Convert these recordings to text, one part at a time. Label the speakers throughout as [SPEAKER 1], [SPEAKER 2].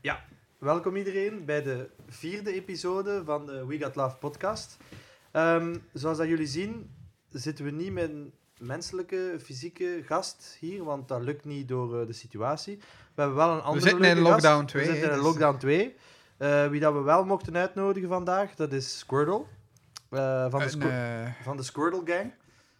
[SPEAKER 1] Ja.
[SPEAKER 2] Welkom iedereen bij de vierde episode van de We Got Love podcast. Ehm, zoals dat jullie zien, zitten we niet met een menselijke, fysieke gast hier, want dat lukt niet door eh, de situatie. We hebben wel een andere
[SPEAKER 1] zitten in
[SPEAKER 2] leuke gast.
[SPEAKER 1] lockdown twee,
[SPEAKER 2] We zitten
[SPEAKER 1] hè,
[SPEAKER 2] in
[SPEAKER 1] dus-
[SPEAKER 2] lockdown 2. Eh, wie dat we wel mochten uitnodigen vandaag, dat is Squirtle. eh, van, de
[SPEAKER 1] En,
[SPEAKER 2] Squir-
[SPEAKER 1] eh,
[SPEAKER 2] van de Squirtle Gang.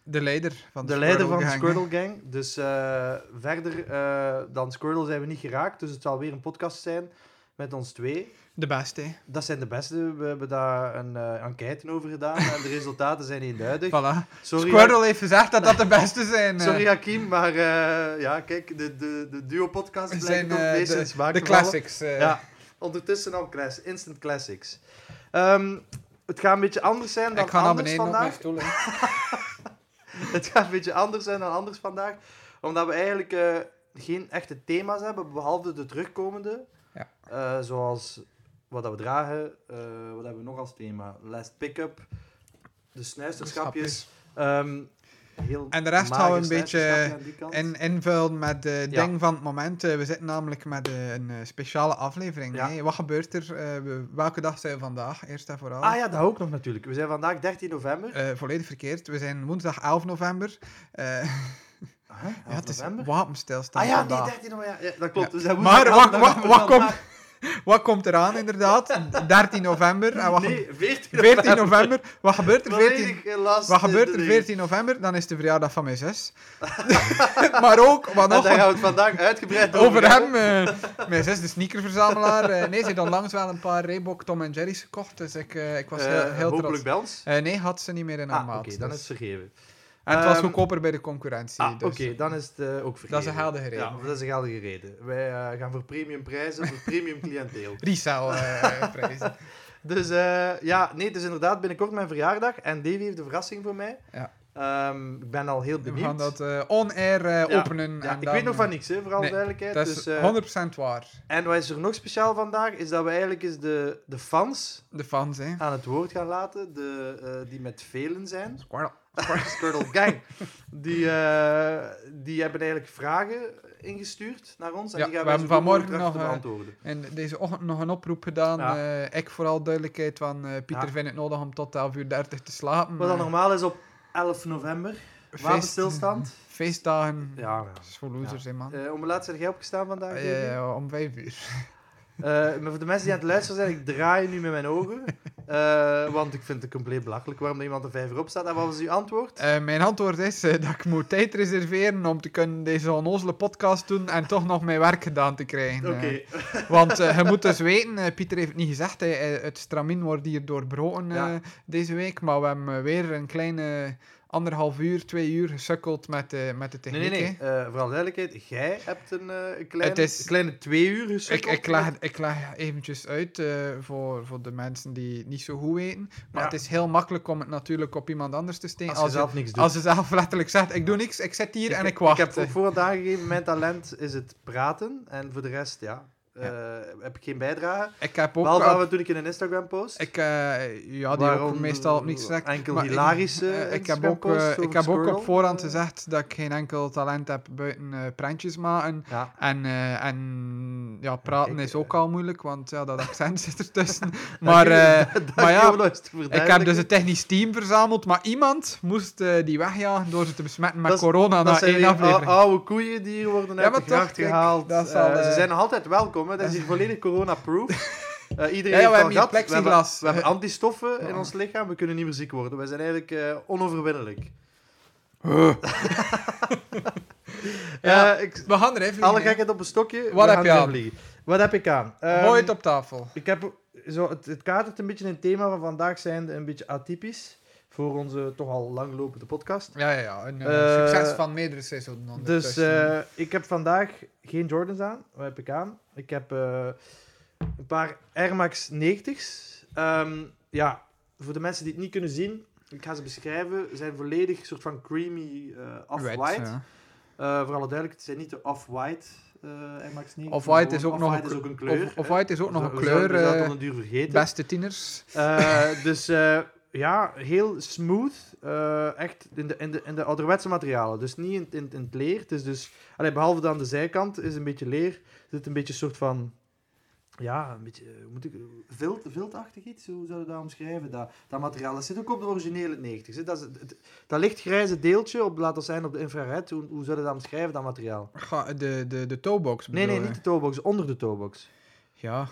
[SPEAKER 1] de leider van de,
[SPEAKER 2] De leider van de
[SPEAKER 1] Squirtle Gang,
[SPEAKER 2] Squirtle Gang. Dus eh, verder eh, dan Squirtle zijn we niet geraakt. Dus het zal weer een podcast zijn met ons twee.
[SPEAKER 1] hè. De beste.
[SPEAKER 2] Dat zijn de beste. We hebben daar een eh, enquête over gedaan. En de resultaten zijn eenduidig.
[SPEAKER 1] Voilà.
[SPEAKER 2] Sorry,
[SPEAKER 1] Squirtle heeft gezegd dat dat de beste zijn. eh,
[SPEAKER 2] sorry Hakim, maar eh, ja, kijk, de, de, de duo-podcast
[SPEAKER 1] zijn
[SPEAKER 2] blijkt nog
[SPEAKER 1] eh,
[SPEAKER 2] meest in
[SPEAKER 1] de,
[SPEAKER 2] smaak
[SPEAKER 1] de
[SPEAKER 2] te vallen.
[SPEAKER 1] classics. eh.
[SPEAKER 2] Ja, ondertussen al class, instant classics. Ehm, het gaat een beetje anders zijn dan
[SPEAKER 1] ik ga naar
[SPEAKER 2] anders
[SPEAKER 1] beneden op
[SPEAKER 2] vandaag.
[SPEAKER 1] mijn stoel. hè.
[SPEAKER 2] Het gaat een beetje anders zijn dan anders vandaag. Omdat we eigenlijk eh, geen echte thema's hebben, behalve de terugkomende.
[SPEAKER 1] Ja.
[SPEAKER 2] Eh, zoals wat dat we dragen. eh, wat hebben we nog als thema? Last pick-up. De snuisterschapjes. ehm, heel
[SPEAKER 1] En de rest gaan we een
[SPEAKER 2] mager
[SPEAKER 1] beetje
[SPEAKER 2] snuisterschapje aan die kant.
[SPEAKER 1] En invullen met de
[SPEAKER 2] Ja.
[SPEAKER 1] ding van het moment. Eh, we zitten namelijk met eh, een eh, speciale aflevering.
[SPEAKER 2] Ja.
[SPEAKER 1] hè. Wat gebeurt er? Eh, we- welke dag zijn we vandaag? Eerst en vooral.
[SPEAKER 2] Ah ja, dat ook nog natuurlijk. We zijn vandaag 13 november.
[SPEAKER 1] Eh, volledig verkeerd. We zijn woensdag 11 november. Eh,
[SPEAKER 2] Huh? 11
[SPEAKER 1] ja, het is
[SPEAKER 2] november?
[SPEAKER 1] wapenstilstand.
[SPEAKER 2] Ah ja, nee,
[SPEAKER 1] vandaag.
[SPEAKER 2] 13 november. Ja, ja, dat klopt.
[SPEAKER 1] Ja.
[SPEAKER 2] Dus dat moet
[SPEAKER 1] Maar
[SPEAKER 2] nog
[SPEAKER 1] wat-
[SPEAKER 2] wel-
[SPEAKER 1] wat-
[SPEAKER 2] dat moet
[SPEAKER 1] wat
[SPEAKER 2] wel
[SPEAKER 1] komt-
[SPEAKER 2] naar-
[SPEAKER 1] Wat komt eraan inderdaad? 13 november. En wat
[SPEAKER 2] Nee, 14 november.
[SPEAKER 1] 14 november. Wat gebeurt er 14,
[SPEAKER 2] Volledig, eh, last
[SPEAKER 1] wat
[SPEAKER 2] in
[SPEAKER 1] gebeurt
[SPEAKER 2] de
[SPEAKER 1] er
[SPEAKER 2] dingen.
[SPEAKER 1] 14 november? Dan is het de verjaardag van mijn zus. maar ook, wat
[SPEAKER 2] En
[SPEAKER 1] nog?
[SPEAKER 2] daar gaan we het vandaag uitgebreid over,
[SPEAKER 1] Over
[SPEAKER 2] hebben.
[SPEAKER 1] hem. eh, mijn zus, de sneakerverzamelaar. eh, nee, ze heeft onlangs wel een paar Reebok Tom Jerry's gekocht. Dus ik, eh, ik was
[SPEAKER 2] Eh,
[SPEAKER 1] heel, heel
[SPEAKER 2] hopelijk
[SPEAKER 1] trots.
[SPEAKER 2] bij ons.
[SPEAKER 1] Eh, nee, had ze niet meer in haar
[SPEAKER 2] Ah, oké,
[SPEAKER 1] maat.
[SPEAKER 2] dan is
[SPEAKER 1] dus.
[SPEAKER 2] het vergeven.
[SPEAKER 1] En het was
[SPEAKER 2] Ehm,
[SPEAKER 1] goedkoper bij de concurrentie.
[SPEAKER 2] Ah, oké,
[SPEAKER 1] dus.
[SPEAKER 2] dan is het eh, ook vergeven.
[SPEAKER 1] Dat is een geldige reden.
[SPEAKER 2] Ja, dat is een geldige reden. Wij eh, gaan voor premium prijzen, voor premium cliënteel.
[SPEAKER 1] Resell eh, prijzen.
[SPEAKER 2] Dus eh, ja, nee, het is inderdaad binnenkort mijn verjaardag en Davy heeft een verrassing voor mij.
[SPEAKER 1] Ja.
[SPEAKER 2] Ehm, ik ben al heel
[SPEAKER 1] We
[SPEAKER 2] benieuwd.
[SPEAKER 1] gaan dat eh, on-air eh,
[SPEAKER 2] Ja,
[SPEAKER 1] openen.
[SPEAKER 2] Ja,
[SPEAKER 1] en
[SPEAKER 2] ik
[SPEAKER 1] dan,
[SPEAKER 2] weet nog van
[SPEAKER 1] eh,
[SPEAKER 2] niks, hè, vooral
[SPEAKER 1] nee,
[SPEAKER 2] duidelijkheid.
[SPEAKER 1] Dat is
[SPEAKER 2] dus, eh,
[SPEAKER 1] 100% waar.
[SPEAKER 2] en wat is er nog speciaal vandaag, is dat we eigenlijk eens de, de fans
[SPEAKER 1] De fans, hè.
[SPEAKER 2] aan het woord gaan laten, de, eh, die met velen zijn.
[SPEAKER 1] Squirtle.
[SPEAKER 2] Squirtle Gang. Die, eh, die hebben eigenlijk vragen ingestuurd naar ons. En
[SPEAKER 1] Ja,
[SPEAKER 2] die gaan
[SPEAKER 1] we
[SPEAKER 2] wij zo
[SPEAKER 1] hebben
[SPEAKER 2] goed mogelijk
[SPEAKER 1] vanmorgen
[SPEAKER 2] trachten te
[SPEAKER 1] nog, eh,
[SPEAKER 2] beantwoorden.
[SPEAKER 1] En deze ochtend nog een oproep gedaan.
[SPEAKER 2] Ja.
[SPEAKER 1] eh, ik vooral duidelijkheid van eh, Pieter
[SPEAKER 2] Ja.
[SPEAKER 1] vindt het nodig om tot 11.30 uur te slapen.
[SPEAKER 2] Wat dan
[SPEAKER 1] Eh,
[SPEAKER 2] normaal is op 11 november.
[SPEAKER 1] feest- Hmm.
[SPEAKER 2] Wapenstilstand.
[SPEAKER 1] Feestdagen. Ja.
[SPEAKER 2] Ja,
[SPEAKER 1] Dat is voor losers, hè, man.
[SPEAKER 2] ja. Eh, om hoe laat zijn jij opgestaan vandaag?
[SPEAKER 1] Eh,
[SPEAKER 2] Davy?
[SPEAKER 1] om vijf uur.
[SPEAKER 2] Eh, maar voor de mensen die aan het luisteren zijn, ik draai nu met mijn ogen. Eh, want ik vind het compleet belachelijk waarom er iemand er vijf uur op staat. En wat was uw antwoord?
[SPEAKER 1] Eh, mijn antwoord is eh, dat ik moet tijd reserveren om te kunnen deze onnozele podcast doen en toch nog mijn werk gedaan te krijgen.
[SPEAKER 2] Oké,
[SPEAKER 1] eh. Want eh, je moet dus weten, eh, Pieter heeft het niet gezegd, hij- hij- eh, het stramien wordt hier doorbroken eh,
[SPEAKER 2] Ja.
[SPEAKER 1] deze week. Maar we hebben eh, weer een kleine anderhalf uur, twee uur gesukkeld met, eh, met de
[SPEAKER 2] nee,
[SPEAKER 1] techniek.
[SPEAKER 2] nee, nee.
[SPEAKER 1] hè.
[SPEAKER 2] Eh, vooral duidelijkheid, jij hebt een eh, een kleine,
[SPEAKER 1] Het is-
[SPEAKER 2] een kleine twee uur
[SPEAKER 1] Ik,
[SPEAKER 2] gesukkeld.
[SPEAKER 1] ik, leg, ik leg eventjes uit eh, voor, voor de mensen die het niet zo goed weten. Maar
[SPEAKER 2] Ja.
[SPEAKER 1] het is heel makkelijk om het natuurlijk op iemand anders te steken.
[SPEAKER 2] als je zelf niks doet.
[SPEAKER 1] als je zelf letterlijk zegt, ik doe niks, ik zit hier en ik wacht.
[SPEAKER 2] Ik heb op voorhand aangegeven, mijn talent is het praten. En voor de rest, ja, eh, heb ik geen bijdrage.
[SPEAKER 1] Ik heb ook...
[SPEAKER 2] Behalve
[SPEAKER 1] al-
[SPEAKER 2] dat we toen ik in een Instagram post.
[SPEAKER 1] ik, eh, ja, die ook
[SPEAKER 2] waarom
[SPEAKER 1] meestal op niks zegt.
[SPEAKER 2] Enkel
[SPEAKER 1] Maar ik-
[SPEAKER 2] hilarische
[SPEAKER 1] eh, ik heb ook, eh,
[SPEAKER 2] Instagram-posts over
[SPEAKER 1] ik heb ook
[SPEAKER 2] Squirrel.
[SPEAKER 1] op voorhand
[SPEAKER 2] Eh,
[SPEAKER 1] gezegd dat ik geen enkel talent heb buiten eh prentjes maken.
[SPEAKER 2] Ja.
[SPEAKER 1] En, eh, en ja, praten
[SPEAKER 2] Kijk,
[SPEAKER 1] is
[SPEAKER 2] eh.
[SPEAKER 1] ook al moeilijk, want ja, dat accent zit ertussen.
[SPEAKER 2] Dank
[SPEAKER 1] maar
[SPEAKER 2] u,
[SPEAKER 1] eh,
[SPEAKER 2] dank
[SPEAKER 1] maar
[SPEAKER 2] u
[SPEAKER 1] ja,
[SPEAKER 2] om ons te
[SPEAKER 1] ik heb
[SPEAKER 2] verduidelijken.
[SPEAKER 1] dus het technisch team verzameld, maar iemand moest eh, die wegjagen door ze te besmetten met
[SPEAKER 2] Dat is-
[SPEAKER 1] corona na
[SPEAKER 2] Dat zijn
[SPEAKER 1] één
[SPEAKER 2] weer ou-
[SPEAKER 1] aflevering.
[SPEAKER 2] oude koeien die hier worden
[SPEAKER 1] Ja,
[SPEAKER 2] uit
[SPEAKER 1] maar
[SPEAKER 2] de gracht
[SPEAKER 1] toch, kijk,
[SPEAKER 2] gehaald.
[SPEAKER 1] dat zal,
[SPEAKER 2] Eh, ze
[SPEAKER 1] eh,
[SPEAKER 2] zijn nog altijd welkom. Hè. Dat is
[SPEAKER 1] dat-
[SPEAKER 2] hier volledig corona-proof. Eh, iedereen
[SPEAKER 1] Ja, ja, we
[SPEAKER 2] heeft al
[SPEAKER 1] hebben hier
[SPEAKER 2] gehad. We hebben,
[SPEAKER 1] plexiglas.
[SPEAKER 2] we hebben
[SPEAKER 1] Eh,
[SPEAKER 2] antistoffen in
[SPEAKER 1] ja.
[SPEAKER 2] ons lichaam. We kunnen niet meer ziek worden. We zijn eigenlijk eh, onoverwinnelijk.
[SPEAKER 1] Eh. Ja,
[SPEAKER 2] Eh, ik,
[SPEAKER 1] we gaan er even
[SPEAKER 2] alle
[SPEAKER 1] in, hè.
[SPEAKER 2] gekheid op een stokje.
[SPEAKER 1] Wat
[SPEAKER 2] we gaan
[SPEAKER 1] heb je
[SPEAKER 2] erin vliegen. Wat heb ik aan? Ehm,
[SPEAKER 1] Gooi het op tafel.
[SPEAKER 2] Ik heb zo, het, het kadert een beetje in het thema van vandaag zijn een beetje atypisch voor onze toch al langlopende podcast.
[SPEAKER 1] Ja, ja, ja. Een eh,
[SPEAKER 2] Eh,
[SPEAKER 1] succes van meerdere seizoenen ondertussen.
[SPEAKER 2] Dus eh, ik heb vandaag geen Jordans aan. Wat heb ik aan? Ik heb eh, een paar Air Max 90's. Ehm, ja, voor de mensen die het niet kunnen zien, ik ga ze beschrijven. Ze zijn volledig een soort van creamy eh off-white.
[SPEAKER 1] Wet, ja.
[SPEAKER 2] Eh, voor alle duidelijkheid, het zijn niet de off-white eh Air Max 90's.
[SPEAKER 1] Off-white is ook nog
[SPEAKER 2] off-white is ook een kleur.
[SPEAKER 1] Of, of white is ook nog een kleur.
[SPEAKER 2] We zouden
[SPEAKER 1] eh,
[SPEAKER 2] dat een duur vergeten.
[SPEAKER 1] beste tieners.
[SPEAKER 2] Eh, dus eh, ja, heel smooth. eh, echt in de, in, de, in de ouderwetse materialen. Dus niet in, in, in het leer. Het is dus, allee, behalve dan de zijkant is een beetje leer. Er zit een beetje een soort van ja, een beetje, eh, hoe moet ik, vilt, viltachtig iets, hoe zou je dat omschrijven? Dat, dat materiaal, dat zit ook op de originele 90 hè. Dat, is het- het- dat lichtgrijze deeltje, op, laat dat zijn op de infrared, hoe, hoe zou je dat omschrijven, dat materiaal?
[SPEAKER 1] Ga- de, de, de toebox
[SPEAKER 2] Nee,
[SPEAKER 1] bedoel
[SPEAKER 2] nee,
[SPEAKER 1] je?
[SPEAKER 2] niet de toebox, onder de toebox.
[SPEAKER 1] Ja,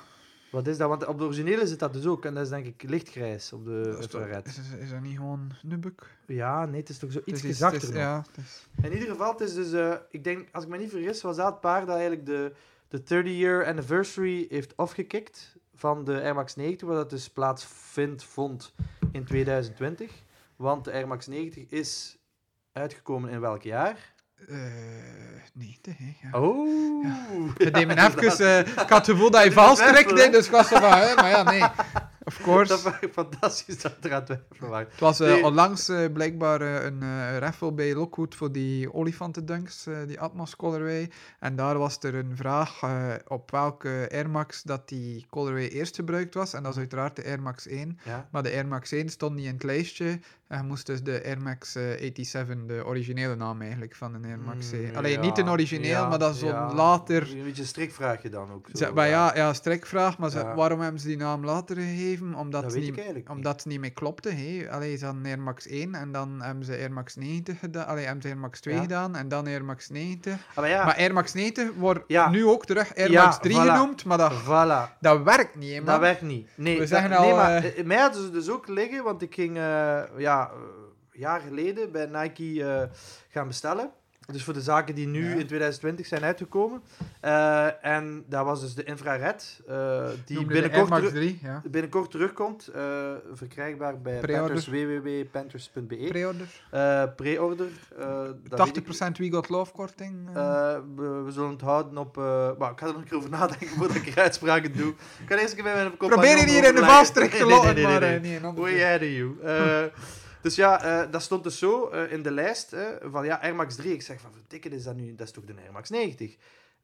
[SPEAKER 2] Wat is dat? Want op de originele zit dat dus ook, en dat is denk ik lichtgrijs op de
[SPEAKER 1] dat is, toch-
[SPEAKER 2] infrared.
[SPEAKER 1] is, is dat niet gewoon nubbuk?
[SPEAKER 2] Ja, nee, het is toch zo iets
[SPEAKER 1] Het is-
[SPEAKER 2] zachter
[SPEAKER 1] het is-
[SPEAKER 2] nog.
[SPEAKER 1] Ja, het is-
[SPEAKER 2] In ieder geval, het is dus, eh, ik denk, als ik me niet vergis, was dat het paar dat eigenlijk de, de 30-year anniversary heeft afgekikt van de Air Max 90, waar dat dus plaatsvindt, vond in 2020. Want de Air Max 90 is uitgekomen in welk jaar?
[SPEAKER 1] eh, nee, nee, ja.
[SPEAKER 2] Oh!
[SPEAKER 1] We deden even, eh, ik had het gevoel dat je vals
[SPEAKER 2] Twijfel, hè?
[SPEAKER 1] nee, dus ik was zo van, hè, maar ja, nee. Of course.
[SPEAKER 2] Dat was fantastisch dat er aan het twijfelen waren.
[SPEAKER 1] Het was eh,
[SPEAKER 2] Nee.
[SPEAKER 1] onlangs eh, blijkbaar eh, een eh, raffle bij Lockwood voor die olifantendunks, eh, die Atmos colorway. En daar was er een vraag eh, op welke Air Max dat die colorway eerst gebruikt was. En dat is uiteraard de Air Max 1.
[SPEAKER 2] Ja.
[SPEAKER 1] Maar de Air Max 1 stond niet in het lijstje. En je moest dus de Air Max eh, 87, de originele naam eigenlijk van de Air Max 1.
[SPEAKER 2] Mm,
[SPEAKER 1] Alleen
[SPEAKER 2] ja,
[SPEAKER 1] niet een origineel,
[SPEAKER 2] ja,
[SPEAKER 1] maar dat is zo'n
[SPEAKER 2] ja.
[SPEAKER 1] later...
[SPEAKER 2] Een beetje een strikvraagje dan ook. zo,
[SPEAKER 1] Ze- maar ja, ja, strikvraag, maar ze-
[SPEAKER 2] Ja.
[SPEAKER 1] waarom hebben ze die naam later gegeven? Omdat,
[SPEAKER 2] dat
[SPEAKER 1] het
[SPEAKER 2] weet
[SPEAKER 1] niet,
[SPEAKER 2] ik eigenlijk niet.
[SPEAKER 1] omdat het niet meer klopte. Hè. Allee, ze hadden Air Max 1 en dan hebben ze Air Max 90 gedaan. Allee, hebben ze Air Max 2
[SPEAKER 2] Ja.
[SPEAKER 1] gedaan en dan Air Max 90.
[SPEAKER 2] Ah, maar ja,
[SPEAKER 1] Maar Air Max 90 wordt
[SPEAKER 2] Ja.
[SPEAKER 1] nu ook terug Air
[SPEAKER 2] Ja,
[SPEAKER 1] Max 3
[SPEAKER 2] voilà.
[SPEAKER 1] genoemd, maar dat,
[SPEAKER 2] voilà.
[SPEAKER 1] dat werkt niet, hè, man.
[SPEAKER 2] Dat werkt niet. Nee,
[SPEAKER 1] We
[SPEAKER 2] dat-
[SPEAKER 1] zeggen
[SPEAKER 2] nee,
[SPEAKER 1] al,
[SPEAKER 2] maar
[SPEAKER 1] eh,
[SPEAKER 2] eh, mij hadden ze dus ook liggen, want ik ging eh, ja, eh, jaar geleden bij Nike eh, gaan bestellen. Dus voor de zaken die nu
[SPEAKER 1] Ja.
[SPEAKER 2] in 2020 zijn uitgekomen. Eh, en dat was dus de infrared, eh, die
[SPEAKER 1] Noemde de Air
[SPEAKER 2] binnenkort,
[SPEAKER 1] Max
[SPEAKER 2] teru-
[SPEAKER 1] 3, ja.
[SPEAKER 2] binnenkort terugkomt. eh, verkrijgbaar bij
[SPEAKER 1] Pre-order.
[SPEAKER 2] Panthers, www.panthers.be.
[SPEAKER 1] Pre-order.
[SPEAKER 2] Eh, Pre-order. eh, dat weet ik-
[SPEAKER 1] 80% We Got Love korting. eh.
[SPEAKER 2] eh, we, we zullen het houden op... eh, maar ik ga er nog een keer over nadenken voordat ik er uitspraken doe. Ik ga eerst een keer bij mijn compagnon
[SPEAKER 1] Probeer je hier in de
[SPEAKER 2] overleggen.
[SPEAKER 1] valstrik te
[SPEAKER 2] Nee, nee,
[SPEAKER 1] lokken,
[SPEAKER 2] nee, nee,
[SPEAKER 1] maar
[SPEAKER 2] nee.
[SPEAKER 1] eh, niet in andere
[SPEAKER 2] Way
[SPEAKER 1] zin.
[SPEAKER 2] ahead of you. Eh, dus ja, eh, dat stond dus zo eh, in de lijst eh, van ja, Air Max 3. Ik zeg van, verdikken is dat nu? Dat is toch de Air Max 90?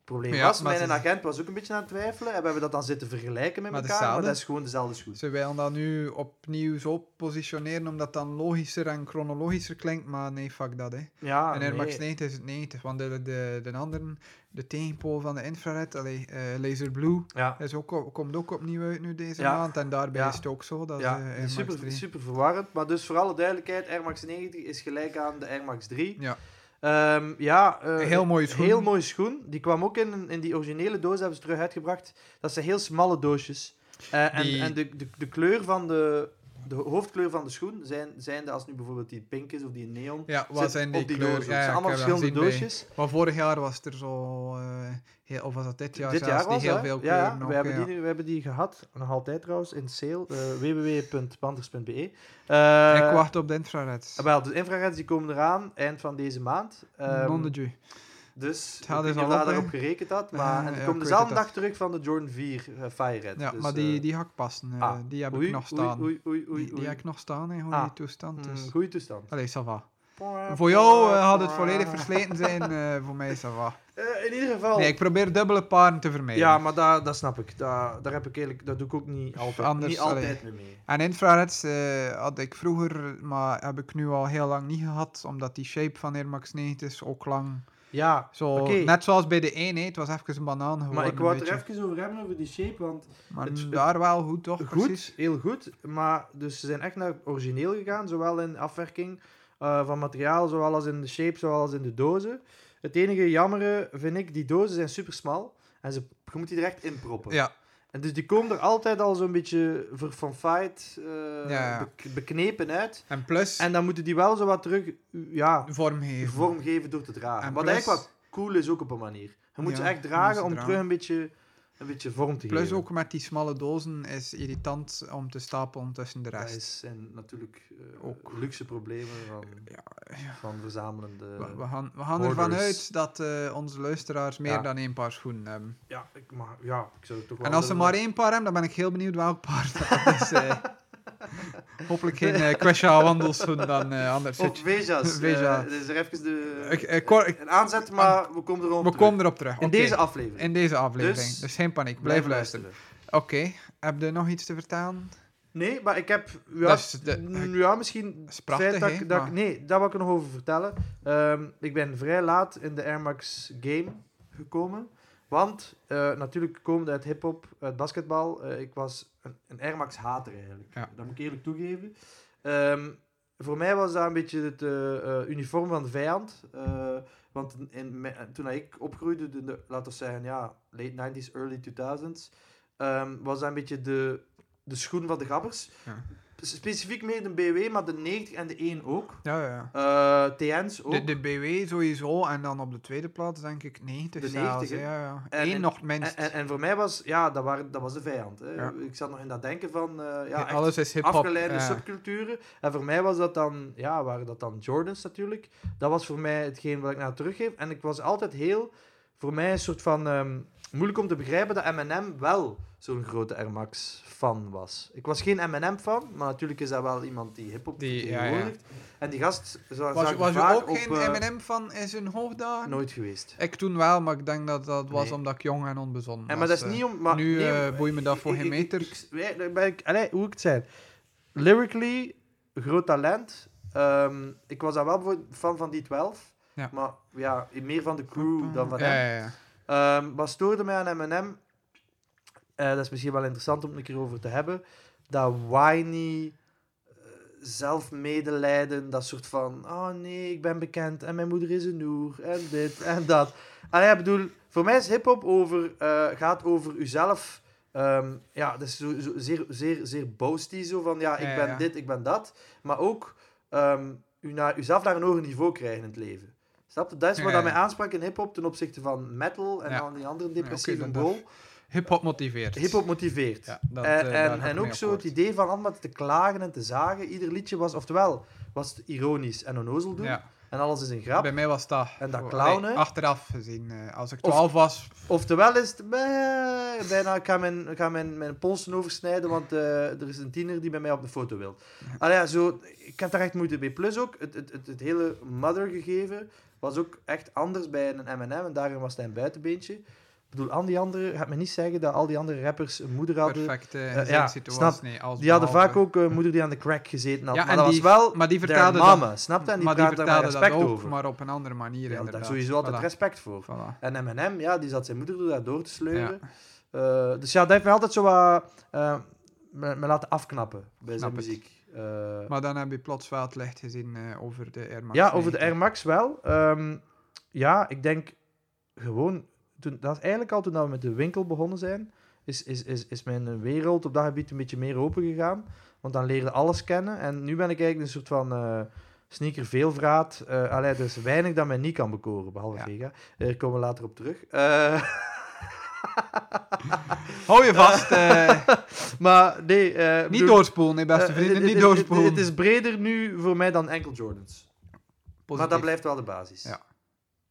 [SPEAKER 2] Het probleem
[SPEAKER 1] Ja,
[SPEAKER 2] was,
[SPEAKER 1] maar
[SPEAKER 2] mijn
[SPEAKER 1] ze-
[SPEAKER 2] agent was ook een beetje aan het twijfelen. En we hebben dat dan zitten vergelijken met
[SPEAKER 1] Maar
[SPEAKER 2] elkaar, maar
[SPEAKER 1] dezelfde?
[SPEAKER 2] dat is gewoon dezelfde schoen.
[SPEAKER 1] Ze willen dat nu opnieuw zo positioneren, omdat dat dan logischer en chronologischer klinkt, maar nee, fuck dat, hè.
[SPEAKER 2] Ja,
[SPEAKER 1] en Air Max
[SPEAKER 2] Ah, nee.
[SPEAKER 1] 90 is het 90, want de, de, de anderen, de tegenpool van de infrared, allee, eh, Laser Blue,
[SPEAKER 2] Ja,
[SPEAKER 1] is ook, op- komt ook opnieuw uit nu deze
[SPEAKER 2] Ja.
[SPEAKER 1] maand. En daarbij
[SPEAKER 2] Ja.
[SPEAKER 1] is het ook zo, dat
[SPEAKER 2] ja
[SPEAKER 1] is, eh, Air
[SPEAKER 2] het
[SPEAKER 1] Max
[SPEAKER 2] is super,
[SPEAKER 1] 3.
[SPEAKER 2] super verwarrend. Maar dus voor alle duidelijkheid, Air Max 90 is gelijk aan de Air Max 3.
[SPEAKER 1] Ja.
[SPEAKER 2] Ehm, ja eh,
[SPEAKER 1] Een heel mooie schoen.
[SPEAKER 2] Heel mooie schoen. Die kwam ook in, in die originele doos, hebben ze terug uitgebracht. Dat zijn heel smalle doosjes. Eh, en
[SPEAKER 1] Die-
[SPEAKER 2] en de, de, de kleur van de, de hoofdkleur van de schoen zijn, zijn de, als nu bijvoorbeeld die pink is of die neon.
[SPEAKER 1] Ja,
[SPEAKER 2] zit
[SPEAKER 1] wat zijn
[SPEAKER 2] op doos
[SPEAKER 1] die, kleuren?
[SPEAKER 2] ook. Het
[SPEAKER 1] Ja, ja,
[SPEAKER 2] zijn
[SPEAKER 1] ik
[SPEAKER 2] allemaal
[SPEAKER 1] heb dat
[SPEAKER 2] verschillende
[SPEAKER 1] gezien bij-
[SPEAKER 2] doosjes.
[SPEAKER 1] Maar vorig jaar was er zo, eh, heel, of was dat dit jaar
[SPEAKER 2] Dit
[SPEAKER 1] zelfs,
[SPEAKER 2] jaar
[SPEAKER 1] die
[SPEAKER 2] was
[SPEAKER 1] dus heel
[SPEAKER 2] dat, hè?
[SPEAKER 1] veel
[SPEAKER 2] ja,
[SPEAKER 1] kleuren
[SPEAKER 2] ja,
[SPEAKER 1] ook,
[SPEAKER 2] we, hebben
[SPEAKER 1] ja.
[SPEAKER 2] die, nu- we hebben die gehad, nog altijd trouwens, in sale. eh www.panders.be Eh,
[SPEAKER 1] Ik wacht op de infrared.
[SPEAKER 2] Ah, Wel, de infrareds die komen eraan eind van deze maand. Ehm,
[SPEAKER 1] Non de Dieu.
[SPEAKER 2] dus
[SPEAKER 1] Het gaat
[SPEAKER 2] ik weet niet
[SPEAKER 1] dus al
[SPEAKER 2] of
[SPEAKER 1] op,
[SPEAKER 2] daar
[SPEAKER 1] hè?
[SPEAKER 2] op gerekend had, maar
[SPEAKER 1] Eh,
[SPEAKER 2] en die
[SPEAKER 1] ja,
[SPEAKER 2] komen
[SPEAKER 1] ik weet
[SPEAKER 2] dezelfde
[SPEAKER 1] het,
[SPEAKER 2] dag terug van de Jordan 4 eh, Firehead.
[SPEAKER 1] Ja,
[SPEAKER 2] dus,
[SPEAKER 1] maar die,
[SPEAKER 2] eh,
[SPEAKER 1] die ga ik passen. eh,
[SPEAKER 2] ah,
[SPEAKER 1] die heb
[SPEAKER 2] oei,
[SPEAKER 1] ik nog
[SPEAKER 2] oei,
[SPEAKER 1] staan.
[SPEAKER 2] Oei, oei, oei,
[SPEAKER 1] die, die
[SPEAKER 2] oei.
[SPEAKER 1] heb ik nog staan in goede
[SPEAKER 2] Ah.
[SPEAKER 1] toestand.
[SPEAKER 2] Mm,
[SPEAKER 1] Dus.
[SPEAKER 2] goeie toestand.
[SPEAKER 1] Allee, ça va. Voor jou eh, had het volledig versleten zijn, eh, voor mij ça va.
[SPEAKER 2] Eh, in ieder geval.
[SPEAKER 1] Nee, ik probeer dubbele paren te vermijden.
[SPEAKER 2] ja, maar dat, dat snap ik. Daar, daar heb ik eigenlijk, dat doe ik ook niet altijd,
[SPEAKER 1] Anders,
[SPEAKER 2] niet
[SPEAKER 1] allee.
[SPEAKER 2] altijd meer mee.
[SPEAKER 1] En infrareds eh, had ik vroeger, maar heb ik nu al heel lang niet gehad, omdat die shape van Air Max 90 is ook lang.
[SPEAKER 2] Ja,
[SPEAKER 1] Zo,
[SPEAKER 2] Oké.
[SPEAKER 1] Net zoals bij de 1, hè, het was even een banaan geworden.
[SPEAKER 2] maar ik
[SPEAKER 1] een
[SPEAKER 2] wou het
[SPEAKER 1] beetje.
[SPEAKER 2] er even over hebben, over die shape, want
[SPEAKER 1] Maar
[SPEAKER 2] het-
[SPEAKER 1] daar wel goed, toch?
[SPEAKER 2] Goed,
[SPEAKER 1] Oh, Precies.
[SPEAKER 2] heel goed. Maar dus ze zijn echt naar het origineel gegaan, zowel in afwerking eh, van materiaal, zowel als in de shape, zowel als in de dozen. Het enige jammere vind ik, die dozen zijn super smal en ze, je moet die er echt in proppen.
[SPEAKER 1] Ja,
[SPEAKER 2] En dus die komen er altijd al zo'n beetje verfanfaaid, eh
[SPEAKER 1] Ja, ja.
[SPEAKER 2] bek- beknepen uit.
[SPEAKER 1] en plus
[SPEAKER 2] En dan moeten die wel zo wat terug ja,
[SPEAKER 1] vormgeven.
[SPEAKER 2] vormgeven door te dragen.
[SPEAKER 1] En
[SPEAKER 2] Wat
[SPEAKER 1] plus-
[SPEAKER 2] eigenlijk wat cool is ook op een manier. Je moet
[SPEAKER 1] Ja,
[SPEAKER 2] ze echt
[SPEAKER 1] je moet ze
[SPEAKER 2] dragen om
[SPEAKER 1] dragen.
[SPEAKER 2] terug een beetje, een beetje vorm te
[SPEAKER 1] Plus
[SPEAKER 2] geven.
[SPEAKER 1] ook met die smalle dozen is irritant om te stapelen tussen de
[SPEAKER 2] Dat
[SPEAKER 1] rest.
[SPEAKER 2] is, zijn natuurlijk eh,
[SPEAKER 1] Ook.
[SPEAKER 2] luxe problemen van,
[SPEAKER 1] Ja,
[SPEAKER 2] van verzamelende...
[SPEAKER 1] We, we gaan, we gaan
[SPEAKER 2] hoarders.
[SPEAKER 1] ervan uit dat eh, onze luisteraars meer
[SPEAKER 2] Ja.
[SPEAKER 1] dan één paar schoenen hebben.
[SPEAKER 2] Ja, ik, maar, ja, ik zou het toch wel...
[SPEAKER 1] En als ze
[SPEAKER 2] willen-
[SPEAKER 1] maar één paar hebben, dan ben ik heel benieuwd welk paar dat is. eh. hopelijk geen eh Quasha wandelschoen dan eh, anders.
[SPEAKER 2] Of Veja's.
[SPEAKER 1] Veja.
[SPEAKER 2] eh, dus er even de,
[SPEAKER 1] Ik- ik hoor- ik-
[SPEAKER 2] een aanzet, maar we komen erop
[SPEAKER 1] we
[SPEAKER 2] terug.
[SPEAKER 1] komen erop terug.
[SPEAKER 2] In
[SPEAKER 1] Oké.
[SPEAKER 2] deze aflevering.
[SPEAKER 1] In deze aflevering.
[SPEAKER 2] Dus-
[SPEAKER 1] Dus, geen paniek, blijf, luisteren. Oké, heb je nog iets te vertellen?
[SPEAKER 2] Nee, maar ik heb... Ja,
[SPEAKER 1] Dat is de-
[SPEAKER 2] mm, ja misschien...
[SPEAKER 1] is
[SPEAKER 2] het
[SPEAKER 1] prachtig,
[SPEAKER 2] feit dat,
[SPEAKER 1] hè, Ah.
[SPEAKER 2] ik- dat ik-
[SPEAKER 1] maar-
[SPEAKER 2] Nee, daar wil ik er nog over vertellen. Ehm, ik ben vrij laat in de Air Max game gekomen. Want eh, natuurlijk komende uit hip-hop, uit basketbal. eh, ik was een, een Air Max hater eigenlijk.
[SPEAKER 1] Ja.
[SPEAKER 2] Dat moet ik eerlijk toegeven. Ehm, voor mij was dat een beetje het eh, eh, uniform van de vijand. Eh, want in, me- toen ik opgroeide, de, de- laten we zeggen, ja, late 90s, early 2000s, ehm, was dat een beetje de, de schoen van de grappers.
[SPEAKER 1] Ja.
[SPEAKER 2] Specifiek meer de BW, maar de 90 en de 1 ook.
[SPEAKER 1] Ja, ja, ja.
[SPEAKER 2] Eh, TN's ook.
[SPEAKER 1] De, de BW sowieso, en dan op de tweede plaats denk ik 90
[SPEAKER 2] De
[SPEAKER 1] zelfs.
[SPEAKER 2] 90, hè?
[SPEAKER 1] ja, ja.
[SPEAKER 2] En-
[SPEAKER 1] Eén
[SPEAKER 2] en-
[SPEAKER 1] nog het minst.
[SPEAKER 2] En, en, en voor mij was, ja, dat, waren, dat was de vijand. Hè.
[SPEAKER 1] Ja.
[SPEAKER 2] Ik zat nog in dat denken van, eh, ja, echt
[SPEAKER 1] Alles is hip-hop.
[SPEAKER 2] afgeleide
[SPEAKER 1] Ja.
[SPEAKER 2] subculturen. En voor mij was dat dan, ja, waren dat dan Jordans natuurlijk. Dat was voor mij hetgeen wat ik naar teruggeef. En ik was altijd heel, voor mij een soort van, ehm, moeilijk om te begrijpen dat M&M wel zo'n grote Air Max fan was. Ik was geen M&M fan, maar natuurlijk is dat wel iemand die hip-hop
[SPEAKER 1] Die- ja, ja.
[SPEAKER 2] vertegenwoordigt. En die gast zou
[SPEAKER 1] Was, was je
[SPEAKER 2] vaak
[SPEAKER 1] ook
[SPEAKER 2] op,
[SPEAKER 1] geen
[SPEAKER 2] eh,
[SPEAKER 1] M&M van in zijn hoogdagen?
[SPEAKER 2] Nooit geweest.
[SPEAKER 1] Ik toen wel, maar ik denk dat dat was
[SPEAKER 2] Nee.
[SPEAKER 1] omdat ik jong en onbezonnen
[SPEAKER 2] En maar
[SPEAKER 1] was.
[SPEAKER 2] dat is
[SPEAKER 1] eh.
[SPEAKER 2] niet om... Maar,
[SPEAKER 1] nu
[SPEAKER 2] nee,
[SPEAKER 1] eh, boeit me dat voor
[SPEAKER 2] ik-
[SPEAKER 1] geen
[SPEAKER 2] ik-
[SPEAKER 1] meter.
[SPEAKER 2] Ik, ik- wij- daar ben ik, allee, hoe ik het zei. Lyrically, groot talent. Ehm, ik was daar wel voor- fan van die 12.
[SPEAKER 1] Ja.
[SPEAKER 2] Maar ja, meer van de crew dan van
[SPEAKER 1] ja,
[SPEAKER 2] hem.
[SPEAKER 1] ja, ja.
[SPEAKER 2] Ehm, wat stoorde mij aan M&M? eh, dat is misschien wel interessant om het een keer over te hebben. Dat whiny, eh, zelfmedelijden, dat soort van... Oh nee, ik ben bekend en mijn moeder is een oer en dit en dat. Allee, ik bedoel, voor mij is hiphop over, eh, gaat over uzelf. Ehm, ja, dat is zo, zo zeer, zeer, zeer boasty, zo van ja, ik
[SPEAKER 1] Ja,
[SPEAKER 2] ben
[SPEAKER 1] ja.
[SPEAKER 2] dit, ik ben dat. Maar ook ehm u naar, uzelf naar een hoger niveau krijgen in het leven. Snap je? Dat is wat
[SPEAKER 1] Ja,
[SPEAKER 2] dat
[SPEAKER 1] ja.
[SPEAKER 2] mij aansprak in hip-hop ten opzichte van metal en
[SPEAKER 1] Ja.
[SPEAKER 2] al die andere depressieve
[SPEAKER 1] Ja,
[SPEAKER 2] rol.
[SPEAKER 1] oké, dan Hip-hop motiveert.
[SPEAKER 2] Hip-hop motiveert.
[SPEAKER 1] Ja, dat, eh,
[SPEAKER 2] en
[SPEAKER 1] daar ga
[SPEAKER 2] en,
[SPEAKER 1] ik
[SPEAKER 2] en
[SPEAKER 1] mee
[SPEAKER 2] ook zo het
[SPEAKER 1] akkoord.
[SPEAKER 2] idee van allemaal te klagen en te zagen. Ieder liedje was, oftewel, was het ironisch en onnozel doen.
[SPEAKER 1] Ja,
[SPEAKER 2] En alles is een grap.
[SPEAKER 1] bij mij was dat.
[SPEAKER 2] En dat
[SPEAKER 1] Allee,
[SPEAKER 2] clownen.
[SPEAKER 1] achteraf gezien. eh, als ik
[SPEAKER 2] Of-
[SPEAKER 1] 12 was,
[SPEAKER 2] Oftewel is het "Bah, bijna, ik ga mijn, ik ga mijn, mijn polsen oversnijden, want eh, er is een tiener die bij mij op de foto wil. Allee, ja, zo, ik heb daar echt moeite mee. Plus ook, het, het, het, het hele mother gegeven was ook echt anders bij een M&M en daarin was hij een buitenbeentje. Ik bedoel, al die anderen, gaat me niet zeggen dat al die andere rappers een moeder hadden.
[SPEAKER 1] perfect eh, in
[SPEAKER 2] eh,
[SPEAKER 1] zijn
[SPEAKER 2] ja,
[SPEAKER 1] situatie.
[SPEAKER 2] snap.
[SPEAKER 1] Nee, als
[SPEAKER 2] Die hadden
[SPEAKER 1] behalve-
[SPEAKER 2] vaak ook een moeder die aan de crack gezeten had.
[SPEAKER 1] Ja,
[SPEAKER 2] maar
[SPEAKER 1] en
[SPEAKER 2] dat
[SPEAKER 1] die-
[SPEAKER 2] was wel
[SPEAKER 1] Maar die
[SPEAKER 2] their
[SPEAKER 1] vertaalden dat,
[SPEAKER 2] mama, snap je? En die
[SPEAKER 1] maar die
[SPEAKER 2] praten daar met
[SPEAKER 1] vertaalden dat
[SPEAKER 2] respect
[SPEAKER 1] ook,
[SPEAKER 2] over.
[SPEAKER 1] maar op een andere manier.
[SPEAKER 2] Ja, daar
[SPEAKER 1] inderdaad.
[SPEAKER 2] sowieso altijd
[SPEAKER 1] Voilà,
[SPEAKER 2] respect voor.
[SPEAKER 1] voilà.
[SPEAKER 2] En M&M, ja, die zat zijn moeder door daar door te sleuren. Eh, dus ja, dat heeft mij altijd zo wat... eh, me, me laten afknappen bij
[SPEAKER 1] Snap
[SPEAKER 2] zijn
[SPEAKER 1] het.
[SPEAKER 2] muziek. Eh,
[SPEAKER 1] Maar dan heb je plots wel het licht gezien eh, over de Air Max
[SPEAKER 2] ja, over de
[SPEAKER 1] 90.
[SPEAKER 2] Air Max wel. Ehm, ja, ik denk gewoon... Toen, dat is eigenlijk al toen dat we met de winkel begonnen zijn, is, is, is, is mijn wereld op dat gebied een beetje meer open gegaan. Want dan leerde alles kennen. En nu ben ik eigenlijk een soort van... eh, Sneaker veelvraat. eh allee, er is weinig dat mij niet kan bekoren, behalve
[SPEAKER 1] Ja.
[SPEAKER 2] Vega. Eh, Daar komen we later op terug. Eh,
[SPEAKER 1] Hou je vast. eh,
[SPEAKER 2] Maar nee, eh,
[SPEAKER 1] niet
[SPEAKER 2] bedoel-
[SPEAKER 1] doorspoelen, hè, beste
[SPEAKER 2] eh,
[SPEAKER 1] vrienden.
[SPEAKER 2] het-
[SPEAKER 1] Niet
[SPEAKER 2] het- het-
[SPEAKER 1] doorspoelen.
[SPEAKER 2] Het is breder nu voor mij dan enkel Jordans. Maar
[SPEAKER 1] Positief.
[SPEAKER 2] dat blijft wel de basis.
[SPEAKER 1] Ja.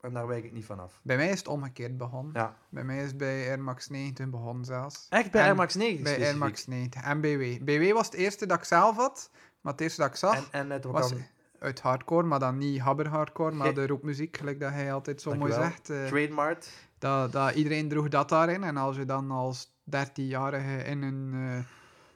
[SPEAKER 2] En daar wijk ik niet van af.
[SPEAKER 1] Bij mij is het omgekeerd begonnen.
[SPEAKER 2] Ja.
[SPEAKER 1] Bij mij is het bij Air Max 90 begonnen zelfs.
[SPEAKER 2] Echt bij
[SPEAKER 1] En
[SPEAKER 2] Air Max 90
[SPEAKER 1] Bij Air
[SPEAKER 2] specifiek.
[SPEAKER 1] Max 90 en BW. BW was het eerste dat ik zelf had, maar het eerste dat ik zag
[SPEAKER 2] En, en net wat
[SPEAKER 1] was
[SPEAKER 2] dan
[SPEAKER 1] uit hardcore, maar dan niet habber hardcore, maar
[SPEAKER 2] Ge-
[SPEAKER 1] de roepmuziek, gelijk dat hij altijd zo
[SPEAKER 2] Dank
[SPEAKER 1] mooi
[SPEAKER 2] u wel.
[SPEAKER 1] zegt. eh,
[SPEAKER 2] trademark.
[SPEAKER 1] dat, dat iedereen droeg dat daarin. En als je dan als 13-jarige in een eh,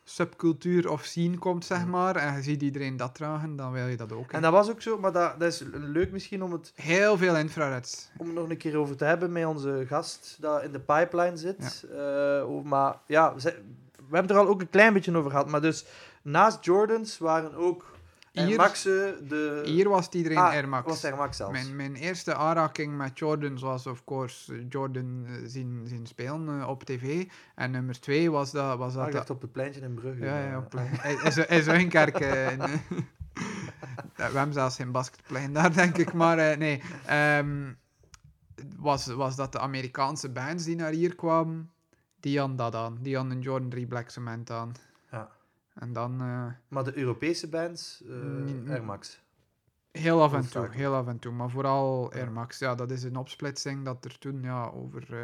[SPEAKER 1] subcultuur of scene komt, zeg
[SPEAKER 2] Mm.
[SPEAKER 1] maar, en je ziet iedereen dat dragen, dan wil je dat ook. hè.
[SPEAKER 2] En dat was ook zo, maar dat, dat is leuk misschien om het,
[SPEAKER 1] Heel veel infrareds.
[SPEAKER 2] om het nog een keer over te hebben met onze gast die in de pipeline zit. Eh, over- maar ja, ze- we hebben er al ook een klein beetje over gehad. Maar dus naast Jordans waren ook Air
[SPEAKER 1] Hier-
[SPEAKER 2] Max'en de...
[SPEAKER 1] Hier was het iedereen
[SPEAKER 2] Ah,
[SPEAKER 1] Air Max.
[SPEAKER 2] was Air Max zelfs.
[SPEAKER 1] Mijn, mijn eerste aanraking met Jordans was, of course, Jordan eh, zien, zien spelen eh, op tv. En nummer twee was dat... Was
[SPEAKER 2] Ah,
[SPEAKER 1] dat,
[SPEAKER 2] ik dacht
[SPEAKER 1] dat
[SPEAKER 2] op het pleintje in Brugge.
[SPEAKER 1] ja, ja,
[SPEAKER 2] Eh,
[SPEAKER 1] op plein. Hij- hij zou- Hij zou in kerk... eh, in, eh, We hebben zelfs geen basketplein daar, denk ik. Maar eh, nee, ehm, was, was dat de Amerikaanse bands die naar hier kwamen, die hadden dat aan. Die hadden een Jordan 3 Black Cement aan.
[SPEAKER 2] Ja.
[SPEAKER 1] En dan... eh,
[SPEAKER 2] Maar de Europese bands, eh
[SPEAKER 1] Mm,
[SPEAKER 2] Air Max.
[SPEAKER 1] Heel af en toe,
[SPEAKER 2] Hoofdzakelijk.
[SPEAKER 1] heel af en toe. Maar vooral
[SPEAKER 2] Ja.
[SPEAKER 1] Air Max, ja, dat is een opsplitsing dat er toen ja, over, eh,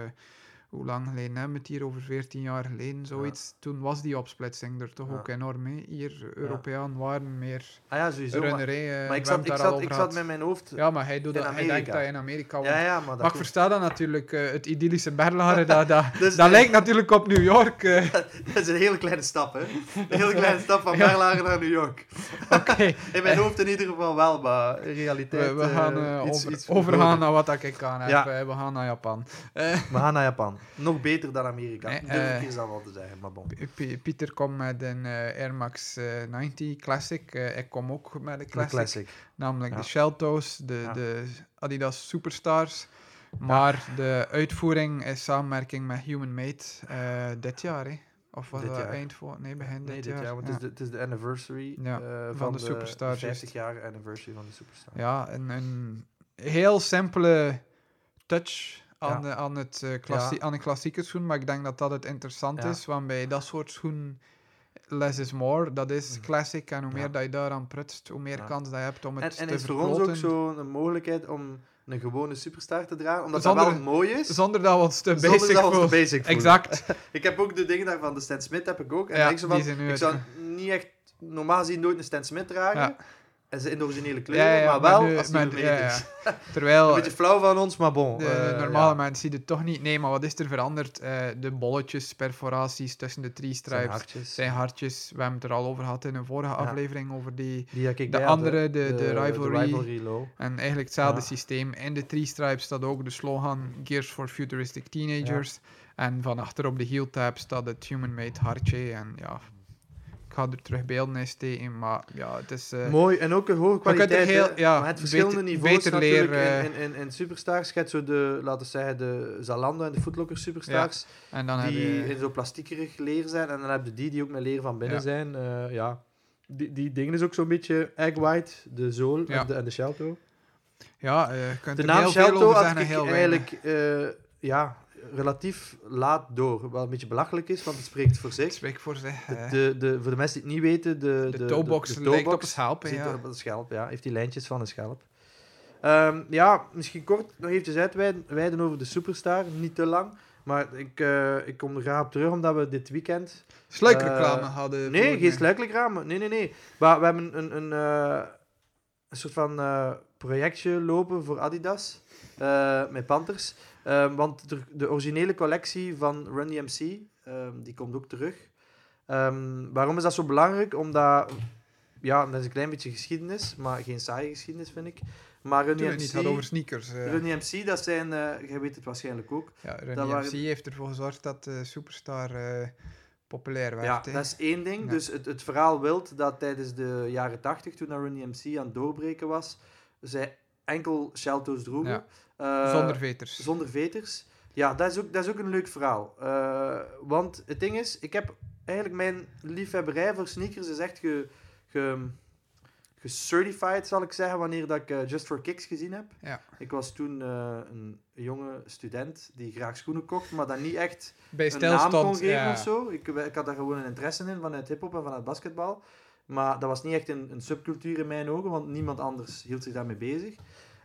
[SPEAKER 1] hoe lang geleden hebben we het hier? Over 14 jaar geleden, zoiets. Toen was die opsplitsing er toch
[SPEAKER 2] Ja.
[SPEAKER 1] ook enorm mee. Hier, Europeaan waren meer
[SPEAKER 2] Ah ja, sowieso. Maar,
[SPEAKER 1] runnerijen.
[SPEAKER 2] maar ik,
[SPEAKER 1] eh, we hebben
[SPEAKER 2] zat,
[SPEAKER 1] het
[SPEAKER 2] ik,
[SPEAKER 1] daar al
[SPEAKER 2] zat, ik
[SPEAKER 1] over
[SPEAKER 2] zat
[SPEAKER 1] gehad.
[SPEAKER 2] met mijn hoofd... Ja,
[SPEAKER 1] Ja, maar hij, doet
[SPEAKER 2] in
[SPEAKER 1] dat, hij denkt
[SPEAKER 2] Amerika.
[SPEAKER 1] dat in Amerika... woont.
[SPEAKER 2] ja, maar
[SPEAKER 1] maar
[SPEAKER 2] dat
[SPEAKER 1] ik
[SPEAKER 2] klopt.
[SPEAKER 1] versta dat natuurlijk, eh, het idyllische Berlaren, dat, dat,
[SPEAKER 2] Dus-
[SPEAKER 1] dat lijkt natuurlijk op New York. eh.
[SPEAKER 2] Dat is een hele kleine stap, hè. Een hele kleine stap van Berlage naar New York.
[SPEAKER 1] Oké,
[SPEAKER 2] In mijn hoofd in ieder geval wel, maar in realiteit...
[SPEAKER 1] Eh. we, we gaan eh,
[SPEAKER 2] eh, iets-
[SPEAKER 1] over-
[SPEAKER 2] iets
[SPEAKER 1] overgaan
[SPEAKER 2] verboden.
[SPEAKER 1] naar wat dat ik aan heb.
[SPEAKER 2] Ja.
[SPEAKER 1] eh, We gaan naar Japan. Eh,
[SPEAKER 2] We gaan naar Japan. Nog beter dan Amerika.
[SPEAKER 1] Nee,
[SPEAKER 2] Durf ik
[SPEAKER 1] eh,
[SPEAKER 2] hier zelf al te zeggen, maar bon.
[SPEAKER 1] P- Pieter komt met een eh, Air Max eh, 90 Classic. Eh, ik kom ook met een
[SPEAKER 2] Classic.
[SPEAKER 1] Classic. Namelijk
[SPEAKER 2] Ja.
[SPEAKER 1] de Sheltos, de,
[SPEAKER 2] Ja.
[SPEAKER 1] de Adidas Superstars. Maar de uitvoering is samenwerking met Human Made eh, dit jaar, hè? Of was
[SPEAKER 2] Dit
[SPEAKER 1] dat
[SPEAKER 2] jaar.
[SPEAKER 1] eind voor? Nee, begin
[SPEAKER 2] Nee,
[SPEAKER 1] dit,
[SPEAKER 2] dit jaar, want
[SPEAKER 1] ja.
[SPEAKER 2] het, is de, het is de anniversary
[SPEAKER 1] Ja,
[SPEAKER 2] eh, van,
[SPEAKER 1] de
[SPEAKER 2] de,
[SPEAKER 1] Superstars,
[SPEAKER 2] 50 jaar anniversary van de Superstar.
[SPEAKER 1] Ja, een, een heel simpele touch aan,
[SPEAKER 2] Ja.
[SPEAKER 1] de, aan, het, eh, klassie-
[SPEAKER 2] Ja.
[SPEAKER 1] aan een klassieke schoen, maar ik denk dat dat het interessant
[SPEAKER 2] Ja.
[SPEAKER 1] is, want bij dat soort schoenen less is more, dat is
[SPEAKER 2] Mhm.
[SPEAKER 1] classic en hoe meer
[SPEAKER 2] Ja.
[SPEAKER 1] dat je daaraan prutst, hoe meer
[SPEAKER 2] Ja.
[SPEAKER 1] kans dat je hebt om
[SPEAKER 2] En,
[SPEAKER 1] het
[SPEAKER 2] en
[SPEAKER 1] te
[SPEAKER 2] is voor ons ook
[SPEAKER 1] vergroten,
[SPEAKER 2] zo'n mogelijkheid om een gewone Superstar te dragen, omdat dat
[SPEAKER 1] Zonder-
[SPEAKER 2] wel mooi is.
[SPEAKER 1] zonder dat we ons te
[SPEAKER 2] zonder
[SPEAKER 1] basic
[SPEAKER 2] dat we ons te
[SPEAKER 1] voelen.
[SPEAKER 2] basic voelen.
[SPEAKER 1] Exact.
[SPEAKER 2] Ik heb ook de dingen daarvan, de Stan Smith heb ik ook. En
[SPEAKER 1] Ja,
[SPEAKER 2] ik, zo van,
[SPEAKER 1] die zijn nu
[SPEAKER 2] ik
[SPEAKER 1] uit-
[SPEAKER 2] zou niet echt normaal gezien nooit een Stan Smith dragen.
[SPEAKER 1] Ja.
[SPEAKER 2] En ze in de originele kleuren,
[SPEAKER 1] Ja, ja,
[SPEAKER 2] maar wel
[SPEAKER 1] nu-
[SPEAKER 2] als die
[SPEAKER 1] maar-
[SPEAKER 2] gemeten
[SPEAKER 1] ja, ja.
[SPEAKER 2] is. Een
[SPEAKER 1] Terwijl
[SPEAKER 2] beetje flauw van ons, maar bon.
[SPEAKER 1] de,
[SPEAKER 2] eh,
[SPEAKER 1] normale
[SPEAKER 2] ja.
[SPEAKER 1] mensen zien het toch niet. Nee, maar wat is er veranderd? Eh, de bolletjes, perforaties tussen de drie
[SPEAKER 2] Zijn
[SPEAKER 1] stripes,
[SPEAKER 2] hartjes.
[SPEAKER 1] zijn hartjes. We hebben het er al over gehad in een vorige aflevering over die
[SPEAKER 2] Die heb ik
[SPEAKER 1] de
[SPEAKER 2] bij had, hè.
[SPEAKER 1] andere, de- de rivalry.
[SPEAKER 2] low.
[SPEAKER 1] En eigenlijk hetzelfde
[SPEAKER 2] Ja.
[SPEAKER 1] systeem. In de Three Stripes staat ook de slogan Gears for Futuristic Teenagers. En van achter op de heel tab staat het Human Made hartje. En ja, ik ga er terug beelden in steken, maar ja, het is... eh,
[SPEAKER 2] Mooi, en ook een hoge
[SPEAKER 1] kunt er
[SPEAKER 2] kwaliteit.
[SPEAKER 1] heel-
[SPEAKER 2] hè.
[SPEAKER 1] ja,
[SPEAKER 2] maar het
[SPEAKER 1] beter-
[SPEAKER 2] verschillende niveaus
[SPEAKER 1] beter
[SPEAKER 2] natuurlijk
[SPEAKER 1] leren, eh.
[SPEAKER 2] in, in, in, in Superstars. Je hebt zo de, laten we zeggen, de Zalando en de Footlocker Superstars,
[SPEAKER 1] en dan heb
[SPEAKER 2] die
[SPEAKER 1] je...
[SPEAKER 2] in zo plastiekerig leer zijn. En dan heb je die die ook met leer van binnen
[SPEAKER 1] Ja.
[SPEAKER 2] zijn. Eh, ja. Die, die dingen is ook zo'n beetje egg white, de zool
[SPEAKER 1] Ja.
[SPEAKER 2] en, de, en de Shelto.
[SPEAKER 1] Ja, eh, je kunt
[SPEAKER 2] De
[SPEAKER 1] er
[SPEAKER 2] naam
[SPEAKER 1] heel veel
[SPEAKER 2] Shelto
[SPEAKER 1] over
[SPEAKER 2] had
[SPEAKER 1] zeggen en
[SPEAKER 2] ik
[SPEAKER 1] heel weinig.
[SPEAKER 2] eigenlijk eh, ja, relatief laat door. Wat een beetje belachelijk is, want het spreekt voor
[SPEAKER 1] Ik
[SPEAKER 2] zich.
[SPEAKER 1] spreek voor zich.
[SPEAKER 2] De,
[SPEAKER 1] eh.
[SPEAKER 2] de, de- voor de mensen die het niet weten, de,
[SPEAKER 1] De, toebox lijkt op een schelp,
[SPEAKER 2] Ziet
[SPEAKER 1] ja.
[SPEAKER 2] op een schelp, ja. Heeft die lijntjes van een schelp. Ehm, ja, misschien kort nog eventjes uitweiden wijden over de Superstar. Niet te lang. Maar ik, eh, ik kom er graag op terug, omdat we dit weekend...
[SPEAKER 1] Sluikreclame
[SPEAKER 2] Eh,
[SPEAKER 1] hadden...
[SPEAKER 2] Nee,
[SPEAKER 1] voor-
[SPEAKER 2] geen sluikelijk raam. Nee, nee, nee. Maar we hebben een, een, eh, een soort van eh, projectje lopen voor Adidas. eh, met Panthers. Ehm, want de, de originele collectie van Run DMC, ehm, die komt ook terug. Ehm, waarom is dat zo belangrijk? Omdat... Ja, dat is een klein beetje geschiedenis, maar geen saaie geschiedenis, vind ik. Maar Run
[SPEAKER 1] Toen het niet
[SPEAKER 2] DMC...
[SPEAKER 1] had over sneakers. eh.
[SPEAKER 2] Run DMC, dat zijn... eh, jij weet het waarschijnlijk ook.
[SPEAKER 1] Ja, Run
[SPEAKER 2] Dat waren-
[SPEAKER 1] DMC heeft ervoor gezorgd dat de Superstar eh, populair werd.
[SPEAKER 2] Ja,
[SPEAKER 1] hè.
[SPEAKER 2] dat is één ding.
[SPEAKER 1] Ja.
[SPEAKER 2] Dus het, het verhaal wilt dat tijdens de jaren 80, toen Run DMC aan het doorbreken was, zij enkel Shelto's droegen.
[SPEAKER 1] Ja.
[SPEAKER 2] Eh,
[SPEAKER 1] Zonder veters.
[SPEAKER 2] zonder veters. Ja, dat is ook, dat is ook een leuk verhaal. Eh, want het ding is, ik heb eigenlijk mijn liefhebberij voor sneakers is echt ge, ge, gecertified, zal ik zeggen, wanneer dat ik eh, Just for Kicks gezien heb.
[SPEAKER 1] Ja.
[SPEAKER 2] Ik was toen eh, een jonge student die graag schoenen kocht, maar dan niet echt
[SPEAKER 1] Bij
[SPEAKER 2] een
[SPEAKER 1] stijl
[SPEAKER 2] naam kon
[SPEAKER 1] stond...
[SPEAKER 2] geven
[SPEAKER 1] ja.
[SPEAKER 2] of zo. Ik, ik had daar gewoon een interesse in vanuit hip-hop en vanuit basketbal. Maar dat was niet echt een, een subcultuur in mijn ogen, want niemand anders hield zich daarmee bezig.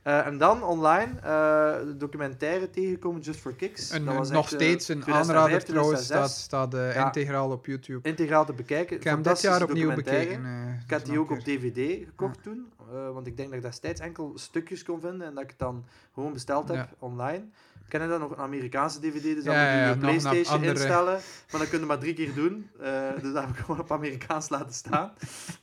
[SPEAKER 2] Eh, en dan online eh, de documentaire tegenkomen, Just for Kicks.
[SPEAKER 1] Een,
[SPEAKER 2] dat
[SPEAKER 1] een-
[SPEAKER 2] was
[SPEAKER 1] nog
[SPEAKER 2] echt, eh,
[SPEAKER 1] steeds een
[SPEAKER 2] 2005,
[SPEAKER 1] aanrader trouwens,
[SPEAKER 2] 2006.
[SPEAKER 1] staat, staat eh,
[SPEAKER 2] Ja.
[SPEAKER 1] integraal op YouTube.
[SPEAKER 2] integraal te bekijken.
[SPEAKER 1] Ik heb hem dit jaar
[SPEAKER 2] Fantastische
[SPEAKER 1] opnieuw
[SPEAKER 2] documentaire.
[SPEAKER 1] bekeken. eh,
[SPEAKER 2] Ik had
[SPEAKER 1] dus
[SPEAKER 2] die
[SPEAKER 1] nog
[SPEAKER 2] ook op
[SPEAKER 1] een keer.
[SPEAKER 2] DVD gekocht toen, eh, want ik denk dat ik destijds enkel stukjes kon vinden en dat ik het dan gewoon besteld heb
[SPEAKER 1] Ja.
[SPEAKER 2] online. Ik ken dan nog een Amerikaanse DVD, dus dan
[SPEAKER 1] Ja,
[SPEAKER 2] moet je
[SPEAKER 1] ja, ja,
[SPEAKER 2] je
[SPEAKER 1] nog een
[SPEAKER 2] PlayStation
[SPEAKER 1] andere.
[SPEAKER 2] instellen. Maar dat kun je maar drie keer doen, eh, dus dat heb ik gewoon op Amerikaans laten staan.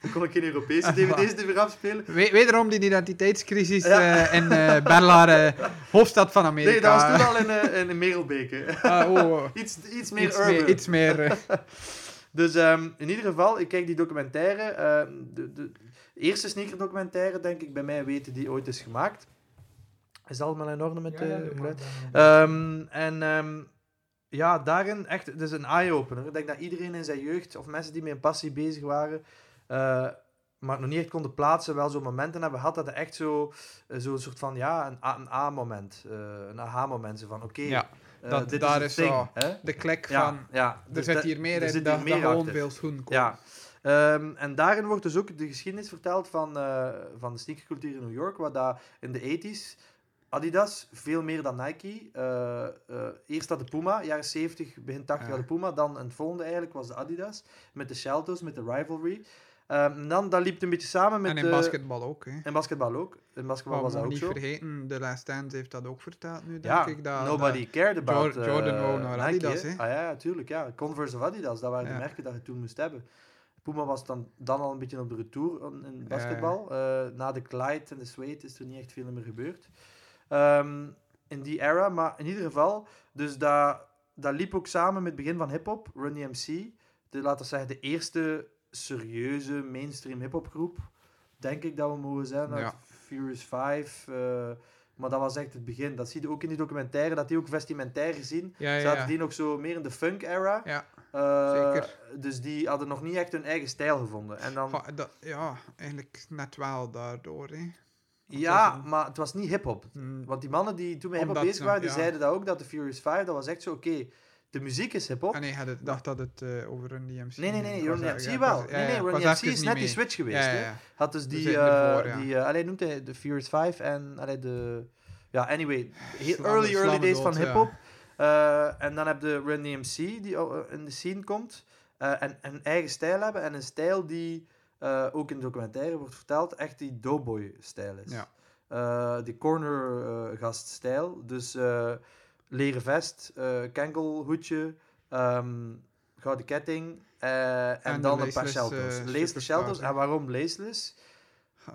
[SPEAKER 2] Dan kon ik geen Europese DVD's die weer afspelen.
[SPEAKER 1] We- wederom die identiteitscrisis
[SPEAKER 2] Ja.
[SPEAKER 1] eh, in eh Berlare, hoofdstad van Amerika.
[SPEAKER 2] Nee, dat was toen al in, eh, in Merelbeke.
[SPEAKER 1] Ah, oh,
[SPEAKER 2] Iets, iets meer
[SPEAKER 1] iets,
[SPEAKER 2] urban.
[SPEAKER 1] meer, iets meer... eh,
[SPEAKER 2] Dus ehm, in ieder geval, ik kijk die documentaire. ehm, de, de eerste sneakerdocumentaire, denk ik, bij mij weten die ooit is gemaakt. Is dat allemaal in orde met de geluid? Ehm, en ehm, ja, daarin echt, het is een eye-opener. Ik denk dat iedereen in zijn jeugd, of mensen die met een passie bezig waren, eh, maar nog niet echt konden plaatsen, wel zo'n momenten hebben gehad dat het echt zo- eh, zo'n soort van, ja, een a- een A-moment, eh, een aha-moment. Zo van, oké,
[SPEAKER 1] Ja,
[SPEAKER 2] eh,
[SPEAKER 1] dat-
[SPEAKER 2] dit
[SPEAKER 1] daar
[SPEAKER 2] is
[SPEAKER 1] is
[SPEAKER 2] het ding.
[SPEAKER 1] zo.
[SPEAKER 2] hè?
[SPEAKER 1] de klik
[SPEAKER 2] Ja,
[SPEAKER 1] van...
[SPEAKER 2] ja,
[SPEAKER 1] Er
[SPEAKER 2] dus
[SPEAKER 1] zit
[SPEAKER 2] dat-
[SPEAKER 1] hier meer
[SPEAKER 2] er
[SPEAKER 1] in
[SPEAKER 2] zit
[SPEAKER 1] dan
[SPEAKER 2] hier meer
[SPEAKER 1] dan gewoon
[SPEAKER 2] achter.
[SPEAKER 1] veel schoen kopen.
[SPEAKER 2] Ja. Ehm, en daarin wordt dus ook de geschiedenis verteld van, eh, van de sneakercultuur in New York, wat daar in de 80s Adidas, veel meer dan Nike. Eh, eh, eerst had de Puma, jaren 70, begin 80
[SPEAKER 1] Ja.
[SPEAKER 2] had de Puma. Dan en het volgende eigenlijk was de Adidas. Met de Shelters, met de Rivalry. Ehm, en dan dat liep het een beetje samen met...
[SPEAKER 1] en in
[SPEAKER 2] eh,
[SPEAKER 1] basketbal ook. Hè.
[SPEAKER 2] In basketbal ook. In basketbal
[SPEAKER 1] Wat
[SPEAKER 2] was
[SPEAKER 1] we
[SPEAKER 2] dat ook
[SPEAKER 1] niet
[SPEAKER 2] zo.
[SPEAKER 1] vergeten, de Last Dance heeft dat ook vertaald nu, denk
[SPEAKER 2] Ja,
[SPEAKER 1] ik. Dat,
[SPEAKER 2] nobody cared about
[SPEAKER 1] Jor- Jordan
[SPEAKER 2] eh,
[SPEAKER 1] wou naar
[SPEAKER 2] Nike,
[SPEAKER 1] Adidas, hè.
[SPEAKER 2] Ah ja, tuurlijk. Ja. Converse of Adidas, dat waren
[SPEAKER 1] Ja.
[SPEAKER 2] de merken dat je toen moest hebben. Puma was dan, dan al een beetje op de retour in- in basketbal. Eh, na de Clyde en de Sweat is er niet echt veel meer gebeurd. Ehm, in die era, maar in ieder geval, dus dat, dat liep ook samen met het begin van hip-hop, Run DMC. De, laten we zeggen, de eerste serieuze mainstream hip-hop groep, denk ik dat we mogen zijn. uit
[SPEAKER 1] Ja.
[SPEAKER 2] Furious 5. eh, maar dat was echt het begin. Dat zie je ook in die documentaire, dat die ook vestimentair gezien.
[SPEAKER 1] Ja, ja,
[SPEAKER 2] Zaten
[SPEAKER 1] ja.
[SPEAKER 2] die nog zo meer in de funk-era?
[SPEAKER 1] Ja,
[SPEAKER 2] Eh,
[SPEAKER 1] zeker.
[SPEAKER 2] Dus die hadden nog niet echt hun eigen stijl gevonden. En dan,
[SPEAKER 1] Goh, dat, ja, eigenlijk net wel daardoor. Hè.
[SPEAKER 2] ja,
[SPEAKER 1] dat is een-
[SPEAKER 2] maar het was niet hip-hop.
[SPEAKER 1] Mm,
[SPEAKER 2] Want die mannen die toen met hip-hop
[SPEAKER 1] Omdat
[SPEAKER 2] bezig
[SPEAKER 1] ze-
[SPEAKER 2] waren, die
[SPEAKER 1] ja.
[SPEAKER 2] zeiden dat ook, dat de Furious 5, dat was echt zo, oké, de muziek is hip-hop.
[SPEAKER 1] Ah nee, had het, dacht dat het eh, over Run DMC
[SPEAKER 2] Nee, nee, nee,
[SPEAKER 1] ging. Ik
[SPEAKER 2] Run
[SPEAKER 1] was daar- ja,
[SPEAKER 2] DMC
[SPEAKER 1] ik
[SPEAKER 2] wel.
[SPEAKER 1] was- ja,
[SPEAKER 2] nee, nee,
[SPEAKER 1] ja, ik
[SPEAKER 2] Run
[SPEAKER 1] was
[SPEAKER 2] DMC
[SPEAKER 1] even
[SPEAKER 2] is
[SPEAKER 1] niet
[SPEAKER 2] net die
[SPEAKER 1] mee.
[SPEAKER 2] switch geweest.
[SPEAKER 1] Ja,
[SPEAKER 2] hè.
[SPEAKER 1] ja, ja.
[SPEAKER 2] Had dus
[SPEAKER 1] We
[SPEAKER 2] die,
[SPEAKER 1] zitten ervoor,
[SPEAKER 2] eh,
[SPEAKER 1] ja.
[SPEAKER 2] die eh, allee, noemt hij de Furious 5 en allee, de... Ja, anyway, heel
[SPEAKER 1] Slaan-
[SPEAKER 2] early, early
[SPEAKER 1] slaan
[SPEAKER 2] days
[SPEAKER 1] dood,
[SPEAKER 2] van
[SPEAKER 1] ja.
[SPEAKER 2] hip-hop. Eh, en dan heb je Run DMC, die al, eh, in de scene komt. eh, en en een eigen stijl hebben. En een stijl die, eh, ook in de documentaire wordt verteld, echt die doughboy-stijl is.
[SPEAKER 1] Ja.
[SPEAKER 2] Eh, die corner-gaststijl. dus eh, leren vest, eh kenkelhoedje, ehm, gouden ketting. eh, en,
[SPEAKER 1] En de
[SPEAKER 2] dan een paar
[SPEAKER 1] laceless, eh,
[SPEAKER 2] shelters. Laceless
[SPEAKER 1] superstars,
[SPEAKER 2] shelters.
[SPEAKER 1] hè.
[SPEAKER 2] En waarom laceless?
[SPEAKER 1] Ah,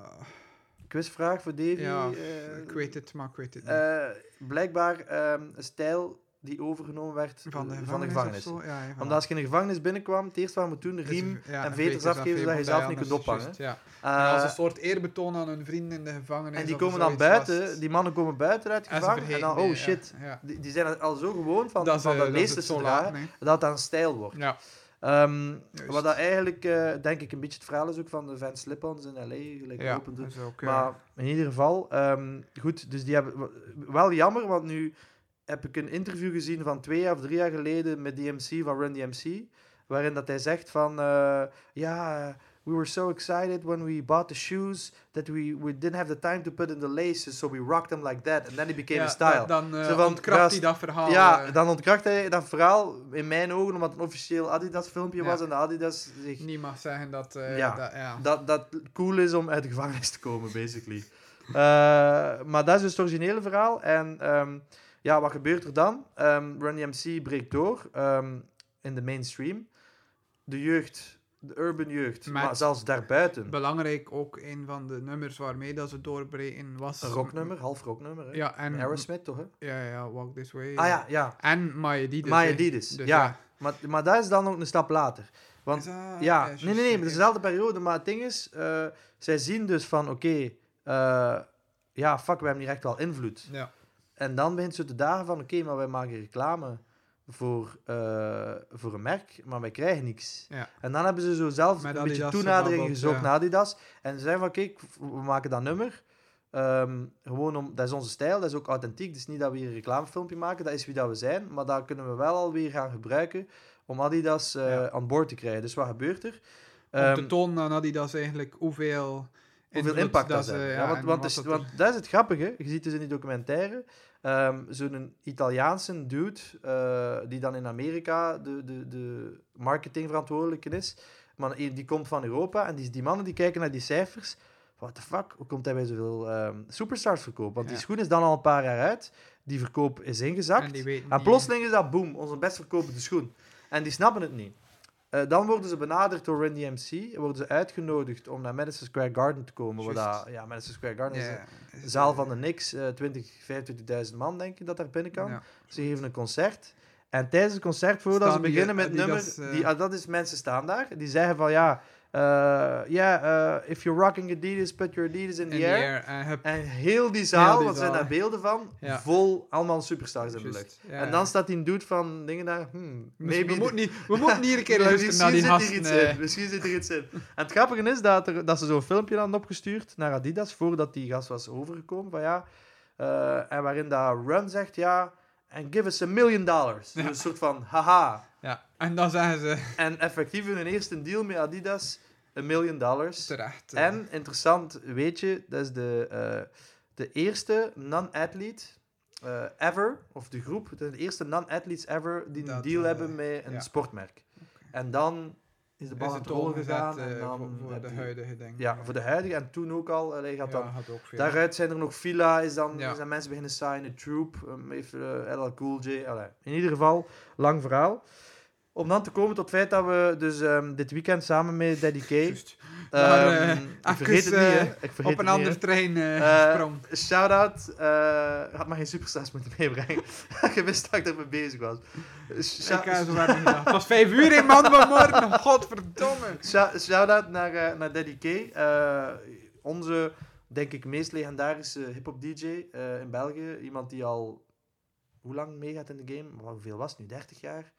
[SPEAKER 2] Quizvraag voor Davy.
[SPEAKER 1] ja,
[SPEAKER 2] eh,
[SPEAKER 1] ik weet het, maar ik weet het niet.
[SPEAKER 2] eh, blijkbaar ehm, een stijl die overgenomen werd
[SPEAKER 1] van de
[SPEAKER 2] eh,
[SPEAKER 1] gevangenis.
[SPEAKER 2] gevangenis.
[SPEAKER 1] Of zo? Ja, ja, voilà.
[SPEAKER 2] Omdat als je in de gevangenis binnenkwam, het eerst waren we toen de
[SPEAKER 1] Dus
[SPEAKER 2] riem.
[SPEAKER 1] ja,
[SPEAKER 2] en veters afgeven,
[SPEAKER 1] omdat
[SPEAKER 2] zodat je zelf niet
[SPEAKER 1] anders-
[SPEAKER 2] kunt ophangen.
[SPEAKER 1] juist, Ja.
[SPEAKER 2] eh,
[SPEAKER 1] als een soort eerbetoon aan hun vrienden in de gevangenis.
[SPEAKER 2] en die
[SPEAKER 1] of er
[SPEAKER 2] komen dan
[SPEAKER 1] zoiets was.
[SPEAKER 2] buiten, die mannen komen buiten uit de
[SPEAKER 1] En ze
[SPEAKER 2] gevangenis. En
[SPEAKER 1] vergeten,
[SPEAKER 2] dan, oh
[SPEAKER 1] nee,
[SPEAKER 2] shit.
[SPEAKER 1] Ja, ja.
[SPEAKER 2] Die, die zijn er al zo gewoon van
[SPEAKER 1] dat
[SPEAKER 2] dat,
[SPEAKER 1] ze-
[SPEAKER 2] van dat,
[SPEAKER 1] dat ze
[SPEAKER 2] leesters
[SPEAKER 1] het
[SPEAKER 2] te
[SPEAKER 1] zo
[SPEAKER 2] dragen,
[SPEAKER 1] laten. hè.
[SPEAKER 2] dat dat een stijl wordt.
[SPEAKER 1] Ja,
[SPEAKER 2] Ehm,
[SPEAKER 1] Juist.
[SPEAKER 2] wat dat eigenlijk, eh, denk ik, een beetje het verhaal is ook van de Van Slip-ons in L.A. Gelijk
[SPEAKER 1] ja,
[SPEAKER 2] open
[SPEAKER 1] dat is ook,
[SPEAKER 2] dus.
[SPEAKER 1] eh,
[SPEAKER 2] Maar in ieder geval, ehm, goed, dus die hebben w- wel jammer, want nu heb ik een interview gezien van twee jaar of drie jaar geleden met DMC van Run DMC, waarin dat hij zegt van, eh, ja, eh, we were so excited when we bought the shoes that we, we didn't have the time to put in the laces, so we rocked them like that, and then it became a
[SPEAKER 1] ja,
[SPEAKER 2] style.
[SPEAKER 1] Dan, dan eh,
[SPEAKER 2] Zo van,
[SPEAKER 1] ontkracht
[SPEAKER 2] gast,
[SPEAKER 1] hij dat verhaal.
[SPEAKER 2] ja,
[SPEAKER 1] eh,
[SPEAKER 2] dan ontkracht hij dat verhaal in mijn ogen, omdat het een officieel Adidas-filmpje
[SPEAKER 1] Ja.
[SPEAKER 2] was en de Adidas zich
[SPEAKER 1] niet mag zeggen dat... eh,
[SPEAKER 2] Ja.
[SPEAKER 1] dat ja.
[SPEAKER 2] dat, dat cool is om uit de gevangenis te komen, basically. Eh, maar dat is dus het originele verhaal. En ehm, ja, wat gebeurt er dan? Ehm Run DMC breekt door ehm, in de mainstream. De jeugd, de urban jeugd,
[SPEAKER 1] Met-
[SPEAKER 2] maar zelfs daarbuiten.
[SPEAKER 1] Belangrijk ook, een van de nummers waarmee dat ze doorbreken was...
[SPEAKER 2] Een rocknummer, half rocknummer. Hè?
[SPEAKER 1] Ja, en...
[SPEAKER 2] Aerosmith toch? Hè?
[SPEAKER 1] Ja, ja, Walk This Way.
[SPEAKER 2] Ah ja, ja.
[SPEAKER 1] En My Adidas.
[SPEAKER 2] My
[SPEAKER 1] hè.
[SPEAKER 2] Adidas.
[SPEAKER 1] Dus
[SPEAKER 2] ja, Maar, maar dat is dan ook een stap later. Want-
[SPEAKER 1] Is dat-
[SPEAKER 2] Ja,
[SPEAKER 1] Ah, juist,
[SPEAKER 2] nee, nee, nee,
[SPEAKER 1] ja,
[SPEAKER 2] maar dezelfde periode. Maar het ding is, eh, zij zien dus van, oké, eh, ja, fuck, we hebben hier echt wel invloed.
[SPEAKER 1] Ja.
[SPEAKER 2] En dan begint ze te dagen van, oké, maar wij maken reclame voor, eh, voor een merk, maar wij krijgen niks.
[SPEAKER 1] Ja.
[SPEAKER 2] En dan hebben ze zo zelf
[SPEAKER 1] Met
[SPEAKER 2] een
[SPEAKER 1] Adidas
[SPEAKER 2] beetje toenadering
[SPEAKER 1] gebabbeld,
[SPEAKER 2] gezocht
[SPEAKER 1] ja.
[SPEAKER 2] naar Adidas. En ze zeggen van, kijk, we maken dat nummer. Ehm, gewoon om, dat is onze stijl, dat is ook authentiek. Het is niet dat we hier een reclamefilmpje maken, dat is wie dat we zijn. Maar dat kunnen we wel alweer gaan gebruiken om Adidas eh,
[SPEAKER 1] Ja.
[SPEAKER 2] aan boord te krijgen. Dus wat gebeurt er?
[SPEAKER 1] Om
[SPEAKER 2] Ehm,
[SPEAKER 1] te tonen aan Adidas eigenlijk hoeveel...
[SPEAKER 2] hoeveel
[SPEAKER 1] invloed
[SPEAKER 2] impact dat,
[SPEAKER 1] ze-
[SPEAKER 2] heeft.
[SPEAKER 1] eh, ja,
[SPEAKER 2] Ja, want,
[SPEAKER 1] en
[SPEAKER 2] want,
[SPEAKER 1] wat
[SPEAKER 2] dat is-
[SPEAKER 1] dat er-
[SPEAKER 2] want dat is het grappige. Je ziet dus in die documentaire ehm, zo'n Italiaanse dude eh, die dan in Amerika de, de, de marketingverantwoordelijke is. Maar die die komt van Europa en die, die mannen die kijken naar die cijfers. What the fuck? Hoe komt hij bij zoveel ehm, superstars verkopen? Want die
[SPEAKER 1] Ja.
[SPEAKER 2] schoen is dan al een paar jaar uit. Die verkoop is ingezakt.
[SPEAKER 1] En
[SPEAKER 2] En,
[SPEAKER 1] die weten niet-
[SPEAKER 2] plotseling is dat boom, onze best verkopende schoen. En die snappen het niet. Eh, dan worden ze benaderd door Run DMC. en Worden ze uitgenodigd om naar Madison Square Garden te komen. Waar
[SPEAKER 1] Juist.
[SPEAKER 2] dat- ja, Madison Square Garden is
[SPEAKER 1] Ja,
[SPEAKER 2] een zaal van de niks. eh 20, 25.000 man, denk ik, dat daar binnen kan.
[SPEAKER 1] Ja.
[SPEAKER 2] Ze geven een concert. En tijdens het concert, voordat
[SPEAKER 1] Staan
[SPEAKER 2] ze
[SPEAKER 1] die
[SPEAKER 2] beginnen met het nummer...
[SPEAKER 1] Adidas, eh,
[SPEAKER 2] Die, ah, dat is, mensen staan daar. Die zeggen van, ja... eh yeah, eh, if you're rocking Adidas, put your Adidas in the,
[SPEAKER 1] In the
[SPEAKER 2] air.
[SPEAKER 1] air. eh, En hup,
[SPEAKER 2] En heel die zaal,
[SPEAKER 1] die
[SPEAKER 2] want er zijn
[SPEAKER 1] zaal.
[SPEAKER 2] daar beelden van,
[SPEAKER 1] Ja.
[SPEAKER 2] vol allemaal superstars in de lucht.
[SPEAKER 1] juist, ja.
[SPEAKER 2] En dan staat die dude van dingen daar... Hmm,
[SPEAKER 1] Misschien-
[SPEAKER 2] maybe
[SPEAKER 1] we, moeten niet, we moeten hier een keer
[SPEAKER 2] maar
[SPEAKER 1] luisteren naar die
[SPEAKER 2] misschien
[SPEAKER 1] gasten.
[SPEAKER 2] zit er iets in.
[SPEAKER 1] eh.
[SPEAKER 2] Misschien zit er iets in. En het grappige is dat, er, dat ze zo'n filmpje hadden opgestuurd naar Adidas, voordat die gast was overgekomen, van ja... eh, en waarin dat Run zegt, ja... And give us a million dollars. Dus een soort van, haha.
[SPEAKER 1] eh, Ja, en dan zeggen ze
[SPEAKER 2] En effectief hun eerste deal met Adidas, een million dollars.
[SPEAKER 1] terecht. eh,
[SPEAKER 2] En, interessant, weet je, dat is de, eh, de eerste non-athlete eh, ever, of de groep, de eerste non-athletes ever die een
[SPEAKER 1] Dat,
[SPEAKER 2] deal
[SPEAKER 1] eh,
[SPEAKER 2] hebben met een
[SPEAKER 1] ja.
[SPEAKER 2] sportmerk. En dan is de bal
[SPEAKER 1] Is
[SPEAKER 2] aan
[SPEAKER 1] het
[SPEAKER 2] het rollen
[SPEAKER 1] omgezet
[SPEAKER 2] gegaan.
[SPEAKER 1] eh,
[SPEAKER 2] en dan
[SPEAKER 1] voor, voor
[SPEAKER 2] heb
[SPEAKER 1] de
[SPEAKER 2] je-
[SPEAKER 1] huidige dingen?
[SPEAKER 2] Ja, voor de huidige en toen ook al. Allee, je had dan
[SPEAKER 1] Ja, had ook veel.
[SPEAKER 2] Daaruit zijn er nog Villa, is dan,
[SPEAKER 1] Ja.
[SPEAKER 2] zijn mensen beginnen signen, Troop, um, heeft eh, LL Cool J. allee. In ieder geval, lang verhaal. Om dan te komen tot het feit dat we dus ehm, dit weekend samen met Daddy K...
[SPEAKER 1] Juist.
[SPEAKER 2] ehm,
[SPEAKER 1] Maar, eh,
[SPEAKER 2] ik
[SPEAKER 1] even,
[SPEAKER 2] vergeet het niet,
[SPEAKER 1] eh,
[SPEAKER 2] hè. Ik vergeet
[SPEAKER 1] Op een
[SPEAKER 2] het niet,
[SPEAKER 1] ander trein eh,
[SPEAKER 2] Eh,
[SPEAKER 1] sprong.
[SPEAKER 2] hè. Shout-out. eh, had maar geen superstars moeten meebrengen. Je wist dat ik ermee bezig was. Shou-
[SPEAKER 1] Ik heb zo ver gedacht. Het was vijf uur in man vanmorgen. Godverdomme.
[SPEAKER 2] Shou- Shout-out naar, eh, naar Daddy K. Eh, onze, denk ik, meest legendarische hip-hop DJ eh, in België. Iemand die al hoe lang meegaat in de game? Maar hoeveel was het nu? 30 jaar?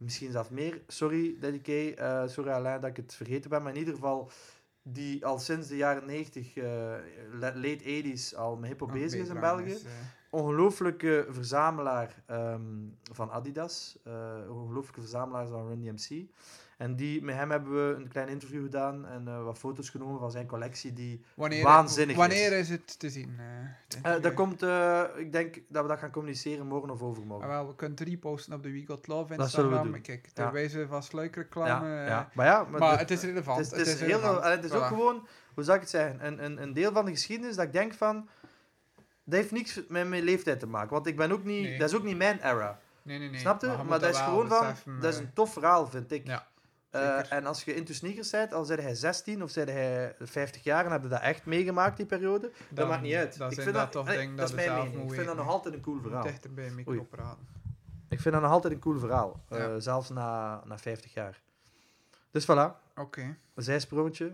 [SPEAKER 2] Misschien zelfs meer. Sorry, Daddy K. Eh, sorry, Alain, dat ik het vergeten ben. Maar in ieder geval, die al sinds de jaren 90, eh, la- late 80s, al met hip-hop bezig is in België
[SPEAKER 1] Is, eh,
[SPEAKER 2] ongelooflijke verzamelaar ehm, van Adidas. eh, een ongelooflijke verzamelaar van Run DMC. En die, met hem hebben we een klein interview gedaan en eh, wat foto's genomen van zijn collectie. Die,
[SPEAKER 1] wanneer,
[SPEAKER 2] Waanzinnig is.
[SPEAKER 1] Wanneer is het te zien? eh, denk
[SPEAKER 2] Eh,
[SPEAKER 1] ik,
[SPEAKER 2] dat
[SPEAKER 1] eh?
[SPEAKER 2] komt, eh, ik denk dat we dat gaan communiceren morgen of
[SPEAKER 1] Ah,
[SPEAKER 2] overmorgen.
[SPEAKER 1] wel, we kunnen het reposten op de We Got Love
[SPEAKER 2] Dat zullen we
[SPEAKER 1] Instagram.
[SPEAKER 2] doen.
[SPEAKER 1] Kijk, ter
[SPEAKER 2] Ja.
[SPEAKER 1] wijze van sluikreclame. eh,
[SPEAKER 2] Maar ja,
[SPEAKER 1] Maar,
[SPEAKER 2] de-
[SPEAKER 1] het is relevant.
[SPEAKER 2] Het is, het is, heel,
[SPEAKER 1] relevant.
[SPEAKER 2] allee, het is ook
[SPEAKER 1] Voilà.
[SPEAKER 2] gewoon, hoe zou ik het zeggen, een, een, een deel van de geschiedenis dat ik denk van, dat heeft niks met mijn leeftijd te maken. Want ik ben ook niet,
[SPEAKER 1] Nee.
[SPEAKER 2] dat is ook niet mijn era.
[SPEAKER 1] Nee, nee, nee.
[SPEAKER 2] Snap je? Maar,
[SPEAKER 1] moet
[SPEAKER 2] dat is
[SPEAKER 1] wel
[SPEAKER 2] gewoon van,
[SPEAKER 1] beseffen,
[SPEAKER 2] dat is
[SPEAKER 1] eh,
[SPEAKER 2] een tof verhaal, vind ik.
[SPEAKER 1] Ja,
[SPEAKER 2] Eh,
[SPEAKER 1] zeker.
[SPEAKER 2] en als je into sneakers bent, al zei hij 16 of zei hij 50 jaar en heb je dat echt meegemaakt, die periode, dat
[SPEAKER 1] dan-
[SPEAKER 2] maakt niet uit.
[SPEAKER 1] Dan
[SPEAKER 2] ik
[SPEAKER 1] zijn
[SPEAKER 2] vind
[SPEAKER 1] dat toch
[SPEAKER 2] allee,
[SPEAKER 1] dingen
[SPEAKER 2] dat
[SPEAKER 1] dat
[SPEAKER 2] is
[SPEAKER 1] je
[SPEAKER 2] mijn
[SPEAKER 1] zelf
[SPEAKER 2] mening.
[SPEAKER 1] moet
[SPEAKER 2] Ik vind dat nog
[SPEAKER 1] weten.
[SPEAKER 2] altijd een cool
[SPEAKER 1] Je moet
[SPEAKER 2] verhaal.
[SPEAKER 1] dichter bij een micro
[SPEAKER 2] Oei.
[SPEAKER 1] praten.
[SPEAKER 2] Ik vind dat nog altijd een cool verhaal, eh,
[SPEAKER 1] Ja.
[SPEAKER 2] zelfs na, na 50 jaar. Dus voilà,
[SPEAKER 1] Oké.
[SPEAKER 2] zijsprongetje.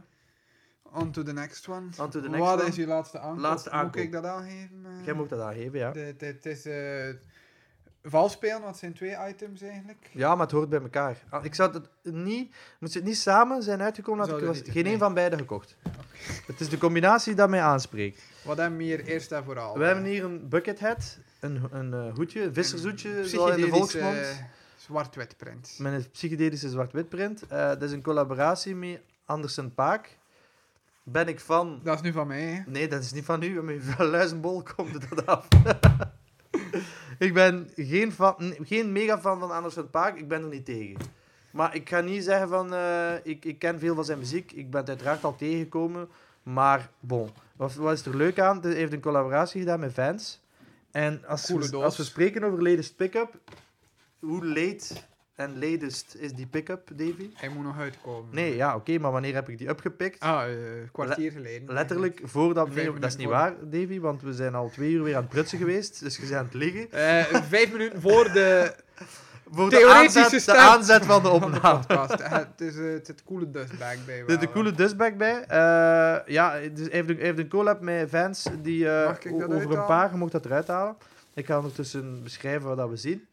[SPEAKER 1] On to the next one.
[SPEAKER 2] On to the next
[SPEAKER 1] Wat
[SPEAKER 2] one.
[SPEAKER 1] is je laatste aankoop?
[SPEAKER 2] Laatste aankoop.
[SPEAKER 1] Moet ik dat aangeven? eh?
[SPEAKER 2] Jij moet dat aangeven, ja.
[SPEAKER 1] De- de- Het is eh, vals spelen, want het zijn twee items eigenlijk.
[SPEAKER 2] Ja, maar het hoort bij elkaar. Ah, Ik zou het niet, moest het niet samen zijn uitgekomen, had ik
[SPEAKER 1] Zouden
[SPEAKER 2] was,
[SPEAKER 1] niet-
[SPEAKER 2] geen
[SPEAKER 1] nee.
[SPEAKER 2] een van beide gekocht. Het is de combinatie dat mij aanspreekt.
[SPEAKER 1] Wat hebben we hier eerst en vooral?
[SPEAKER 2] We hebben hier een buckethead, een, een eh, hoedje, een vissershoedje, zoals in de
[SPEAKER 1] psychedelische,
[SPEAKER 2] volksmond.
[SPEAKER 1] eh, Zwart-wit print.
[SPEAKER 2] Met een psychedelische zwart-wit print. Eh, dat is een collaboratie met Andersen Paak. Ben ik van...
[SPEAKER 1] Dat is nu van mij. hè.
[SPEAKER 2] Nee, dat is niet van u. Met uw luizenbol komt dat af. ik ben geen, fan, nee, geen mega fan van Andersen Paak. Ik ben er niet tegen. Maar ik ga niet zeggen van... eh, ik, ik ken veel van zijn muziek. Ik ben het uiteraard al tegengekomen. Maar bon. Wat, wat is er leuk aan? Hij heeft een collaboratie gedaan met fans. En als,
[SPEAKER 1] Coole
[SPEAKER 2] we,
[SPEAKER 1] doos.
[SPEAKER 2] als we spreken over latest pick-up... Hoe late en latest is die pick-up, Davy?
[SPEAKER 1] Hij moet nog uitkomen.
[SPEAKER 2] Nee, ja, oké. maar wanneer heb ik die opgepikt?
[SPEAKER 1] Ah, eh, kwartier geleden.
[SPEAKER 2] Letterlijk voordat...
[SPEAKER 1] Vijf
[SPEAKER 2] Nee, dat
[SPEAKER 1] minuten
[SPEAKER 2] is niet
[SPEAKER 1] voor.
[SPEAKER 2] waar, Davy, want we zijn al twee uur weer aan het prutsen geweest. Dus we zijn aan het liggen.
[SPEAKER 1] Eh, vijf minuten voor de
[SPEAKER 2] Voor de
[SPEAKER 1] Theoretische
[SPEAKER 2] aanzet, de
[SPEAKER 1] start.
[SPEAKER 2] aanzet van de opname.
[SPEAKER 1] podcast. Eh, het is eh, het, het coole dustbag bij
[SPEAKER 2] Er zit een
[SPEAKER 1] wel,
[SPEAKER 2] coole dustback bij. Eh, ja, dus hij heeft, een, hij heeft een collab met fans die eh,
[SPEAKER 1] Mag ik dat
[SPEAKER 2] o- over een
[SPEAKER 1] uithalen?
[SPEAKER 2] paar, je mocht dat eruit halen. Ik ga ondertussen beschrijven wat dat we zien.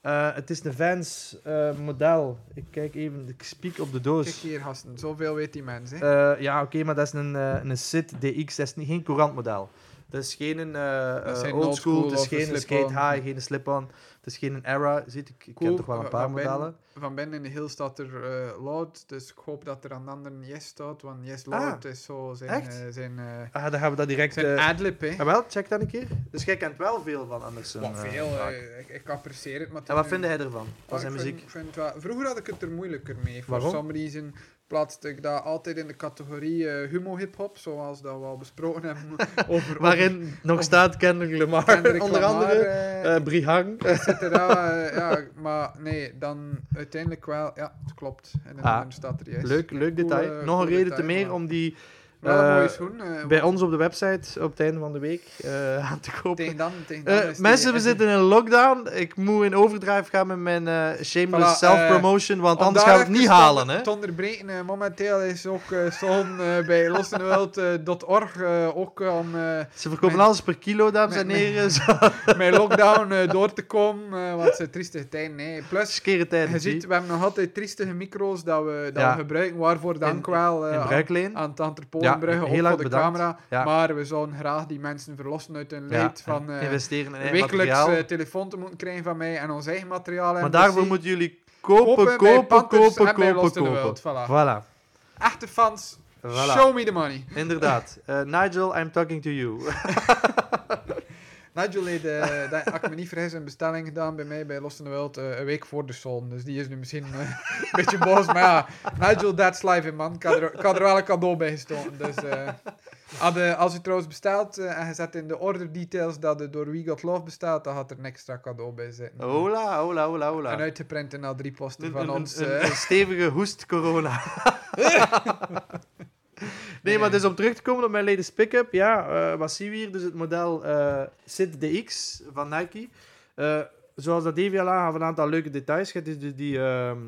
[SPEAKER 2] Eh, het is een Vans eh, model. Ik kijk even, ik spiek op de
[SPEAKER 1] hè.
[SPEAKER 2] doos.
[SPEAKER 1] Kijk hier, gasten. Zoveel weet die mens, hè.
[SPEAKER 2] Eh, ja, oké, maar dat is een, eh, een SIT DX, dat is niet, geen courant model. Dat is geen eh,
[SPEAKER 1] Dat
[SPEAKER 2] eh,
[SPEAKER 1] zijn
[SPEAKER 2] old school,
[SPEAKER 1] oldschool
[SPEAKER 2] het is
[SPEAKER 1] of een
[SPEAKER 2] geen skate
[SPEAKER 1] slip-on.
[SPEAKER 2] high, geen slip-on, het is geen era. Ziet, ik, ik
[SPEAKER 1] Cool.
[SPEAKER 2] ken toch wel een
[SPEAKER 1] Van-
[SPEAKER 2] paar
[SPEAKER 1] eh, van binnen-
[SPEAKER 2] modellen.
[SPEAKER 1] Van binnen in de heel staat er eh, Loud, dus ik hoop dat er aan de anderen Yes staat, want Yes
[SPEAKER 2] Ah,
[SPEAKER 1] Loud is zo zijn,
[SPEAKER 2] echt?
[SPEAKER 1] eh, zijn, eh,
[SPEAKER 2] Ah, dan gaan we dat direct...
[SPEAKER 1] zijn
[SPEAKER 2] eh,
[SPEAKER 1] adlib, hè.
[SPEAKER 2] ah, wel, check dat een keer. Dus jij kent wel veel van Anderson.
[SPEAKER 1] Wat
[SPEAKER 2] eh,
[SPEAKER 1] veel,
[SPEAKER 2] vaak.
[SPEAKER 1] eh, ik, ik apprecieer het, maar... het
[SPEAKER 2] en
[SPEAKER 1] is
[SPEAKER 2] wat
[SPEAKER 1] nu-
[SPEAKER 2] vind jij ervan,
[SPEAKER 1] Maar
[SPEAKER 2] van zijn
[SPEAKER 1] ik vind-
[SPEAKER 2] muziek?
[SPEAKER 1] vind het wel- Vroeger had ik het er moeilijker mee. For
[SPEAKER 2] Waarom?
[SPEAKER 1] some reason plaatste ik dat altijd in de categorie eh, humo-hip-hop, zoals dat we al besproken hebben. over,
[SPEAKER 2] Waarin nog staat Kendrick Lamar,
[SPEAKER 1] over Kendrick
[SPEAKER 2] onder
[SPEAKER 1] Lamar,
[SPEAKER 2] andere.
[SPEAKER 1] eh,
[SPEAKER 2] eh, Brihang.
[SPEAKER 1] et cetera, eh, ja, maar nee, dan uiteindelijk wel. Ja, het klopt. En dan
[SPEAKER 2] Ah,
[SPEAKER 1] staat er juist.
[SPEAKER 2] Leuk, leuk
[SPEAKER 1] Coole-
[SPEAKER 2] detail. nog een
[SPEAKER 1] coole
[SPEAKER 2] reden te
[SPEAKER 1] eh, detail,
[SPEAKER 2] meer
[SPEAKER 1] maar-
[SPEAKER 2] om die
[SPEAKER 1] Wel een
[SPEAKER 2] eh,
[SPEAKER 1] mooie schoen. eh,
[SPEAKER 2] bij ons op de website op het einde van de week eh, aan te kopen.
[SPEAKER 1] tegen dan, tegen dan
[SPEAKER 2] Eh,
[SPEAKER 1] is die-
[SPEAKER 2] mensen, we
[SPEAKER 1] is die-
[SPEAKER 2] zitten in lockdown. Ik moet in overdrive gaan met mijn eh, shameless
[SPEAKER 1] Voilà, eh,
[SPEAKER 2] self-promotion, want
[SPEAKER 1] Om
[SPEAKER 2] anders
[SPEAKER 1] daar
[SPEAKER 2] gaan we het
[SPEAKER 1] even
[SPEAKER 2] niet
[SPEAKER 1] te onder-
[SPEAKER 2] halen. Hè?
[SPEAKER 1] Te onderbreken, eh, momenteel is ook eh Son eh, bij lossenwild.org ook eh, om... eh,
[SPEAKER 2] Ze verkopen
[SPEAKER 1] mijn-
[SPEAKER 2] alles per kilo, dames
[SPEAKER 1] mijn-
[SPEAKER 2] en heren. Zo,
[SPEAKER 1] mijn lockdown eh, door te komen, eh, want het zijn triestige tijden. Nee. Plus,
[SPEAKER 2] skere tijden.
[SPEAKER 1] je ziet,
[SPEAKER 2] zie.
[SPEAKER 1] we hebben nog altijd triestige micro's dat we, dat
[SPEAKER 2] Ja.
[SPEAKER 1] we gebruiken. Waarvoor dank
[SPEAKER 2] In-
[SPEAKER 1] wel eh,
[SPEAKER 2] In
[SPEAKER 1] aan,
[SPEAKER 2] Bruikleen.
[SPEAKER 1] aan het
[SPEAKER 2] Ja,
[SPEAKER 1] Anterpolenbrugge,
[SPEAKER 2] heel
[SPEAKER 1] ook
[SPEAKER 2] erg
[SPEAKER 1] voor de
[SPEAKER 2] bedankt.
[SPEAKER 1] camera.
[SPEAKER 2] Ja.
[SPEAKER 1] Maar we zouden graag die mensen verlossen uit hun leed
[SPEAKER 2] Ja,
[SPEAKER 1] van
[SPEAKER 2] en
[SPEAKER 1] eh,
[SPEAKER 2] investeren in eigen
[SPEAKER 1] wekelijks
[SPEAKER 2] materiaal.
[SPEAKER 1] eh, telefoon te moeten krijgen van mij en ons eigen materiaal. en
[SPEAKER 2] maar daarvoor
[SPEAKER 1] plezier
[SPEAKER 2] moeten jullie kopen,
[SPEAKER 1] bij
[SPEAKER 2] kopen,
[SPEAKER 1] Panthers
[SPEAKER 2] kopen,
[SPEAKER 1] en bij
[SPEAKER 2] kopen,
[SPEAKER 1] Lost in the
[SPEAKER 2] kopen.
[SPEAKER 1] Wild. Voilà.
[SPEAKER 2] Voilà.
[SPEAKER 1] Echte fans
[SPEAKER 2] Voilà.
[SPEAKER 1] Show me the money.
[SPEAKER 2] Inderdaad. Eh, Nigel, I'm talking to you.
[SPEAKER 1] Nigel heeft, eh, dat, als ik me niet vergis, een bestelling gedaan bij mij bij Lost in the World eh, een week voor de zon. Dus die is nu misschien eh, een beetje boos. Maar ja, Nigel, that's life in man. Ik had er, ik had er wel een cadeau bij gestoken. Dus, eh, had, eh, als u trouwens bestelt eh, en je zet in de order details dat het door We Got Love bestaat, dan had er een extra cadeau bij zitten.
[SPEAKER 2] Oh, Hola, hola, hola, hola.
[SPEAKER 1] Een uitgeprinte na drie posten
[SPEAKER 2] Een-
[SPEAKER 1] van
[SPEAKER 2] een-
[SPEAKER 1] ons.
[SPEAKER 2] een-
[SPEAKER 1] eh.
[SPEAKER 2] een stevige hoest corona. nee,
[SPEAKER 1] Nee.
[SPEAKER 2] maar dus om terug te komen op mijn latest pick-up. Ja, eh, wat zien we hier? Dus het model eh Sid DX van Nike. Eh, zoals dat Davy al aangaf, een aantal leuke details. Je hebt dus die, die ehm,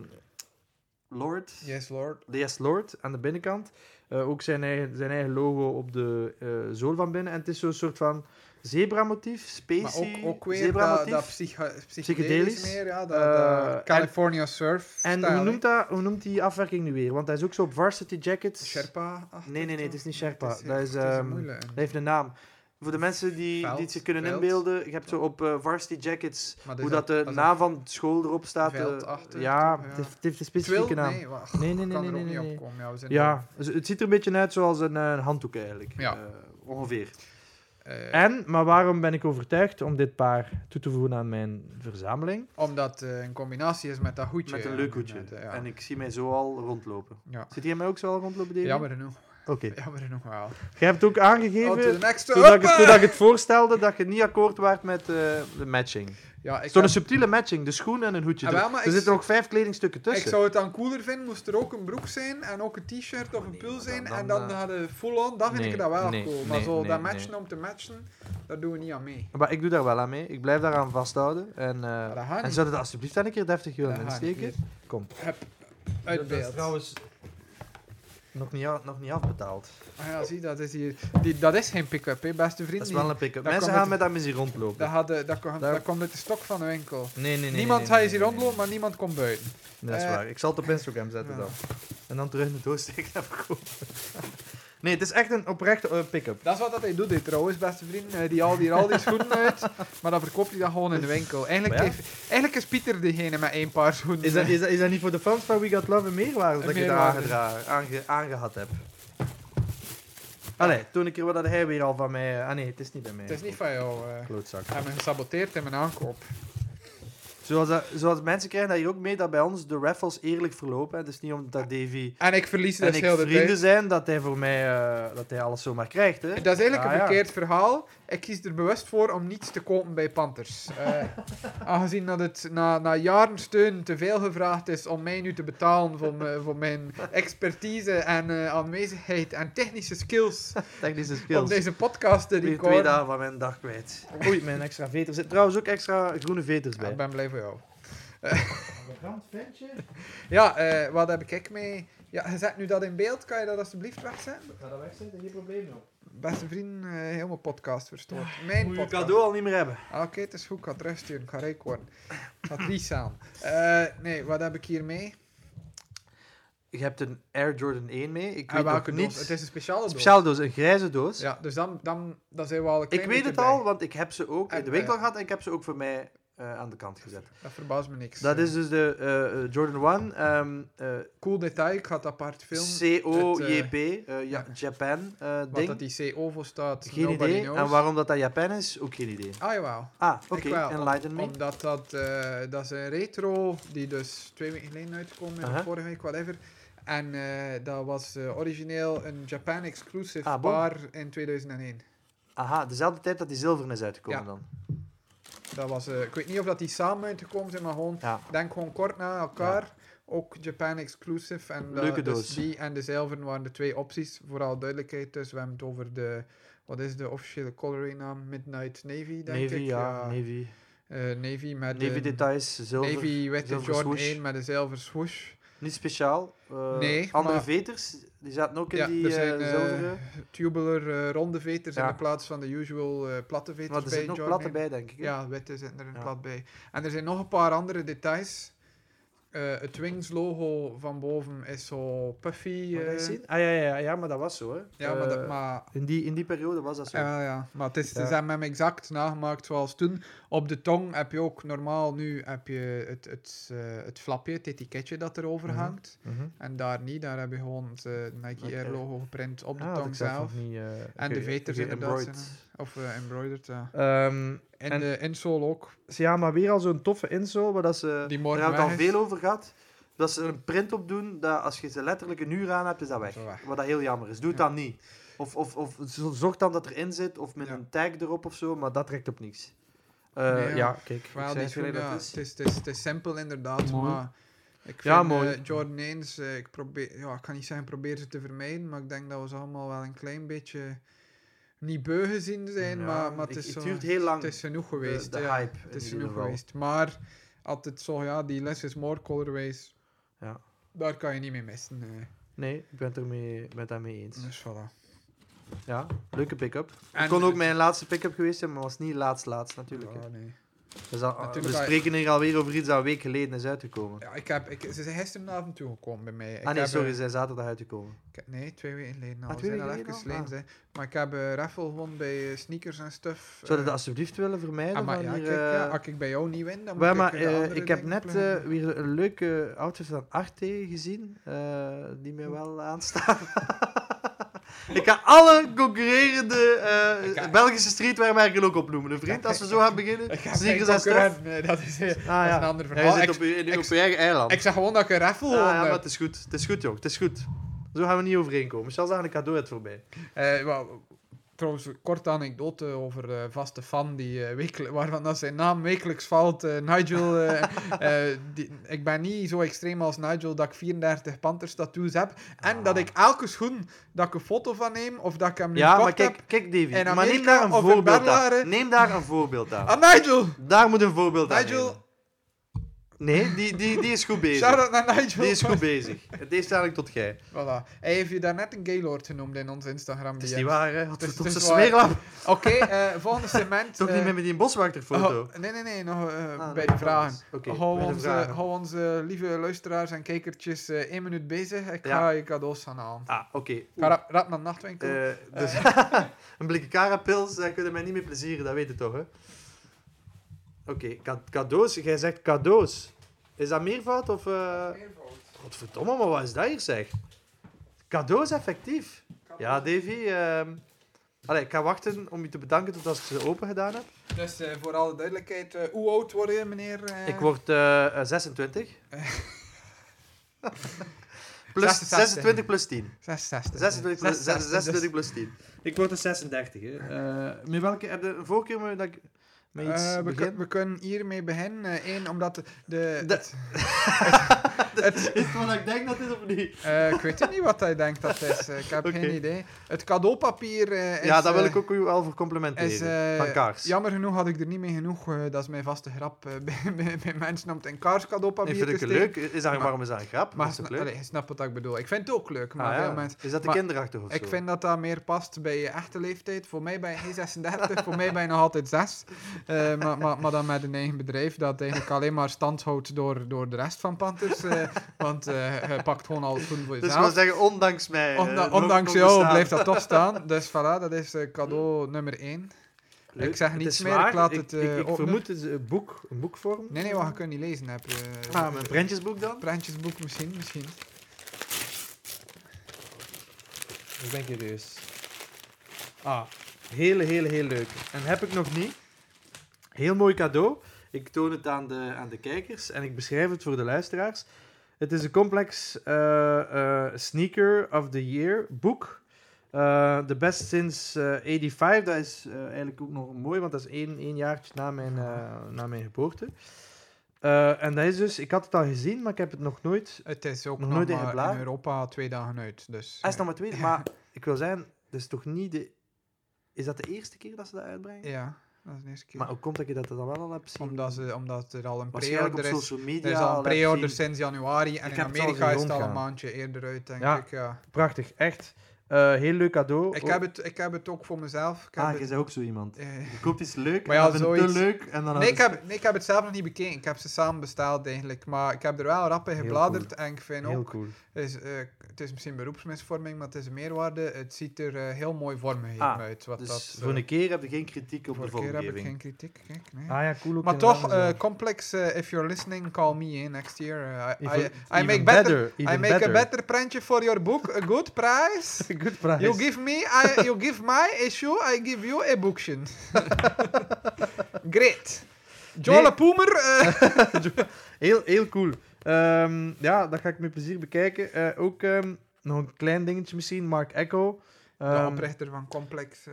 [SPEAKER 2] Lord,
[SPEAKER 1] yes, Lord.
[SPEAKER 2] de Yes Lord aan de binnenkant. Eh, ook zijn eigen, zijn eigen logo op de eh, zool van binnen. En het is zo'n soort van zebra-motief,
[SPEAKER 1] Maar
[SPEAKER 2] specie,
[SPEAKER 1] ook, ook weer dat,
[SPEAKER 2] zebra-motief.
[SPEAKER 1] dat psycha- psychedelisch
[SPEAKER 2] Psychedelisch.
[SPEAKER 1] meer. Ja, dat, dat
[SPEAKER 2] Eh,
[SPEAKER 1] California Surf.
[SPEAKER 2] En hoe noemt, dat, hoe noemt die afwerking nu weer? Want hij is ook zo op varsity jackets.
[SPEAKER 1] Sherpa? ach,
[SPEAKER 2] Nee, nee, nee, het is niet Sherpa.
[SPEAKER 1] Het is,
[SPEAKER 2] dat is,
[SPEAKER 1] het is
[SPEAKER 2] ehm,
[SPEAKER 1] moeilijk.
[SPEAKER 2] dat heeft een naam. Voor de mensen die,
[SPEAKER 1] Veld,
[SPEAKER 2] die het zich kunnen
[SPEAKER 1] veld.
[SPEAKER 2] inbeelden, je hebt zo op eh, varsity jackets
[SPEAKER 1] Maar
[SPEAKER 2] hoe
[SPEAKER 1] is
[SPEAKER 2] dat, de
[SPEAKER 1] is
[SPEAKER 2] naam van de school erop staat. eh,
[SPEAKER 1] veld achter,
[SPEAKER 2] ja,
[SPEAKER 1] toch? Ja.
[SPEAKER 2] het heeft, het heeft een
[SPEAKER 1] een
[SPEAKER 2] specifieke
[SPEAKER 1] twill?
[SPEAKER 2] naam.
[SPEAKER 1] Nee, wacht,
[SPEAKER 2] Nee, nee, nee,
[SPEAKER 1] ik kan
[SPEAKER 2] nee,
[SPEAKER 1] er ook
[SPEAKER 2] nee,
[SPEAKER 1] niet
[SPEAKER 2] nee.
[SPEAKER 1] op komen. Ja, we zijn
[SPEAKER 2] Ja, dus het ziet er een beetje uit zoals een, eh, een handdoek eigenlijk.
[SPEAKER 1] Ja.
[SPEAKER 2] eh, ongeveer.
[SPEAKER 1] er- eh,
[SPEAKER 2] En, maar waarom ben ik overtuigd om dit paar toe te voegen aan mijn verzameling?
[SPEAKER 1] omdat eh een combinatie is met dat hoedje.
[SPEAKER 2] Met een
[SPEAKER 1] ja,
[SPEAKER 2] leuk hoedje.
[SPEAKER 1] inderdaad, ja.
[SPEAKER 2] En ik zie mij zo al rondlopen.
[SPEAKER 1] Ja.
[SPEAKER 2] Zit jij mij ook zo al rondlopen, David?
[SPEAKER 1] Jammer genoeg.
[SPEAKER 2] Oké.
[SPEAKER 1] Jammer genoeg wel.
[SPEAKER 2] Jij hebt ook
[SPEAKER 1] On
[SPEAKER 2] aangegeven...
[SPEAKER 1] to the next.
[SPEAKER 2] Toen dat, ik,
[SPEAKER 1] Hoppa!
[SPEAKER 2] toen dat ik het voorstelde dat je niet akkoord werd met eh, de matching. Het
[SPEAKER 1] Ja, ik
[SPEAKER 2] is toch een
[SPEAKER 1] heb-
[SPEAKER 2] subtiele matching, de schoen en een hoedje.
[SPEAKER 1] Ah, wel,
[SPEAKER 2] er
[SPEAKER 1] maar
[SPEAKER 2] er
[SPEAKER 1] ik-
[SPEAKER 2] zitten nog vijf kledingstukken
[SPEAKER 1] Ik
[SPEAKER 2] tussen.
[SPEAKER 1] zou het dan cooler vinden, moest er ook een broek zijn en ook een t-shirt of
[SPEAKER 2] Oh,
[SPEAKER 1] een
[SPEAKER 2] nee,
[SPEAKER 1] pul
[SPEAKER 2] maar dan-
[SPEAKER 1] zijn.
[SPEAKER 2] dan,
[SPEAKER 1] En dan
[SPEAKER 2] eh,
[SPEAKER 1] hadden full on, dan vind ik
[SPEAKER 2] nee,
[SPEAKER 1] dat wel
[SPEAKER 2] nee,
[SPEAKER 1] cool. Maar
[SPEAKER 2] nee,
[SPEAKER 1] zo
[SPEAKER 2] nee,
[SPEAKER 1] dat
[SPEAKER 2] nee.
[SPEAKER 1] matchen om te matchen, daar doen we niet aan mee.
[SPEAKER 2] Maar ik doe daar wel aan mee. Ik blijf daaraan vasthouden. En, eh,
[SPEAKER 1] dat gaat
[SPEAKER 2] en
[SPEAKER 1] niet.
[SPEAKER 2] zou je dat alsjeblieft dan een keer deftig willen
[SPEAKER 1] Dat gaat
[SPEAKER 2] insteken?
[SPEAKER 1] niet.
[SPEAKER 2] Kom.
[SPEAKER 1] Uit
[SPEAKER 2] Dat is
[SPEAKER 1] beeld.
[SPEAKER 2] trouwens nog niet, a- nog niet afbetaald.
[SPEAKER 1] Ah ja, zie, dat is hier. Die, dat is geen pick-up, hè, beste vrienden.
[SPEAKER 2] Dat is wel een pick-up.
[SPEAKER 1] dat
[SPEAKER 2] Mensen
[SPEAKER 1] kan
[SPEAKER 2] gaan
[SPEAKER 1] met-
[SPEAKER 2] met dat muziek rondlopen.
[SPEAKER 1] Dat, hadden, dat, kwam,
[SPEAKER 2] Daar-
[SPEAKER 1] dat kwam uit de stok van de winkel.
[SPEAKER 2] Nee, nee, nee. nee,
[SPEAKER 1] niemand
[SPEAKER 2] nee,
[SPEAKER 1] gaat
[SPEAKER 2] nee,
[SPEAKER 1] eens hier
[SPEAKER 2] nee,
[SPEAKER 1] rondlopen,
[SPEAKER 2] nee.
[SPEAKER 1] maar niemand komt buiten.
[SPEAKER 2] Dat is
[SPEAKER 1] Eh,
[SPEAKER 2] waar. Ik zal het op Instagram zetten
[SPEAKER 1] ja.
[SPEAKER 2] dan. En dan terug in de doos steken en verkopen. Nee, het is echt een oprechte eh, pick-up.
[SPEAKER 1] Dat is wat dat hij doet, hè, trouwens, beste vrienden. Eh, Die haalt hier al die schoenen uit, maar dan verkoopt hij dat gewoon in de winkel. Eigenlijk,
[SPEAKER 2] Maar ja.
[SPEAKER 1] heeft- eigenlijk is Pieter degene met één paar schoenen.
[SPEAKER 2] Is dat,
[SPEAKER 1] eh.
[SPEAKER 2] is, dat, is dat niet voor de fans van We Got Love een meerwaarde
[SPEAKER 1] Een
[SPEAKER 2] dat ik daar
[SPEAKER 1] meerwaarde.
[SPEAKER 2] aangedra- aange, aangehad heb? Allee, toen ik er wat had hij weer al van mij... eh, Ah nee, het is niet bij mij.
[SPEAKER 1] Het is niet van jou. eh.
[SPEAKER 2] Klootzak.
[SPEAKER 1] Hij heeft me gesaboteerd in mijn aankoop.
[SPEAKER 2] Zoals, dat- zoals mensen krijgen dat hier ook mee dat bij ons de raffles eerlijk verlopen. Het is niet omdat Davy
[SPEAKER 1] En ik verlies
[SPEAKER 2] en
[SPEAKER 1] dus
[SPEAKER 2] ik
[SPEAKER 1] heel de tijd.
[SPEAKER 2] vrienden zijn dat hij voor mij eh, dat hij alles zomaar krijgt. Hè?
[SPEAKER 1] Dat is eigenlijk
[SPEAKER 2] Ah,
[SPEAKER 1] een
[SPEAKER 2] ja.
[SPEAKER 1] verkeerd verhaal. Ik kies er bewust voor om niets te kopen bij Panthers. Eh, aangezien dat het na, na jaren steun te veel gevraagd is om mij nu te betalen voor, me- voor mijn expertise en eh, aanwezigheid en technische skills,
[SPEAKER 2] Technische
[SPEAKER 1] om
[SPEAKER 2] skills.
[SPEAKER 1] deze podcast te
[SPEAKER 2] Weer twee
[SPEAKER 1] recorden.
[SPEAKER 2] dagen van mijn dag kwijt. Oei, mijn extra veters. Er zitten trouwens ook extra groene veters
[SPEAKER 1] Ja,
[SPEAKER 2] bij.
[SPEAKER 1] ik ben blij voor jou.
[SPEAKER 2] Een ventje.
[SPEAKER 1] Ja, eh, wat heb ik mee? Ja, je zet nu dat in beeld. Kan je dat alsjeblieft wegzetten?
[SPEAKER 2] Ga dat wegzetten, geen probleem joh.
[SPEAKER 1] Beste vrienden, eh heel mijn podcast verstoord. Mijn
[SPEAKER 2] Moet je
[SPEAKER 1] podcast.
[SPEAKER 2] cadeau al niet meer hebben.
[SPEAKER 1] Ah, Oké, het is goed. Ik ga het terugsturen. Ik ga rijk worden. Ik ga drie staan. Eh, nee, wat heb ik hier mee?
[SPEAKER 2] Je hebt een Air Jordan 1 mee. Ik
[SPEAKER 1] En
[SPEAKER 2] weet
[SPEAKER 1] welke
[SPEAKER 2] nog
[SPEAKER 1] doos?
[SPEAKER 2] niet.
[SPEAKER 1] Het is Ah, een speciale doos.
[SPEAKER 2] Ah, Speciaal doos, een grijze doos.
[SPEAKER 1] Ja, dus dan, dan, dan zijn we al een klein
[SPEAKER 2] ik weet het
[SPEAKER 1] beetje
[SPEAKER 2] al,
[SPEAKER 1] bij.
[SPEAKER 2] want ik heb ze ook
[SPEAKER 1] En,
[SPEAKER 2] in de winkel
[SPEAKER 1] eh,
[SPEAKER 2] gehad en ik heb ze ook voor mij eh, aan de kant gezet.
[SPEAKER 1] Dat verbaast me niks.
[SPEAKER 2] Dat
[SPEAKER 1] Eh,
[SPEAKER 2] is dus de eh, eh, Jordan 1 ehm eh
[SPEAKER 1] Cool detail. Ik ga het apart filmen.
[SPEAKER 2] COJP, eh, ja,
[SPEAKER 1] ja.
[SPEAKER 2] Japan eh,
[SPEAKER 1] Wat
[SPEAKER 2] ding.
[SPEAKER 1] dat die CO voor staat,
[SPEAKER 2] geen
[SPEAKER 1] nobody
[SPEAKER 2] idee.
[SPEAKER 1] knows.
[SPEAKER 2] En waarom dat dat Japan is, ook geen idee.
[SPEAKER 1] Ah, jawel.
[SPEAKER 2] Ah,
[SPEAKER 1] Ik
[SPEAKER 2] oké,
[SPEAKER 1] wel,
[SPEAKER 2] enlighten me.
[SPEAKER 1] Omdat dat, eh, dat is een retro die dus twee weken geleden uitkwam, of
[SPEAKER 2] Aha.
[SPEAKER 1] vorige week, whatever. En eh, dat was eh, origineel een Japan Exclusive
[SPEAKER 2] Ah, bon.
[SPEAKER 1] bar in 2001.
[SPEAKER 2] Aha, dezelfde tijd dat die zilveren is uitgekomen
[SPEAKER 1] Ja.
[SPEAKER 2] dan.
[SPEAKER 1] Dat was, eh, ik weet niet of dat die samen uitgekomen zijn, maar gewoon,
[SPEAKER 2] Ja.
[SPEAKER 1] denk gewoon kort na elkaar. Ook Japan Exclusive. En dat-
[SPEAKER 2] Leuke
[SPEAKER 1] dus
[SPEAKER 2] doos.
[SPEAKER 1] die en de zilveren waren de twee opties. Vooral duidelijkheid, dus we hebben het over de, wat is de officiële colorway naam? Midnight Navy, denk
[SPEAKER 2] Navy,
[SPEAKER 1] ik.
[SPEAKER 2] ja, Navy.
[SPEAKER 1] Eh, Navy met
[SPEAKER 2] Navy
[SPEAKER 1] een-
[SPEAKER 2] details, zilver.
[SPEAKER 1] Navy witte
[SPEAKER 2] zilver
[SPEAKER 1] Jordan
[SPEAKER 2] swoosh.
[SPEAKER 1] 1 met een zilver swoosh.
[SPEAKER 2] Niet speciaal. eh,
[SPEAKER 1] Nee,
[SPEAKER 2] andere
[SPEAKER 1] maar-
[SPEAKER 2] veters, die zaten ook in
[SPEAKER 1] Ja,
[SPEAKER 2] die
[SPEAKER 1] er
[SPEAKER 2] eh,
[SPEAKER 1] zijn, eh,
[SPEAKER 2] zilveren.
[SPEAKER 1] tubular eh, ronde veters
[SPEAKER 2] Ja.
[SPEAKER 1] in de plaats van de usual eh, platte veters
[SPEAKER 2] Maar er
[SPEAKER 1] bij
[SPEAKER 2] zitten ook
[SPEAKER 1] Jordan.
[SPEAKER 2] platten bij, denk ik. hè?
[SPEAKER 1] Ja, witte zitten er een
[SPEAKER 2] Ja.
[SPEAKER 1] plat bij. En er zijn nog een paar andere details. eh, het Wings logo van boven is zo puffy.
[SPEAKER 2] Mag ik
[SPEAKER 1] eh,
[SPEAKER 2] eens zien? Ah ja, ja, ja, ja, maar dat was zo, hè.
[SPEAKER 1] ja, maar, dat,
[SPEAKER 2] Eh,
[SPEAKER 1] maar
[SPEAKER 2] In, die, in die periode was dat zo.
[SPEAKER 1] Ja, ja, maar het is, ze
[SPEAKER 2] Ja.
[SPEAKER 1] hebben hem exact nagemaakt zoals toen. Op de tong heb je ook normaal nu heb je het, het, eh, het flapje, het etiketje dat erover
[SPEAKER 2] Mhm.
[SPEAKER 1] hangt.
[SPEAKER 2] Mhm.
[SPEAKER 1] En daar niet, daar heb je gewoon het eh, Nike
[SPEAKER 2] Oké.
[SPEAKER 1] Air logo geprint op de
[SPEAKER 2] Ah, had ik
[SPEAKER 1] tong zelf.
[SPEAKER 2] nog niet, eh,
[SPEAKER 1] En de
[SPEAKER 2] ge-
[SPEAKER 1] veters
[SPEAKER 2] ge-
[SPEAKER 1] inderdaad. zijn
[SPEAKER 2] embroidered.
[SPEAKER 1] er. Of eh, embroidered, ja.
[SPEAKER 2] Ehm,
[SPEAKER 1] En,
[SPEAKER 2] En-
[SPEAKER 1] de insole ook.
[SPEAKER 2] ze ja, maar weer al zo'n toffe insole, waar dat ze...
[SPEAKER 1] Die
[SPEAKER 2] daar
[SPEAKER 1] morgen
[SPEAKER 2] hebben we het
[SPEAKER 1] weg
[SPEAKER 2] al
[SPEAKER 1] is.
[SPEAKER 2] veel over gehad. Dat ze er een print op doen, dat als je ze letterlijk een uur aan hebt, is dat weg.
[SPEAKER 1] Zo weg.
[SPEAKER 2] Wat dat heel jammer is. Doe het
[SPEAKER 1] Ja.
[SPEAKER 2] dan niet. Of, of, of zo- zorg dan dat erin zit, of met
[SPEAKER 1] Ja.
[SPEAKER 2] een tag erop of zo, maar dat trekt op niks. Eh,
[SPEAKER 1] Nee,
[SPEAKER 2] ja,
[SPEAKER 1] ja.
[SPEAKER 2] kijk. ik
[SPEAKER 1] Wel,
[SPEAKER 2] zei
[SPEAKER 1] die
[SPEAKER 2] het gelijk
[SPEAKER 1] schoen,
[SPEAKER 2] dat
[SPEAKER 1] ja,
[SPEAKER 2] het is.
[SPEAKER 1] het, is, het, is, het is simpel inderdaad,
[SPEAKER 2] Mooi.
[SPEAKER 1] maar... Ik vind
[SPEAKER 2] Ja,
[SPEAKER 1] ja,
[SPEAKER 2] mooi.
[SPEAKER 1] Jordan 1, eh, ik, probeer, ja, ik kan niet zeggen probeer ze te vermijden, maar ik denk dat we ze allemaal wel een klein beetje niet beu gezien zijn,
[SPEAKER 2] Ja,
[SPEAKER 1] maar, maar het,
[SPEAKER 2] ik- het
[SPEAKER 1] is zo,
[SPEAKER 2] duurt heel lang,
[SPEAKER 1] Het is genoeg
[SPEAKER 2] de-
[SPEAKER 1] geweest.
[SPEAKER 2] de
[SPEAKER 1] ja.
[SPEAKER 2] hype
[SPEAKER 1] Het
[SPEAKER 2] in
[SPEAKER 1] is
[SPEAKER 2] ieder
[SPEAKER 1] genoeg
[SPEAKER 2] geval.
[SPEAKER 1] geweest. Maar altijd zo, ja, die less is more colorways,
[SPEAKER 2] Ja.
[SPEAKER 1] daar kan je niet mee missen. eh.
[SPEAKER 2] Nee, ik ben het ermee- met dat mee eens.
[SPEAKER 1] Dus voilà.
[SPEAKER 2] Ja, leuke pick-up. Het
[SPEAKER 1] En-
[SPEAKER 2] kon ook mijn laatste pick-up geweest zijn, maar was niet laatst laatst natuurlijk. hè.
[SPEAKER 1] Ja, nee.
[SPEAKER 2] Dus al-
[SPEAKER 1] Natuurlijk
[SPEAKER 2] we
[SPEAKER 1] ga je-
[SPEAKER 2] spreken hier alweer over iets dat een week geleden is uitgekomen.
[SPEAKER 1] ja, ik heb, ik, ze zijn gisteravond toegekomen bij mij. Ik
[SPEAKER 2] ah nee,
[SPEAKER 1] heb,
[SPEAKER 2] sorry,
[SPEAKER 1] eh,
[SPEAKER 2] ze zijn zaterdag uitgekomen.
[SPEAKER 1] Ik heb- nee, twee weken geleden al.
[SPEAKER 2] Ah,
[SPEAKER 1] We
[SPEAKER 2] twee
[SPEAKER 1] zijn al
[SPEAKER 2] weken
[SPEAKER 1] even
[SPEAKER 2] geleden al?
[SPEAKER 1] slim, hè. Maar ik heb eh raffle gewonnen bij eh, sneakers en stuff.
[SPEAKER 2] Zou je
[SPEAKER 1] eh.
[SPEAKER 2] dat alsjeblieft willen vermijden?
[SPEAKER 1] Ah, maar
[SPEAKER 2] van
[SPEAKER 1] ja,
[SPEAKER 2] hier,
[SPEAKER 1] kijk, ja,
[SPEAKER 2] eh,
[SPEAKER 1] als ik bij jou niet win, dan moet
[SPEAKER 2] Wel,
[SPEAKER 1] ik
[SPEAKER 2] maar
[SPEAKER 1] eh,
[SPEAKER 2] eh,
[SPEAKER 1] andere
[SPEAKER 2] ik heb
[SPEAKER 1] dingen
[SPEAKER 2] net
[SPEAKER 1] pluggen.
[SPEAKER 2] eh, weer een leuke outfit van Arte gezien, eh, die mij wel aanstaat. ik ga alle concurrerende eh,
[SPEAKER 1] Ik ga-
[SPEAKER 2] Belgische streetwearmerken ook opnoemen. Een vriend,
[SPEAKER 1] ga-
[SPEAKER 2] als we
[SPEAKER 1] ik-
[SPEAKER 2] zo gaan beginnen,
[SPEAKER 1] Ik heb
[SPEAKER 2] sneakers
[SPEAKER 1] geen
[SPEAKER 2] en stuff.
[SPEAKER 1] concurrent, nee, dat is,
[SPEAKER 2] Ah,
[SPEAKER 1] eh, dat is een
[SPEAKER 2] ja.
[SPEAKER 1] ander
[SPEAKER 2] Ja, je
[SPEAKER 1] verhaal.
[SPEAKER 2] zit
[SPEAKER 1] Ik,
[SPEAKER 2] op je, in-
[SPEAKER 1] ik-
[SPEAKER 2] op je eigen eiland.
[SPEAKER 1] ik zeg gewoon dat ik een raffle
[SPEAKER 2] Ah, ja,
[SPEAKER 1] won,
[SPEAKER 2] maar
[SPEAKER 1] eh.
[SPEAKER 2] het is goed. Het is goed, jong. Het is goed. Zo gaan we niet overeenkomen. Charles aan een cadeau uit voorbij.
[SPEAKER 1] Eh, wel, Trouwens, een korte anekdote over eh, vaste fan die, eh, wekelijk- waarvan dat zijn naam wekelijks valt. eh, Nigel, eh, eh, die- ik ben niet zo extreem als Nigel dat ik 34 Panthers tattoos heb. En
[SPEAKER 2] Ah.
[SPEAKER 1] dat ik elke schoen dat ik een foto van neem of dat ik hem nu
[SPEAKER 2] Ja, maar
[SPEAKER 1] gekocht
[SPEAKER 2] kijk,
[SPEAKER 1] heb.
[SPEAKER 2] kijk Davy.
[SPEAKER 1] in
[SPEAKER 2] Maar neem
[SPEAKER 1] Amerika
[SPEAKER 2] daar een
[SPEAKER 1] of in
[SPEAKER 2] voorbeeld
[SPEAKER 1] Berlaren.
[SPEAKER 2] aan. Neem daar een voorbeeld aan.
[SPEAKER 1] Ah, Nigel!
[SPEAKER 2] Daar moet een voorbeeld aan.
[SPEAKER 1] Nigel.
[SPEAKER 2] nemen. Nee, die, die, die is goed
[SPEAKER 1] Shout
[SPEAKER 2] bezig.
[SPEAKER 1] out naar Nigel.
[SPEAKER 2] Die is goed bezig. Het is eigenlijk tot jij.
[SPEAKER 1] Voilà. Hij heeft je daarnet een Gaylord genoemd in ons Instagram.
[SPEAKER 2] Het is
[SPEAKER 1] DM.
[SPEAKER 2] niet waar, hè? Het
[SPEAKER 1] Het
[SPEAKER 2] is
[SPEAKER 1] is-
[SPEAKER 2] tot
[SPEAKER 1] het
[SPEAKER 2] zijn
[SPEAKER 1] is waar.
[SPEAKER 2] smeerlap.
[SPEAKER 1] Oké, eh, volgende segment.
[SPEAKER 2] Toch
[SPEAKER 1] eh,
[SPEAKER 2] niet meer met die boswachterfoto.
[SPEAKER 1] oh, nee, nee, nee, nog eh,
[SPEAKER 2] Ah, dat
[SPEAKER 1] bij de
[SPEAKER 2] is
[SPEAKER 1] vragen.
[SPEAKER 2] anders. Oké,
[SPEAKER 1] hou,
[SPEAKER 2] bij de
[SPEAKER 1] onze,
[SPEAKER 2] vragen.
[SPEAKER 1] hou onze lieve luisteraars en kijkertjes eh, één minuut bezig. Ik
[SPEAKER 2] Ja.
[SPEAKER 1] ga je cadeaus gaan halen.
[SPEAKER 2] Ah, oké.
[SPEAKER 1] Ik ga rap, rap naar de nachtwinkel.
[SPEAKER 2] Eh, dus, een blikje karapils, daar kunnen mij niet mee plezieren, dat weet je toch, hè? Oké, ca- cadeaus. Jij zegt cadeaus. Is dat meervoud of... eh, Godverdomme, maar wat is dat hier, zeg? Cadeaus, effectief. Ja, Davy. ehm, Allee, ik ga wachten om je te bedanken tot als ik ze open gedaan heb.
[SPEAKER 1] Dus eh, voor alle duidelijkheid, eh, hoe oud word je, meneer? eh?
[SPEAKER 2] Ik word eh, eh, 26. plus
[SPEAKER 1] 66.
[SPEAKER 2] 26 plus 10.
[SPEAKER 1] 66.
[SPEAKER 2] 26 plus,
[SPEAKER 1] 66,
[SPEAKER 2] 26 plus 10. Ik word er 36. Hè. Eh, met welke heb je een voorkeur met dat ik met
[SPEAKER 1] dus,
[SPEAKER 2] iets
[SPEAKER 1] eh, we, kun-
[SPEAKER 2] begin?
[SPEAKER 1] we kunnen hiermee beginnen. Eén, omdat de... de,
[SPEAKER 2] De-
[SPEAKER 1] het-
[SPEAKER 2] Is het wat ik denk dat dit of niet?
[SPEAKER 1] eh, ik weet niet wat hij denkt dat is. eh, Ik heb
[SPEAKER 2] Oké.
[SPEAKER 1] geen idee. Het cadeaupapier eh, is...
[SPEAKER 2] ja, dat wil
[SPEAKER 1] eh,
[SPEAKER 2] ik ook u wel voor complimenteren.
[SPEAKER 1] is, eh,
[SPEAKER 2] van Kaars.
[SPEAKER 1] Jammer genoeg had ik er niet mee genoeg. eh, dat is mijn vaste grap eh, bij, bij, bij mensen om het in kaars
[SPEAKER 2] ik
[SPEAKER 1] cadeaupapier
[SPEAKER 2] vind
[SPEAKER 1] te
[SPEAKER 2] het
[SPEAKER 1] steken.
[SPEAKER 2] leuk. Is dat,
[SPEAKER 1] Maar-
[SPEAKER 2] waarom is dat een grap?
[SPEAKER 1] Maar
[SPEAKER 2] dat is
[SPEAKER 1] sna-
[SPEAKER 2] toch leuk?
[SPEAKER 1] allee, je snapt wat ik bedoel. Ik vind het ook leuk, maar
[SPEAKER 2] Ah,
[SPEAKER 1] veel
[SPEAKER 2] ja.
[SPEAKER 1] mensen...
[SPEAKER 2] Is dat de
[SPEAKER 1] maar
[SPEAKER 2] kinderachtig of
[SPEAKER 1] Ik
[SPEAKER 2] zo?
[SPEAKER 1] vind dat dat meer past bij je echte leeftijd. Voor mij ben je geen 36, voor mij ben je nog altijd 6. Eh, maar, maar, maar dan met een eigen bedrijf dat eigenlijk alleen maar stand houdt door, door de rest van Panthers. eh, want eh, je pakt gewoon alles goed voor
[SPEAKER 2] Dus
[SPEAKER 1] jezelf.
[SPEAKER 2] wil zeggen, ondanks mij. eh,
[SPEAKER 1] Onda-
[SPEAKER 2] nog-
[SPEAKER 1] ondanks
[SPEAKER 2] nog
[SPEAKER 1] jou
[SPEAKER 2] bestaan.
[SPEAKER 1] blijft dat toch staan. Dus voilà, dat is eh, cadeau nummer 1.
[SPEAKER 2] Leuk.
[SPEAKER 1] Ik zeg
[SPEAKER 2] Het
[SPEAKER 1] niets
[SPEAKER 2] is
[SPEAKER 1] meer,
[SPEAKER 2] zwaar.
[SPEAKER 1] ik laat het,
[SPEAKER 2] Ik,
[SPEAKER 1] eh,
[SPEAKER 2] ik,
[SPEAKER 1] openen.
[SPEAKER 2] vermoed het is een boek, een boekvorm.
[SPEAKER 1] Nee, nee, wat je kunt niet lezen. Heb je
[SPEAKER 2] Ah, mijn prentjesboek dan?
[SPEAKER 1] prentjesboek misschien, misschien.
[SPEAKER 2] Ik ben curieus. Ah, heel, heel, heel leuk. En heb ik nog niet. Heel mooi cadeau. Ik toon het aan de, aan de kijkers en ik beschrijf het voor de luisteraars. Het is een complex eh, eh, sneaker of the year boek. Eh, De best sinds eh, 85. Dat is eh, eigenlijk ook nog mooi, want dat is één, één jaartje na mijn, eh, na mijn geboorte. Eh, en dat is dus, ik had het al gezien, maar ik heb het nog nooit.
[SPEAKER 1] Het is ook
[SPEAKER 2] Nog
[SPEAKER 1] nog,
[SPEAKER 2] nooit in
[SPEAKER 1] maar
[SPEAKER 2] geblazen?
[SPEAKER 1] in Europa twee dagen uit. Dus,
[SPEAKER 2] Hij is nog maar twee, maar ik wil zeggen, dat is toch niet de. Is dat de eerste keer dat ze dat uitbrengen?
[SPEAKER 1] ja, dat is de eerste keer.
[SPEAKER 2] Maar hoe komt dat je dat dan wel al hebt zien?
[SPEAKER 1] omdat, ze, omdat er al een
[SPEAKER 2] Waarschijnlijk op
[SPEAKER 1] pre-order is.
[SPEAKER 2] social media.
[SPEAKER 1] Er is al
[SPEAKER 2] al
[SPEAKER 1] een
[SPEAKER 2] hebt
[SPEAKER 1] pre-order
[SPEAKER 2] gezien.
[SPEAKER 1] sinds januari en
[SPEAKER 2] Ik
[SPEAKER 1] in
[SPEAKER 2] heb het al
[SPEAKER 1] Amerika
[SPEAKER 2] zien
[SPEAKER 1] is het al een
[SPEAKER 2] rondgaan.
[SPEAKER 1] maandje eerder uit, denk
[SPEAKER 2] Ja.
[SPEAKER 1] ik. Ja.
[SPEAKER 2] Prachtig, echt. Eh, heel leuk cadeau.
[SPEAKER 1] Ik heb, het, ik heb het ook voor mezelf. Ik heb
[SPEAKER 3] Ah,
[SPEAKER 1] het-
[SPEAKER 3] jij bent ook zo iemand.
[SPEAKER 2] Ah, nou,
[SPEAKER 1] eh,
[SPEAKER 3] Je koopt iets leuk, maar
[SPEAKER 1] Maar
[SPEAKER 3] ja,
[SPEAKER 1] ja,
[SPEAKER 3] en dan vind je het te
[SPEAKER 1] zoiets.
[SPEAKER 3] leuk, en dan...
[SPEAKER 1] nee, ik heb, nee, ik heb het zelf nog niet bekeken. Ik heb ze samen besteld eigenlijk. Maar ik heb er wel rap in
[SPEAKER 2] Heel
[SPEAKER 1] gebladerd. En ik vind
[SPEAKER 2] Heel
[SPEAKER 1] ook,
[SPEAKER 2] cool.
[SPEAKER 1] het is, eh, het is misschien beroepsmisvorming, maar het is een meerwaarde. Het ziet er eh, heel mooi vormgegeven
[SPEAKER 3] Ah,
[SPEAKER 1] uit. Wat
[SPEAKER 3] Dus
[SPEAKER 1] dat, eh,
[SPEAKER 3] voor een keer heb je geen kritiek op de
[SPEAKER 1] vorige keer heb ik geen
[SPEAKER 3] vormgeving.
[SPEAKER 1] kritiek. Kijk, nee.
[SPEAKER 2] Ah ja, cool ook
[SPEAKER 1] maar
[SPEAKER 2] inderdaad,
[SPEAKER 1] toch,
[SPEAKER 2] dus, eh,
[SPEAKER 1] eh, complex. eh, if you're listening, call me eh, next year. Eh, I,
[SPEAKER 2] even-
[SPEAKER 1] I, I
[SPEAKER 2] even
[SPEAKER 1] make better. I
[SPEAKER 2] even
[SPEAKER 1] make a better printje for your book. A good price.
[SPEAKER 2] Good price.
[SPEAKER 1] You give me, I, you give my issue, I give you a booktion. Great. Jolle
[SPEAKER 2] Nee.
[SPEAKER 1] Poemer. eh,
[SPEAKER 2] Heel, heel cool. Ehm, ja, dat ga ik met plezier bekijken. Eh, ook ehm, nog een klein dingetje misschien, Mark Echo.
[SPEAKER 1] de
[SPEAKER 2] Ehm,
[SPEAKER 1] oprichter van Complex. eh,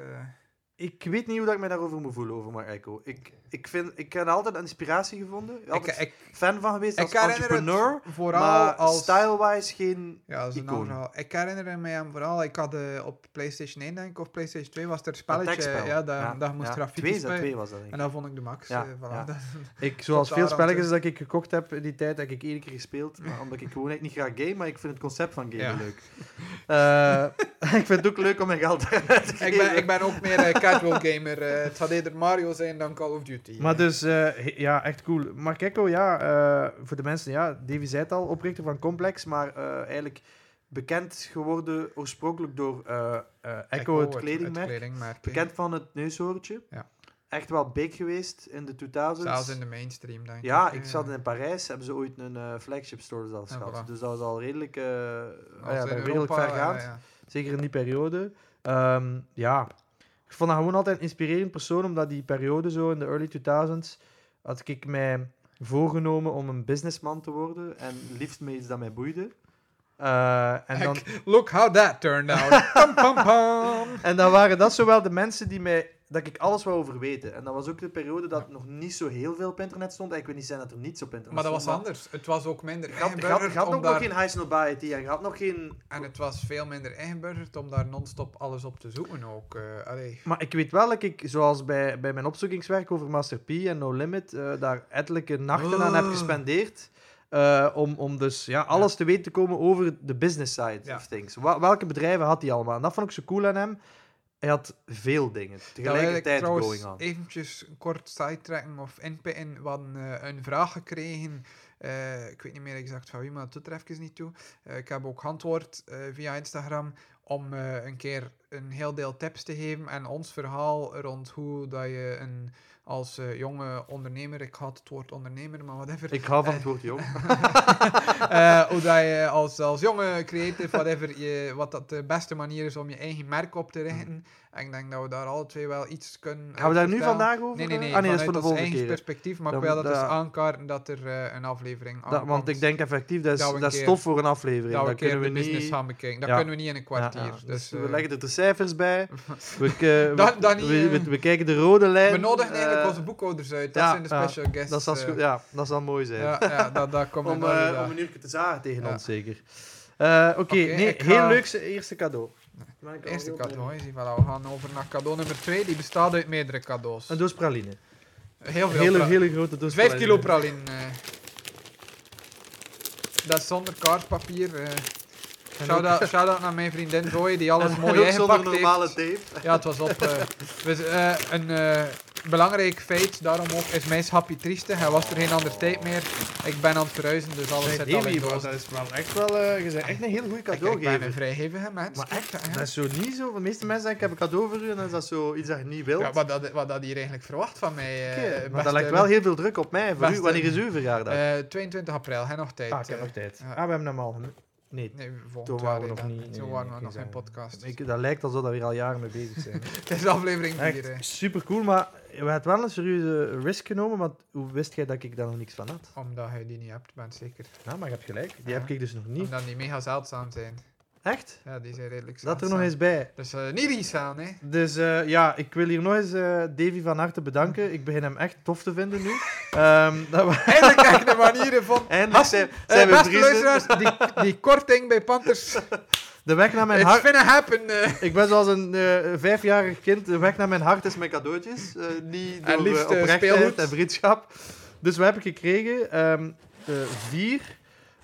[SPEAKER 3] Ik weet niet hoe dat ik mij daarover moet voelen, over Mark Echo. Ik, ik, vind, ik heb altijd een inspiratie gevonden.
[SPEAKER 1] ik,
[SPEAKER 3] Altijd
[SPEAKER 1] ik,
[SPEAKER 3] fan van geweest
[SPEAKER 1] ik
[SPEAKER 3] als
[SPEAKER 1] herinner
[SPEAKER 3] entrepreneur.
[SPEAKER 1] het vooral
[SPEAKER 3] maar
[SPEAKER 1] als...
[SPEAKER 3] style-wise geen...
[SPEAKER 1] Ja, dat is een
[SPEAKER 3] Icoon.
[SPEAKER 1] ander verhaal. Ik herinner me hem vooral, ik had eh, op PlayStation 1 denk ik, of PlayStation 2 was er een spelletje,
[SPEAKER 3] tekstspel.
[SPEAKER 1] ja, dat, dat moest grafiek
[SPEAKER 3] Twee, is dat,
[SPEAKER 1] bij.
[SPEAKER 3] twee was dat, denk
[SPEAKER 1] En
[SPEAKER 3] ik.
[SPEAKER 1] dat vond ik de max.
[SPEAKER 3] Ja,
[SPEAKER 1] eh, voilà.
[SPEAKER 3] ja.
[SPEAKER 1] Dat-
[SPEAKER 2] Ik, zoals
[SPEAKER 1] Tot
[SPEAKER 2] veel
[SPEAKER 1] daar aan toe.
[SPEAKER 2] spelletjes dat ik gekocht heb in die tijd, heb ik één keer
[SPEAKER 3] Gespeeld, maar omdat ik gewoon echt niet graag game, maar ik vind het concept van game
[SPEAKER 1] Ja.
[SPEAKER 3] leuk.
[SPEAKER 2] Eh,
[SPEAKER 3] ik vind het ook leuk om mijn geld eruit te
[SPEAKER 1] ik,
[SPEAKER 3] geven.
[SPEAKER 1] ben, ik ben ook meer eh, casual gamer. eh, het zou eerder Mario zijn dan Call of Duty.
[SPEAKER 2] Maar dus, eh, he- ja, echt cool. Mark Echo, ja, eh, voor de mensen, ja, Davy zei het al, oprichter van Complex, maar eh, eigenlijk bekend geworden oorspronkelijk door eh, eh, Echo, het kledingmerk.
[SPEAKER 1] kledingmerk, hè.
[SPEAKER 3] Bekend van het neushoortje.
[SPEAKER 1] Ja.
[SPEAKER 3] Echt wel big geweest in de 2000s.
[SPEAKER 1] Zelfs in de mainstream, denk ik. eh,
[SPEAKER 3] Ja,
[SPEAKER 1] hè.
[SPEAKER 3] ik zat eh, in Parijs, hebben ze ooit een eh, flagship store zelfs
[SPEAKER 1] Ja,
[SPEAKER 3] gehad.
[SPEAKER 1] voilà.
[SPEAKER 3] Dus dat was al redelijk, eh
[SPEAKER 1] Als
[SPEAKER 2] Ah ja,
[SPEAKER 1] in
[SPEAKER 2] dat
[SPEAKER 1] Europa,
[SPEAKER 2] redelijk vergaand.
[SPEAKER 1] ja, ja.
[SPEAKER 2] Zeker in die periode. Ehm, ja, ik vond dat gewoon altijd een inspirerend persoon, omdat die periode zo in de early 2000s had ik mij voorgenomen om een businessman te worden en liefst met iets dat mij boeide. Eh, en dan,
[SPEAKER 1] Look how that turned out. pam, pam, pam.
[SPEAKER 2] En dan waren dat zowel de mensen die mij... Dat ik alles wou over weten. En dat was ook de periode dat nog niet zo heel veel op internet stond. En Ik wil niet zeggen dat er niets op internet
[SPEAKER 1] Maar dat was
[SPEAKER 2] stond.
[SPEAKER 1] anders. Het was ook minder
[SPEAKER 3] Je had, je
[SPEAKER 1] ingeburgerd
[SPEAKER 3] had
[SPEAKER 1] om
[SPEAKER 3] ook
[SPEAKER 1] daar...
[SPEAKER 3] nog geen high snobiety en je had nog geen...
[SPEAKER 1] En het was veel minder ingeburgerd om daar non-stop alles op te zoeken ook. eh, allee.
[SPEAKER 2] Maar ik weet wel dat ik, zoals bij, bij mijn opzoekingswerk over Master P en No Limit, eh, daar ettelijke nachten aan heb
[SPEAKER 1] Oh.
[SPEAKER 2] gespendeerd. eh, om, om dus ja, alles te weten te komen over de business side
[SPEAKER 1] Ja.
[SPEAKER 2] of things. Wa- welke bedrijven had hij allemaal? En dat vond ik zo cool aan hem. Hij had veel dingen
[SPEAKER 1] wil ik
[SPEAKER 3] Tegelijkertijd
[SPEAKER 1] trouwens
[SPEAKER 3] going on.
[SPEAKER 1] eventjes kort sidetracken of inpitten. We hadden eh, een vraag gekregen. eh, ik weet niet meer exact van wie, maar dat doet er even niet toe. Eh, ik heb ook geantwoord eh, via Instagram om eh, een keer een heel deel tips te geven en ons verhaal rond hoe dat je een, als eh, jonge ondernemer, ik had het woord ondernemer, maar whatever,
[SPEAKER 2] Ik hou van het woord jong.
[SPEAKER 1] Eh, hoe dat je als, als jonge creative, whatever, je, wat dat de beste manier is om je eigen merk op te richten. En ik denk dat we daar alle twee wel iets kunnen
[SPEAKER 2] Mm-hmm. Gaan we daar nu
[SPEAKER 1] vertellen.
[SPEAKER 2] vandaag over?
[SPEAKER 1] Nee, nee, nee.
[SPEAKER 2] Ah, nee, dat is
[SPEAKER 1] vanuit
[SPEAKER 2] voor de
[SPEAKER 1] ons
[SPEAKER 2] volgende
[SPEAKER 1] eigen
[SPEAKER 2] keer.
[SPEAKER 1] perspectief, maar
[SPEAKER 2] Dan
[SPEAKER 1] ik wil dat
[SPEAKER 2] moet-
[SPEAKER 1] dus
[SPEAKER 2] dat-
[SPEAKER 1] aankaarten dat er eh, een aflevering
[SPEAKER 2] Dat, want ik denk effectief, dat is,
[SPEAKER 1] Dat we een
[SPEAKER 2] dat is
[SPEAKER 1] keer-
[SPEAKER 2] tof voor een aflevering.
[SPEAKER 1] dat we een
[SPEAKER 2] Dat
[SPEAKER 1] keer
[SPEAKER 2] kunnen
[SPEAKER 1] de
[SPEAKER 2] we
[SPEAKER 1] business
[SPEAKER 2] niet...
[SPEAKER 1] gaan bekijken. Dat
[SPEAKER 2] Ja.
[SPEAKER 1] kunnen we niet in een kwartier.
[SPEAKER 2] Ja, ja.
[SPEAKER 1] Dus,
[SPEAKER 2] Dus we
[SPEAKER 1] eh,
[SPEAKER 2] leggen er de cijfers bij. We, ke-
[SPEAKER 1] Dan-
[SPEAKER 2] we-
[SPEAKER 1] dan niet,
[SPEAKER 2] we, we,
[SPEAKER 1] eh,
[SPEAKER 2] we kijken de rode lijn.
[SPEAKER 1] we nodigen eigenlijk
[SPEAKER 2] eh,
[SPEAKER 1] onze boekhouders uit. Dat
[SPEAKER 2] ja,
[SPEAKER 1] zijn de
[SPEAKER 2] ja.
[SPEAKER 1] special guests.
[SPEAKER 2] Dat zal, scho-
[SPEAKER 1] eh.
[SPEAKER 2] ja, dat zal mooi zijn.
[SPEAKER 1] ja, ja, dat, dat komt
[SPEAKER 3] Om,
[SPEAKER 1] inderdaad,
[SPEAKER 3] eh,
[SPEAKER 1] ja.
[SPEAKER 3] om een uurtje te zagen tegen
[SPEAKER 2] Tegen
[SPEAKER 1] Ja.
[SPEAKER 2] ons zeker. Eh, Oké,
[SPEAKER 1] Oké,
[SPEAKER 2] nee,
[SPEAKER 1] ik
[SPEAKER 2] heel
[SPEAKER 1] ga-
[SPEAKER 2] leuk se- eerste cadeau. Maar ik al
[SPEAKER 1] Eerste
[SPEAKER 2] heel
[SPEAKER 1] cadeau,
[SPEAKER 2] blij.
[SPEAKER 1] hè, zie, voilà, we gaan over naar cadeau nummer 2. Die bestaat uit meerdere cadeaus.
[SPEAKER 2] Een doos praline.
[SPEAKER 1] Heel
[SPEAKER 2] Een
[SPEAKER 1] veel
[SPEAKER 2] hele,
[SPEAKER 1] pra-
[SPEAKER 2] hele grote doos
[SPEAKER 1] 5 kilo praline. eh. Dat is zonder kaartpapier. eh. Shout-out shout-out naar mijn vriendin Zoe, die alles
[SPEAKER 3] En
[SPEAKER 1] mooi
[SPEAKER 3] ook zonder
[SPEAKER 1] ingepakt
[SPEAKER 3] normale
[SPEAKER 1] heeft.
[SPEAKER 3] tape.
[SPEAKER 1] Ja, het was op. eh, dus, eh, een eh, belangrijk feit, daarom ook, is mijn happy trieste. Hij was er geen ander tijd meer. Ik ben aan het verhuizen, dus alles zit al in doos.
[SPEAKER 2] dat is wel echt wel... eh, je bent echt een heel goed
[SPEAKER 1] Ik, ik
[SPEAKER 2] cadeau
[SPEAKER 1] ben een
[SPEAKER 2] geven.
[SPEAKER 1] vrijgevige mens.
[SPEAKER 2] Maar
[SPEAKER 1] kijk,
[SPEAKER 2] echt,
[SPEAKER 1] hè.
[SPEAKER 2] dat is zo niet zo. De meeste mensen zeggen, ik heb een cadeau voor u. En dan is dat zo iets dat je niet wilt.
[SPEAKER 1] Ja, wat, dat, wat dat hier eigenlijk verwacht van mij. eh,
[SPEAKER 2] Oké, maar
[SPEAKER 1] beste-
[SPEAKER 2] dat lijkt wel heel veel druk op mij. Voor u,
[SPEAKER 1] beste-
[SPEAKER 2] wanneer is uw verjaardag?
[SPEAKER 1] eh, 22 april, hè, nog tijd.
[SPEAKER 2] ah, ik heb
[SPEAKER 1] eh.
[SPEAKER 2] nog tijd.
[SPEAKER 1] ja.
[SPEAKER 2] Ah, we hebben hem al... gem- Nee,
[SPEAKER 1] Nee, volgend
[SPEAKER 2] Toen
[SPEAKER 1] jaar
[SPEAKER 2] waren we nog
[SPEAKER 1] inderdaad.
[SPEAKER 2] niet. nee,
[SPEAKER 1] Toen
[SPEAKER 2] nee,
[SPEAKER 1] waren
[SPEAKER 2] nee,
[SPEAKER 1] we nog geen
[SPEAKER 2] zeggen.
[SPEAKER 1] podcast.
[SPEAKER 2] Ik- dat lijkt alsof we hier al jaren mee bezig zijn.
[SPEAKER 1] Het is aflevering 4.
[SPEAKER 2] Echt super cool, maar we hebben wel een serieuze risk genomen. Want hoe wist jij dat ik daar nog niks van had?
[SPEAKER 1] Omdat je die niet hebt, ben ik zeker.
[SPEAKER 2] Nou, maar je hebt gelijk. Die
[SPEAKER 1] Ja.
[SPEAKER 2] heb ik dus nog niet.
[SPEAKER 1] Omdat die mega zeldzaam zijn.
[SPEAKER 2] Echt?
[SPEAKER 1] Ja, die zijn redelijk
[SPEAKER 2] Dat
[SPEAKER 1] zeldzaam.
[SPEAKER 2] er nog eens bij.
[SPEAKER 1] Dus eh, niet resaan, hè.
[SPEAKER 2] Dus eh, ja, ik wil hier nog eens eh, Davy van harte bedanken. Ik begin hem echt tof te vinden nu. Ehm dat we...
[SPEAKER 1] Eindelijk krijg je de manieren van...
[SPEAKER 3] Eindelijk zijn,
[SPEAKER 1] Eh,
[SPEAKER 3] zijn we
[SPEAKER 1] beste
[SPEAKER 3] vrienden.
[SPEAKER 1] luisteraars, die, die korting bij Panthers,
[SPEAKER 2] De weg naar mijn
[SPEAKER 1] it's
[SPEAKER 2] hart.
[SPEAKER 1] gonna happen. eh.
[SPEAKER 2] Ik ben zoals een eh, vijfjarig kind. De weg naar mijn hart
[SPEAKER 3] Het is mijn cadeautjes. eh, niet
[SPEAKER 1] En
[SPEAKER 3] door
[SPEAKER 1] liefst,
[SPEAKER 3] eh,
[SPEAKER 1] eh,
[SPEAKER 3] oprechtheid
[SPEAKER 1] speelgoed.
[SPEAKER 3] en vriendschap.
[SPEAKER 2] Dus wat heb ik gekregen? Ehm, eh, vier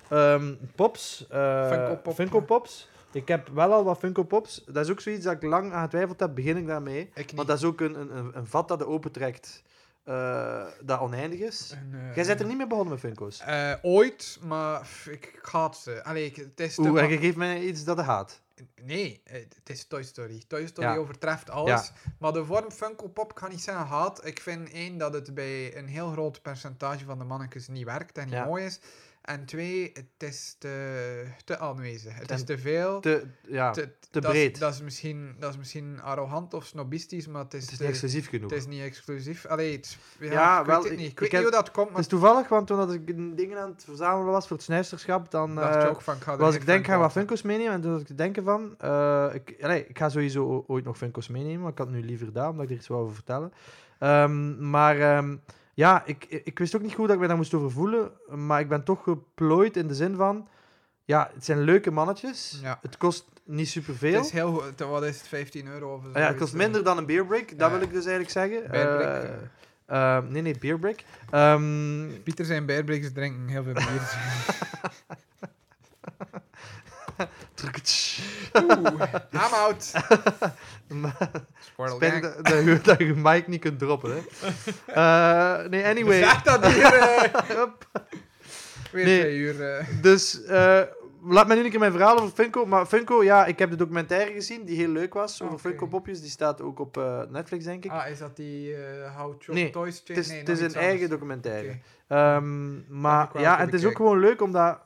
[SPEAKER 2] ehm, pops. eh,
[SPEAKER 1] Funko Pop.
[SPEAKER 2] Pops. Ik heb wel al wat Funko Pops. Dat is ook zoiets dat ik lang aan getwijfeld heb, begin ik daarmee.
[SPEAKER 1] Ik
[SPEAKER 3] Maar
[SPEAKER 1] niet.
[SPEAKER 3] dat is ook een, een- een, een vat dat de opentrekt, eh dat oneindig is.
[SPEAKER 1] En, eh,
[SPEAKER 3] Jij bent er niet mee begonnen met Funko's.
[SPEAKER 1] eh, ooit, maar pff, ik, ik haat ze. Allee, ik- het is te
[SPEAKER 3] Oeh,
[SPEAKER 1] ma-
[SPEAKER 3] en je geeft mij iets dat hij haat.
[SPEAKER 1] Nee, eh, het is Toy Story. Toy Story
[SPEAKER 3] Ja.
[SPEAKER 1] overtreft alles. Maar de vorm Funko Pop kan niet zeggen haat. Ik vind één dat het bij een heel groot percentage van de mannetjes niet werkt en niet
[SPEAKER 3] Ja.
[SPEAKER 1] mooi is. En twee, het is te, te aanwezig. Het is
[SPEAKER 3] En
[SPEAKER 1] te veel.
[SPEAKER 3] Te, ja,
[SPEAKER 1] te,
[SPEAKER 3] te
[SPEAKER 1] dat is-
[SPEAKER 3] breed.
[SPEAKER 1] Dat is, misschien, dat is misschien arrogant of snobistisch, maar het is,
[SPEAKER 3] het is
[SPEAKER 1] te-
[SPEAKER 3] niet exclusief genoeg.
[SPEAKER 1] het is niet exclusief. Allee, het, ja,
[SPEAKER 2] Ja,
[SPEAKER 1] ik
[SPEAKER 2] wel,
[SPEAKER 1] weet het
[SPEAKER 2] ik-
[SPEAKER 1] niet. Ik,
[SPEAKER 2] ik
[SPEAKER 1] weet
[SPEAKER 2] heb-
[SPEAKER 1] niet hoe dat komt,
[SPEAKER 2] Het
[SPEAKER 1] maar
[SPEAKER 2] is toevallig, want toen dat ik een dingen aan het verzamelen was voor het snuisterschap, dan
[SPEAKER 1] ik dacht
[SPEAKER 2] eh,
[SPEAKER 1] ook van, ik ga er
[SPEAKER 2] was
[SPEAKER 1] geen
[SPEAKER 2] ik denk,
[SPEAKER 1] Funko
[SPEAKER 2] ga ik wat
[SPEAKER 1] op hebben.
[SPEAKER 2] Funko's meenemen. En toen had ik te denken van, eh, ik, allee, ik ga sowieso o- ooit nog Funko's meenemen, maar ik had het nu liever gedaan, omdat ik er iets wou over vertellen. Ehm, maar ehm, ja, ik, ik wist ook niet goed dat ik mij daar moest over voelen, maar ik ben toch geplooid in de zin van, ja, het zijn leuke mannetjes,
[SPEAKER 1] Ja.
[SPEAKER 2] het kost niet superveel.
[SPEAKER 1] Het is heel goed. Wat is het, 15 euro of zo? Dus, eh,
[SPEAKER 2] Ah ja, het kost minder dan een beerbreak, dat
[SPEAKER 1] Ja.
[SPEAKER 2] wil ik dus eigenlijk zeggen.
[SPEAKER 1] Beerbreak,
[SPEAKER 2] Eh,
[SPEAKER 1] eh.
[SPEAKER 2] ehm, nee, nee, beerbreak. Ehm,
[SPEAKER 1] Pieter zijn beerbrekers drinken heel veel bier. Oeh, I'm out. Squirrel
[SPEAKER 2] Spijt
[SPEAKER 1] gang.
[SPEAKER 2] dat, dat, je- dat je mic niet kunt droppen. Hè. Eh, nee, anyway.
[SPEAKER 1] Zeg dat hier eh,
[SPEAKER 2] Hup.
[SPEAKER 1] weer
[SPEAKER 2] Nee.
[SPEAKER 1] twee uur. eh.
[SPEAKER 2] Dus eh, laat mij nu een keer mijn verhaal over Funko. Maar Funko, ja, ik heb de documentaire gezien die heel leuk was. Over
[SPEAKER 1] Oké.
[SPEAKER 2] Funko Popjes. Die staat ook op eh, Netflix, denk ik.
[SPEAKER 1] Ah, is dat die eh How Chop
[SPEAKER 2] Nee,
[SPEAKER 1] Toys
[SPEAKER 2] het
[SPEAKER 1] chain?
[SPEAKER 2] is,
[SPEAKER 1] Nee,
[SPEAKER 2] het
[SPEAKER 1] nog
[SPEAKER 2] is een
[SPEAKER 1] iets
[SPEAKER 2] eigen
[SPEAKER 1] anders.
[SPEAKER 2] documentaire.
[SPEAKER 1] Oké.
[SPEAKER 2] Ehm,
[SPEAKER 1] heb ik
[SPEAKER 2] maar
[SPEAKER 1] wel
[SPEAKER 2] ja, en
[SPEAKER 1] kunnen
[SPEAKER 2] het is ook
[SPEAKER 1] kijken.
[SPEAKER 2] gewoon leuk omdat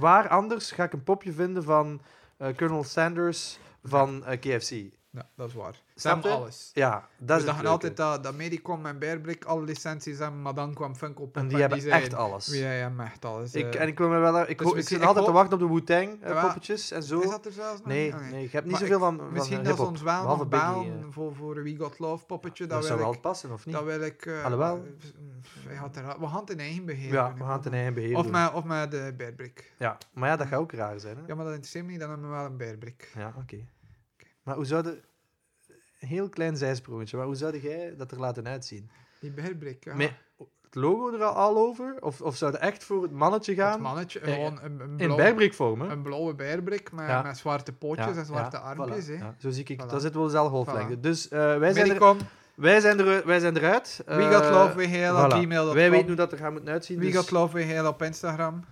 [SPEAKER 2] waar anders ga ik een popje vinden van eh Colonel Sanders van eh, KFC.
[SPEAKER 1] Ja, dat is waar. Ze
[SPEAKER 3] Snap
[SPEAKER 1] hebben
[SPEAKER 3] je?
[SPEAKER 1] alles.
[SPEAKER 2] Ja, dat is
[SPEAKER 1] Dat we
[SPEAKER 2] het
[SPEAKER 1] dachten
[SPEAKER 2] leuke.
[SPEAKER 1] altijd dat, dat Medicom en Bearbrik alle licenties hebben, maar dan kwam Funko Pop
[SPEAKER 2] En die hebben
[SPEAKER 1] zei,
[SPEAKER 2] echt alles.
[SPEAKER 1] Ja, ja, maar echt alles.
[SPEAKER 2] Ik,
[SPEAKER 1] eh.
[SPEAKER 2] en ik wil me wel... Ik,
[SPEAKER 1] dus
[SPEAKER 2] ho- ik
[SPEAKER 1] misschien-
[SPEAKER 2] zit
[SPEAKER 1] ik
[SPEAKER 2] altijd te
[SPEAKER 1] hoop-
[SPEAKER 2] wachten op de Wu-Tang eh,
[SPEAKER 1] Ja,
[SPEAKER 2] poppetjes en zo.
[SPEAKER 1] Is dat er zelfs nog?
[SPEAKER 2] Nee,
[SPEAKER 1] niet? Oké.
[SPEAKER 2] nee, ik heb niet
[SPEAKER 1] Maar
[SPEAKER 2] zoveel
[SPEAKER 1] ik-
[SPEAKER 2] van, van
[SPEAKER 1] Misschien dat
[SPEAKER 2] hiphop.
[SPEAKER 1] ze ons wel
[SPEAKER 2] behalve
[SPEAKER 1] nog
[SPEAKER 2] Biggie,
[SPEAKER 1] baan
[SPEAKER 2] eh.
[SPEAKER 1] voor, voor een We Got Love poppetje.
[SPEAKER 2] Dat
[SPEAKER 1] Dat,
[SPEAKER 2] zou
[SPEAKER 1] wil
[SPEAKER 2] wel
[SPEAKER 1] ik,
[SPEAKER 2] passen, of niet?
[SPEAKER 1] dat wil ik... eh,
[SPEAKER 2] Alhoewel.
[SPEAKER 1] eh, hij had er- we gaan het in eigen beheer.
[SPEAKER 2] ja,
[SPEAKER 1] doen,
[SPEAKER 2] we
[SPEAKER 1] hè.
[SPEAKER 2] gaan het in eigen beheer
[SPEAKER 1] Of
[SPEAKER 2] doen.
[SPEAKER 1] met, of met de bearbrik.
[SPEAKER 2] Ja, maar ja, dat gaat ook raar zijn, hè?
[SPEAKER 1] Ja, maar dat interesseert me niet, dan hebben we wel een bearbrik.
[SPEAKER 2] Ja, oké. Maar hoe zou de... Een heel klein zijsprongetje, maar hoe zou jij dat er laten uitzien?
[SPEAKER 1] Die bearbrik, ja.
[SPEAKER 2] Met het logo er al, al over? Of, of zou het echt voor het mannetje
[SPEAKER 1] Het
[SPEAKER 2] gaan?
[SPEAKER 1] mannetje,
[SPEAKER 2] eh,
[SPEAKER 1] gewoon een, een,
[SPEAKER 2] in
[SPEAKER 1] blauw-
[SPEAKER 2] bergbriekvorm, hè?
[SPEAKER 1] een blauwe bearbrik met,
[SPEAKER 2] Ja.
[SPEAKER 1] met zwarte pootjes en zwarte armpjes.
[SPEAKER 2] voilà,
[SPEAKER 1] hè.
[SPEAKER 2] ja. Zo zie ik,
[SPEAKER 1] Voilà.
[SPEAKER 2] daar zitten we dezelfde golflengte.
[SPEAKER 1] Voilà.
[SPEAKER 2] Dus eh, wij, zijn er,
[SPEAKER 1] Medicom,
[SPEAKER 2] wij, zijn er, wij zijn eruit.
[SPEAKER 1] We Got
[SPEAKER 2] Eh,
[SPEAKER 1] Love, we heel op
[SPEAKER 2] voilà.
[SPEAKER 1] gmail.com.
[SPEAKER 2] Wij weten hoe dat er gaat moeten uitzien.
[SPEAKER 1] We
[SPEAKER 2] dus,
[SPEAKER 1] Got Love, we heel op Instagram.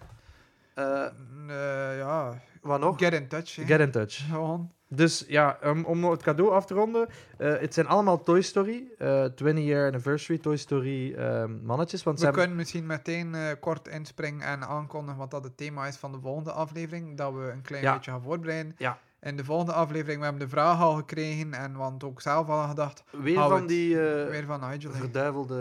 [SPEAKER 2] eh,
[SPEAKER 1] Eh, ja,
[SPEAKER 2] wat nog?
[SPEAKER 1] get in touch. hè.
[SPEAKER 2] Oh. Get in touch.
[SPEAKER 1] Gewoon.
[SPEAKER 2] Dus ja, ehm, om het cadeau af te ronden. eh, het zijn allemaal Toy Story. eh 20 year anniversary Toy Story ehm, mannetjes. Want ze
[SPEAKER 1] We
[SPEAKER 2] hebben-
[SPEAKER 1] kunnen misschien meteen eh, kort inspringen en aankondigen wat dat het thema is van de volgende aflevering. Dat we een klein
[SPEAKER 2] Ja.
[SPEAKER 1] beetje gaan voorbereiden.
[SPEAKER 2] Ja.
[SPEAKER 1] In de volgende aflevering, we hebben de vraag al gekregen en want ook zelf al gedacht.
[SPEAKER 2] weer
[SPEAKER 1] Hou
[SPEAKER 2] van
[SPEAKER 1] het.
[SPEAKER 2] die eh,
[SPEAKER 1] Weer van Nigel. hè.
[SPEAKER 2] verduivelde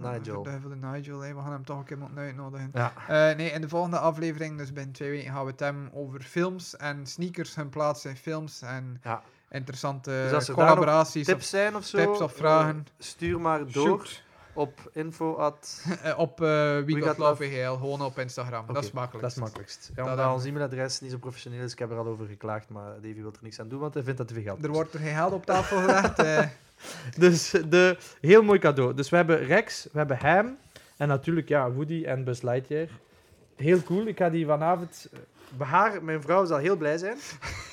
[SPEAKER 1] Ja,
[SPEAKER 2] Nigel. Ah.
[SPEAKER 1] Verduivelde Nigel, hè. we gaan hem toch een keer moeten uitnodigen.
[SPEAKER 2] Ja.
[SPEAKER 1] Eh, nee, in de volgende aflevering, dus binnen twee weken, gaan we het hebben over films en sneakers, hun plaats in films en
[SPEAKER 2] Ja.
[SPEAKER 1] interessante
[SPEAKER 2] Dus als er daar nog
[SPEAKER 1] collaboraties.
[SPEAKER 2] Tips zijn of zo?
[SPEAKER 1] tips of vragen?
[SPEAKER 2] eh, stuur maar
[SPEAKER 1] of
[SPEAKER 2] door
[SPEAKER 1] shoot.
[SPEAKER 2] op info. At,
[SPEAKER 1] Eh, op eh We, Got,
[SPEAKER 2] Got
[SPEAKER 1] Love
[SPEAKER 2] Love.
[SPEAKER 1] VGL, gewoon op Instagram.
[SPEAKER 2] Oké,
[SPEAKER 1] dat is makkelijk.
[SPEAKER 2] dat is makkelijkst. Ja,
[SPEAKER 1] Dat
[SPEAKER 2] omdat
[SPEAKER 1] dan-
[SPEAKER 2] ons e-mailadres niet zo professioneel is. Ik heb er al over geklaagd, maar Davy wil er niks aan doen, want hij vindt dat te veel geld.
[SPEAKER 1] Er
[SPEAKER 2] kost.
[SPEAKER 1] wordt er geen geld op tafel gelegd. eh.
[SPEAKER 2] Dus de, heel mooi cadeau. Dus we hebben Rex, we hebben hem en natuurlijk ja, Woody en Buzz Lightyear. Heel cool. Ik ga die vanavond... Bij haar, mijn vrouw zal heel blij zijn.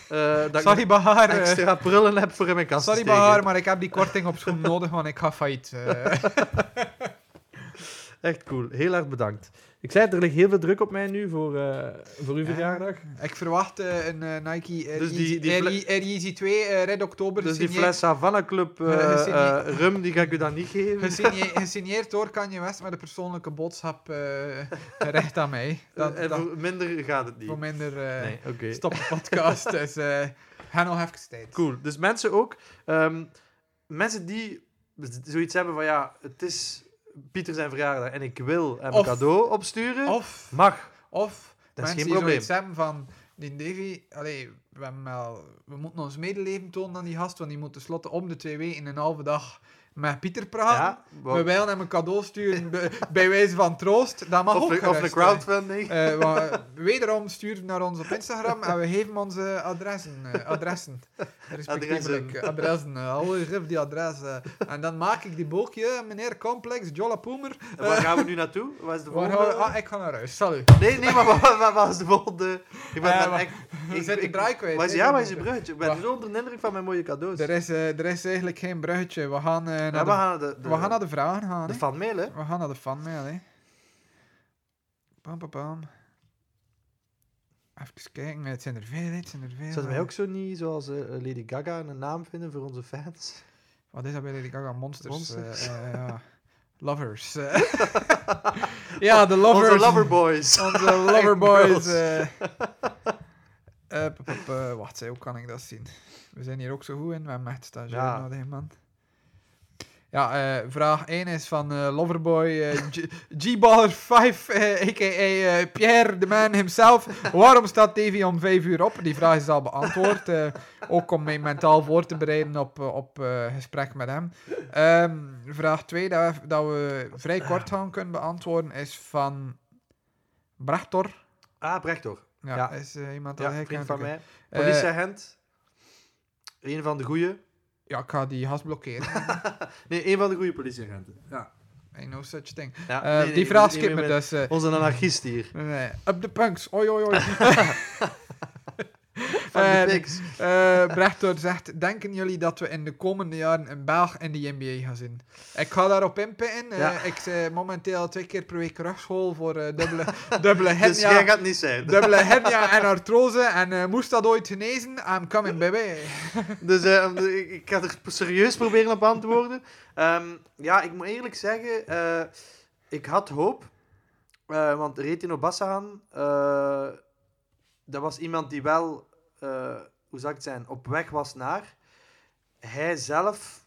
[SPEAKER 2] eh, dat
[SPEAKER 1] Sorry
[SPEAKER 2] ik
[SPEAKER 1] Bahar.
[SPEAKER 2] nog
[SPEAKER 1] eh,
[SPEAKER 2] extra prullen heb voor in mijn kast te
[SPEAKER 1] sorry
[SPEAKER 2] steken.
[SPEAKER 1] Bahar, maar ik heb die korting op schoen nodig, want ik ga failliet. eh.
[SPEAKER 2] Echt cool. Heel erg bedankt. Ik zei het, er ligt heel veel druk op mij nu voor, eh, voor uw
[SPEAKER 1] Ja.
[SPEAKER 2] verjaardag.
[SPEAKER 1] ik verwacht eh, een eh, Nike
[SPEAKER 2] Dus die- die fle-
[SPEAKER 1] REZ 2 eh Red Oktober.
[SPEAKER 2] Dus die
[SPEAKER 1] gesigneerd.
[SPEAKER 2] fles Havana Club eh,
[SPEAKER 1] Eh, gezien
[SPEAKER 2] eh, rum, die ga ik u dan niet geven.
[SPEAKER 1] Gesigne- Gesigneerd door Kanye West met een persoonlijke boodschap eh recht aan mij. Dat,
[SPEAKER 2] Eh, en
[SPEAKER 1] dat
[SPEAKER 2] voor minder gaat het niet.
[SPEAKER 1] voor minder eh,
[SPEAKER 2] Nee, oké.
[SPEAKER 1] stop de podcast. dus eh ga nog even tijd.
[SPEAKER 2] Cool. Dus mensen ook, ehm, mensen die z- zoiets hebben van ja, het is Pieter zijn verjaardag en ik wil hem een
[SPEAKER 1] Of-
[SPEAKER 2] cadeau opsturen,
[SPEAKER 1] Of,
[SPEAKER 2] mag.
[SPEAKER 1] of
[SPEAKER 2] Dat is
[SPEAKER 1] mensen
[SPEAKER 2] geen
[SPEAKER 1] die
[SPEAKER 2] probleem.
[SPEAKER 1] zoiets hebben van... Die Davy, allee, we, hebben wel- we moeten ons medeleven tonen aan die gast, want die moet tenslotte om de twee weken een halve dag met Pieter praten.
[SPEAKER 2] wat-
[SPEAKER 1] We willen hem een cadeau sturen bij- bij wijze van troost. Dat mag
[SPEAKER 2] of,
[SPEAKER 1] ook
[SPEAKER 2] een- of een
[SPEAKER 1] gerust,
[SPEAKER 2] crowdfunding.
[SPEAKER 1] hè. Eh, wa- wederom stuur naar ons op Instagram en we geven onze adressen. eh, adressen. Respectievelijk. eh, Adressen. eh, Alle geef die adressen. En dan maak ik die boekje, eh, meneer Complex, Jolla Poemer.
[SPEAKER 2] En waar gaan we nu naartoe? Wat is de
[SPEAKER 1] Waar
[SPEAKER 2] volgende? Ah,
[SPEAKER 1] gaan we- ah, ik ga naar huis. Salut.
[SPEAKER 2] Nee, nee, maar wat, wat, wat is de volgende? Ik ben,
[SPEAKER 1] Eh,
[SPEAKER 2] ben
[SPEAKER 1] wa-
[SPEAKER 2] echt...
[SPEAKER 1] Ik zit de draai kwijt.
[SPEAKER 2] Wat is,
[SPEAKER 1] hè,
[SPEAKER 2] ja,
[SPEAKER 1] je
[SPEAKER 2] wat is je
[SPEAKER 1] moet-
[SPEAKER 2] bruggetje? Ik ben
[SPEAKER 1] Wacht.
[SPEAKER 2] zo onder de indruk van mijn mooie cadeaus.
[SPEAKER 1] Er is, eh, er is eigenlijk geen bruggetje. We gaan, eh, naar,
[SPEAKER 2] Ja, we
[SPEAKER 1] de,
[SPEAKER 2] gaan naar de, de,
[SPEAKER 1] we gaan naar de vragen gaan.
[SPEAKER 2] de
[SPEAKER 1] hè.
[SPEAKER 2] fanmail, hè?
[SPEAKER 1] We gaan naar de fanmail, hè. Pam, pam, pam. Even kijken. Het zijn er veel, hè. Het zijn er veel.
[SPEAKER 2] Zouden wij
[SPEAKER 1] hè.
[SPEAKER 2] ook zo niet, zoals eh, Lady Gaga, een naam vinden voor onze fans?
[SPEAKER 1] Wat is dat bij Lady Gaga? Monsters.
[SPEAKER 2] Monsters.
[SPEAKER 1] eh, eh, ja. Lovers. eh. ja, de lovers.
[SPEAKER 2] Onze loverboys.
[SPEAKER 1] Onze loverboys.
[SPEAKER 2] Girls.
[SPEAKER 1] eh. Eh, p- p- p- eh, wacht, hè, hoe kan ik dat zien? We zijn hier ook zo goed in. We hebben echt stagiair
[SPEAKER 2] Ja.
[SPEAKER 1] nodig, man. Ja, eh, vraag 1 is van eh, Loverboy eh, G- G-Baller 5, eh, a.k.a. eh, Pierre, de man himself. Waarom staat TV om 5 uur op? Die vraag is al beantwoord. eh, ook om mij mentaal voor te bereiden op, eh, op eh, gesprek met hem. Ehm, vraag 2, dat, we- dat we vrij kort gaan kunnen beantwoorden, is van Brachtor.
[SPEAKER 2] Ah, Brechtor.
[SPEAKER 1] Ja,
[SPEAKER 2] Ja.
[SPEAKER 1] is eh, iemand dat
[SPEAKER 2] Ja,
[SPEAKER 1] hij
[SPEAKER 2] vriend
[SPEAKER 1] kent.
[SPEAKER 2] van
[SPEAKER 1] Oké.
[SPEAKER 2] mij.
[SPEAKER 1] Eh,
[SPEAKER 2] Politieagent. Een van de goede.
[SPEAKER 1] ja, ik ga die has blokkeren.
[SPEAKER 2] Nee, een van de goede politieagenten. Ja.
[SPEAKER 1] Ain't no such thing.
[SPEAKER 2] Ja,
[SPEAKER 1] Eh,
[SPEAKER 2] Ah, nee, nee,
[SPEAKER 1] die vraag
[SPEAKER 2] nee,
[SPEAKER 1] skip me
[SPEAKER 2] nee, Oh.
[SPEAKER 1] dus. eh,
[SPEAKER 2] nee. Onze anarchist hier.
[SPEAKER 1] nee, nee. Up the punks. Oi, oi, oi.
[SPEAKER 2] Van de
[SPEAKER 1] Eh,
[SPEAKER 2] pigs.
[SPEAKER 1] Eh, Brechter zegt, denken jullie dat we in de komende jaren een Belg in de NBA gaan zien? Ik ga daarop inpitten. Eh,
[SPEAKER 2] Ja.
[SPEAKER 1] Ik zit momenteel twee keer per week rugschool voor eh, dubbele, dubbele
[SPEAKER 2] Dus jij
[SPEAKER 1] hernia.
[SPEAKER 2] gaat het niet zijn.
[SPEAKER 1] dubbele hernia en artrose. En eh, moest dat ooit genezen? I'm coming, baby.
[SPEAKER 2] Dus eh, om de- ik, ik ga er serieus proberen op antwoorden. Ehm, ja, ik moet eerlijk zeggen, eh, ik had hoop. eh, want Retino Bassahan, eh, dat was iemand die wel, eh, hoe zou ik het zijn, op weg was naar. Hij zelf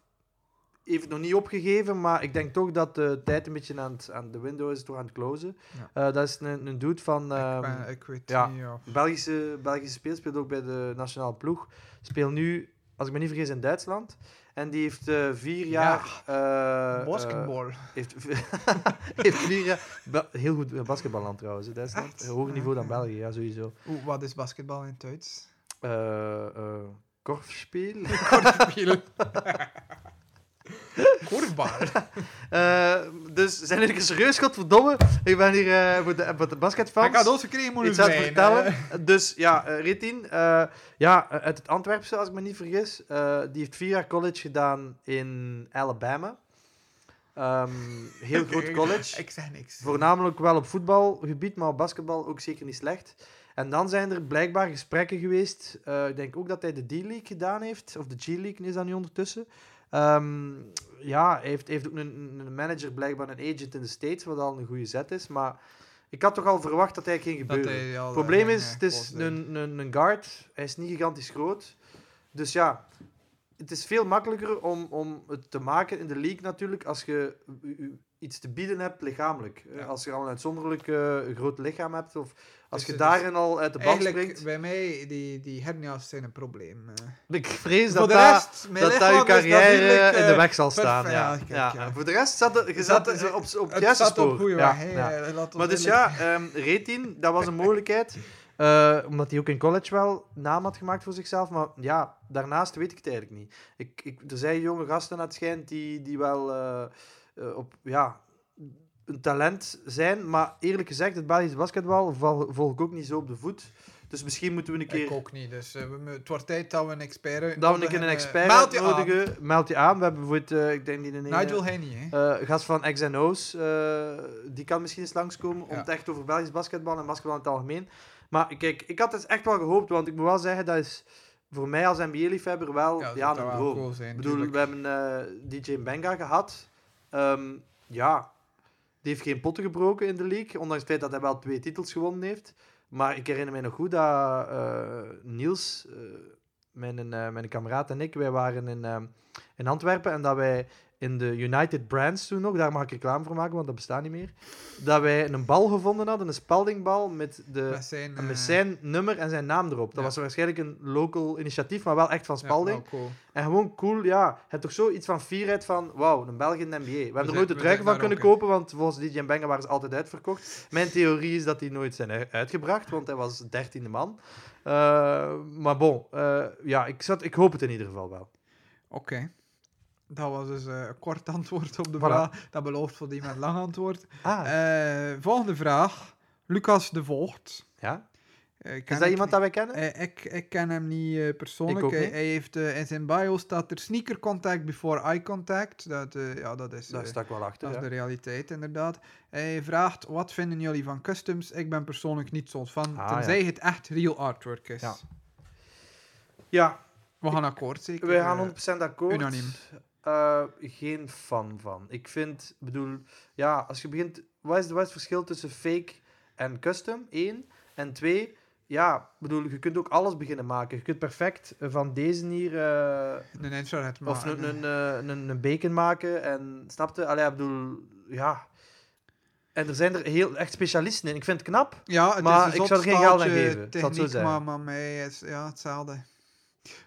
[SPEAKER 2] heeft het nog niet opgegeven, maar ik denk toch dat de tijd een beetje aan, het, aan de window is, toch aan het closen. Eh, dat is een, een dude van...
[SPEAKER 1] ik, eh,
[SPEAKER 2] ehm,
[SPEAKER 1] ben- ik weet
[SPEAKER 2] ja.
[SPEAKER 1] niet of...
[SPEAKER 2] Belgische, Belgische speler, speelt ook bij de nationale ploeg. Speelt nu, als ik me niet vergis, in Duitsland. En die heeft eh, vier jaar... eh, eh,
[SPEAKER 1] Basketball.
[SPEAKER 2] heeft, heeft vier jaar... Ba- heel goed eh, basketballand trouwens, hè, Duitsland.
[SPEAKER 1] Echt?
[SPEAKER 2] Hoger niveau dan België, ja, sowieso.
[SPEAKER 1] Oeh, wat is basketbal in het Duits?
[SPEAKER 2] Eh, eh, korfspeel?
[SPEAKER 1] Korfbal. Korfbal.
[SPEAKER 2] Eh, dus zijn jullie serieus, godverdomme? Ik ben hier eh, voor, de, voor de basketfans.
[SPEAKER 1] Ik had ons gekregen moeten
[SPEAKER 2] iets aan het
[SPEAKER 1] zijn.
[SPEAKER 2] vertellen.
[SPEAKER 1] hè.
[SPEAKER 2] Dus ja, eh, Ritin, eh, ja, eh, uit het Antwerpse, als ik me niet vergis. eh, die heeft vier jaar college gedaan in Alabama. Ehm, heel groot college.
[SPEAKER 1] Ik zeg niks.
[SPEAKER 2] Voornamelijk wel op voetbalgebied, maar op basketbal ook zeker niet slecht. En dan zijn er blijkbaar gesprekken geweest. Eh, ik denk ook dat hij de D-League gedaan heeft, of de G-League is dat nu ondertussen. Ehm, ja, hij heeft, heeft ook een, een manager, blijkbaar een agent in de States, wat al een goede zet is. Maar ik had toch al verwacht dat hij ging gebeuren.
[SPEAKER 1] hij
[SPEAKER 2] Het
[SPEAKER 1] al, eh,
[SPEAKER 2] probleem
[SPEAKER 1] ging,
[SPEAKER 2] is,
[SPEAKER 1] eh,
[SPEAKER 2] het is
[SPEAKER 1] volgen.
[SPEAKER 2] een, een, een guard. Hij is niet gigantisch groot. Dus ja, het is veel makkelijker om, om het te maken in de league natuurlijk als je u- u iets te bieden hebt lichamelijk. Eh,
[SPEAKER 1] Ja.
[SPEAKER 2] Als je al een uitzonderlijk eh, groot lichaam hebt of als
[SPEAKER 1] Dus
[SPEAKER 2] je
[SPEAKER 1] het
[SPEAKER 2] daarin al uit de band
[SPEAKER 1] Eigenlijk,
[SPEAKER 2] springt.
[SPEAKER 1] bij mij, die, die hernia's zijn een probleem. eh.
[SPEAKER 2] Ik vrees
[SPEAKER 1] Voor
[SPEAKER 2] dat
[SPEAKER 1] de
[SPEAKER 2] dat,
[SPEAKER 1] rest,
[SPEAKER 2] dat,
[SPEAKER 1] mijn
[SPEAKER 2] dat,
[SPEAKER 1] lichaam
[SPEAKER 2] je
[SPEAKER 1] is natuurlijk,
[SPEAKER 2] carrière in de
[SPEAKER 1] eh,
[SPEAKER 2] weg zal
[SPEAKER 1] perfect.
[SPEAKER 2] staan. Ja.
[SPEAKER 1] Ja, kijk,
[SPEAKER 2] Ja,
[SPEAKER 1] ja.
[SPEAKER 2] en Voor de rest zat de- je zat
[SPEAKER 1] Dat is-
[SPEAKER 2] eh, op, op het
[SPEAKER 1] Het
[SPEAKER 2] juiste
[SPEAKER 1] staat
[SPEAKER 2] spoor.
[SPEAKER 1] op goede
[SPEAKER 2] Ja,
[SPEAKER 1] weg. hè,
[SPEAKER 2] ja.
[SPEAKER 1] eh, laat ons
[SPEAKER 2] Maar dus
[SPEAKER 1] eerlijk-
[SPEAKER 2] ja, ehm Retin, dat was een mogelijkheid. eh, omdat hij ook in college wel naam had gemaakt voor zichzelf. Maar ja, daarnaast weet ik het eigenlijk niet. Ik, ik, er zijn jonge gasten, naar het schijnt, die, die wel eh, eh, op, ja, een talent zijn. Maar eerlijk gezegd, het Belgisch basketbal val- volg ik ook niet zo op de voet. Dus misschien moeten we een keer...
[SPEAKER 1] Ik ook niet, dus eh, we mu- het wordt tijd dat we een expert
[SPEAKER 2] Dan we een keer
[SPEAKER 1] uitnodigen,
[SPEAKER 2] een
[SPEAKER 1] eh,
[SPEAKER 2] expert
[SPEAKER 1] meld je aan.
[SPEAKER 2] uitnodigen. Meld je aan. We hebben bijvoorbeeld, eh, ik denk die
[SPEAKER 1] Ah,
[SPEAKER 2] een ene-
[SPEAKER 1] Nigel Henny, hè.
[SPEAKER 2] eh gast van XNO's, eh die kan misschien eens langskomen om
[SPEAKER 1] Ja.
[SPEAKER 2] het echt over Belgisch basketbal en basketbal in het algemeen. Maar kijk, ik had het echt wel gehoopt, want ik moet wel zeggen, dat is voor mij als NBA-liefhebber wel ja,
[SPEAKER 1] dat
[SPEAKER 2] een
[SPEAKER 1] zou wel
[SPEAKER 2] droom.
[SPEAKER 1] cool zijn,
[SPEAKER 2] ik bedoel,
[SPEAKER 1] tuurlijk.
[SPEAKER 2] we hebben eh, DJ Benga gehad. Ehm, ja, die heeft geen potten gebroken in de league, ondanks het feit dat hij wel twee titels gewonnen heeft. Maar ik herinner mij nog goed dat eh, Niels, eh, mijn, eh, mijn kameraad en ik, wij waren in, ehm, in Antwerpen en dat wij in de United Brands toen nog, daar mag ik reclame voor maken, want dat bestaat niet meer, dat wij een bal gevonden hadden, een spaldingbal met, de,
[SPEAKER 1] Met zijn, eh,
[SPEAKER 2] met zijn nummer en zijn naam erop. Dat
[SPEAKER 1] ja.
[SPEAKER 2] was waarschijnlijk een local initiatief, maar wel echt van
[SPEAKER 1] ja,
[SPEAKER 2] Spalding.
[SPEAKER 1] wel cool.
[SPEAKER 2] En gewoon cool, ja. Het toch zoiets van fierheid van, wauw, een Belg in de NBA. We hebben er
[SPEAKER 1] zijn-
[SPEAKER 2] nooit de truiken
[SPEAKER 1] Dus we nou zijn
[SPEAKER 2] van
[SPEAKER 1] daar
[SPEAKER 2] kunnen
[SPEAKER 1] ook in.
[SPEAKER 2] kopen, want volgens DJ Benga waren ze altijd uitverkocht. Mijn theorie is dat die nooit zijn u- uitgebracht, want hij was dertiende man. Eh, maar bon, eh, ja, ik, zat, ik hoop het in ieder geval wel.
[SPEAKER 1] Oké. Dat was dus eh, een kort antwoord op de
[SPEAKER 2] Voilà.
[SPEAKER 1] vraag. Dat belooft voor die met lang antwoord.
[SPEAKER 2] Ah,
[SPEAKER 1] Eh, volgende vraag. Lucas de Voogd.
[SPEAKER 2] ja?
[SPEAKER 1] Eh, ik ken
[SPEAKER 2] Is dat
[SPEAKER 1] het
[SPEAKER 2] iemand dat wij kennen?
[SPEAKER 1] Eh, ik, ik ken hem niet eh, persoonlijk.
[SPEAKER 2] Ik ook
[SPEAKER 1] Hij-
[SPEAKER 2] niet.
[SPEAKER 1] Hij, heeft, eh, in zijn bio staat er sneaker contact before eye contact. Dat, eh, ja, dat is,
[SPEAKER 2] Daar
[SPEAKER 1] eh,
[SPEAKER 2] stak wel achter,
[SPEAKER 1] dat is de
[SPEAKER 2] ja.
[SPEAKER 1] realiteit, inderdaad. Hij vraagt, wat vinden jullie van customs? Ik ben persoonlijk niet zo'n fan,
[SPEAKER 2] Ah,
[SPEAKER 1] tenzij het echt real artwork is.
[SPEAKER 2] Ja. Ja,
[SPEAKER 1] We gaan akkoord, zeker?
[SPEAKER 2] Wij
[SPEAKER 1] Eh,
[SPEAKER 2] gaan 100% akkoord.
[SPEAKER 1] unaniem.
[SPEAKER 2] Eh, geen fan van. Ik vind, bedoel, ja, als je begint, wat is, wat is het verschil tussen fake en custom? Eén. En twee, ja, bedoel, je kunt ook alles beginnen maken. Je kunt perfect eh, van deze hier, eh,
[SPEAKER 1] Een infrared
[SPEAKER 2] of
[SPEAKER 1] maken.
[SPEAKER 2] een, een, eh, een, een, bacon maken. En snapte, allee, ik bedoel, ja. En er zijn er heel echt specialisten in. Ik vind het knap.
[SPEAKER 1] Ja, het
[SPEAKER 2] Maar
[SPEAKER 1] is een
[SPEAKER 2] ik zou er geen geld aan
[SPEAKER 1] zotstaaltje
[SPEAKER 2] geven, ik zal het zo
[SPEAKER 1] Techniek,
[SPEAKER 2] zeggen.
[SPEAKER 1] maar, maar mij is ja, hetzelfde.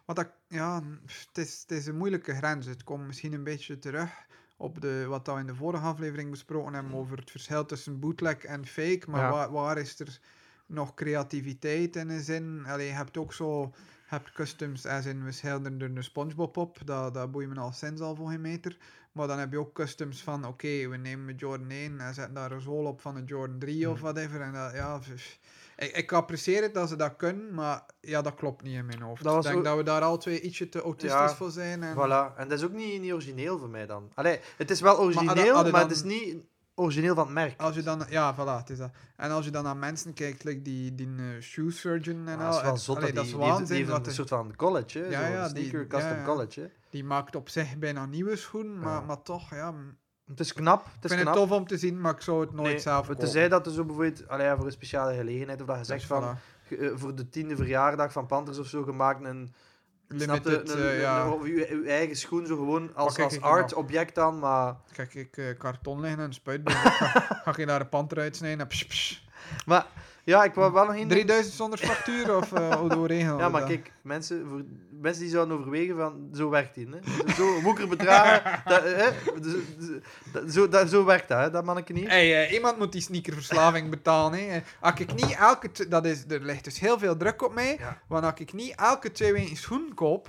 [SPEAKER 1] Wat dat, ja, pff, het, is, het is een moeilijke grens. Het komt misschien een beetje terug op de, wat dat we in de vorige aflevering besproken hebben over het verschil tussen bootleg en fake. Maar
[SPEAKER 2] Hmm. Ja.
[SPEAKER 1] waar, waar is er nog creativiteit in een zin? Allee, je hebt ook zo... je hebt customs als in we schilderen een Spongebob op, dat, dat boeit me al sinds al voor geen meter. Maar dan heb je ook customs van, oké, we nemen een Jordan 1 en zetten daar een zool op van een Jordan 3 of
[SPEAKER 2] Mhm.
[SPEAKER 1] whatever. En dat, ja, pff. ik, ik apprecieer het dat ze dat kunnen, maar ja, dat klopt niet in mijn hoofd.
[SPEAKER 2] Dat was
[SPEAKER 1] ik denk
[SPEAKER 2] ook-
[SPEAKER 1] dat we daar al twee ietsje te autistisch
[SPEAKER 2] Ja,
[SPEAKER 1] voor zijn. En...
[SPEAKER 2] Voilà, en dat is ook niet, niet origineel voor mij dan. Allee, het is wel origineel, maar,
[SPEAKER 1] hadden- hadden
[SPEAKER 2] het is
[SPEAKER 1] dan-
[SPEAKER 2] niet origineel van het merk.
[SPEAKER 1] Als je dan, ja, voilà, het is dat. En als je dan naar mensen kijkt, like die, die eh, shoe surgeon en
[SPEAKER 2] Ja, dat
[SPEAKER 1] al,
[SPEAKER 2] is wel
[SPEAKER 1] nou, het-
[SPEAKER 2] zot.
[SPEAKER 1] allee,
[SPEAKER 2] dat
[SPEAKER 1] dat is
[SPEAKER 2] die, die heeft- die
[SPEAKER 1] waanzin
[SPEAKER 2] heeft
[SPEAKER 1] wat
[SPEAKER 2] een
[SPEAKER 1] er-
[SPEAKER 2] soort van college, hè,
[SPEAKER 1] Ja,
[SPEAKER 2] zo'n
[SPEAKER 1] ja, die-
[SPEAKER 2] sneaker
[SPEAKER 1] ja,
[SPEAKER 2] custom
[SPEAKER 1] ja.
[SPEAKER 2] college. hè.
[SPEAKER 1] die maakt op zich bijna nieuwe schoen, maar,
[SPEAKER 2] Ja.
[SPEAKER 1] maar toch, ja, m-
[SPEAKER 2] Het is knap. Het
[SPEAKER 1] ik
[SPEAKER 2] is
[SPEAKER 1] vind het
[SPEAKER 2] knap.
[SPEAKER 1] tof om te zien, maar ik zou het nooit
[SPEAKER 2] Nee,
[SPEAKER 1] zelf
[SPEAKER 2] maar
[SPEAKER 1] kopen.
[SPEAKER 2] Tenzij dat er zo bijvoorbeeld allee, ja, voor een speciale gelegenheid, of dat je
[SPEAKER 1] Dus
[SPEAKER 2] zegt van
[SPEAKER 1] voilà.
[SPEAKER 2] ge- eh, voor de tiende verjaardag van Panthers of zo gemaakt een, snap je,
[SPEAKER 1] Limited,
[SPEAKER 2] een,
[SPEAKER 1] eh,
[SPEAKER 2] een-
[SPEAKER 1] ja.
[SPEAKER 2] een- of je, je eigen schoen zo gewoon als,
[SPEAKER 1] kijk,
[SPEAKER 2] als
[SPEAKER 1] ik-
[SPEAKER 2] art object dan, maar,
[SPEAKER 1] Kijk, ik eh, karton liggen en een spuit. doen. ga, ga je daar een pand eruit snijden? en psh, psh.
[SPEAKER 2] maar ja, ik wil wel nog één ding-
[SPEAKER 1] 3000 zonder factuur of eh hoe doen we regelen
[SPEAKER 2] Ja,
[SPEAKER 1] we
[SPEAKER 2] maar
[SPEAKER 1] dat?
[SPEAKER 2] kijk, mensen, voor, mensen die zouden overwegen van, zo werkt die, hè. Zo- Zo woekerbedragen, dat, hè, dus- dus- dat- zo, dat, zo werkt dat, hè, dat manneke niet.
[SPEAKER 1] Hey, eh, iemand moet die sneakerverslaving betalen. Hè. Eh, Als ik niet elke... tw- Dat is, er ligt dus heel veel druk op mij.
[SPEAKER 2] Ja.
[SPEAKER 1] Want als ik niet elke twee weken een schoen koop,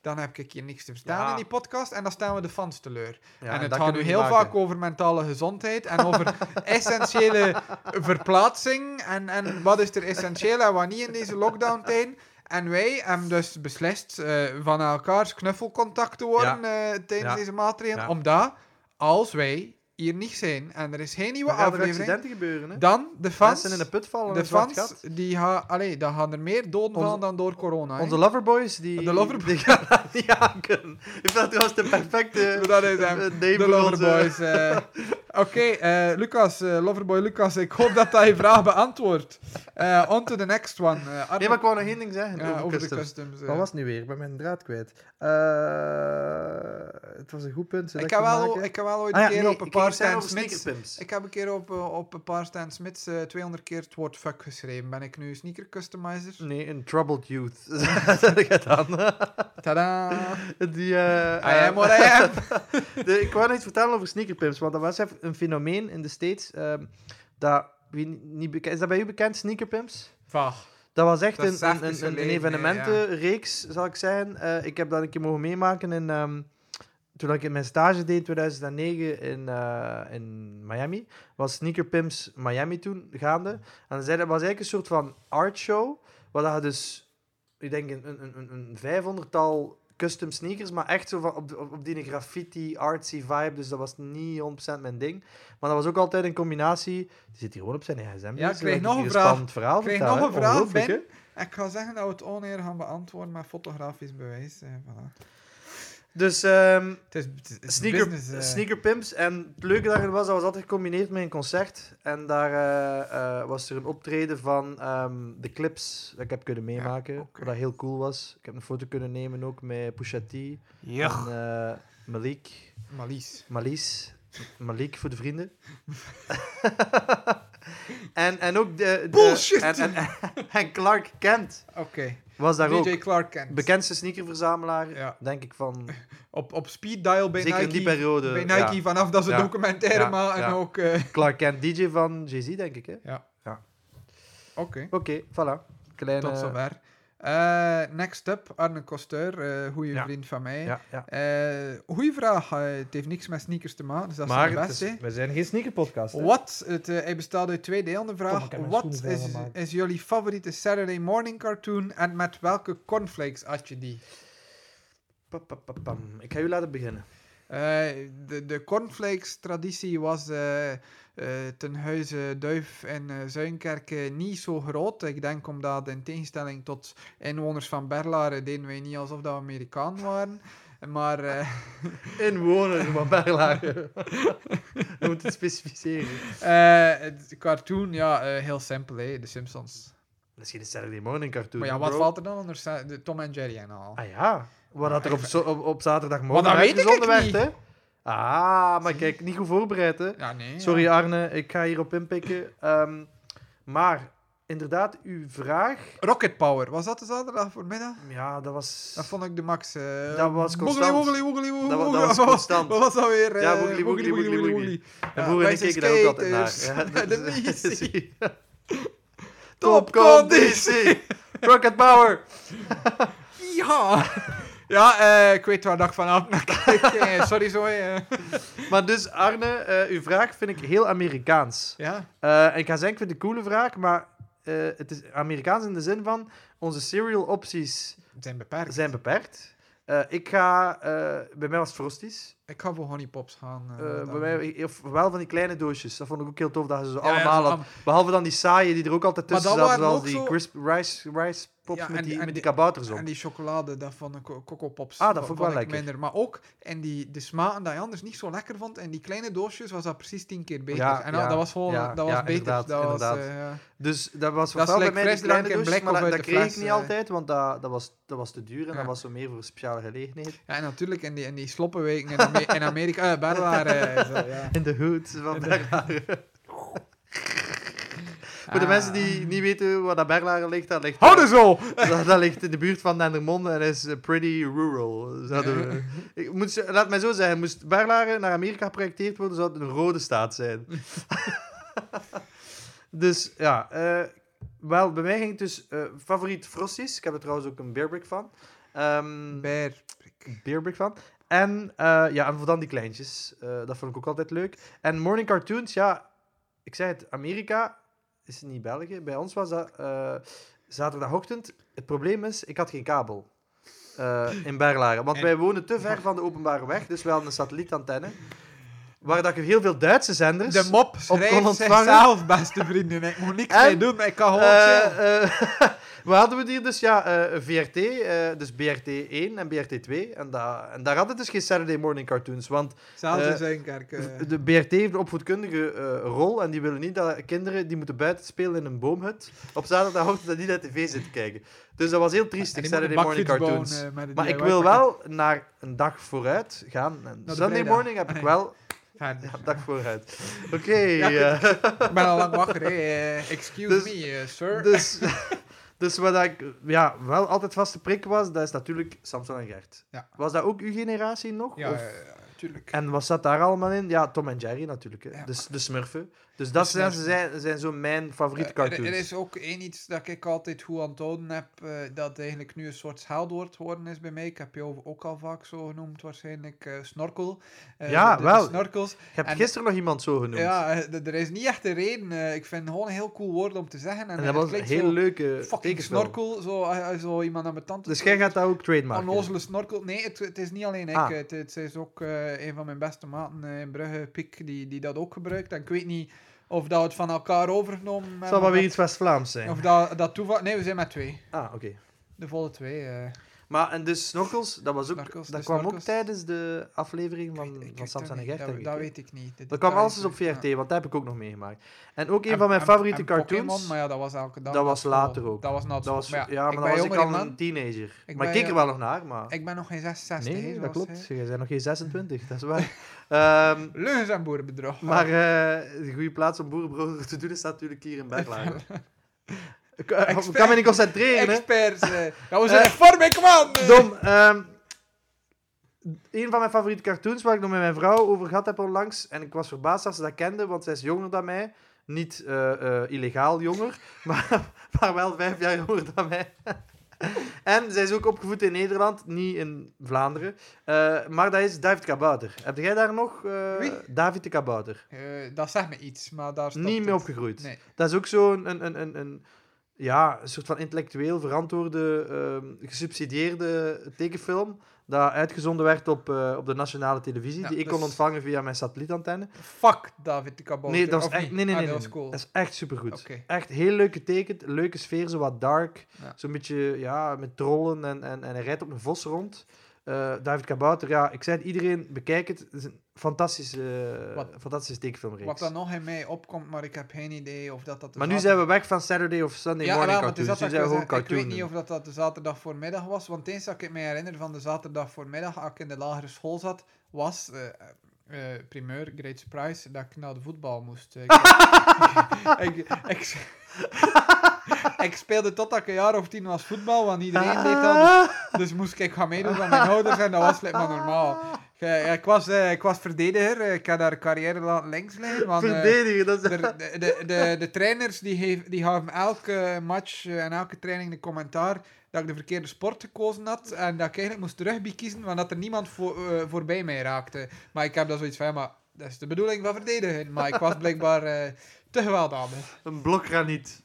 [SPEAKER 1] dan heb ik hier niks te verstaan
[SPEAKER 2] Ja.
[SPEAKER 1] in die podcast. En dan staan we de fans teleur.
[SPEAKER 2] Ja,
[SPEAKER 1] en het
[SPEAKER 2] dat
[SPEAKER 1] gaat nu
[SPEAKER 2] kunnen we
[SPEAKER 1] heel
[SPEAKER 2] niet maken.
[SPEAKER 1] vaak over mentale gezondheid en over essentiële verplaatsing en, en wat is er essentieel en wat niet in deze lockdown-tijd. En wij hebben dus beslist eh, van elkaars knuffelcontact te worden eh, tijdens
[SPEAKER 2] Ja.
[SPEAKER 1] deze maatregelen,
[SPEAKER 2] Ja.
[SPEAKER 1] omdat als wij hier niet zijn en er is geen nieuwe
[SPEAKER 2] Er gaan er
[SPEAKER 1] aflevering,
[SPEAKER 2] accidenten gebeuren, hè.
[SPEAKER 1] dan de fans,
[SPEAKER 2] Mensen in de put vallen,
[SPEAKER 1] de
[SPEAKER 2] een zwart
[SPEAKER 1] fans
[SPEAKER 2] gat.
[SPEAKER 1] die gaan, allee, daar gaan er meer doden
[SPEAKER 2] Onze-
[SPEAKER 1] van dan door corona. hè.
[SPEAKER 2] Onze loverboys, die,
[SPEAKER 1] De Loverboys.
[SPEAKER 2] die gaan dat niet aan kunnen. Ik vind dat trouwens de perfecte
[SPEAKER 1] Dat is hem.
[SPEAKER 2] name
[SPEAKER 1] De
[SPEAKER 2] voor onze-
[SPEAKER 1] Loverboys. eh. Oké, eh, Lucas, eh, Loverboy Lucas, ik hoop dat dat je vraag beantwoordt. Eh on to the next one. eh, Arne-
[SPEAKER 2] Nee, maar ik wou nog één ding zeggen
[SPEAKER 1] ja,
[SPEAKER 2] over,
[SPEAKER 1] over
[SPEAKER 2] customs.
[SPEAKER 1] de customs. eh.
[SPEAKER 2] Wat was het nu weer? Ik ben mijn draad kwijt. Eh, het was een goed punt.
[SPEAKER 1] ik, heb wel, ik heb wel
[SPEAKER 2] Ah
[SPEAKER 1] ooit een keer op een paar Stan Smiths...
[SPEAKER 2] sneakerpimps.
[SPEAKER 1] Ik heb een keer op, eh, op een paar Stan Smiths eh, 200 keer het woord fuck geschreven. Ben ik nu sneaker customizer?
[SPEAKER 2] Nee, een troubled youth. dat heb ik gedaan.
[SPEAKER 1] Tada!
[SPEAKER 2] Die, eh,
[SPEAKER 1] I
[SPEAKER 2] eh,
[SPEAKER 1] am what I am!
[SPEAKER 2] De- ik wou nog iets vertellen over sneakerpimps, want dat was even een fenomeen in de States. ehm, dat, wie niet bekend, is dat bij u bekend, sneakerpimps?
[SPEAKER 1] Vach.
[SPEAKER 2] Dat was echt
[SPEAKER 1] Dat is
[SPEAKER 2] een, een,
[SPEAKER 1] zachtjes
[SPEAKER 2] een, een
[SPEAKER 1] geleden,
[SPEAKER 2] evenementenreeks, zal ik zeggen. Eh, ik heb dat een keer mogen meemaken in, ehm, toen ik mijn stage deed in 2009 in, eh, in Miami. Was Sneaker Pimps Miami toen gaande. En dan zei, dat was eigenlijk een soort van artshow. Waar dat je dus, ik denk, een, een, een- een, een vijfhonderdtal custom sneakers, maar echt zo van op, de- op, op die graffiti, artsy vibe. Dus dat was niet 100% mijn ding. Maar dat was ook altijd een combinatie. Die zit hier gewoon op zijn gsm.
[SPEAKER 1] Ja, ik kreeg nog een vraag.
[SPEAKER 2] spannend verhaal.
[SPEAKER 1] Ik kreeg
[SPEAKER 2] vertellen,
[SPEAKER 1] nog
[SPEAKER 2] hè.
[SPEAKER 1] een vraag,
[SPEAKER 2] Ongelooflijk, hè?
[SPEAKER 1] Ben. Ik ga zeggen dat we het oneer gaan beantwoorden met fotografisch bewijs. eh, voilà.
[SPEAKER 2] Dus ehm,
[SPEAKER 1] Het is, het is- het is
[SPEAKER 2] sneaker,
[SPEAKER 1] business, eh.
[SPEAKER 2] sneaker Pimps. En het leuke daarin was, dat was altijd gecombineerd met een concert. En daar eh, eh, was er een optreden van ehm, de clips dat ik heb kunnen meemaken.
[SPEAKER 1] oké.
[SPEAKER 2] Wat dat heel cool was. Ik heb een foto kunnen nemen ook met Pusha T. En, eh, Malik,
[SPEAKER 1] Malies.
[SPEAKER 2] Malies, Malik voor de vrienden. en, en ook de... de-
[SPEAKER 1] Bullshit!
[SPEAKER 2] En, en, en Clark Kent
[SPEAKER 1] Oké.
[SPEAKER 2] was daar ook.
[SPEAKER 1] DJ Clark kent.
[SPEAKER 2] Bekendste sneakerverzamelaar,
[SPEAKER 1] Ja.
[SPEAKER 2] denk ik, van...
[SPEAKER 1] Op, op speed dial bij
[SPEAKER 2] zeker in
[SPEAKER 1] Nike.
[SPEAKER 2] die periode.
[SPEAKER 1] bij Nike
[SPEAKER 2] ja.
[SPEAKER 1] vanaf dat ze
[SPEAKER 2] Ja.
[SPEAKER 1] documentaire
[SPEAKER 2] Ja.
[SPEAKER 1] maken. En
[SPEAKER 2] Ja.
[SPEAKER 1] ook... eh,
[SPEAKER 2] Clark Kent, DJ van Jay-Z, denk ik, hè?
[SPEAKER 1] Oké.
[SPEAKER 2] Oké, voilà. Kleine...
[SPEAKER 1] Tot zover. Eh, next up, Arne Kosteur, eh goede
[SPEAKER 2] Ja.
[SPEAKER 1] vriend van mij.
[SPEAKER 2] Ja, ja.
[SPEAKER 1] Eh, goeie vraag. eh, het heeft niks met sneakers te maken, dus dat
[SPEAKER 4] maar
[SPEAKER 1] is
[SPEAKER 4] het
[SPEAKER 1] het
[SPEAKER 4] is-
[SPEAKER 1] beste.
[SPEAKER 4] we zijn geen sneakerpodcast. hè.
[SPEAKER 1] Wat, het, eh, hij bestaat uit twee delen. De
[SPEAKER 4] Kom,
[SPEAKER 1] vraag:
[SPEAKER 4] ik heb mijn
[SPEAKER 1] Wat
[SPEAKER 4] schoenen
[SPEAKER 1] is,
[SPEAKER 4] schoongemaakt.
[SPEAKER 1] is jullie favoriete Saturday morning cartoon en met welke cornflakes at je die?
[SPEAKER 2] Pa, pa, pa, pam. Ik ga u laten beginnen.
[SPEAKER 1] Eh, de, de cornflakes-traditie was eh, eh, ten huize Duif en eh Zuinkerk eh, niet zo groot. Ik denk omdat in tegenstelling tot inwoners van Berlaren deden wij niet alsof dat we Amerikaan waren. Maar eh,
[SPEAKER 2] Inwoner van Berlage. Je moet het specificeren.
[SPEAKER 1] eh, het cartoon, ja, eh, heel simpel, hè, de Simpsons.
[SPEAKER 2] Dat is geen Saturday Morning cartoon.
[SPEAKER 1] Maar ja,
[SPEAKER 2] hè,
[SPEAKER 1] wat
[SPEAKER 2] bro?
[SPEAKER 1] valt er dan onder Sa- de Tom en Jerry en al?
[SPEAKER 2] Ah ja, wat dat er op, zo- op, op
[SPEAKER 1] Maar
[SPEAKER 2] zaterdagmorgen
[SPEAKER 1] dat weet ik
[SPEAKER 2] uitgezonden
[SPEAKER 1] ik niet.
[SPEAKER 2] werd, hè? Ah, maar kijk, niet goed voorbereid, hè?
[SPEAKER 1] Ja, nee.
[SPEAKER 2] Sorry
[SPEAKER 1] ja.
[SPEAKER 2] Arne, ik ga hierop inpikken. Ehm, maar inderdaad, uw vraag...
[SPEAKER 1] Rocket Power, was dat de zaterdag voormiddag?
[SPEAKER 2] Ja, dat was...
[SPEAKER 1] Dat vond ik de max. eh.
[SPEAKER 2] Dat was constant.
[SPEAKER 1] Woggely, woggely, woggely,
[SPEAKER 2] Dat wa- dat
[SPEAKER 1] woggely.
[SPEAKER 2] was constant.
[SPEAKER 1] Wat was dat weer?
[SPEAKER 2] Ja,
[SPEAKER 1] eh,
[SPEAKER 2] woggely, woggely, woggely, woggely.
[SPEAKER 1] Ja,
[SPEAKER 2] En vroeger
[SPEAKER 1] wij
[SPEAKER 2] ik keek
[SPEAKER 1] zijn
[SPEAKER 2] daar ook altijd naar. Ja,
[SPEAKER 1] skaters. Bij de
[SPEAKER 2] dat is-
[SPEAKER 1] politie.
[SPEAKER 2] Topconditie! Rocket Power!
[SPEAKER 1] Ja. Ja, eh, ik weet waar dat ik vanaf naar kijk. Eh, Sorry, zo. eh.
[SPEAKER 2] Maar dus Arne, eh, uw vraag vind ik heel Amerikaans.
[SPEAKER 1] Ja.
[SPEAKER 2] Eh, en ik ga zeggen, ik vind het een coole vraag, maar eh, het is Amerikaans in de zin van onze serial opties
[SPEAKER 1] Het zijn beperkt.
[SPEAKER 2] zijn beperkt. Eh, ik ga, eh, bij mij was het Frosties.
[SPEAKER 1] Ik ga voor Honey Pops gaan. eh,
[SPEAKER 2] Eh,
[SPEAKER 1] dan.
[SPEAKER 2] bij mij, of wel van die kleine doosjes. Dat vond ik ook heel tof dat ze ze
[SPEAKER 1] Ja, ja,
[SPEAKER 2] allemaal
[SPEAKER 1] zo
[SPEAKER 2] hadden. Behalve dan die saaie die er ook altijd
[SPEAKER 1] Maar
[SPEAKER 2] tussen
[SPEAKER 1] dat
[SPEAKER 2] zaten,
[SPEAKER 1] waren
[SPEAKER 2] zoals
[SPEAKER 1] ook
[SPEAKER 2] die
[SPEAKER 1] zo-
[SPEAKER 2] crisp rice, rice pops
[SPEAKER 1] Ja, en
[SPEAKER 2] met,
[SPEAKER 1] die-
[SPEAKER 2] die,
[SPEAKER 1] en
[SPEAKER 2] met die
[SPEAKER 1] die-
[SPEAKER 2] kabouters op.
[SPEAKER 1] En die chocolade, dat van de co- Coco Pops.
[SPEAKER 2] Ah, dat vond ik wel lekker.
[SPEAKER 1] Minder. Maar ook in die, de smaken die je anders niet zo lekker vond. En die kleine doosjes was dat precies tien keer beter.
[SPEAKER 2] Ja,
[SPEAKER 1] en dat,
[SPEAKER 2] ja,
[SPEAKER 1] dat was gewoon
[SPEAKER 2] ja,
[SPEAKER 1] dat was
[SPEAKER 2] ja,
[SPEAKER 1] beter.
[SPEAKER 2] inderdaad,
[SPEAKER 1] Dat was,
[SPEAKER 2] inderdaad.
[SPEAKER 1] eh, ja.
[SPEAKER 2] Dus dat was
[SPEAKER 1] Dat is
[SPEAKER 2] wel bij
[SPEAKER 1] like
[SPEAKER 2] mij die
[SPEAKER 1] frisdrank
[SPEAKER 2] kleine
[SPEAKER 1] in
[SPEAKER 2] doosjes,
[SPEAKER 1] blik
[SPEAKER 2] maar
[SPEAKER 1] of
[SPEAKER 2] dat,
[SPEAKER 1] uit
[SPEAKER 2] dat
[SPEAKER 1] de
[SPEAKER 2] kreeg
[SPEAKER 1] fles,
[SPEAKER 2] ik niet
[SPEAKER 1] eh.
[SPEAKER 2] altijd, want dat, dat, was, dat was te duur en
[SPEAKER 1] Ja.
[SPEAKER 2] dat was zo meer voor speciale gelegenheden.
[SPEAKER 1] Ja, en natuurlijk in die, in die sloppenweken in, Ame- in Amerika. eh Berlaar. eh, zo, ja.
[SPEAKER 2] In de hood Dus van
[SPEAKER 1] de-
[SPEAKER 2] Berlaren. Voor de
[SPEAKER 1] Ah.
[SPEAKER 2] mensen die niet weten waar dat Berlaren ligt, dat ligt,
[SPEAKER 1] Houden zo!
[SPEAKER 2] dat, dat ligt in de buurt van Dendermonde en is eh, pretty rural. Zouden we- ik moet, ze- laat mij zo zeggen, moest Berlaren naar Amerika geprojecteerd worden, zou het een rode staat zijn. dus ja, eh, wel, bij mij ging het dus eh, favoriet Frosties. Ik heb er trouwens ook een beerbrick van. Ehm,
[SPEAKER 1] Bear.
[SPEAKER 2] Beerbrick van. En, eh, ja, en voor dan die kleintjes. Eh, dat vond ik ook altijd leuk. En Morning Cartoons, ja, ik zei het, Amerika is niet België. Bij ons was dat eh, zaterdagochtend. Het probleem is, ik had geen kabel. eh, in Berlaren. Want
[SPEAKER 1] En-
[SPEAKER 2] wij wonen te ver van de openbare weg, dus we hadden een satellietantenne. Waar dat je heel veel Duitse zenders...
[SPEAKER 1] De mop
[SPEAKER 2] Dus kon
[SPEAKER 1] schrijft
[SPEAKER 2] ontvangen.
[SPEAKER 1] zichzelf, beste vrienden. Ik moet niks
[SPEAKER 2] En-
[SPEAKER 1] mee doen, maar ik kan gewoon chillen.
[SPEAKER 2] Eh, eh, Wat hadden we hier dus? Ja, eh, VRT, eh, dus BRT 1 en BRT 2. En, da en daar hadden dus geen Saturday morning cartoons. Want
[SPEAKER 1] Zelfs in
[SPEAKER 2] eh,
[SPEAKER 1] Zuinkerk. eh.
[SPEAKER 2] de BRT heeft een opvoedkundige eh, rol. En die willen niet dat kinderen die moeten buiten spelen in een boomhut. op zaterdagochtend dat die naar tv zitten kijken. Dus dat was heel triest,
[SPEAKER 1] En die moet een
[SPEAKER 2] Saturday morning
[SPEAKER 1] bakfiets
[SPEAKER 2] cartoons.
[SPEAKER 1] bouwen, eh, met een
[SPEAKER 2] maar ik
[SPEAKER 1] DIY
[SPEAKER 2] wil
[SPEAKER 1] pakket.
[SPEAKER 2] wel naar een dag vooruit gaan. En
[SPEAKER 1] de
[SPEAKER 2] Sunday
[SPEAKER 1] vrijdag.
[SPEAKER 2] morning heb
[SPEAKER 1] Ah,
[SPEAKER 2] ik
[SPEAKER 1] nee.
[SPEAKER 2] wel
[SPEAKER 1] Verder.
[SPEAKER 2] een dag vooruit. Oké.
[SPEAKER 1] Ja, ik-
[SPEAKER 2] eh.
[SPEAKER 1] Ik ben al lang wakker, hè. eh, excuse
[SPEAKER 2] Dus-
[SPEAKER 1] me, eh, sir.
[SPEAKER 2] Dus, dus wat ik ja, wel altijd vaste prik was, dat is natuurlijk Samson en Gert.
[SPEAKER 1] Ja.
[SPEAKER 2] Was dat ook uw generatie nog?
[SPEAKER 1] ja,
[SPEAKER 2] Of-
[SPEAKER 1] eh, ja, tuurlijk.
[SPEAKER 2] En wat zat daar allemaal in? Ja, Tom en Jerry natuurlijk. Hè.
[SPEAKER 1] Ja.
[SPEAKER 2] Dus de Smurfen. Dus dat zijn,
[SPEAKER 1] Smurfen.
[SPEAKER 2] zijn, zijn zo mijn favoriete dus.
[SPEAKER 1] Eh, er-
[SPEAKER 2] cartoons.
[SPEAKER 1] Er, is ook één iets dat ik altijd goed aan het houden heb, eh, dat eigenlijk nu een soort scheldwoord geworden is bij mij. Ik heb jou ook al vaak zo genoemd, waarschijnlijk eh, snorkel. Eh,
[SPEAKER 2] Ja,
[SPEAKER 1] de,
[SPEAKER 2] wel.
[SPEAKER 1] De snorkels.
[SPEAKER 2] Je hebt
[SPEAKER 1] en-
[SPEAKER 2] gisteren nog iemand zo genoemd.
[SPEAKER 1] Ja, eh, d- er is niet echt een reden. eh, ik vind het gewoon een heel cool woord om te zeggen. En,
[SPEAKER 2] en
[SPEAKER 1] het
[SPEAKER 2] dat was een
[SPEAKER 1] klinkt
[SPEAKER 2] hele
[SPEAKER 1] zo
[SPEAKER 2] leuke
[SPEAKER 1] Fucking
[SPEAKER 2] tekenfilm.
[SPEAKER 1] snorkel, zo, eh, eh, zo iemand aan mijn tand.
[SPEAKER 2] Dus jij gaat dat ook trademarken?
[SPEAKER 1] Onnozele snorkel. Nee, het, het is niet alleen ik.
[SPEAKER 2] eh, Ah.
[SPEAKER 1] Het, het is ook eh, een van mijn beste maten eh, in Brugge, Piek, die, die dat ook gebruikt. En ik weet niet of dat we het van elkaar overgenomen hebben.
[SPEAKER 2] Het zal wel
[SPEAKER 1] of
[SPEAKER 2] weer
[SPEAKER 1] dat-
[SPEAKER 2] iets West-Vlaams zijn.
[SPEAKER 1] Of dat, dat toeval... Nee, we zijn met twee.
[SPEAKER 2] Ah, oké.
[SPEAKER 1] De volle twee. eh.
[SPEAKER 2] Maar en dus Snorkels, dat, was ook,
[SPEAKER 1] Snorkels,
[SPEAKER 2] dat
[SPEAKER 1] de
[SPEAKER 2] kwam ook
[SPEAKER 1] Snorkels.
[SPEAKER 2] tijdens de aflevering
[SPEAKER 1] Ik-
[SPEAKER 2] van,
[SPEAKER 1] ik
[SPEAKER 2] van
[SPEAKER 1] weet
[SPEAKER 2] Samson en
[SPEAKER 1] dat
[SPEAKER 2] Gert.
[SPEAKER 1] niet.
[SPEAKER 2] denk
[SPEAKER 1] Dat,
[SPEAKER 2] ik,
[SPEAKER 1] dat
[SPEAKER 2] hè.
[SPEAKER 1] weet ik niet.
[SPEAKER 2] Dat
[SPEAKER 1] De
[SPEAKER 2] kwam
[SPEAKER 1] details
[SPEAKER 2] alles eens op
[SPEAKER 1] niet.
[SPEAKER 2] VRT,
[SPEAKER 1] Ja.
[SPEAKER 2] want dat heb ik ook nog meegemaakt. En ook een
[SPEAKER 1] En-
[SPEAKER 2] van mijn
[SPEAKER 1] en-
[SPEAKER 2] favoriete
[SPEAKER 1] en
[SPEAKER 2] cartoons.
[SPEAKER 1] Pokémon, maar ja, dat was elke dag.
[SPEAKER 2] dat
[SPEAKER 1] na
[SPEAKER 2] was
[SPEAKER 1] school.
[SPEAKER 2] later ook.
[SPEAKER 1] Dat was na
[SPEAKER 2] dat was,
[SPEAKER 1] school.
[SPEAKER 2] ja,
[SPEAKER 1] Maar ja, ik
[SPEAKER 2] maar
[SPEAKER 1] ben
[SPEAKER 2] dan was ik
[SPEAKER 1] jonger
[SPEAKER 2] al
[SPEAKER 1] man.
[SPEAKER 2] een teenager. maar ik
[SPEAKER 1] Ik ben
[SPEAKER 2] keek er
[SPEAKER 1] jo-
[SPEAKER 2] wel nog naar, maar...
[SPEAKER 1] Ik ben nog geen 66.
[SPEAKER 2] Nee, dat
[SPEAKER 1] zoals
[SPEAKER 2] klopt.
[SPEAKER 1] hij.
[SPEAKER 2] Jij bent nog geen 26, dat is waar. Ehm,
[SPEAKER 1] Leugens en boerenbedrog.
[SPEAKER 2] maar eh, de goede plaats om boerenbrood te doen is natuurlijk hier in Berlage. ik eh, ik kan me niet concentreren, hè.
[SPEAKER 1] Experts. eh. dat was een vorm, ik man.
[SPEAKER 2] Dom, ehm, een van mijn favoriete cartoons waar ik nog met mijn vrouw over gehad heb onlangs. En ik was verbaasd dat ze dat kende, want zij is jonger dan mij. Niet eh, eh, illegaal jonger, maar, maar wel vijf jaar jonger dan mij. en zij is ook opgevoed in Nederland, niet in Vlaanderen. Eh, maar dat is David Kabouter. Heb jij daar nog? eh,
[SPEAKER 1] Wie?
[SPEAKER 2] David de Kabouter.
[SPEAKER 1] Eh, dat zegt me iets, maar daar stopt
[SPEAKER 2] Niet mee
[SPEAKER 1] het.
[SPEAKER 2] opgegroeid.
[SPEAKER 1] Nee.
[SPEAKER 2] Dat is ook zo'n een, een, een, een, ja, een soort van intellectueel verantwoorde, ehm, gesubsidieerde tekenfilm. Dat uitgezonden werd op, eh, op de nationale televisie,
[SPEAKER 1] Ja,
[SPEAKER 2] die ik
[SPEAKER 1] dus-
[SPEAKER 2] kon ontvangen via mijn satellietantenne.
[SPEAKER 1] Fuck David de Kabouter.
[SPEAKER 2] Nee, dat
[SPEAKER 1] of
[SPEAKER 2] was echt,
[SPEAKER 1] niet?
[SPEAKER 2] nee, nee,
[SPEAKER 1] Ah,
[SPEAKER 2] nee,
[SPEAKER 1] dat
[SPEAKER 2] nee.
[SPEAKER 1] was cool.
[SPEAKER 2] Dat is echt supergoed.
[SPEAKER 1] Oké.
[SPEAKER 2] Echt heel leuk getekend, leuke sfeer, zo wat dark.
[SPEAKER 1] Ja.
[SPEAKER 2] Zo'n beetje ja, met trollen en, en, en hij rijdt op een vos rond. Eh, David Kabouter, ja, ik zei het iedereen, bekijk het. Het is een fantastische, eh,
[SPEAKER 1] Wat-
[SPEAKER 2] fantastische tekenfilmreeks.
[SPEAKER 1] Wat dan nog in mij opkomt, maar ik heb geen idee of dat dat... de
[SPEAKER 2] Maar nu
[SPEAKER 1] zaterdag-
[SPEAKER 2] zijn we weg van Saturday of Sunday
[SPEAKER 1] ja,
[SPEAKER 2] morning
[SPEAKER 1] wel, want het is
[SPEAKER 2] cartoons. dus
[SPEAKER 1] dat
[SPEAKER 2] Nu zijn
[SPEAKER 1] dat
[SPEAKER 2] we
[SPEAKER 1] ik wil
[SPEAKER 2] gewoon
[SPEAKER 1] zeggen. Ik
[SPEAKER 2] cartoon.
[SPEAKER 1] weet niet of dat, dat de zaterdag voormiddag was, want eens dat ik me herinner van de zaterdag voormiddag, als ik in de lagere school zat, was... eh, eh, primeur, great surprise, dat ik naar de voetbal moest. Ik, ik, ik, ik speelde tot dat ik een jaar of tien was voetbal, want iedereen deed dat.
[SPEAKER 2] Ah,
[SPEAKER 1] Dus moest ik gaan meedoen van mijn ouders en dat was like maar normaal. Ik, eh, ik, was, eh, ik was verdediger, eh, ik had daar carrière laten links liggen. Want, eh,
[SPEAKER 2] Verdedigen, dat is...
[SPEAKER 1] de, de, de, de, de trainers die, geef- die gaven elke match eh, en elke training de commentaar dat ik de verkeerde sport gekozen had en dat ik eigenlijk moest rugby kiezen, want dat er niemand voor, eh, voorbij mij raakte. Maar ik heb daar zoiets van, ja, maar dat is de bedoeling van verdedigen. Maar ik was blijkbaar eh, te gewelddadig.
[SPEAKER 2] Een blokgraniet.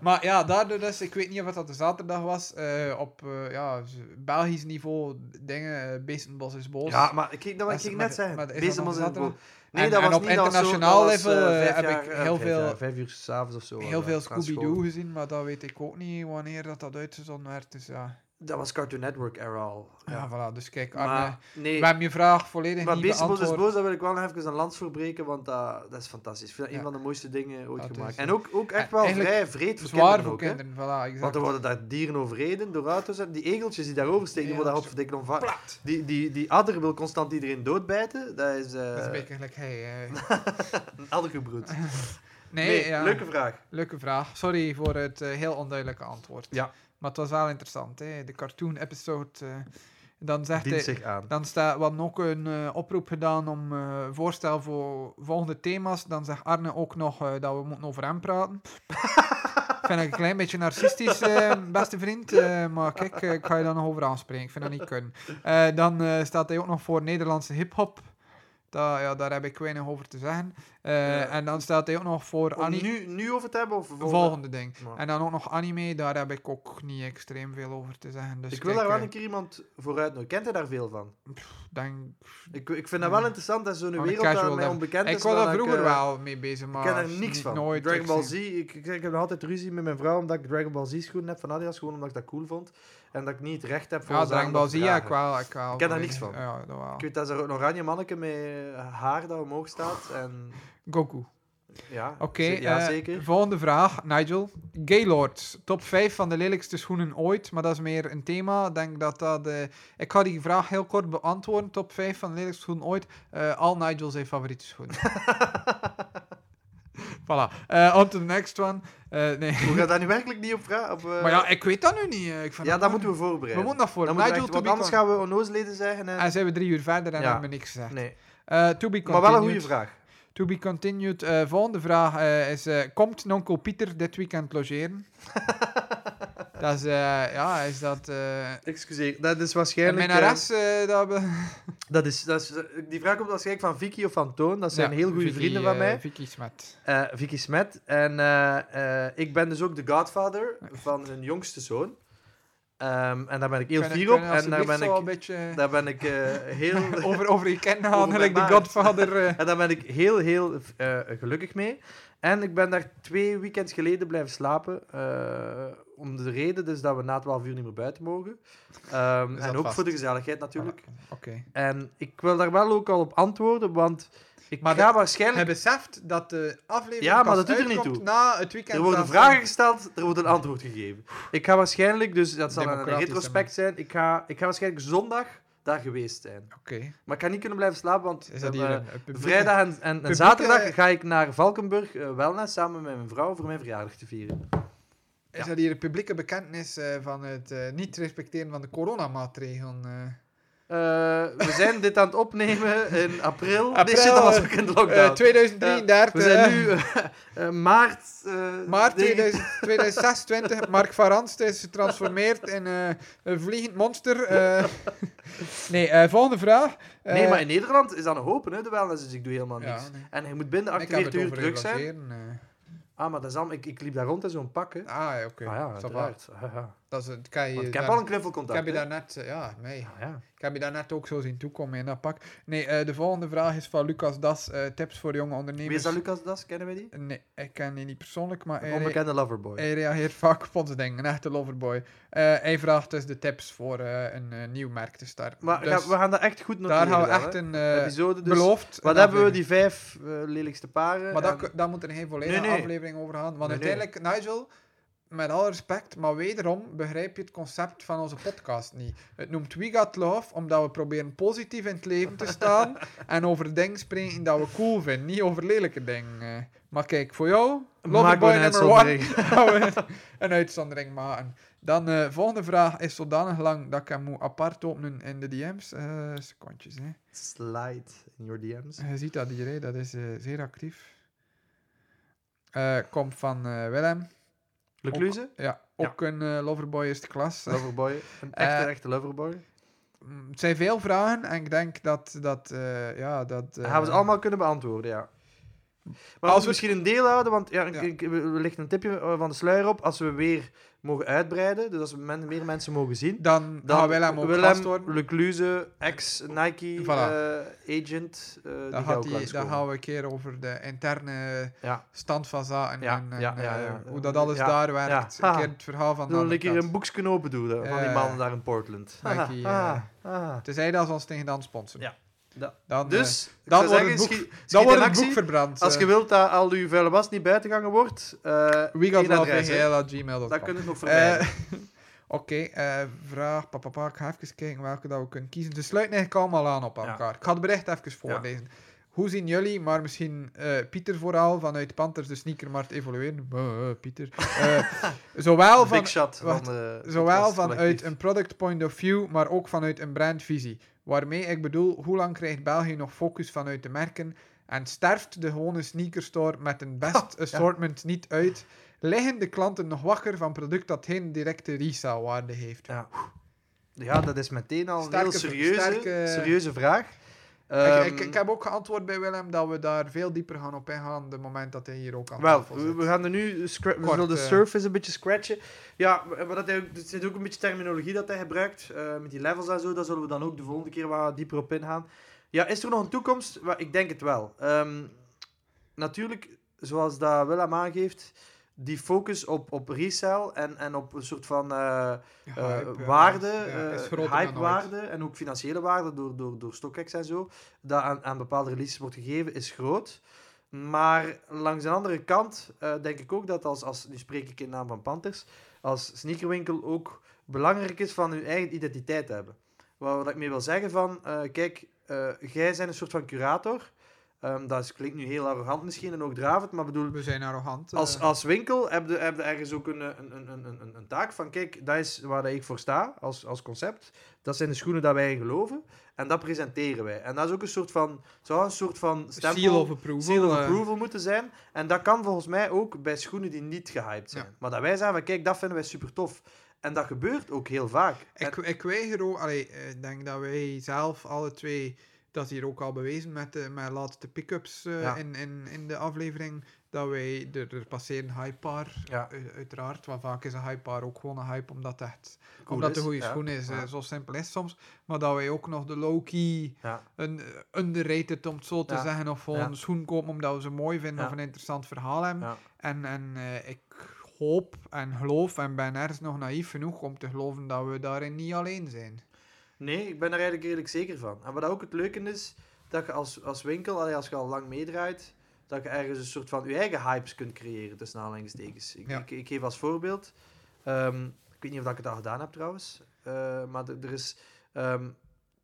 [SPEAKER 1] Maar ja, daardoor dus, ik weet niet of dat de zaterdag was, eh, op eh, ja, z- Belgisch niveau dingen, eh, Beestenbos is boos.
[SPEAKER 2] Ja, maar ik kijk, dat wat
[SPEAKER 1] Dat is-
[SPEAKER 2] ik
[SPEAKER 1] maar-
[SPEAKER 2] net zeggen.
[SPEAKER 1] maar is dat
[SPEAKER 2] Deze
[SPEAKER 1] nog
[SPEAKER 2] was
[SPEAKER 1] zaterdag?
[SPEAKER 2] een Nee,
[SPEAKER 1] En-
[SPEAKER 2] dat
[SPEAKER 1] en
[SPEAKER 2] was
[SPEAKER 1] op
[SPEAKER 2] niet, dat was zo-
[SPEAKER 1] internationaal
[SPEAKER 2] dat was,
[SPEAKER 1] level,
[SPEAKER 2] eh, vijf
[SPEAKER 1] eh, heb
[SPEAKER 2] jaar-
[SPEAKER 1] ik
[SPEAKER 2] eh,
[SPEAKER 1] heel
[SPEAKER 2] vijf
[SPEAKER 1] veel-
[SPEAKER 2] jaar, Vijf uur s'avonds of zo.
[SPEAKER 1] Heel
[SPEAKER 2] eh,
[SPEAKER 1] veel
[SPEAKER 2] na school.
[SPEAKER 1] Scooby-Doo gezien, maar dat weet ik ook niet wanneer dat, dat uitgezonden werd. Dus ja,
[SPEAKER 2] Dat was Cartoon Network era al.
[SPEAKER 1] ja. voilà. Dus kijk, Arne,
[SPEAKER 2] Maar, nee,
[SPEAKER 1] we hebben je vraag volledig
[SPEAKER 2] maar
[SPEAKER 1] niet
[SPEAKER 2] Beestenbos is
[SPEAKER 1] beantwoord.
[SPEAKER 2] boos, daar wil ik wel nog even een lans voor breken, want dat, dat is fantastisch. Ik vind dat
[SPEAKER 1] Ja.
[SPEAKER 2] een van de mooiste dingen ooit
[SPEAKER 1] Dat is-
[SPEAKER 2] gemaakt. En ook, ook echt wel
[SPEAKER 1] Eigenlijk
[SPEAKER 2] vrij vreed voor
[SPEAKER 1] Zwaar
[SPEAKER 2] kinderen
[SPEAKER 1] voor
[SPEAKER 2] ook, hè.
[SPEAKER 1] kinderen, voilà, exact.
[SPEAKER 2] Want er worden daar dieren overreden door auto's. En die egeltjes die daarover steken, die worden daar
[SPEAKER 1] Egeltjes.
[SPEAKER 2] opverdikken omvangen. Die, die, die adder wil constant iedereen doodbijten. Dat is, eh,
[SPEAKER 1] Dat is een beetje gelijk hij. eh.
[SPEAKER 2] een addergebroed. Nee,
[SPEAKER 1] Nee, ja.
[SPEAKER 2] leuke vraag.
[SPEAKER 1] leuke vraag. Sorry voor het eh, heel onduidelijke antwoord.
[SPEAKER 2] Ja.
[SPEAKER 1] Maar het was wel interessant, hè. De cartoon-episode. eh, dan zegt
[SPEAKER 2] Dient
[SPEAKER 1] hij...
[SPEAKER 2] zich aan.
[SPEAKER 1] Dan staat, we hadden ook een eh, oproep gedaan om eh, voorstel voor volgende thema's. Dan zegt Arne ook nog eh, dat we moeten over hem praten. vind ik een klein beetje narcistisch, eh, beste vriend. eh, maar kijk, eh, ik ga je daar nog over aanspreken. Ik vind dat niet kunnen. Eh, dan eh, staat hij ook nog voor Nederlandse hip-hop. Da- ja, daar heb ik weinig over te zeggen. Eh,
[SPEAKER 2] Ja.
[SPEAKER 1] En dan staat hij ook nog voor
[SPEAKER 2] Om
[SPEAKER 1] Annie
[SPEAKER 2] nu, nu over het hebben of volgende?
[SPEAKER 1] volgende ding.
[SPEAKER 2] Maar-
[SPEAKER 1] En dan ook nog anime, daar heb ik ook niet extreem veel over te zeggen. Dus
[SPEAKER 2] ik wil
[SPEAKER 1] kijk,
[SPEAKER 2] daar wel
[SPEAKER 1] eh,
[SPEAKER 2] een keer iemand voor uitnodigen. Kent hij daar veel van?
[SPEAKER 1] denk
[SPEAKER 2] Ik, ik vind dat
[SPEAKER 1] Ja.
[SPEAKER 2] wel interessant, dat zo'n
[SPEAKER 1] Van een
[SPEAKER 2] wereld dat
[SPEAKER 1] Mm. Oh, casual
[SPEAKER 2] mij
[SPEAKER 1] level.
[SPEAKER 2] onbekend is.
[SPEAKER 1] dus Ik was
[SPEAKER 2] maar
[SPEAKER 1] daar
[SPEAKER 2] dat
[SPEAKER 1] vroeger
[SPEAKER 2] eh,
[SPEAKER 1] wel mee bezig, maar...
[SPEAKER 2] Ik ken er niks van.
[SPEAKER 1] Nooit
[SPEAKER 2] Dragon Ball Z,
[SPEAKER 1] gezien.
[SPEAKER 2] ik, ik, ik heb nog altijd ruzie met mijn vrouw omdat ik Dragon Ball Z schoenen heb van Adidas, gewoon omdat ik dat cool vond. En dat ik niet het recht heb voor
[SPEAKER 1] Ja,
[SPEAKER 2] ons aan
[SPEAKER 1] Dragon Ball
[SPEAKER 2] dat
[SPEAKER 1] Z,
[SPEAKER 2] te
[SPEAKER 1] ja,
[SPEAKER 2] dragen.
[SPEAKER 1] ik wel. Ik, wel
[SPEAKER 2] Ik ken daar
[SPEAKER 1] volledig.
[SPEAKER 2] niks van.
[SPEAKER 1] Ja, dat wel.
[SPEAKER 2] Ik weet dat er een oranje manneke met haar dat omhoog staat. En
[SPEAKER 1] Goku.
[SPEAKER 2] ja,
[SPEAKER 1] Oké,
[SPEAKER 2] ze- ja,
[SPEAKER 1] eh,
[SPEAKER 2] zeker.
[SPEAKER 1] volgende vraag, Nigel. Gaylord, top 5 van de lelijkste schoenen ooit, maar dat is meer een thema. Ik Denk dat dat, eh, ik ga die vraag heel kort beantwoorden. Top 5 van de lelijkste schoenen ooit. Eh, al Nigel zijn favoriete schoenen. voilà, Eh on to the next one. Eh, nee.
[SPEAKER 2] Hoe gaat dat nu werkelijk niet op vragen? Op, eh,
[SPEAKER 1] Maar ja, ik weet dat nu niet. eh, Ik vind
[SPEAKER 2] ja,
[SPEAKER 1] dat
[SPEAKER 2] dat
[SPEAKER 1] moeilijk.
[SPEAKER 2] moeten we voorbereiden.
[SPEAKER 1] We moeten dat voor.
[SPEAKER 2] Dan moeten we
[SPEAKER 1] Nigel, Ah,
[SPEAKER 2] echt- want
[SPEAKER 1] to be
[SPEAKER 2] anders
[SPEAKER 1] con-
[SPEAKER 2] gaan we onnozeleden zeggen. En,
[SPEAKER 1] En zijn we drie uur verder en
[SPEAKER 2] Ja.
[SPEAKER 1] hebben we niks gezegd.
[SPEAKER 2] nee.
[SPEAKER 1] Eh, to be
[SPEAKER 2] Maar
[SPEAKER 1] continued.
[SPEAKER 2] wel een goede vraag.
[SPEAKER 1] To be continued. Eh, volgende vraag eh, is: eh, Komt Nonkel Pieter dit weekend logeren? dat is, eh, ja, is dat. eh
[SPEAKER 2] Excuseer, dat is
[SPEAKER 1] en
[SPEAKER 2] waarschijnlijk...
[SPEAKER 1] mijn arrest, eh, dat we-
[SPEAKER 2] eh, dat is, dat is, die vraag komt waarschijnlijk van Vicky of van Toon. Dat zijn
[SPEAKER 1] Ja,
[SPEAKER 2] heel goede
[SPEAKER 1] Vicky,
[SPEAKER 2] vrienden van
[SPEAKER 1] eh,
[SPEAKER 2] mij.
[SPEAKER 1] Vicky Smet.
[SPEAKER 2] Eh, Vicky Smet. En eh, eh, ik ben dus ook de godfather van hun jongste zoon. Ehm, en daar ben ik heel
[SPEAKER 1] Kunnen-
[SPEAKER 2] fier op.
[SPEAKER 1] kunnen
[SPEAKER 2] En daar
[SPEAKER 1] alsjeblieft
[SPEAKER 2] ben
[SPEAKER 1] zo
[SPEAKER 2] ik,
[SPEAKER 1] een beetje
[SPEAKER 2] daar ben ik eh, heel...
[SPEAKER 1] over, over je kennen
[SPEAKER 2] over
[SPEAKER 1] gaan,
[SPEAKER 2] mijn
[SPEAKER 1] gelijk de
[SPEAKER 2] maat.
[SPEAKER 1] Godfather. eh.
[SPEAKER 2] En daar ben ik heel, heel eh, gelukkig mee. En ik ben daar twee weekends geleden blijven slapen. eh, om de reden dus dat we na 12 uur niet meer buiten mogen. Ehm,
[SPEAKER 1] Is dat
[SPEAKER 2] en ook
[SPEAKER 1] vast?
[SPEAKER 2] voor de gezelligheid natuurlijk.
[SPEAKER 1] Oké.
[SPEAKER 2] En ik wil daar wel ook al op antwoorden, want ik
[SPEAKER 1] Maar
[SPEAKER 2] ga
[SPEAKER 1] dat- Hij
[SPEAKER 2] waarschijnlijk...
[SPEAKER 1] beseft dat de aflevering
[SPEAKER 2] Ja, maar
[SPEAKER 1] pas
[SPEAKER 2] dat doet er niet
[SPEAKER 1] uitkomt
[SPEAKER 2] toe.
[SPEAKER 1] na het weekend.
[SPEAKER 2] Er worden
[SPEAKER 1] dat-
[SPEAKER 2] vragen gesteld, er wordt een antwoord gegeven. Ik ga waarschijnlijk, dus dat zal een
[SPEAKER 1] Democratische
[SPEAKER 2] retrospect zijn, ik ga, ik ga waarschijnlijk zondag daar geweest zijn.
[SPEAKER 1] Oké.
[SPEAKER 2] Maar ik ga niet kunnen blijven slapen, want
[SPEAKER 1] Is dat
[SPEAKER 2] eh,
[SPEAKER 1] hier een, een publieke-
[SPEAKER 2] vrijdag en, en, en
[SPEAKER 1] publieke-
[SPEAKER 2] zaterdag ga ik naar Valkenburg eh, Wellness samen met mijn vrouw voor mijn verjaardag te vieren.
[SPEAKER 1] Is dat hier een publieke bekentenis eh, van het eh, niet respecteren van de coronamaatregelen? eh?
[SPEAKER 2] Eh, we zijn dit aan het opnemen in april.
[SPEAKER 1] April,
[SPEAKER 2] nee, shit, dat was ook in de lockdown.
[SPEAKER 1] Eh, 2033.
[SPEAKER 2] we zijn
[SPEAKER 1] eh,
[SPEAKER 2] nu eh, eh, maart... eh,
[SPEAKER 1] Maart
[SPEAKER 2] nee.
[SPEAKER 1] 2000 2026, Mark van Ranst is getransformeerd in eh, een vliegend monster. eh. nee, eh, volgende vraag. Eh,
[SPEAKER 2] Nee, maar in Nederland is dat nog open, hè, de wellness, dus ik doe helemaal niks.
[SPEAKER 1] ja, nee.
[SPEAKER 2] En je moet binnen
[SPEAKER 1] Ik heb
[SPEAKER 2] 48
[SPEAKER 1] het
[SPEAKER 2] uur
[SPEAKER 1] over
[SPEAKER 2] terug zijn.
[SPEAKER 1] relogeren, eh.
[SPEAKER 2] Ah, maar dat is allemaal- ik, ik liep daar rond in zo'n pak, hè.
[SPEAKER 1] Ah, ja, oké.
[SPEAKER 2] ah ja,
[SPEAKER 1] Ça va.
[SPEAKER 2] uiteraard. Ah, ja.
[SPEAKER 1] Dat is, het kan je,
[SPEAKER 2] Want ik
[SPEAKER 1] daar-
[SPEAKER 2] heb al een
[SPEAKER 1] ik
[SPEAKER 2] knuffelcontact,
[SPEAKER 1] heb je
[SPEAKER 2] hè.
[SPEAKER 1] daar net, eh, ja, mee.
[SPEAKER 2] Ah, ja.
[SPEAKER 1] Ik heb je daar net ook zo zien toekomen in dat pak. Nee, eh, de volgende vraag is van Lucas Das. eh, tips voor jonge
[SPEAKER 2] Wie
[SPEAKER 1] ondernemers.
[SPEAKER 2] is dat, Lucas Das? Kennen wij die?
[SPEAKER 1] Nee, Eh, ik ken die niet persoonlijk, maar
[SPEAKER 2] Een
[SPEAKER 1] hij,
[SPEAKER 2] onbekende loverboy.
[SPEAKER 1] hij reageert vaak op onze dingen. Een echte loverboy. Eh, hij vraagt dus de tips voor eh, een eh, nieuw merk te starten.
[SPEAKER 2] Maar
[SPEAKER 1] Dus
[SPEAKER 2] ga- we gaan dat echt goed noteren.
[SPEAKER 1] daar gaan we
[SPEAKER 2] dan, hè.
[SPEAKER 1] echt een eh,
[SPEAKER 2] episode dus.
[SPEAKER 1] beloofd.
[SPEAKER 2] Wat
[SPEAKER 1] een
[SPEAKER 2] hebben we,
[SPEAKER 1] aflevering.
[SPEAKER 2] die vijf eh, lelijkste paren?
[SPEAKER 1] Maar
[SPEAKER 2] en-
[SPEAKER 1] dat, daar moet er geen volledige
[SPEAKER 2] Nee, nee.
[SPEAKER 1] aflevering over gaan. Want
[SPEAKER 2] Nee, nee.
[SPEAKER 1] uiteindelijk, Nigel, met alle respect, maar wederom begrijp je het concept van onze podcast niet. Het noemt We Got Love, omdat we proberen positief in het leven te staan en over dingen spreken dat we cool vinden, niet over lelijke dingen. eh. Maar kijk, voor jou,
[SPEAKER 2] Maak
[SPEAKER 1] Loverboy
[SPEAKER 2] een
[SPEAKER 1] number one,
[SPEAKER 2] uitzondering.
[SPEAKER 1] gaan we een uitzondering maken. Dan, eh volgende vraag is zodanig lang dat ik hem moet apart openen in de DM's. Eh, secondjes, hè.
[SPEAKER 2] Slide in your DM's.
[SPEAKER 1] Je ziet dat hier, hè. dat is eh, zeer actief. Eh, komt van eh, Willem.
[SPEAKER 2] Lecluze?
[SPEAKER 1] Ja,
[SPEAKER 2] Ja.
[SPEAKER 1] ook een eh, Loverboy eerste klas.
[SPEAKER 2] Loverboy. Een echte,
[SPEAKER 1] Eh,
[SPEAKER 2] echte loverboy.
[SPEAKER 1] Mm, Het zijn veel vragen en ik denk dat... dat eh, ja, dat
[SPEAKER 2] Dan gaan we ze
[SPEAKER 1] eh,
[SPEAKER 2] allemaal kunnen beantwoorden, ja. Maar
[SPEAKER 1] Als
[SPEAKER 2] als
[SPEAKER 1] we-
[SPEAKER 2] we misschien een deel houden, want ja,
[SPEAKER 1] Ja.
[SPEAKER 2] ik- ik- we we lichten een tipje eh, van de sluier op. Als we weer mogen uitbreiden, dus als we men- meer mensen mogen zien,
[SPEAKER 1] Dan,
[SPEAKER 2] Dan
[SPEAKER 1] gaan Willem ook
[SPEAKER 2] Willem,
[SPEAKER 1] gast worden.
[SPEAKER 2] Lecluze, ex-Nike
[SPEAKER 1] Voilà.
[SPEAKER 2] eh, agent. eh, die
[SPEAKER 1] Dan,
[SPEAKER 2] gaat
[SPEAKER 1] gaat
[SPEAKER 2] ook
[SPEAKER 1] die- dan
[SPEAKER 2] langskomen.
[SPEAKER 1] gaan we een keer over de interne
[SPEAKER 2] Ja.
[SPEAKER 1] stand van zaken
[SPEAKER 2] Ja,
[SPEAKER 1] en, en,
[SPEAKER 2] ja, ja,
[SPEAKER 1] eh,
[SPEAKER 2] ja.
[SPEAKER 1] hoe dat alles
[SPEAKER 2] Ja,
[SPEAKER 1] daar werkt.
[SPEAKER 2] ja.
[SPEAKER 1] Een keer het verhaal van de
[SPEAKER 2] Dan
[SPEAKER 1] andere
[SPEAKER 2] een keer
[SPEAKER 1] kant.
[SPEAKER 2] een boekje open doen hè, van die
[SPEAKER 1] Eh,
[SPEAKER 2] mannen daar in Portland.
[SPEAKER 1] Nike,
[SPEAKER 2] Ah,
[SPEAKER 1] eh,
[SPEAKER 2] ah.
[SPEAKER 1] Tenzij dat ze ons tegen dan sponsoren.
[SPEAKER 2] Ja, dat-
[SPEAKER 1] Dan, eh,
[SPEAKER 2] Dus, ik
[SPEAKER 1] dan
[SPEAKER 2] zou
[SPEAKER 1] wordt
[SPEAKER 2] zeggen,
[SPEAKER 1] het boek-
[SPEAKER 2] schiet- schiet
[SPEAKER 1] dan
[SPEAKER 2] in
[SPEAKER 1] wordt het
[SPEAKER 2] actie.
[SPEAKER 1] boek verbrand.
[SPEAKER 2] Als je
[SPEAKER 1] eh.
[SPEAKER 2] wilt dat al uw vuile was niet buitengangen wordt, eh
[SPEAKER 1] We got
[SPEAKER 2] één
[SPEAKER 1] love
[SPEAKER 2] adres, hè.
[SPEAKER 1] gmail.com.
[SPEAKER 2] dat kunnen we nog vermijden.
[SPEAKER 1] Eh, Oké, eh, vraag. Papa, papa, ik ga even kijken welke dat we kunnen kiezen. Ze sluiten eigenlijk allemaal aan op
[SPEAKER 2] Ja.
[SPEAKER 1] elkaar. Ik ga het bericht even voorlezen. Hoe zien jullie, maar misschien eh, Pieter vooral, vanuit Panthers de sneakermarkt evolueren? Buh, Pieter. Eh, zowel van,
[SPEAKER 2] Big shot van eh,
[SPEAKER 1] wacht,
[SPEAKER 2] de
[SPEAKER 1] zowel vanuit een product point of view, maar ook vanuit een brandvisie. Waarmee ik bedoel, hoe lang krijgt België nog focus vanuit de merken en sterft de gewone sneakerstore met een best assortment niet uit? Liggen de klanten nog wakker van product dat geen directe resale-waarde heeft?
[SPEAKER 2] Ja. Ja, dat is meteen al een
[SPEAKER 1] Sterke
[SPEAKER 2] heel
[SPEAKER 1] ver-
[SPEAKER 2] serieuze,
[SPEAKER 1] sterke-
[SPEAKER 2] serieuze vraag.
[SPEAKER 1] Ik-
[SPEAKER 2] Ehm,
[SPEAKER 1] ik, ik, heb ook geantwoord bij Willem dat we daar veel dieper gaan op ingaan, de moment dat hij hier ook aan
[SPEAKER 2] Wel,
[SPEAKER 1] tafel
[SPEAKER 2] we,
[SPEAKER 1] zit.
[SPEAKER 2] we gaan er nu scra- we
[SPEAKER 1] Kort,
[SPEAKER 2] zullen de
[SPEAKER 1] eh.
[SPEAKER 2] surface een beetje scratchen. Ja, maar dat, hij, ook- er zit ook een beetje terminologie dat hij gebruikt, eh, met die levels en zo. Daar zullen we dan ook de volgende keer wat dieper op ingaan. Ja, is er nog een toekomst? Wel, Ik denk het wel. Ehm, natuurlijk, zoals dat Willem aangeeft, die focus op, op resale en, en op een soort van... eh, eh,
[SPEAKER 1] Hype, eh,
[SPEAKER 2] waarde,
[SPEAKER 1] ja, is
[SPEAKER 2] eh,
[SPEAKER 1] groter dan
[SPEAKER 2] hypewaarde en ook financiële waarde door, door, door StockX en zo, dat aan, aan bepaalde releases wordt gegeven, is groot. Maar langs de andere kant eh, denk ik ook dat als, als, nu spreek ik in naam van Panthers, als sneakerwinkel ook belangrijk is van uw eigen identiteit te hebben. Wat, wat ik mee wil zeggen van, eh, kijk, eh, jij bent een soort van curator. Ehm, dat is- klinkt nu heel arrogant misschien en ook dravend, maar bedoel,
[SPEAKER 1] ooit. We zijn arrogant. eh.
[SPEAKER 2] als, als winkel heb je, heb je ergens ook een, eh, een, een, een, een- een taak van, kijk, dat is waar dat ik voor sta als, als concept. Dat zijn de schoenen dat wij in geloven en dat presenteren wij. En dat is ook een soort van, zou een soort van stempel,
[SPEAKER 1] seal of approval.
[SPEAKER 2] seal of
[SPEAKER 1] eh.
[SPEAKER 2] approval moeten zijn. En dat kan volgens mij ook bij schoenen die niet gehyped zijn.
[SPEAKER 1] Ja.
[SPEAKER 2] Maar dat wij zeggen van, kijk, dat vinden wij super tof. En dat gebeurt ook heel vaak. En-
[SPEAKER 1] Ik, ik weiger ook, allee, eh, ik denk dat wij zelf alle twee, dat is hier ook al bewezen met de met laatste pick-ups eh,
[SPEAKER 2] Ja.
[SPEAKER 1] in, in, in de aflevering, dat wij er, er passeren hype paar,
[SPEAKER 2] Ja.
[SPEAKER 1] u- uiteraard, want vaak is een hype paar ook gewoon een hype omdat het echt
[SPEAKER 2] Cool
[SPEAKER 1] omdat
[SPEAKER 2] is,
[SPEAKER 1] de goede
[SPEAKER 2] ja.
[SPEAKER 1] schoen is, eh,
[SPEAKER 2] Ja.
[SPEAKER 1] zo simpel is het soms, maar dat wij ook nog de low-key,
[SPEAKER 2] Ja.
[SPEAKER 1] een eh, underrated om het zo te
[SPEAKER 2] Ja.
[SPEAKER 1] zeggen, of gewoon
[SPEAKER 2] Ja.
[SPEAKER 1] een schoen kopen omdat we ze mooi vinden
[SPEAKER 2] Ja.
[SPEAKER 1] of een interessant verhaal hebben.
[SPEAKER 2] Ja.
[SPEAKER 1] En, en eh, ik hoop en geloof en ben ergens nog naïef genoeg om te geloven dat we daarin niet alleen zijn.
[SPEAKER 2] Nee, ik ben er eigenlijk redelijk zeker van. En wat ook het leuke is, dat je als, als winkel, allee, als je al lang meedraait, dat je ergens een soort van je eigen hypes kunt creëren, tussen aanhalingstekens. Ik,
[SPEAKER 1] Ja.
[SPEAKER 2] ik, ik geef als voorbeeld, ehm, ik weet niet of dat ik het al gedaan heb trouwens, eh, maar er er is ehm,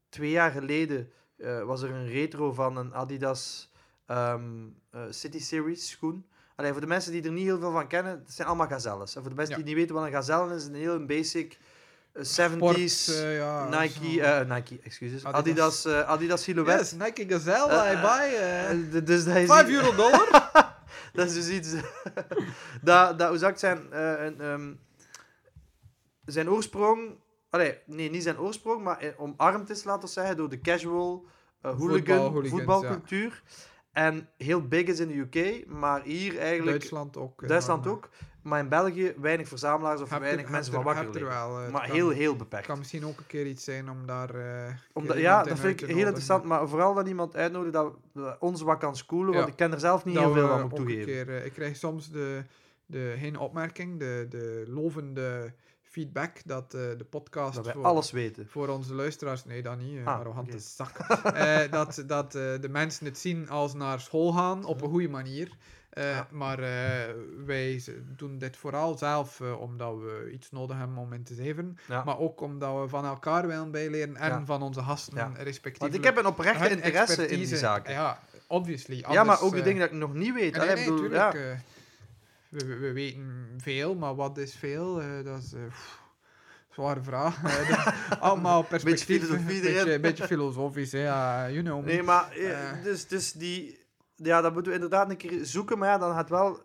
[SPEAKER 2] twee jaar geleden eh, was er een retro van een Adidas ehm, eh, City Series schoen. Allee, voor de mensen die er niet heel veel van kennen, het zijn allemaal gazelles. En voor de mensen
[SPEAKER 1] Ja.
[SPEAKER 2] die niet weten wat een gazelle is, een heel basic eh, 70s...
[SPEAKER 1] Sport, eh, ja,
[SPEAKER 2] Nike,
[SPEAKER 1] zo.
[SPEAKER 2] eh Nike, excuses.
[SPEAKER 1] Adidas.
[SPEAKER 2] Adidas, eh, Adidas silhouette.
[SPEAKER 1] Yes, Nike Gazelle,
[SPEAKER 2] Eh,
[SPEAKER 1] I
[SPEAKER 2] eh,
[SPEAKER 1] buy.
[SPEAKER 2] Eh,
[SPEAKER 1] eh,
[SPEAKER 2] d- dus dat is,
[SPEAKER 1] 5
[SPEAKER 2] i-
[SPEAKER 1] euro dollar.
[SPEAKER 2] dat is dus iets. dat, dat, hoe zou ik het zijn? eh, een, ehm, zijn oorsprong. Allee, nee, niet zijn oorsprong, maar eh, omarmd is, laten we zeggen, door de casual eh, hooligan,
[SPEAKER 1] Voetbalhooligans,
[SPEAKER 2] voetbalcultuur. En heel big is in de UK, maar hier eigenlijk.
[SPEAKER 1] Duitsland ook. eh,
[SPEAKER 2] Duitsland
[SPEAKER 1] dan,
[SPEAKER 2] ook. Maar in België weinig verzamelaars of
[SPEAKER 1] Hebt er-
[SPEAKER 2] weinig
[SPEAKER 1] hebt
[SPEAKER 2] mensen
[SPEAKER 1] er-
[SPEAKER 2] van wakker
[SPEAKER 1] hebt er
[SPEAKER 2] liggen.
[SPEAKER 1] wel, eh, het
[SPEAKER 2] Maar
[SPEAKER 1] kan-
[SPEAKER 2] heel, heel
[SPEAKER 1] Het
[SPEAKER 2] beperkt.
[SPEAKER 1] kan misschien ook een keer iets zijn om daar. eh,
[SPEAKER 2] Omdat, ja,
[SPEAKER 1] keer iemand in
[SPEAKER 2] dat
[SPEAKER 1] uit
[SPEAKER 2] vind
[SPEAKER 1] te
[SPEAKER 2] ik heel
[SPEAKER 1] nodigen.
[SPEAKER 2] interessant. Maar vooral dat iemand uitnodigt dat we ons wat kan schoolen. Want
[SPEAKER 1] Ja.
[SPEAKER 2] ik ken er zelf niet
[SPEAKER 1] Dat
[SPEAKER 2] heel veel
[SPEAKER 1] we
[SPEAKER 2] van, moet ik
[SPEAKER 1] ook een
[SPEAKER 2] toegeven.
[SPEAKER 1] keer, eh, ik krijg soms de, de, geen opmerking, de, de lovende feedback dat eh, de podcast.
[SPEAKER 2] Dat wij
[SPEAKER 1] voor-
[SPEAKER 2] alles weten.
[SPEAKER 1] Voor onze luisteraars, nee, dat niet. eh,
[SPEAKER 2] Ah,
[SPEAKER 1] arrogante
[SPEAKER 2] oké.
[SPEAKER 1] zak. Eh, dat dat eh, de mensen het zien als naar school gaan op een goede manier. Eh,
[SPEAKER 2] Ja.
[SPEAKER 1] Maar eh, wij z- doen dit vooral zelf eh, omdat we iets nodig hebben om in te zeven.
[SPEAKER 2] Ja.
[SPEAKER 1] Maar ook omdat we van elkaar willen bijleren en
[SPEAKER 2] Ja.
[SPEAKER 1] van onze gasten
[SPEAKER 2] Ja. Want
[SPEAKER 1] respectievelijk.
[SPEAKER 2] ik heb een oprechte
[SPEAKER 1] hun
[SPEAKER 2] interesse in die
[SPEAKER 1] expertise.
[SPEAKER 2] zaken. Ja,
[SPEAKER 1] Ja, obviously.
[SPEAKER 2] maar ook de
[SPEAKER 1] eh,
[SPEAKER 2] dingen dat ik nog niet weet.
[SPEAKER 1] Nee,
[SPEAKER 2] Allee,
[SPEAKER 1] nee,
[SPEAKER 2] bedoel, ja.
[SPEAKER 1] tuurlijk, eh, we, we- we weten veel, maar wat is veel? Eh, dat is... eh, pff, Zware vraag. Eh, dat- allemaal perspectief.
[SPEAKER 2] filosofie
[SPEAKER 1] beetje,
[SPEAKER 2] erin.
[SPEAKER 1] beetje filosofisch, hè. ja, you know. me.
[SPEAKER 2] Nee, maar eh,
[SPEAKER 1] Eh.
[SPEAKER 2] dus, dus die... Ja, dat moeten we inderdaad een keer zoeken. Maar ja, dan gaat wel...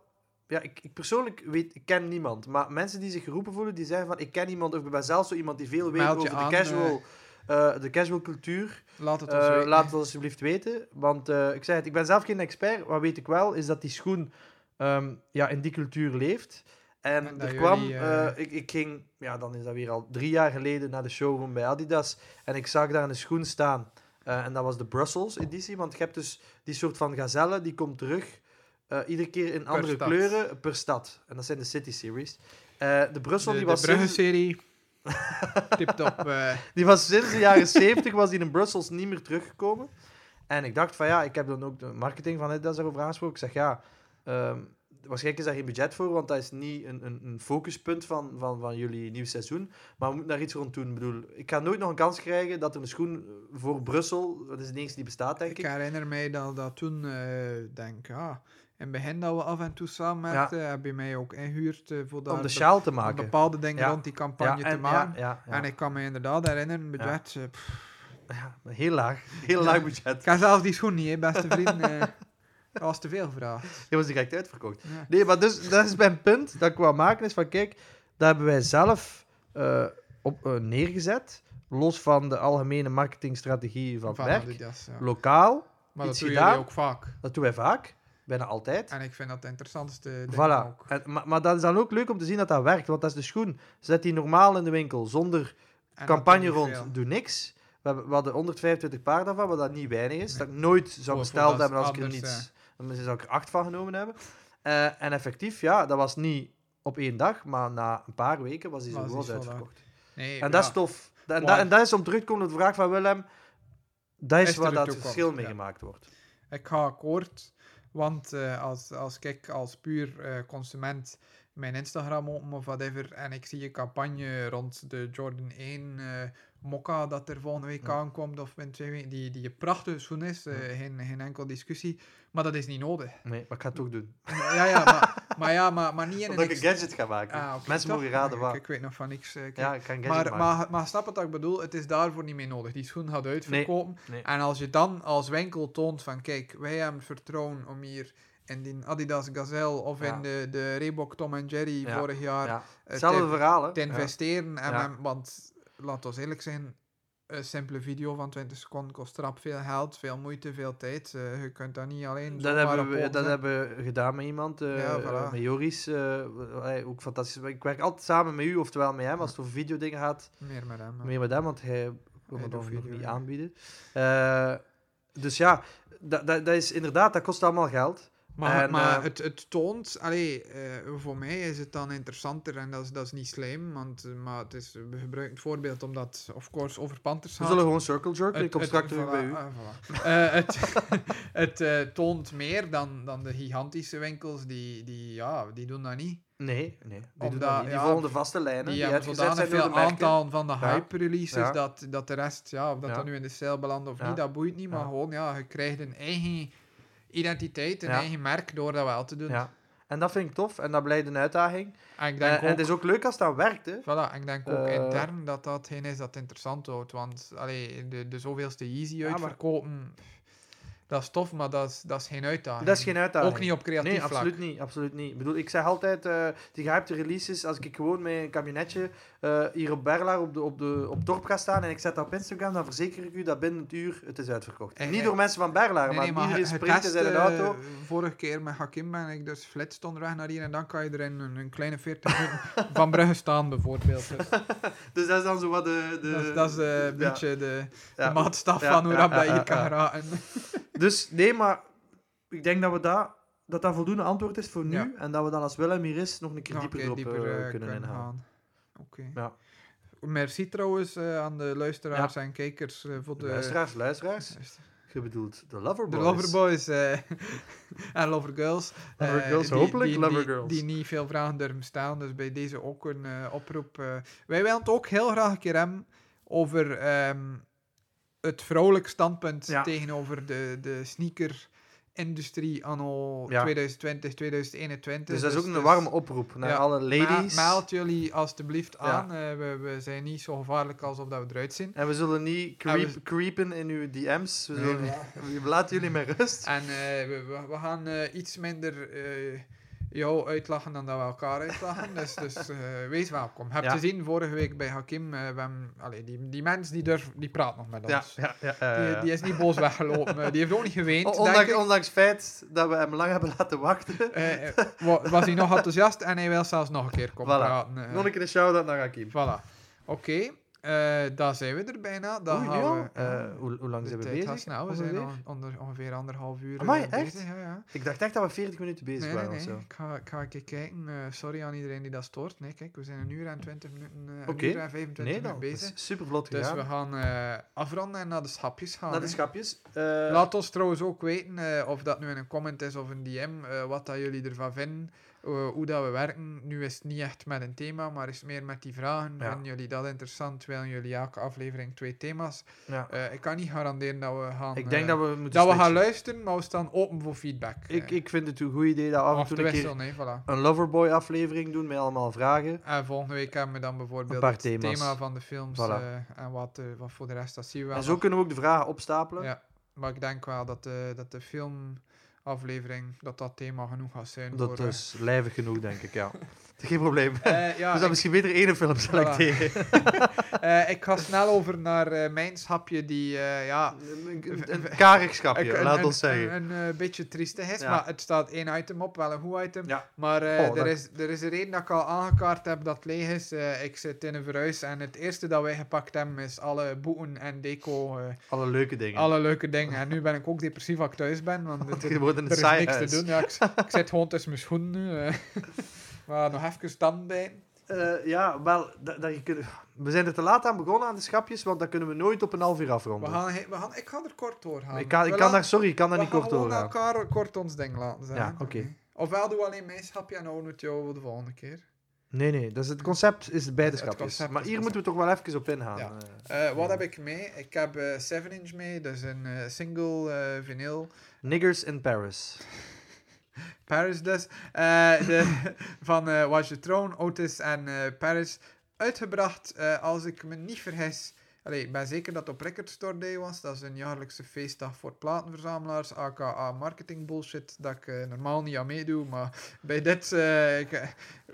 [SPEAKER 2] Ja, ik, ik persoonlijk weet, ik ken niemand. Maar mensen die zich geroepen voelen, die zeggen van... Ik ken iemand, of ik ben zelfs zo iemand die veel weet
[SPEAKER 1] Meld je
[SPEAKER 2] over
[SPEAKER 1] aan,
[SPEAKER 2] de casual... eh, de casual cultuur.
[SPEAKER 1] Laat het
[SPEAKER 2] Eh,
[SPEAKER 1] ons weten.
[SPEAKER 2] laat het ons alsjeblieft weten. Want eh, ik zeg het, ik ben zelf geen expert. Wat weet ik wel, is dat die schoen ehm, ja, in die cultuur leeft. En,
[SPEAKER 1] En dat
[SPEAKER 2] er kwam,
[SPEAKER 1] jullie, eh,
[SPEAKER 2] eh, ik, ik ging, ja, dan is dat weer al drie jaar geleden naar de showroom bij Adidas. En ik zag daar een schoen staan. Eh, en dat was de Brussels editie. Want je hebt dus die soort van gazelle, die komt terug. eh, iedere keer in andere
[SPEAKER 1] stad.
[SPEAKER 2] kleuren per stad. En dat zijn de City Series. Eh, de Brussel,
[SPEAKER 1] de,
[SPEAKER 2] die,
[SPEAKER 1] de
[SPEAKER 2] was sinds,
[SPEAKER 1] Brugge-serie. Tipt op. eh,
[SPEAKER 2] die was sinds de jaren 70 was die in Brussels niet meer teruggekomen. En ik dacht van ja, ik heb dan ook de marketing van Adidas daarover aangesproken. Ik zeg ja, ehm, waarschijnlijk is daar geen budget voor, want dat is niet een, een, een focuspunt van, van, van jullie nieuw seizoen. Maar we moeten daar iets rond doen. Ik bedoel, ik ga nooit nog een kans krijgen dat er een schoen voor Brussel, dat is de enige die bestaat denk
[SPEAKER 1] ik
[SPEAKER 2] ik,
[SPEAKER 1] herinner mij dat, dat toen, eh, denk ja, in het begin dat we af en toe samen
[SPEAKER 2] Ja.
[SPEAKER 1] merkten, heb je mij ook ingehuurd eh, voor daar
[SPEAKER 2] om de
[SPEAKER 1] be-
[SPEAKER 2] sjaal te
[SPEAKER 1] om
[SPEAKER 2] maken.
[SPEAKER 1] bepaalde dingen
[SPEAKER 2] Ja.
[SPEAKER 1] rond die campagne
[SPEAKER 2] en,
[SPEAKER 1] te maken.
[SPEAKER 2] ja, ja,
[SPEAKER 1] En ik kan me inderdaad herinneren, bedwet, eh, pff,
[SPEAKER 2] ja, heel laag, heel
[SPEAKER 1] Ja.
[SPEAKER 2] laag budget.
[SPEAKER 1] Ik kan zelfs die schoen niet, hè, beste vriend. eh dat was te veel gevraagd.
[SPEAKER 2] Die was direct uitverkocht.
[SPEAKER 1] Ja.
[SPEAKER 2] Nee, maar dus, dat is mijn punt dat ik wou maken. Is van, kijk, dat hebben wij zelf eh, op, eh, neergezet. Los van de algemene marketingstrategie van het
[SPEAKER 1] Van
[SPEAKER 2] merk.
[SPEAKER 1] Adidas, ja.
[SPEAKER 2] Lokaal,
[SPEAKER 1] Maar dat
[SPEAKER 2] iets
[SPEAKER 1] doe
[SPEAKER 2] gedaan.
[SPEAKER 1] jullie ook vaak.
[SPEAKER 2] dat doen wij vaak. Bijna altijd.
[SPEAKER 1] En ik vind dat de interessantste ding
[SPEAKER 2] Voilà.
[SPEAKER 1] ook.
[SPEAKER 2] En, maar, maar dat is dan ook leuk om te zien dat dat werkt. Want dat is de schoen. Zet die normaal in de winkel zonder
[SPEAKER 1] En
[SPEAKER 2] campagne
[SPEAKER 1] dat doe
[SPEAKER 2] rond,
[SPEAKER 1] je veel.
[SPEAKER 2] doe niks. We, hebben, we hadden 125 paar daarvan, wat dat niet weinig is. Dat ik nooit zou
[SPEAKER 1] Voor-
[SPEAKER 2] besteld
[SPEAKER 1] voor dat
[SPEAKER 2] hebben als ik er
[SPEAKER 1] anders,
[SPEAKER 2] niets... Dan zou ik er acht van genomen hebben. Eh, en effectief, ja, dat was niet op één dag, maar na een paar weken was die zo
[SPEAKER 1] Was die
[SPEAKER 2] goed als
[SPEAKER 1] sold out.
[SPEAKER 2] uitverkocht.
[SPEAKER 1] Nee,
[SPEAKER 2] En dat
[SPEAKER 1] ja.
[SPEAKER 2] is tof. En,
[SPEAKER 1] Wow.
[SPEAKER 2] dat, en dat is om terug te komen op de vraag van Willem. Dat is,
[SPEAKER 1] Is er
[SPEAKER 2] waar
[SPEAKER 1] de
[SPEAKER 2] dat
[SPEAKER 1] toekomst,
[SPEAKER 2] verschil mee
[SPEAKER 1] ja.
[SPEAKER 2] gemaakt wordt.
[SPEAKER 1] Ik ga akkoord, want eh, als, als ik als puur eh, consument mijn Instagram open of whatever en ik zie een campagne rond de Jordan 1 eh mokka dat er volgende week
[SPEAKER 2] Ja.
[SPEAKER 1] aankomt of in twee weken, die, die een prachtige schoen is, eh, geen, geen enkel discussie, maar dat is niet nodig.
[SPEAKER 2] Nee, maar ik ga het toch doen.
[SPEAKER 1] ja, ja, maar, maar, ja, maar, maar niet in
[SPEAKER 2] Omdat ik
[SPEAKER 1] ex-
[SPEAKER 2] een gadget ga maken.
[SPEAKER 1] Ah, oké,
[SPEAKER 2] Mensen
[SPEAKER 1] toch?
[SPEAKER 2] mogen raden
[SPEAKER 1] Ik-
[SPEAKER 2] waar.
[SPEAKER 1] Ik, weet nog van niks. eh, ik-
[SPEAKER 2] Ja, ik ga een gadget
[SPEAKER 1] maar,
[SPEAKER 2] maken.
[SPEAKER 1] maar, maar snap het wat ik bedoel? Het is daarvoor niet meer nodig. Die schoen gaat uitverkopen.
[SPEAKER 2] nee.
[SPEAKER 1] En als je dan als winkel toont van kijk, wij hebben het vertrouwen om hier in die Adidas Gazelle of
[SPEAKER 2] Ja.
[SPEAKER 1] in de, de Reebok Tom Jerry
[SPEAKER 2] Ja,
[SPEAKER 1] vorig jaar
[SPEAKER 2] ja.
[SPEAKER 1] eh,
[SPEAKER 2] Hetzelfde
[SPEAKER 1] te,
[SPEAKER 2] verhaal, hè.
[SPEAKER 1] te
[SPEAKER 2] Ja.
[SPEAKER 1] investeren. En
[SPEAKER 2] Ja.
[SPEAKER 1] men- want laat ons eerlijk zijn, een simpele video van 20 seconden kost strap veel geld, veel moeite, veel tijd. Eh, je kunt dat niet alleen
[SPEAKER 2] Dat
[SPEAKER 1] zomaar op
[SPEAKER 2] hebben, we,
[SPEAKER 1] poten
[SPEAKER 2] dat
[SPEAKER 1] zetten.
[SPEAKER 2] hebben we gedaan met iemand, eh,
[SPEAKER 1] Ja,
[SPEAKER 2] eh,
[SPEAKER 1] voilà.
[SPEAKER 2] met Joris. eh, allee, ook fantastisch. Ik werk altijd samen met u, oftewel met hem. Als het over videodingen gaat,
[SPEAKER 1] Meer met hem. ja.
[SPEAKER 2] meer met hem, want hij wil
[SPEAKER 1] Hij
[SPEAKER 2] het
[SPEAKER 1] doet
[SPEAKER 2] nog nog
[SPEAKER 1] video,
[SPEAKER 2] niet
[SPEAKER 1] ja.
[SPEAKER 2] aanbieden. Eh, dus ja, dat, dat, dat is inderdaad, dat kost allemaal geld.
[SPEAKER 1] Maar,
[SPEAKER 2] En,
[SPEAKER 1] maar
[SPEAKER 2] eh,
[SPEAKER 1] het, het toont, allee, eh, voor mij is het dan interessanter en dat is, dat is niet slim, want eh, maar het is, we gebruiken het voorbeeld omdat het, of course, over Panthers
[SPEAKER 2] We
[SPEAKER 1] gaat.
[SPEAKER 2] zullen gewoon circle jerken. Ik
[SPEAKER 1] Het-
[SPEAKER 2] kom
[SPEAKER 1] het-
[SPEAKER 2] straks terug
[SPEAKER 1] voilà,
[SPEAKER 2] bij u.
[SPEAKER 1] ah, voilà. Eh, het het eh, toont meer dan, dan de gigantische winkels, die, die, ja, die doen dat niet.
[SPEAKER 2] Nee, nee. Die,
[SPEAKER 1] Omdat,
[SPEAKER 2] doen dat niet. die
[SPEAKER 1] ja,
[SPEAKER 2] volgen de vaste lijnen.
[SPEAKER 1] Die
[SPEAKER 2] Die,
[SPEAKER 1] hebben
[SPEAKER 2] uitgezet
[SPEAKER 1] zodanig
[SPEAKER 2] zijn door de
[SPEAKER 1] veel
[SPEAKER 2] merken.
[SPEAKER 1] aantal van de
[SPEAKER 2] Ja.
[SPEAKER 1] hype-releases
[SPEAKER 2] Ja.
[SPEAKER 1] dat, dat de rest, ja, of dat
[SPEAKER 2] Ja.
[SPEAKER 1] dat nu in de sale belandt of
[SPEAKER 2] Ja.
[SPEAKER 1] niet, dat boeit niet. Maar
[SPEAKER 2] Ja.
[SPEAKER 1] gewoon, ja, je krijgt een eigen identiteit, een
[SPEAKER 2] Ja.
[SPEAKER 1] eigen merk door dat wel te doen.
[SPEAKER 2] Ja. En dat vind ik tof. En dat blijft een uitdaging.
[SPEAKER 1] En ik
[SPEAKER 2] Eh,
[SPEAKER 1] denk
[SPEAKER 2] en
[SPEAKER 1] ook,
[SPEAKER 2] het is ook leuk als dat werkt, hè.
[SPEAKER 1] voilà, en ik denk ook
[SPEAKER 2] Eh.
[SPEAKER 1] intern dat dat geen is dat interessant houdt. Want allee, de, de zoveelste Yeezy
[SPEAKER 5] maar-
[SPEAKER 1] uitverkopen, dat is tof, maar dat is, dat is geen uitdaging.
[SPEAKER 2] Dat is geen uitdaging.
[SPEAKER 1] Ah, Ook niet op creatief
[SPEAKER 2] Nee,
[SPEAKER 1] vlak.
[SPEAKER 2] absoluut niet, absoluut niet. Ik bedoel, ik zeg altijd, eh, die gehypte releases, als ik gewoon met een kabinetje eh, hier op Berlaar op, de, op, de, op dorp ga staan en ik zet dat op Instagram, dan verzeker ik u dat binnen het uur het is uitverkocht.
[SPEAKER 1] En,
[SPEAKER 2] niet
[SPEAKER 1] eh,
[SPEAKER 2] door mensen van Berlaar,
[SPEAKER 1] Nee,
[SPEAKER 2] maar,
[SPEAKER 1] nee, maar
[SPEAKER 2] iedereen
[SPEAKER 1] het
[SPEAKER 2] springt dus in
[SPEAKER 1] testen,
[SPEAKER 2] zijn auto.
[SPEAKER 1] eh, Vorige keer met Hakim ben ik dus flits onderweg naar hier en dan kan je er in een, een kleine 40 minuten van Brugge staan, bijvoorbeeld. Dus
[SPEAKER 2] Dus dat is dan zo wat de... de
[SPEAKER 1] dat, is- dat is eh, een
[SPEAKER 2] ja,
[SPEAKER 1] beetje de,
[SPEAKER 2] ja.
[SPEAKER 1] de maatstaf
[SPEAKER 2] Ja,
[SPEAKER 1] van hoe
[SPEAKER 2] ja,
[SPEAKER 1] rap dat
[SPEAKER 2] ja,
[SPEAKER 1] je
[SPEAKER 2] ja,
[SPEAKER 1] kan
[SPEAKER 2] ja.
[SPEAKER 1] geraken.
[SPEAKER 2] Dus nee, maar ik denk dat we dat, dat, dat voldoende antwoord is voor nu.
[SPEAKER 1] Ja.
[SPEAKER 2] En dat we dan als Willem hier is nog een keer
[SPEAKER 1] Nog een
[SPEAKER 2] dieper
[SPEAKER 1] keer
[SPEAKER 2] erop eh,
[SPEAKER 1] dieper, eh,
[SPEAKER 2] kunnen inhalen.
[SPEAKER 1] gaan. Oké.
[SPEAKER 2] Ja.
[SPEAKER 1] Merci trouwens eh, aan de luisteraars en kijkers eh, voor de...
[SPEAKER 2] Luisteraars, luisteraars. Je bedoelt de Loverboys.
[SPEAKER 1] De Loverboys eh, en Lovergirls. eh,
[SPEAKER 2] Lovergirls,
[SPEAKER 1] die-
[SPEAKER 2] hopelijk
[SPEAKER 1] die,
[SPEAKER 2] Lovergirls.
[SPEAKER 1] Die, die niet veel vragen durven stellen, dus bij deze ook een eh, oproep. eh. wij willen het ook heel graag een keer hebben over ehm, het vrouwelijk standpunt
[SPEAKER 2] Ja.
[SPEAKER 1] tegenover de, de sneaker-industrie anno
[SPEAKER 2] Ja.
[SPEAKER 1] 2020, 2021.
[SPEAKER 2] Dus dat is ook
[SPEAKER 1] dus-
[SPEAKER 2] een warme oproep naar
[SPEAKER 1] ja.
[SPEAKER 2] alle ladies.
[SPEAKER 1] Ma- mailt jullie alstublieft
[SPEAKER 2] Ja.
[SPEAKER 1] aan. Eh, we, we zijn niet zo gevaarlijk alsof dat we eruit zien.
[SPEAKER 2] En we zullen niet
[SPEAKER 1] En
[SPEAKER 2] creep- creepen in uw DM's. We,
[SPEAKER 1] Nee,
[SPEAKER 2] zullen, we laten jullie met rust.
[SPEAKER 1] En eh, we, we, we gaan eh, iets minder eh, jou uitlachen dan dat we elkaar uitlachen. dus dus eh, wees welkom. Heb
[SPEAKER 2] Ja.
[SPEAKER 1] te zien vorige week bij Hakim. eh, we hebben- allee, die, die mens die, durf, die praat nog met
[SPEAKER 2] Ja,
[SPEAKER 1] ons.
[SPEAKER 2] ja, ja,
[SPEAKER 1] Die,
[SPEAKER 2] eh,
[SPEAKER 1] die is niet boos weggelopen. eh, die heeft ook niet
[SPEAKER 2] on-
[SPEAKER 1] geweend. denk
[SPEAKER 2] ondanks,
[SPEAKER 1] ik.
[SPEAKER 2] ondanks het feit dat we hem lang hebben laten wachten.
[SPEAKER 1] Eh, eh, wa- was hij nog enthousiast en hij wil zelfs nog een keer komen
[SPEAKER 2] Voilà.
[SPEAKER 1] praten. eh.
[SPEAKER 2] Nog een keer een shout-out naar Hakim.
[SPEAKER 1] Voilà. Oké, eh, daar zijn we er bijna. Dan
[SPEAKER 2] Oei, nu
[SPEAKER 1] gaan
[SPEAKER 2] al?
[SPEAKER 1] we...
[SPEAKER 2] Eh, hoe, hoe lang
[SPEAKER 1] de
[SPEAKER 2] zijn nou, we
[SPEAKER 1] tijd
[SPEAKER 2] bezig?
[SPEAKER 1] gaat snel. We zijn
[SPEAKER 2] Ongeveer?
[SPEAKER 1] al onder, ongeveer anderhalf uur
[SPEAKER 2] Amai,
[SPEAKER 1] eh, bezig.
[SPEAKER 2] echt?
[SPEAKER 1] Ja, ja.
[SPEAKER 2] Ik dacht echt dat we 40 minuten bezig
[SPEAKER 1] Nee, nee,
[SPEAKER 2] waren
[SPEAKER 1] nee.
[SPEAKER 2] of zo.
[SPEAKER 1] Ik, ga, ik ga een keer kijken. Eh, sorry aan iedereen die dat stoort. Nee, kijk, we zijn een uur en 20 minuten, eh
[SPEAKER 2] Oké.
[SPEAKER 1] een uur en 25
[SPEAKER 2] Nee,
[SPEAKER 1] minuten
[SPEAKER 2] dan.
[SPEAKER 1] bezig.
[SPEAKER 2] Super vlot
[SPEAKER 1] Dus
[SPEAKER 2] gedaan.
[SPEAKER 1] we gaan eh, afronden en naar de schapjes gaan.
[SPEAKER 2] naar de
[SPEAKER 1] hè.
[SPEAKER 2] schapjes. Eh,
[SPEAKER 1] Laat ons trouwens ook weten eh, of dat nu in een comment is of een DM, eh, wat dat jullie ervan vinden, eh, hoe dat we werken. Nu is het niet echt met een thema, maar is meer met die vragen.
[SPEAKER 2] Ja.
[SPEAKER 1] Vinden jullie dat interessant? Willen jullie elke aflevering twee thema's?
[SPEAKER 2] ja.
[SPEAKER 1] Eh, ik kan niet garanderen dat we gaan...
[SPEAKER 2] Ik denk
[SPEAKER 1] eh,
[SPEAKER 2] dat we moeten
[SPEAKER 1] dat we gaan
[SPEAKER 2] switchen.
[SPEAKER 1] luisteren, maar we staan open voor feedback.
[SPEAKER 2] ik, e-
[SPEAKER 1] eh.
[SPEAKER 2] ik vind het een goed idee dat af en
[SPEAKER 1] Af
[SPEAKER 2] toe
[SPEAKER 1] te
[SPEAKER 2] een keer
[SPEAKER 1] wisselen, hè, voilà.
[SPEAKER 2] een Loverboy-aflevering doen met allemaal vragen.
[SPEAKER 1] En volgende week hebben we dan bijvoorbeeld
[SPEAKER 2] Een paar
[SPEAKER 1] het
[SPEAKER 2] thema's.
[SPEAKER 1] thema van de films
[SPEAKER 2] Voilà.
[SPEAKER 1] eh, en wat, eh, wat voor de rest, dat zien we wel.
[SPEAKER 2] en zo
[SPEAKER 1] nog.
[SPEAKER 2] kunnen we ook de vragen opstapelen.
[SPEAKER 1] Ja. Maar ik denk wel dat de, dat de filmaflevering, dat dat thema genoeg gaat zijn.
[SPEAKER 2] Dat dus.
[SPEAKER 1] voor, eh,
[SPEAKER 2] is lijvig genoeg, denk ik, ja. Geen probleem.
[SPEAKER 1] eh, ja,
[SPEAKER 2] dus
[SPEAKER 1] ik,
[SPEAKER 2] dan misschien beter één film selecteren.
[SPEAKER 1] eh, ik ga snel over naar eh, mijn schapje die, eh, ja...
[SPEAKER 2] Een, een, een karig
[SPEAKER 1] ik-
[SPEAKER 2] schapje,
[SPEAKER 1] een-
[SPEAKER 2] laat
[SPEAKER 1] een-
[SPEAKER 2] ons zeggen.
[SPEAKER 1] Een, een, eh, beetje triestig is,
[SPEAKER 2] Ja.
[SPEAKER 1] maar het staat één item op, wel een goed item.
[SPEAKER 2] Ja.
[SPEAKER 1] Maar eh,
[SPEAKER 2] Oh,
[SPEAKER 1] er,
[SPEAKER 2] dat-
[SPEAKER 1] is, er is een reden dat ik al aangekaart heb dat het leeg is. Eh, ik zit in een verhuis en het eerste dat wij gepakt hebben is alle boeken en deco... eh,
[SPEAKER 2] Alle leuke dingen.
[SPEAKER 1] alle leuke dingen. En nu ben ik ook depressief als ik thuis ben, want het-
[SPEAKER 2] je wordt in
[SPEAKER 1] er
[SPEAKER 2] een
[SPEAKER 1] is
[SPEAKER 2] saai
[SPEAKER 1] niks
[SPEAKER 2] huis.
[SPEAKER 1] te doen. Ja, ik, s- ik zit gewoon tussen mijn schoenen nu. eh. maar nog even tanden bij.
[SPEAKER 2] Eh, ja, wel, dat, dat je kunt- we zijn er te laat aan begonnen aan de schapjes, want dat kunnen we nooit op een half uur
[SPEAKER 1] We
[SPEAKER 2] afronden.
[SPEAKER 1] gaan, he- we gaan, ik ga er kort doorgaan.
[SPEAKER 2] ik kan, ik
[SPEAKER 1] We
[SPEAKER 2] kan
[SPEAKER 1] laten-
[SPEAKER 2] daar, sorry, ik kan daar
[SPEAKER 1] we
[SPEAKER 2] niet kort
[SPEAKER 1] gaan
[SPEAKER 2] over
[SPEAKER 1] gewoon
[SPEAKER 2] gaan.
[SPEAKER 1] elkaar kort ons ding laten zijn.
[SPEAKER 2] Ja, oké.
[SPEAKER 1] Ofwel doen we alleen mijn schapje en houden we het jou voor de volgende keer.
[SPEAKER 2] Nee, nee, dus het concept is bij de
[SPEAKER 1] Het
[SPEAKER 2] schapjes.
[SPEAKER 1] concept
[SPEAKER 2] Maar
[SPEAKER 1] is
[SPEAKER 2] hier
[SPEAKER 1] concept.
[SPEAKER 2] moeten we toch wel even op ingaan.
[SPEAKER 1] Ja.
[SPEAKER 2] eh.
[SPEAKER 1] Eh, wat heb ik mee? Ik heb eh, 7 inch mee, dus een eh, single eh, vinyl.
[SPEAKER 2] Niggers in Paris.
[SPEAKER 1] Paris dus. Eh, de, van eh Watch the Throne, Otis en eh, Paris. Uitgebracht, eh, als ik me niet vergis. Allee, ik ben zeker dat het op Record Store Day was. Dat is een jaarlijkse feestdag voor platenverzamelaars, aka marketing bullshit, dat ik eh, normaal niet aan meedoe. Maar bij dit eh, ik, eh,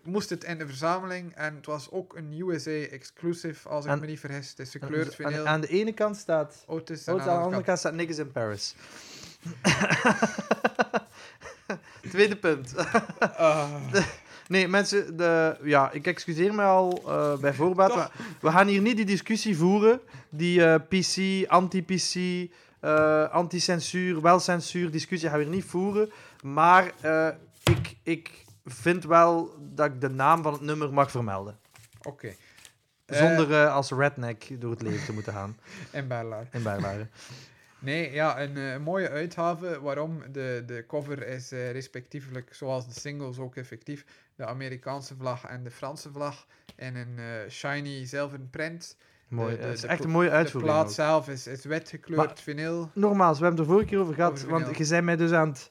[SPEAKER 1] moest het in de verzameling. En het was ook een USA-exclusive, als ik
[SPEAKER 2] En-
[SPEAKER 1] me niet vergis. Het is gekleurd
[SPEAKER 2] Aan,
[SPEAKER 1] vinyl.
[SPEAKER 2] aan de ene kant staat...
[SPEAKER 1] Otis en
[SPEAKER 2] Oh,
[SPEAKER 1] aan
[SPEAKER 2] aan de
[SPEAKER 1] de andere
[SPEAKER 2] andere
[SPEAKER 1] kant.
[SPEAKER 2] kant staat Niggers in Paris. Tweede punt.
[SPEAKER 1] Ah.
[SPEAKER 2] Nee, mensen, de, ja, ik excuseer me al eh, bij voorbaat.
[SPEAKER 1] Toch.
[SPEAKER 2] maar We gaan hier niet die discussie voeren, die eh, PC, anti-PC, eh, anti-censuur, wel-censuur discussie gaan we hier niet voeren. Maar eh, ik, ik vind wel dat ik de naam van het nummer mag vermelden.
[SPEAKER 1] Oké. Eh,
[SPEAKER 2] Zonder eh, als redneck door het leven te moeten gaan
[SPEAKER 1] in Berlaar.
[SPEAKER 2] in Berlaren.
[SPEAKER 1] Nee, ja, een eh, mooie uitgave waarom de, de cover is eh, respectievelijk, zoals de singles ook effectief, de Amerikaanse vlag en de Franse vlag in een eh, shiny zilveren print.
[SPEAKER 2] Mooi.
[SPEAKER 1] de-
[SPEAKER 2] het is
[SPEAKER 1] de
[SPEAKER 2] echt
[SPEAKER 1] pla-
[SPEAKER 2] een mooie
[SPEAKER 1] De
[SPEAKER 2] uitvoering.
[SPEAKER 1] plaat
[SPEAKER 2] ook.
[SPEAKER 1] zelf is, is wit gekleurd
[SPEAKER 2] Maar-
[SPEAKER 1] vinyl.
[SPEAKER 2] Nogmaals, we hebben het er vorige keer over gehad.
[SPEAKER 1] Over
[SPEAKER 2] want
[SPEAKER 1] verdeeld.
[SPEAKER 2] je zei mij dus aan het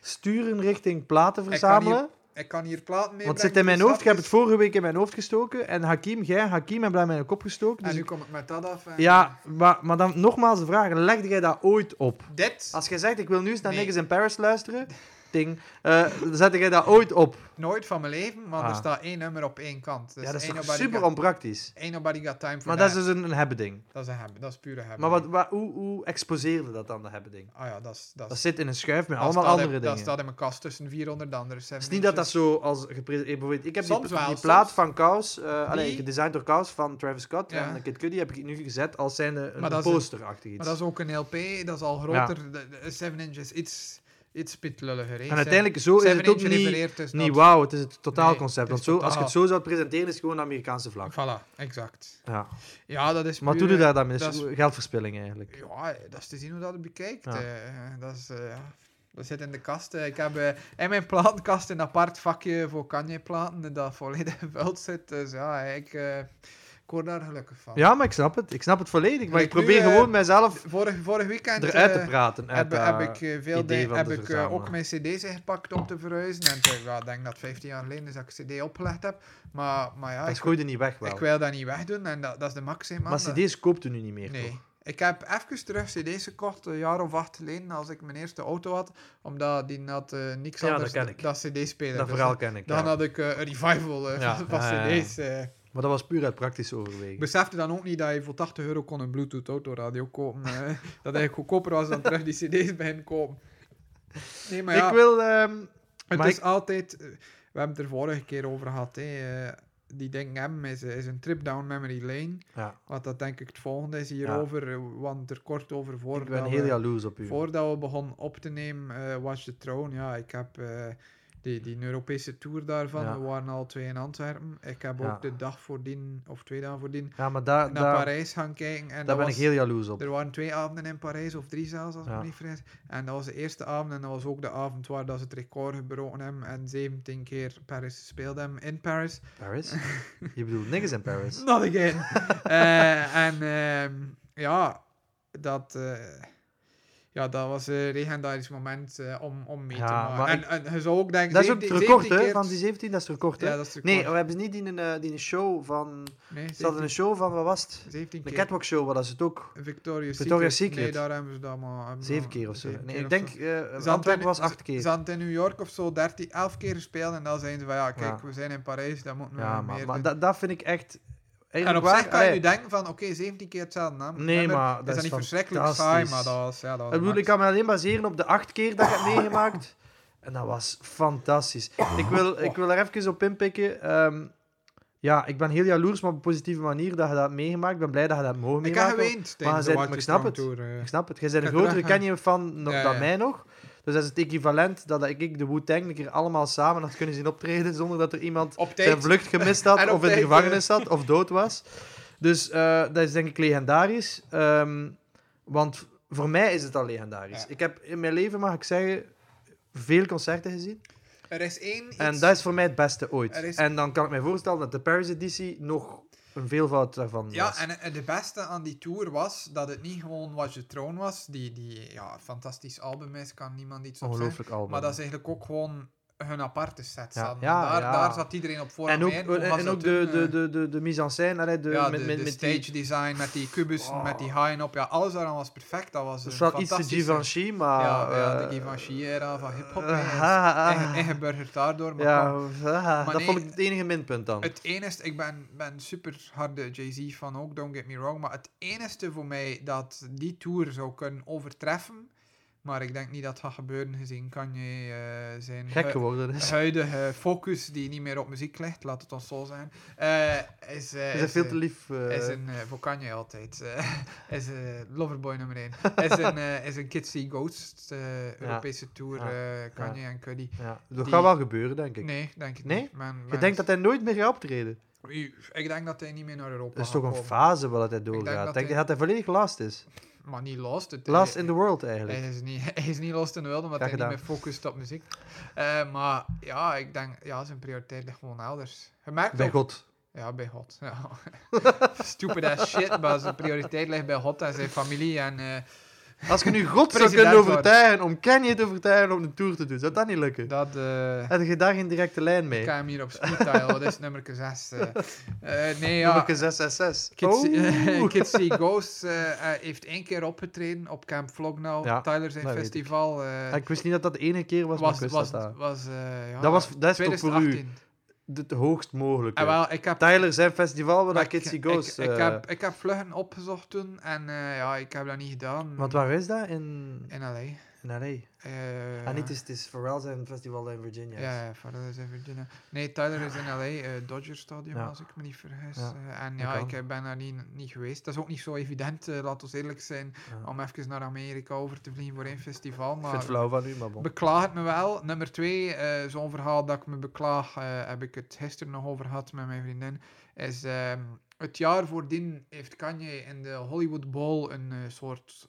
[SPEAKER 2] sturen richting platen
[SPEAKER 1] kan
[SPEAKER 2] verzamelen.
[SPEAKER 1] Ik kan hier platen mee.
[SPEAKER 2] Want het zit in mijn hoofd. Ik heb het vorige week in mijn hoofd gestoken. En Hakim, jij, Hakim, hebben dat in mijn kop gestoken. Dus
[SPEAKER 1] En nu
[SPEAKER 2] ik-
[SPEAKER 1] kom ik met dat af. eh. en-
[SPEAKER 2] ja, maar, maar dan nogmaals de vraag. Legde jij dat ooit op?
[SPEAKER 1] Dit?
[SPEAKER 2] Als jij zegt, ik wil nu eens naar
[SPEAKER 1] Nee.
[SPEAKER 2] Niggas in Paris luisteren. Ding. eh, zette jij dat ooit op?
[SPEAKER 1] Nooit van mijn leven, maar er
[SPEAKER 2] Ah.
[SPEAKER 1] staat één nummer op één kant. Dus
[SPEAKER 2] ja, dat is
[SPEAKER 1] ain't
[SPEAKER 2] toch
[SPEAKER 1] nobody
[SPEAKER 2] super
[SPEAKER 1] got,
[SPEAKER 2] onpraktisch.
[SPEAKER 1] ain't nobody got time for
[SPEAKER 2] Maar dat
[SPEAKER 1] that.
[SPEAKER 2] is dus een, een hebben ding.
[SPEAKER 1] Dat is een hebben, dat is pure hebben.
[SPEAKER 2] Maar wat, wat, hoe, hoe exposeerde dat dan, de hebben ding?
[SPEAKER 1] Ah ja, dat is... Dat
[SPEAKER 2] Dat
[SPEAKER 1] is
[SPEAKER 2] zit in een schuif met
[SPEAKER 1] dat
[SPEAKER 2] allemaal
[SPEAKER 1] staat in-
[SPEAKER 2] andere dingen.
[SPEAKER 1] Dat staat in mijn kast tussen 400 andere.
[SPEAKER 2] Het is niet dat dat zo als gepresenteerd bijvoorbeeld Ik heb
[SPEAKER 1] Soms
[SPEAKER 2] die,
[SPEAKER 1] wel,
[SPEAKER 2] die plaat
[SPEAKER 1] soms.
[SPEAKER 2] van Kous, eh allee,
[SPEAKER 1] Die-
[SPEAKER 2] gedesigned door Kous van Travis Scott
[SPEAKER 1] Ja.
[SPEAKER 2] en Kid Cudi, heb ik nu gezet als zijnde
[SPEAKER 1] Maar
[SPEAKER 2] een
[SPEAKER 1] dat is een-
[SPEAKER 2] posterachtig iets.
[SPEAKER 1] Maar dat is ook een LP, dat is al groter. De- de- Seven Inch is iets, iets spitlulliger. hè.
[SPEAKER 2] en
[SPEAKER 1] Seven-
[SPEAKER 2] uiteindelijk, zo is
[SPEAKER 1] Seven
[SPEAKER 2] het ook
[SPEAKER 1] Inch
[SPEAKER 2] niet,
[SPEAKER 1] refereert dus
[SPEAKER 2] niet
[SPEAKER 1] dat-
[SPEAKER 2] wauw, het is het totaalconcept.
[SPEAKER 1] Nee, het
[SPEAKER 2] want
[SPEAKER 1] is
[SPEAKER 2] zo, als je het
[SPEAKER 1] totaal.
[SPEAKER 2] zo zou presenteren, is het gewoon een Amerikaanse vlag.
[SPEAKER 1] Voilà, exact.
[SPEAKER 2] Ja.
[SPEAKER 1] Ja, dat is
[SPEAKER 2] Maar
[SPEAKER 1] pure-
[SPEAKER 2] doe je daar dan mee?
[SPEAKER 1] dat
[SPEAKER 2] Dat
[SPEAKER 1] is-
[SPEAKER 2] is geldverspilling eigenlijk.
[SPEAKER 1] Ja, dat is te zien hoe dat het bekijkt.
[SPEAKER 2] Ja.
[SPEAKER 1] eh. dat, is, eh, ja. dat zit in de kast. eh. Ik heb eh, in mijn platenkast een apart vakje voor Kanye-platen dat volledig gevuld zit. Dus ja, ik, eh, ik word daar gelukkig van.
[SPEAKER 2] Ja, maar ik snap het. Ik snap het volledig. Maar ik
[SPEAKER 1] Like nu,
[SPEAKER 2] probeer
[SPEAKER 1] eh,
[SPEAKER 2] gewoon mijzelf
[SPEAKER 1] Vorig, vorig weekend
[SPEAKER 2] eruit
[SPEAKER 1] eh,
[SPEAKER 2] te praten. uit
[SPEAKER 1] heb,
[SPEAKER 2] dat-
[SPEAKER 1] heb ik eh, veel
[SPEAKER 2] idee
[SPEAKER 1] dingen-
[SPEAKER 2] van
[SPEAKER 1] heb
[SPEAKER 2] te
[SPEAKER 1] ik eh,
[SPEAKER 2] verzamelen.
[SPEAKER 1] ook mijn cd's ingepakt om te verhuizen. En ik ja, ik denk dat 15 jaar geleden is dat ik cd opgelegd heb. Maar, maar ja,
[SPEAKER 2] Dat
[SPEAKER 1] ik,
[SPEAKER 2] gooide niet weg wel.
[SPEAKER 1] ik wil dat niet wegdoen en dat, dat is de maximum.
[SPEAKER 2] Maar cd's koopt u nu niet meer,
[SPEAKER 1] Nee.
[SPEAKER 2] toch?
[SPEAKER 1] Ik heb even terug cd's gekocht, een jaar of acht geleden, als ik mijn eerste auto had. Omdat die had eh, niks
[SPEAKER 2] Ja, dat
[SPEAKER 1] anders
[SPEAKER 2] ken ik.
[SPEAKER 1] dan cd-speler.
[SPEAKER 2] Dat
[SPEAKER 1] Dus
[SPEAKER 2] verhaal ken ik,
[SPEAKER 1] dan
[SPEAKER 2] ja.
[SPEAKER 1] had ik eh, een revival eh,
[SPEAKER 2] Ja,
[SPEAKER 1] van, van
[SPEAKER 2] ja, ja, ja.
[SPEAKER 1] cd's. eh.
[SPEAKER 2] Maar dat was puur uit praktische
[SPEAKER 1] Ik
[SPEAKER 2] overweging.
[SPEAKER 1] besefte dan ook niet dat je voor 80 euro kon een bluetooth autoradio kopen. eh. dat eigenlijk goedkoper was dan terug die cd's bij hen kopen. Nee, maar ja,
[SPEAKER 2] Ik wil... ehm,
[SPEAKER 1] het
[SPEAKER 2] maar
[SPEAKER 1] is
[SPEAKER 2] ik-
[SPEAKER 1] altijd... eh, We hebben het er vorige keer over gehad. hè, eh, die ding hebben is, eh, is een trip down memory lane.
[SPEAKER 2] Ja,
[SPEAKER 1] Wat dat denk ik het volgende is hierover. eh, Want er kort over voor... eh,
[SPEAKER 2] ik ben
[SPEAKER 1] dat
[SPEAKER 2] heel
[SPEAKER 1] we-
[SPEAKER 2] jaloers op u.
[SPEAKER 1] Voordat we begonnen op te nemen, eh, was de troon. Ja, ik heb eh, die, die Europese tour daarvan.
[SPEAKER 2] Ja.
[SPEAKER 1] We waren al twee in Antwerpen. Ik heb
[SPEAKER 2] Ja.
[SPEAKER 1] ook de dag voordien, of twee dagen voordien,
[SPEAKER 2] Ja, maar daar,
[SPEAKER 1] naar
[SPEAKER 2] daar,
[SPEAKER 1] Parijs gaan kijken. En
[SPEAKER 2] daar
[SPEAKER 1] dat
[SPEAKER 2] ben
[SPEAKER 1] was,
[SPEAKER 2] ik heel jaloers op.
[SPEAKER 1] Er waren twee avonden in Parijs, of drie zelfs, als ik
[SPEAKER 2] Ja.
[SPEAKER 1] me niet vergis. En dat was de eerste avond. En dat was ook de avond waar dat ze het record gebroken hebben. En 17 keer Parijs gespeeld hebben in Paris.
[SPEAKER 2] Paris? Je bedoelt niks in Paris.
[SPEAKER 1] Not again. Eh, en ehm, ja, dat, eh, ja, dat was een legendarisch moment eh, om, om mee
[SPEAKER 2] Ja,
[SPEAKER 1] te maken.
[SPEAKER 2] maar
[SPEAKER 1] En, en je zou ook denken...
[SPEAKER 2] Dat is ook het
[SPEAKER 1] 17
[SPEAKER 2] record, hè?
[SPEAKER 1] 17
[SPEAKER 2] Van
[SPEAKER 1] keer-
[SPEAKER 2] die 17, dat is het record, hè?
[SPEAKER 1] Ja, dat is het
[SPEAKER 2] Nee,
[SPEAKER 1] record.
[SPEAKER 2] we hebben ze niet die, eh, die show van...
[SPEAKER 1] Nee,
[SPEAKER 2] Ze hadden
[SPEAKER 1] 17,
[SPEAKER 2] een show van, wat was het?
[SPEAKER 1] 17
[SPEAKER 2] De
[SPEAKER 1] keer. Ah,
[SPEAKER 2] Catwalk Show, wat was het ook?
[SPEAKER 1] Victoria's,
[SPEAKER 2] Victoria's
[SPEAKER 1] Nee,
[SPEAKER 2] Secret.
[SPEAKER 1] daar hebben ze dat maar... hebben
[SPEAKER 2] Zeven
[SPEAKER 1] dat-
[SPEAKER 2] keer of zo.
[SPEAKER 1] zeven
[SPEAKER 2] Nee,
[SPEAKER 1] keer
[SPEAKER 2] ik
[SPEAKER 1] of
[SPEAKER 2] denk...
[SPEAKER 1] zo.
[SPEAKER 2] eh
[SPEAKER 1] Ze
[SPEAKER 2] Antwerpen
[SPEAKER 1] hadden-
[SPEAKER 2] was acht keer.
[SPEAKER 1] Ze hadden in New York of zo 13, 11 keer gespeeld en dan zeiden ze van ja, kijk,
[SPEAKER 2] Ja.
[SPEAKER 1] we zijn in Parijs, dat moeten we
[SPEAKER 2] Ja,
[SPEAKER 1] nog
[SPEAKER 2] maar,
[SPEAKER 1] meer
[SPEAKER 2] maar
[SPEAKER 1] doen.
[SPEAKER 2] dat, dat vind ik echt...
[SPEAKER 1] En
[SPEAKER 2] Eigenlijk
[SPEAKER 1] op zich
[SPEAKER 2] waar,
[SPEAKER 1] kan je
[SPEAKER 2] allee,
[SPEAKER 1] nu denken van oké, 17 keer hetzelfde naam.
[SPEAKER 2] Nee, maar dat
[SPEAKER 1] is dat
[SPEAKER 2] is
[SPEAKER 1] niet verschrikkelijk saai,
[SPEAKER 2] fantastisch.
[SPEAKER 1] maar dat was... Ja, dat was
[SPEAKER 2] Ik bedoel,
[SPEAKER 1] Oh, max.
[SPEAKER 2] ik kan me alleen baseren op de acht keer dat ik heb meegemaakt. En dat was fantastisch. Ik wil, ik wil er even op inpikken. Ehm, ja, ik ben heel jaloers, maar op een positieve manier dat je dat hebt meegemaakt. Ik ben blij dat je dat hebt mogen
[SPEAKER 1] Ik heb
[SPEAKER 2] meemaken.
[SPEAKER 1] geweend
[SPEAKER 2] Maar
[SPEAKER 1] tijdens
[SPEAKER 2] zei-
[SPEAKER 1] de
[SPEAKER 2] maar ik snap het.
[SPEAKER 1] Tour. eh.
[SPEAKER 2] Ik snap het. Jij bent een
[SPEAKER 1] Ik
[SPEAKER 2] grotere
[SPEAKER 1] draag-
[SPEAKER 2] Kanye-fan nog
[SPEAKER 1] Ja,
[SPEAKER 2] dan
[SPEAKER 1] ja.
[SPEAKER 2] mij nog. Dus dat is het equivalent dat ik- ik de Wu-Tang een keer allemaal samen had kunnen zien optreden zonder dat er iemand
[SPEAKER 1] Op
[SPEAKER 2] zijn
[SPEAKER 1] tijd.
[SPEAKER 2] vlucht gemist had,
[SPEAKER 1] En
[SPEAKER 2] of
[SPEAKER 1] op
[SPEAKER 2] in de
[SPEAKER 1] tijd, eh,
[SPEAKER 2] gevangenis zat, of dood was. Dus eh, dat is denk ik legendarisch. Ehm, want voor mij is het al legendarisch.
[SPEAKER 1] Ja.
[SPEAKER 2] Ik heb in mijn leven, mag ik zeggen, veel concerten gezien.
[SPEAKER 1] Er is één iets...
[SPEAKER 2] En dat is voor mij het beste ooit.
[SPEAKER 1] Er is-
[SPEAKER 2] En dan kan ik mij voorstellen dat de Paris-editie nog een veelvoud daarvan
[SPEAKER 1] Ja,
[SPEAKER 2] was.
[SPEAKER 1] en eh, de beste aan die tour was dat het niet gewoon Was Je Troon was, die, die ja, fantastisch album is, kan niemand iets op zeggen.
[SPEAKER 2] Ongelooflijk album.
[SPEAKER 1] Maar dat is eigenlijk ook gewoon hun aparte set.
[SPEAKER 2] Ja.
[SPEAKER 1] Ja.
[SPEAKER 2] Ja,
[SPEAKER 1] daar,
[SPEAKER 2] ja.
[SPEAKER 1] daar zat iedereen op voor.
[SPEAKER 2] En ook,
[SPEAKER 1] mee.
[SPEAKER 2] en,
[SPEAKER 1] Hoe was
[SPEAKER 2] en
[SPEAKER 1] dat
[SPEAKER 2] ook de,
[SPEAKER 1] toen,
[SPEAKER 2] de,
[SPEAKER 1] eh?
[SPEAKER 2] de, de, de mise en scène, allee, de,
[SPEAKER 1] ja,
[SPEAKER 2] met,
[SPEAKER 1] de,
[SPEAKER 2] met,
[SPEAKER 1] de
[SPEAKER 2] met
[SPEAKER 1] stage
[SPEAKER 2] die...
[SPEAKER 1] design met die kubussen,
[SPEAKER 2] Oh.
[SPEAKER 1] met die haaien op. Ja, alles daaraan was perfect. Dat was
[SPEAKER 2] Het
[SPEAKER 1] een
[SPEAKER 2] is wel iets te
[SPEAKER 1] fantastische...
[SPEAKER 2] Givenchy, maar...
[SPEAKER 1] ja, ja,
[SPEAKER 2] eh,
[SPEAKER 1] de Givenchy-era van hip-hop.
[SPEAKER 2] eh,
[SPEAKER 1] hè.
[SPEAKER 2] ha, ha, ha.
[SPEAKER 1] Inge- Ingeburgerd daardoor. Maar
[SPEAKER 2] Ja,
[SPEAKER 1] kwam-
[SPEAKER 2] ah, dat
[SPEAKER 1] nee,
[SPEAKER 2] vond ik het enige minpunt dan.
[SPEAKER 1] Het enige, ik ben, ben super harde Jay-Z van ook, don't get me wrong, maar het enige voor mij dat die tour zou kunnen overtreffen, Maar ik denk niet dat het gaat gebeuren gezien Kanye eh, zijn
[SPEAKER 2] Gek
[SPEAKER 1] hu-
[SPEAKER 2] geworden is.
[SPEAKER 1] huidige eh, focus, die niet meer op muziek ligt, laat het ons zo zijn, eh, is, eh,
[SPEAKER 2] Ze zijn
[SPEAKER 1] is,
[SPEAKER 2] veel
[SPEAKER 1] eh,
[SPEAKER 2] te lief. eh,
[SPEAKER 1] is een, eh, voor Kanye altijd, eh, is eh, Loverboy nummer 1, is een, eh, is een Kids See Ghosts eh, Europese tour, eh, Kanye en Cudi.
[SPEAKER 2] ja. Dat
[SPEAKER 1] die-
[SPEAKER 2] gaat wel gebeuren, denk ik.
[SPEAKER 1] Nee, denk ik
[SPEAKER 2] Nee?
[SPEAKER 1] niet. Men-
[SPEAKER 2] Je
[SPEAKER 1] men-
[SPEAKER 2] denkt dat hij nooit meer gaat optreden.
[SPEAKER 1] Ik denk dat hij niet meer naar Europa
[SPEAKER 2] Dat is
[SPEAKER 1] gaat
[SPEAKER 2] toch een
[SPEAKER 1] komen.
[SPEAKER 2] fase waar dat hij
[SPEAKER 1] denk
[SPEAKER 2] doorgaat.
[SPEAKER 1] dat
[SPEAKER 2] Denk je
[SPEAKER 1] hij-
[SPEAKER 2] dat hij volledig last is?
[SPEAKER 1] Maar niet lost. Het,
[SPEAKER 2] Last
[SPEAKER 1] hij-
[SPEAKER 2] in the world,
[SPEAKER 1] hij,
[SPEAKER 2] eigenlijk.
[SPEAKER 1] is niet, hij is niet lost in de wereld, omdat
[SPEAKER 2] Graag
[SPEAKER 1] hij niet meer
[SPEAKER 2] gedaan.
[SPEAKER 1] focust op muziek. Eh, maar ja, ik denk, ja, zijn prioriteit ligt gewoon elders. Je merkt
[SPEAKER 2] Bij
[SPEAKER 1] ook-
[SPEAKER 2] God.
[SPEAKER 1] Ja, bij God. Ja. Stupid ass shit, maar zijn prioriteit ligt bij God en zijn familie. En, eh,
[SPEAKER 2] Als je nu God zou
[SPEAKER 1] President
[SPEAKER 2] kunnen
[SPEAKER 1] worden.
[SPEAKER 2] overtuigen om Kanye te overtuigen om een tour te doen, zou dat niet lukken?
[SPEAKER 1] dat... eh,
[SPEAKER 2] Heb je daar geen directe lijn mee?
[SPEAKER 1] Ik ga hem hier op speed dial, dat is nummer 6. nee,
[SPEAKER 2] Ja.
[SPEAKER 1] ja.
[SPEAKER 2] 666.
[SPEAKER 1] Kids,
[SPEAKER 2] Oh.
[SPEAKER 1] eh, Kids See Ghosts eh, eh, heeft één keer opgetreden op Camp Vlognow,
[SPEAKER 2] Ja,
[SPEAKER 1] Tyler zijn
[SPEAKER 2] dat weet ik.
[SPEAKER 1] festival. eh,
[SPEAKER 2] Ja, Ik wist niet dat dat de ene keer was, maar ik
[SPEAKER 1] was,
[SPEAKER 2] wist
[SPEAKER 1] was,
[SPEAKER 2] dat dat.
[SPEAKER 1] was, eh, ja,
[SPEAKER 2] Dat was- dat is toch voor u?
[SPEAKER 1] 2018.
[SPEAKER 2] Het hoogst mogelijke.
[SPEAKER 1] En Ah, wel, ik heb,
[SPEAKER 2] Tyler zijn festival waar
[SPEAKER 1] maar
[SPEAKER 2] dat
[SPEAKER 1] ik-
[SPEAKER 2] Kids eh,
[SPEAKER 1] ik-
[SPEAKER 2] Ghost...
[SPEAKER 1] Ik, heb, ik heb vluggen opgezocht toen en eh, ja, ik heb dat niet gedaan.
[SPEAKER 2] Want waar is dat? In,
[SPEAKER 1] In L.A.
[SPEAKER 2] in L.A.
[SPEAKER 1] Eh,
[SPEAKER 2] Ah, niet, het is, het is Pharrell zijn festival in Virginia. is.
[SPEAKER 1] Ja, ja, Pharrell is in Virginia. Nee, Tyler is in L.A., eh, Dodger Stadium,
[SPEAKER 2] Ja.
[SPEAKER 1] als ik me niet vergis.
[SPEAKER 2] Ja,
[SPEAKER 1] Eh, en
[SPEAKER 2] dat
[SPEAKER 1] ja,
[SPEAKER 2] kan.
[SPEAKER 1] ik eh, ben daar niet, niet geweest. Dat is ook niet zo evident, eh, laten we eerlijk zijn,
[SPEAKER 2] Ja.
[SPEAKER 1] om even naar Amerika over te vliegen voor één festival.
[SPEAKER 2] Ik vind het
[SPEAKER 1] Maar
[SPEAKER 2] flauw van u, maar bon.
[SPEAKER 1] beklaag het me wel. Nummer twee, eh, zo'n verhaal dat ik me beklaag, eh, heb ik het gisteren nog over gehad met mijn vriendin, is ehm, het jaar voordien heeft Kanye in de Hollywood Bowl een eh, soort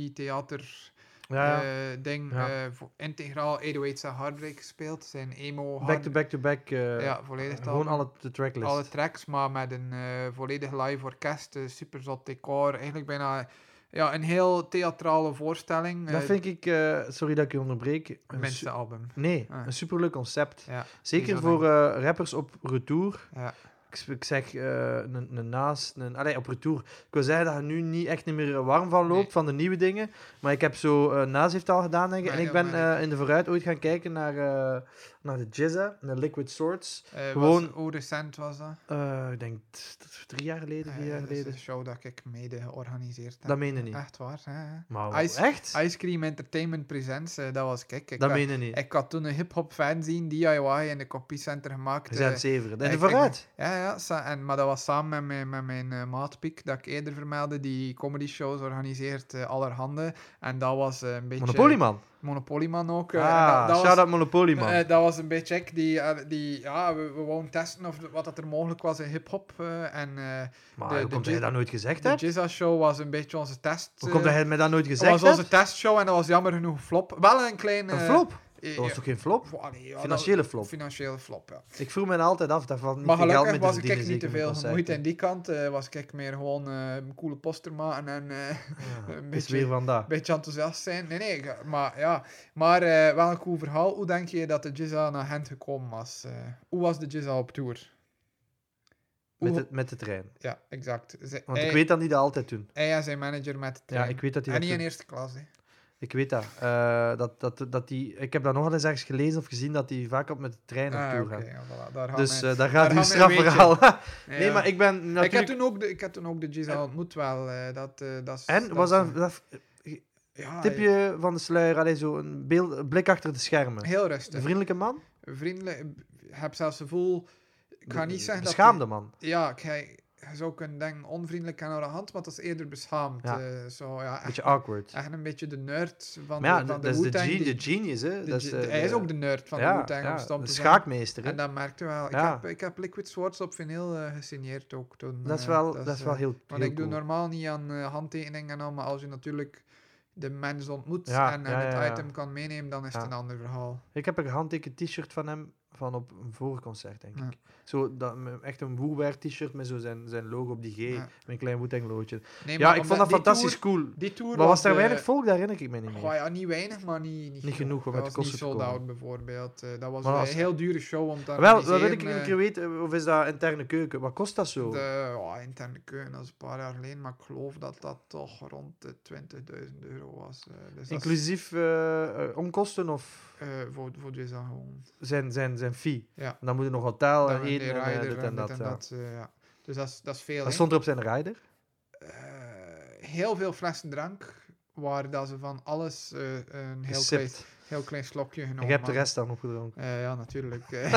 [SPEAKER 1] amfitheater
[SPEAKER 2] Ja, ja.
[SPEAKER 1] eh, ding
[SPEAKER 2] Ja.
[SPEAKER 1] eh, voor integraal 808's en Heartbreak gespeeld. Zijn emo
[SPEAKER 2] Back to back to back. eh,
[SPEAKER 1] Ja, volledig
[SPEAKER 2] Gewoon
[SPEAKER 1] album.
[SPEAKER 2] alle de tracklist.
[SPEAKER 1] alle tracks, maar met een eh, volledig live orkest, eh, super zot decor. Eigenlijk bijna ja, een heel theatrale voorstelling.
[SPEAKER 2] Dat vind ik, eh, sorry dat ik je onderbreek.
[SPEAKER 1] het
[SPEAKER 2] Een
[SPEAKER 1] minste
[SPEAKER 2] su-
[SPEAKER 1] album.
[SPEAKER 2] nee,
[SPEAKER 1] Ah.
[SPEAKER 2] een superleuk concept.
[SPEAKER 1] Ja,
[SPEAKER 2] Zeker
[SPEAKER 1] bizar,
[SPEAKER 2] voor eh, rappers op retour.
[SPEAKER 1] Ja.
[SPEAKER 2] Ik, s- ik zeg eh, een een naast, een, allee, op retour. Ik wil zeggen dat je nu niet echt niet meer eh, warm van loopt
[SPEAKER 1] Nee.
[SPEAKER 2] van de nieuwe dingen. Maar ik heb zo, eh naast heeft het al gedaan, denk ik.
[SPEAKER 1] Maar
[SPEAKER 2] en ik
[SPEAKER 1] ja,
[SPEAKER 2] ben
[SPEAKER 1] maar ik-
[SPEAKER 2] eh, in de vooruit ooit gaan kijken naar, eh, naar de Jizza, naar Liquid Swords.
[SPEAKER 1] Eh,
[SPEAKER 2] Gewoon-
[SPEAKER 1] was- hoe recent was dat?
[SPEAKER 2] Eh, ik denk t- t- drie jaar geleden,
[SPEAKER 1] Eh,
[SPEAKER 2] vier jaar
[SPEAKER 1] dat is Ah.
[SPEAKER 2] geleden.
[SPEAKER 1] een show dat ik mede georganiseerd heb.
[SPEAKER 2] Dat meen je niet.
[SPEAKER 1] Echt waar, hè?
[SPEAKER 2] Maar
[SPEAKER 1] Ice-
[SPEAKER 2] echt?
[SPEAKER 1] Ice Cream Entertainment Presents, eh, dat was kijk. Ik,
[SPEAKER 2] Dat
[SPEAKER 1] had-
[SPEAKER 2] meen je niet.
[SPEAKER 1] ik had toen een hip-hop fan zien, DIY, in de kopiecenter gemaakt.
[SPEAKER 2] We zijn
[SPEAKER 1] eh,
[SPEAKER 2] zeven. In
[SPEAKER 1] ik-
[SPEAKER 2] de
[SPEAKER 1] ik-
[SPEAKER 2] vooruit.
[SPEAKER 1] Ja, ja sa- en, maar dat was samen met mijn, met mijn eh, maat Piek, dat ik eerder vermeldde, die comedy shows organiseert eh, allerhande. En dat was eh, een beetje...
[SPEAKER 2] Monopolyman.
[SPEAKER 1] Monopolyman ook. eh, en
[SPEAKER 2] Ah,
[SPEAKER 1] dat, dat was,
[SPEAKER 2] shout-out Monopolyman.
[SPEAKER 1] eh, dat was een beetje ik, die, eh, die ja, we, we wouden testen of wat dat er mogelijk was in hip-hop. eh, en eh,
[SPEAKER 2] Maar hoe
[SPEAKER 1] de- de
[SPEAKER 2] komt
[SPEAKER 1] Jizz-
[SPEAKER 2] hij dat nooit gezegd
[SPEAKER 1] de
[SPEAKER 2] hebt?
[SPEAKER 1] Jizza Show was een beetje onze test.
[SPEAKER 2] Hoe komt
[SPEAKER 1] eh,
[SPEAKER 2] dat hij mij dat nooit
[SPEAKER 1] dat was
[SPEAKER 2] gezegd
[SPEAKER 1] onze
[SPEAKER 2] hebt?
[SPEAKER 1] testshow en dat was jammer genoeg een flop. Wel een klein...
[SPEAKER 2] Een
[SPEAKER 1] eh,
[SPEAKER 2] flop?
[SPEAKER 1] eh,
[SPEAKER 2] Dat was
[SPEAKER 1] ja,
[SPEAKER 2] toch geen flop?
[SPEAKER 1] pff, allee, ja, dat-
[SPEAKER 2] Financiële flop.
[SPEAKER 1] Financiële flop, ja.
[SPEAKER 2] Ik vroeg me altijd af, daarvan niet
[SPEAKER 1] Maar
[SPEAKER 2] veel geld
[SPEAKER 1] gelukkig
[SPEAKER 2] mee te
[SPEAKER 1] was ik
[SPEAKER 2] verdienen,
[SPEAKER 1] echt niet te
[SPEAKER 2] zeker met
[SPEAKER 1] veel gemoeid aan
[SPEAKER 2] concerten.
[SPEAKER 1] die kant. eh, was ik echt meer gewoon eh, een coole poster maken en eh,
[SPEAKER 2] Ja,
[SPEAKER 1] een
[SPEAKER 2] is
[SPEAKER 1] beetje,
[SPEAKER 2] weer vandaag.
[SPEAKER 1] een beetje enthousiast zijn. Nee, nee, ik- maar ja. Maar eh, wel een cool verhaal. Hoe denk je dat de Jizza naar Gent gekomen was? Eh, hoe was de Jizza op tour?
[SPEAKER 2] Met
[SPEAKER 1] Hoe-
[SPEAKER 2] de, met de trein.
[SPEAKER 1] Ja, exact. Ze-
[SPEAKER 2] Want ik
[SPEAKER 1] hij,
[SPEAKER 2] weet dat die dat altijd doen.
[SPEAKER 1] hij en zijn manager met de
[SPEAKER 2] Ja,
[SPEAKER 1] trein.
[SPEAKER 2] ik weet dat die
[SPEAKER 1] en
[SPEAKER 2] dat
[SPEAKER 1] niet in
[SPEAKER 2] doen.
[SPEAKER 1] eerste klas, hè.
[SPEAKER 2] Ik weet dat. Eh, dat, dat, dat die, ik heb dat nogal eens ergens gelezen of gezien, dat die vaak op met de trein op
[SPEAKER 1] Ah,
[SPEAKER 2] tour
[SPEAKER 1] oké.
[SPEAKER 2] gaan.
[SPEAKER 1] ja, voilà, daar gaan
[SPEAKER 2] Dus
[SPEAKER 1] we.
[SPEAKER 2] eh, daar gaat
[SPEAKER 1] gaan
[SPEAKER 2] uw
[SPEAKER 1] we een beetje.
[SPEAKER 2] strafverhaal.
[SPEAKER 1] Ja.
[SPEAKER 2] nee, maar ik ben
[SPEAKER 1] ik, had
[SPEAKER 2] natuurlijk...
[SPEAKER 1] toen ook de, ik had toen ook de Jizza ontmoet wel. eh, dat, eh, dat, is-
[SPEAKER 2] En, was
[SPEAKER 1] is
[SPEAKER 2] dat,
[SPEAKER 1] een-
[SPEAKER 2] dat
[SPEAKER 1] Ah, ja,
[SPEAKER 2] tipje van de sluier, allee, zo een beeld, een blik achter de schermen.
[SPEAKER 1] Heel
[SPEAKER 2] Een
[SPEAKER 1] rustig.
[SPEAKER 2] vriendelijke man?
[SPEAKER 1] vriendelijk. Ik heb zelfs het gevoel. Ik ga niet zeggen dat.
[SPEAKER 2] Beschaamde man.
[SPEAKER 1] die- ja, ik, hij- je zou kunnen denken onvriendelijk en hand, maar dat is eerder beschaamd.
[SPEAKER 2] Ja.
[SPEAKER 1] Eh, zo, ja, echt,
[SPEAKER 2] Beetje awkward.
[SPEAKER 1] echt een beetje de nerd van
[SPEAKER 2] Maar ja,
[SPEAKER 1] de, van
[SPEAKER 2] dat
[SPEAKER 1] de
[SPEAKER 2] is de,
[SPEAKER 1] Wu-Tang,
[SPEAKER 2] gen-
[SPEAKER 1] die-
[SPEAKER 2] de genius, hè.
[SPEAKER 1] de
[SPEAKER 2] Dat
[SPEAKER 1] ge-
[SPEAKER 2] eh,
[SPEAKER 1] hij is
[SPEAKER 2] de-
[SPEAKER 1] ook de nerd van de Wu-Tang, om stom
[SPEAKER 2] de
[SPEAKER 1] te zijn.
[SPEAKER 2] schaakmeester. hè.
[SPEAKER 1] En dat merkte wel. Ik,
[SPEAKER 2] Ja.
[SPEAKER 1] heb, ik heb Liquid Swords op vinyl eh, gesigneerd ook toen.
[SPEAKER 2] dat is
[SPEAKER 1] eh,
[SPEAKER 2] wel, dat is wel
[SPEAKER 1] eh,
[SPEAKER 2] heel,
[SPEAKER 1] Want
[SPEAKER 2] heel
[SPEAKER 1] ik doe
[SPEAKER 2] cool.
[SPEAKER 1] normaal niet aan eh, handtekeningen en al, maar als je natuurlijk de mens ontmoet
[SPEAKER 2] Ja,
[SPEAKER 1] en, en
[SPEAKER 2] ja, ja,
[SPEAKER 1] het
[SPEAKER 2] ja.
[SPEAKER 1] item kan meenemen, dan is het
[SPEAKER 2] Ja.
[SPEAKER 1] een ander verhaal.
[SPEAKER 2] Ik heb een gehandtekend t-shirt van hem van op een vorig concert, denk ik.
[SPEAKER 1] Ja.
[SPEAKER 2] Zo, dat, m- echt een Woewer t-shirt met zo zijn, zijn logo op die G,
[SPEAKER 1] Ja.
[SPEAKER 2] met een klein Wu-Tang loodje.
[SPEAKER 1] Nee,
[SPEAKER 2] Ja,
[SPEAKER 1] maar
[SPEAKER 2] ik
[SPEAKER 1] omdat
[SPEAKER 2] vond dat
[SPEAKER 1] die
[SPEAKER 2] fantastisch
[SPEAKER 1] tour-
[SPEAKER 2] cool.
[SPEAKER 1] Die tour
[SPEAKER 2] Maar was daar
[SPEAKER 1] de-
[SPEAKER 2] weinig volk, daar herinner ik me niet
[SPEAKER 1] Goh,
[SPEAKER 2] meer.
[SPEAKER 1] ja, niet weinig, maar niet, niet,
[SPEAKER 2] Niet genoeg om
[SPEAKER 1] Dat
[SPEAKER 2] uit de
[SPEAKER 1] was
[SPEAKER 2] kosten
[SPEAKER 1] niet
[SPEAKER 2] te
[SPEAKER 1] sold
[SPEAKER 2] komen.
[SPEAKER 1] out bijvoorbeeld. Eh, dat was
[SPEAKER 2] Maar
[SPEAKER 1] een
[SPEAKER 2] als-
[SPEAKER 1] heel dure show om te
[SPEAKER 2] Wel, wat
[SPEAKER 1] organiseren,
[SPEAKER 2] wil ik een
[SPEAKER 1] eh,
[SPEAKER 2] keer weten, of is dat interne keuken? Wat kost dat zo?
[SPEAKER 1] De ja, interne keuken, dat is een paar jaar geleden, maar ik geloof dat dat toch rond de 20.000 euro was. eh, dus dat is,
[SPEAKER 2] Inclusief eh, eh, onkosten of
[SPEAKER 1] eh, voor, voor deze gewoon.
[SPEAKER 2] zijn, zijn, zijn fee?
[SPEAKER 1] Ja.
[SPEAKER 2] Dan moet je nog hotel
[SPEAKER 1] Dan
[SPEAKER 2] en
[SPEAKER 1] een
[SPEAKER 2] eten en eh,
[SPEAKER 1] derider
[SPEAKER 2] dit en dat. ja.
[SPEAKER 1] eh, ja. Dus dat is, dat is veel.
[SPEAKER 2] Dat
[SPEAKER 1] hè.
[SPEAKER 2] stond er op zijn rider.
[SPEAKER 1] Eh, heel veel flessen drank. waar dat ze van alles eh, een heel klein,
[SPEAKER 2] Gesipt.
[SPEAKER 1] heel klein slokje genomen
[SPEAKER 6] En je hebt de
[SPEAKER 1] hadden.
[SPEAKER 6] rest dan opgedronken.
[SPEAKER 1] Eh, ja, natuurlijk. eh.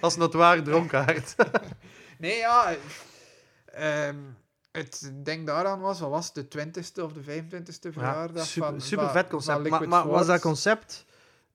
[SPEAKER 2] Als notoire dronkaard.
[SPEAKER 1] Nee, ja. eh, ehm, het denk daaraan was, wat was het, de 20ste of de 25ste verjaardag
[SPEAKER 6] super-
[SPEAKER 1] van
[SPEAKER 2] Super
[SPEAKER 1] van-
[SPEAKER 2] vet
[SPEAKER 1] van
[SPEAKER 2] concept.
[SPEAKER 1] Liquid
[SPEAKER 2] Maar, maar was dat
[SPEAKER 1] Swords.
[SPEAKER 2] concept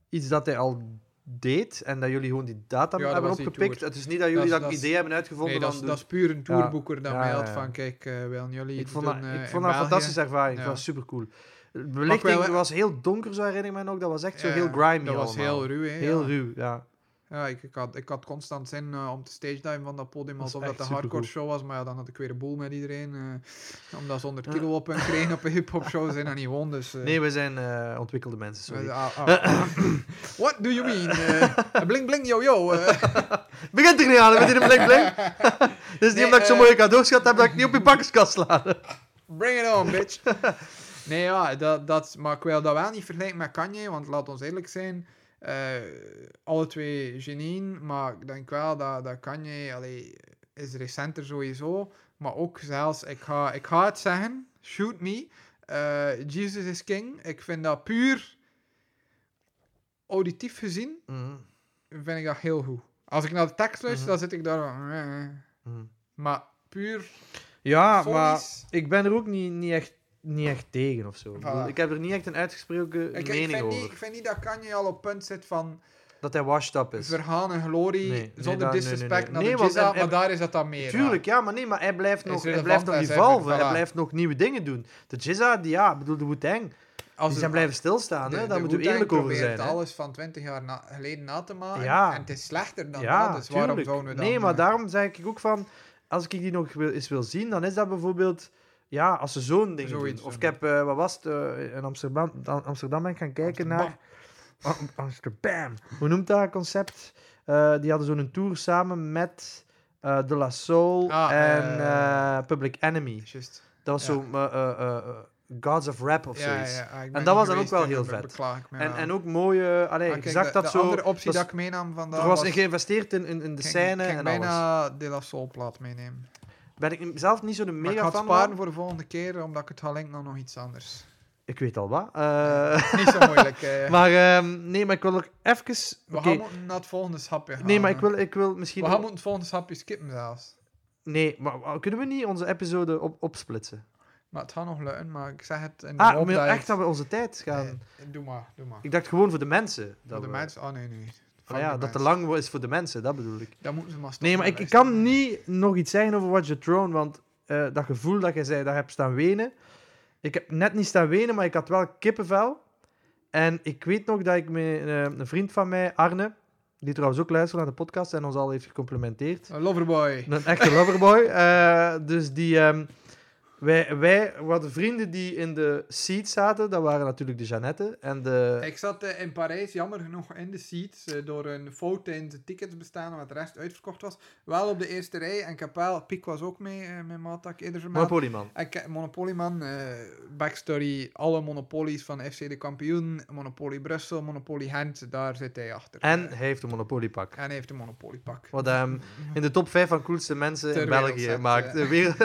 [SPEAKER 2] iets dat hij al deed en dat jullie gewoon die data
[SPEAKER 1] Ja, dat
[SPEAKER 2] hebben
[SPEAKER 1] was die
[SPEAKER 2] opgepikt?
[SPEAKER 1] tour.
[SPEAKER 2] Het is niet dat jullie
[SPEAKER 1] Dat is-
[SPEAKER 2] dat,
[SPEAKER 1] dat is-
[SPEAKER 2] idee hebben uitgevonden.
[SPEAKER 1] Nee, dat is,
[SPEAKER 2] van,
[SPEAKER 1] dat is puur een tourboeker dat
[SPEAKER 2] dus- Ja,
[SPEAKER 1] mij
[SPEAKER 2] ja,
[SPEAKER 1] had
[SPEAKER 2] ja.
[SPEAKER 1] van, kijk, eh willen jullie
[SPEAKER 2] ik
[SPEAKER 1] het
[SPEAKER 2] vond,
[SPEAKER 1] doen,
[SPEAKER 2] dat,
[SPEAKER 1] eh,
[SPEAKER 2] ik
[SPEAKER 1] in
[SPEAKER 2] vond dat een
[SPEAKER 1] België?
[SPEAKER 2] fantastische ervaring.
[SPEAKER 1] Ja.
[SPEAKER 2] Het was super cool. De
[SPEAKER 1] wel,
[SPEAKER 2] belichting
[SPEAKER 1] hè.
[SPEAKER 2] was heel donker, zo herinner ik mij nog. Dat was echt zo
[SPEAKER 1] Ja,
[SPEAKER 2] heel grimy.
[SPEAKER 1] Dat was
[SPEAKER 2] allemaal.
[SPEAKER 1] heel ruw, hè.
[SPEAKER 2] Heel
[SPEAKER 1] ja.
[SPEAKER 2] ruw, ja.
[SPEAKER 1] Ja, ik, ik, had, ik had constant zin eh, om te stage diven van dat podium,
[SPEAKER 2] Dat is
[SPEAKER 1] alsof dat
[SPEAKER 2] echt
[SPEAKER 1] de hardcore
[SPEAKER 2] supergoed.
[SPEAKER 1] show was. Maar ja, dan had ik weer een boel met iedereen. eh, omdat ze 100 kilo op hun kregen op een hip-hop show zijn en niet won. Dus, eh,
[SPEAKER 2] Nee, we zijn eh, ontwikkelde mensen, sorry.
[SPEAKER 1] eh, ah, ah. What do you mean? Eh, bling bling yo yo. eh.
[SPEAKER 2] Begint er niet aan, hè, met die blik blik. Het is Dus niet
[SPEAKER 1] Nee,
[SPEAKER 2] omdat ik zo'n
[SPEAKER 1] eh,
[SPEAKER 2] mooie cadeaus gehad heb dat ik niet op je bakkerskast sla.
[SPEAKER 1] Bring it on, bitch. nee, ja, dat, dat, maar ik wil dat wel niet vergelijken met Kanye, want laat ons eerlijk zijn. eh, alle twee genien, maar ik denk wel dat, dat Kanye allee, is recenter sowieso. Maar ook zelfs, ik ga, ik ga het zeggen, shoot me. eh, Jesus is King. Ik vind dat puur auditief gezien,
[SPEAKER 2] Mm,
[SPEAKER 1] vind ik dat heel goed. Als ik naar de tekst luister,
[SPEAKER 2] Mhm.
[SPEAKER 1] dan zit ik daar van... eh, eh.
[SPEAKER 2] mm.
[SPEAKER 1] Maar puur
[SPEAKER 2] Ja, Ah, maar...
[SPEAKER 1] fonisch,
[SPEAKER 2] Ik ben er ook niet, niet, echt, niet echt tegen of zo. Ik
[SPEAKER 1] Voilà.
[SPEAKER 2] bedoel, Ik heb er niet echt een uitgesproken
[SPEAKER 1] Ik, ik
[SPEAKER 2] mening
[SPEAKER 1] vind
[SPEAKER 2] over.
[SPEAKER 1] niet, ik vind niet dat Kanye al op punt zit van
[SPEAKER 2] Dat hij washed up is.
[SPEAKER 1] verhaan en glorie,
[SPEAKER 2] Dus- Nee, nee,
[SPEAKER 1] zonder
[SPEAKER 2] daar- nee,
[SPEAKER 1] disrespect
[SPEAKER 2] nee, nee.
[SPEAKER 1] naar
[SPEAKER 2] Nee,
[SPEAKER 1] de
[SPEAKER 2] want
[SPEAKER 1] Jizza,
[SPEAKER 2] hij-
[SPEAKER 1] maar daar is dat dan meer.
[SPEAKER 2] Tuurlijk, ja, maar nee, maar hij blijft
[SPEAKER 1] Is
[SPEAKER 2] nog, hij
[SPEAKER 1] relevant,
[SPEAKER 2] blijft nog
[SPEAKER 1] hij is
[SPEAKER 2] evolven.
[SPEAKER 1] even-
[SPEAKER 2] Hij
[SPEAKER 1] voilà.
[SPEAKER 2] blijft nog nieuwe dingen doen. De Jizza, die, ja, ik bedoel, de Wu-Tang,
[SPEAKER 1] ja. Als
[SPEAKER 2] die
[SPEAKER 1] er-
[SPEAKER 2] zijn blijven stilstaan.
[SPEAKER 1] de-
[SPEAKER 2] hè?
[SPEAKER 1] de
[SPEAKER 2] Daar moeten we
[SPEAKER 1] Wu-Tang
[SPEAKER 2] eerlijk over
[SPEAKER 1] probeert
[SPEAKER 2] zijn. hè.
[SPEAKER 1] alles van 20 jaar na- geleden na te maken,
[SPEAKER 2] Ja.
[SPEAKER 1] en het is slechter dan dat,
[SPEAKER 2] Ja,
[SPEAKER 1] dus waarom
[SPEAKER 2] tuurlijk.
[SPEAKER 1] zouden we dan...
[SPEAKER 2] Nee, maar
[SPEAKER 1] eh,
[SPEAKER 2] daarom zeg ik ook van... Als ik die nog wil, eens wil zien, dan is dat bijvoorbeeld... Ja, als ze zo'n ding
[SPEAKER 1] Zoiets
[SPEAKER 2] doen. Of ik
[SPEAKER 1] doen.
[SPEAKER 2] heb, eh, wat was het, eh, in Amsterdam, dan- Amsterdam ben ik gaan kijken
[SPEAKER 1] Amsterdam.
[SPEAKER 2] naar... Am- Amsterdam. Hoe noemt dat concept? Eh, die hadden zo'n tour samen met eh De La Soul
[SPEAKER 1] Ah,
[SPEAKER 2] en
[SPEAKER 1] eh,
[SPEAKER 2] eh, Public Enemy.
[SPEAKER 1] Just,
[SPEAKER 2] Dat was
[SPEAKER 1] ja.
[SPEAKER 2] zo'n eh, eh, eh, eh, Gods of Rap of
[SPEAKER 1] ja,
[SPEAKER 2] zoiets.
[SPEAKER 1] ja, ja, ik ben
[SPEAKER 2] dat was
[SPEAKER 1] niet
[SPEAKER 2] dan ook
[SPEAKER 1] geweest,
[SPEAKER 2] wel
[SPEAKER 1] en
[SPEAKER 2] heel
[SPEAKER 1] be-
[SPEAKER 2] vet.
[SPEAKER 1] beklaag ik me
[SPEAKER 2] En,
[SPEAKER 1] aan.
[SPEAKER 2] en ook mooie... Allee,
[SPEAKER 1] Maar
[SPEAKER 2] ik
[SPEAKER 1] Ah, kijk,
[SPEAKER 2] zag
[SPEAKER 1] de,
[SPEAKER 2] dat
[SPEAKER 1] de
[SPEAKER 2] zo...
[SPEAKER 1] andere optie
[SPEAKER 2] dat
[SPEAKER 1] dat
[SPEAKER 2] is-
[SPEAKER 1] ik meenam vandaag
[SPEAKER 2] er was in geïnvesteerd in, in, in de
[SPEAKER 1] ik ging-
[SPEAKER 2] scène
[SPEAKER 1] ik ging
[SPEAKER 2] en alles.
[SPEAKER 1] bijna De La Soul plaat meenemen.
[SPEAKER 2] Ben ik n- zelf niet zo'n
[SPEAKER 1] Maar ik
[SPEAKER 2] mega
[SPEAKER 1] ga het
[SPEAKER 2] fan
[SPEAKER 1] sparen
[SPEAKER 2] van.
[SPEAKER 1] voor de volgende keer, omdat ik het ga linken aan nog iets anders.
[SPEAKER 2] Ik weet al wat. Eh,
[SPEAKER 1] Niet zo moeilijk. eh.
[SPEAKER 2] maar ehm, nee, maar ik wil ook even...
[SPEAKER 1] we
[SPEAKER 2] oké,
[SPEAKER 1] gaan moeten naar het volgende schapje gaan.
[SPEAKER 2] Nee, maar
[SPEAKER 1] eh.
[SPEAKER 2] ik wil, ik wil misschien...
[SPEAKER 1] We gaan moeten het volgende hapje skippen zelfs.
[SPEAKER 2] Nee, maar wa- kunnen we niet onze episode op, opsplitsen?
[SPEAKER 1] Maar het gaat nog lukken, maar ik zeg het in de
[SPEAKER 2] Ah,
[SPEAKER 1] hoop
[SPEAKER 2] we willen
[SPEAKER 1] dat
[SPEAKER 2] echt dat we onze tijd
[SPEAKER 1] het-
[SPEAKER 2] gaan...
[SPEAKER 1] Eh, Doe maar, doe maar.
[SPEAKER 2] Ik dacht gewoon voor de mensen. Dat
[SPEAKER 1] Voor de
[SPEAKER 2] we-
[SPEAKER 1] mensen... Ah, nee, nee.
[SPEAKER 2] Ah ja, dat te lang wo- is voor de mensen, dat bedoel ik.
[SPEAKER 1] Dan moeten ze maar stoppen
[SPEAKER 2] Nee, maar
[SPEAKER 1] met
[SPEAKER 2] ik, ik
[SPEAKER 1] luisteren.
[SPEAKER 2] kan niet nog iets zeggen over Watch the Throne, want eh, dat gevoel dat je zei, dat je hebt staan wenen. Ik heb net niet staan wenen, maar ik had wel kippenvel. En ik weet nog dat ik met eh, een vriend van mij, Arne, die trouwens ook luistert naar de podcast en ons al heeft gecomplimenteerd.
[SPEAKER 1] Een Eh, Loverboy.
[SPEAKER 2] Een echte loverboy. eh, dus die... ehm, wij, wij we hadden vrienden die in de seat zaten. Dat waren natuurlijk de Jeannette en de...
[SPEAKER 1] Ik zat eh, in Parijs, jammer genoeg, in de seats. eh, door een fout in de tickets bestaan, wat de rest uitverkocht was. Wel op de eerste rij. En Kapel, Piek was ook mee, eh, mijn maat dat ik eerder vermeld.
[SPEAKER 2] Monopolyman.
[SPEAKER 1] Ik, Monopoly Man, eh, backstory, alle monopolies van FC de kampioen, Monopoly Brussel, Monopoly Gent, daar zit hij achter.
[SPEAKER 2] En
[SPEAKER 1] Eh,
[SPEAKER 2] hij heeft een monopoliepak.
[SPEAKER 1] en hij heeft een monopoliepak.
[SPEAKER 2] Wat hem in de top 5 van coolste mensen
[SPEAKER 1] Ter
[SPEAKER 2] in
[SPEAKER 1] wereld
[SPEAKER 2] België
[SPEAKER 1] zet,
[SPEAKER 2] maakt.
[SPEAKER 1] ja.
[SPEAKER 2] Eh, Weer,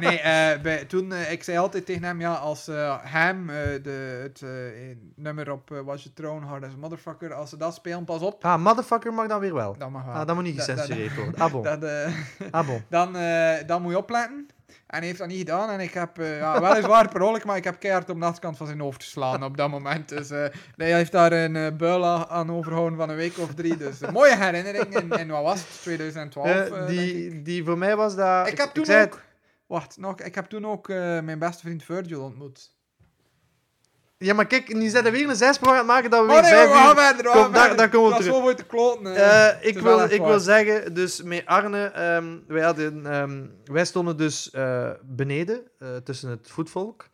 [SPEAKER 1] Nee, eh, bij, toen, eh, ik zei altijd tegen hem, ja, als eh, hem, eh, de, het eh, een nummer op eh, Was Je Throne, Hard as a Motherfucker, als ze dat spelen, pas op,
[SPEAKER 2] ah, motherfucker mag dan weer wel.
[SPEAKER 1] dan mag wel.
[SPEAKER 2] Ah, dat moet niet
[SPEAKER 1] Dat- dat-
[SPEAKER 2] gecensureerd worden. Ah, bon.
[SPEAKER 1] Dat, eh,
[SPEAKER 2] Ah, bon.
[SPEAKER 1] dan, eh, dan moet je opletten. En hij heeft dat niet gedaan. En ik heb, eh ja, weliswaar per ongeluk, maar ik heb keihard op de achterkant van zijn hoofd geslaan op dat moment. Dus eh, nee, hij heeft daar een eh, buil aan- aan overhouden van een week of drie. Dus een mooie herinnering. In, in wat was het? 2012?
[SPEAKER 2] Eh,
[SPEAKER 1] eh, denk ik.
[SPEAKER 2] die, die voor mij was dat...
[SPEAKER 1] ik heb toen
[SPEAKER 2] zei
[SPEAKER 1] ook... Wacht, nog, ik heb toen ook eh, mijn beste vriend Virgil ontmoet.
[SPEAKER 2] het- ja, maar kijk, die zijn er weer een zesprong aan het maken dat we
[SPEAKER 1] Oh
[SPEAKER 2] weer
[SPEAKER 1] nee,
[SPEAKER 2] vijf
[SPEAKER 1] we gaan
[SPEAKER 2] uur...
[SPEAKER 1] verder, we
[SPEAKER 2] Kom,
[SPEAKER 1] gaan
[SPEAKER 2] daar-
[SPEAKER 1] verder.
[SPEAKER 2] daar komen we
[SPEAKER 1] Het was
[SPEAKER 2] terug.
[SPEAKER 1] zo voor te kloten. eh.
[SPEAKER 2] Eh, ik,
[SPEAKER 1] is wel
[SPEAKER 2] wil,
[SPEAKER 1] echt
[SPEAKER 2] ik
[SPEAKER 1] waar.
[SPEAKER 2] wil zeggen, dus met Arne, ehm, wij, hadden, ehm, wij stonden dus eh, beneden, eh, tussen het voetvolk.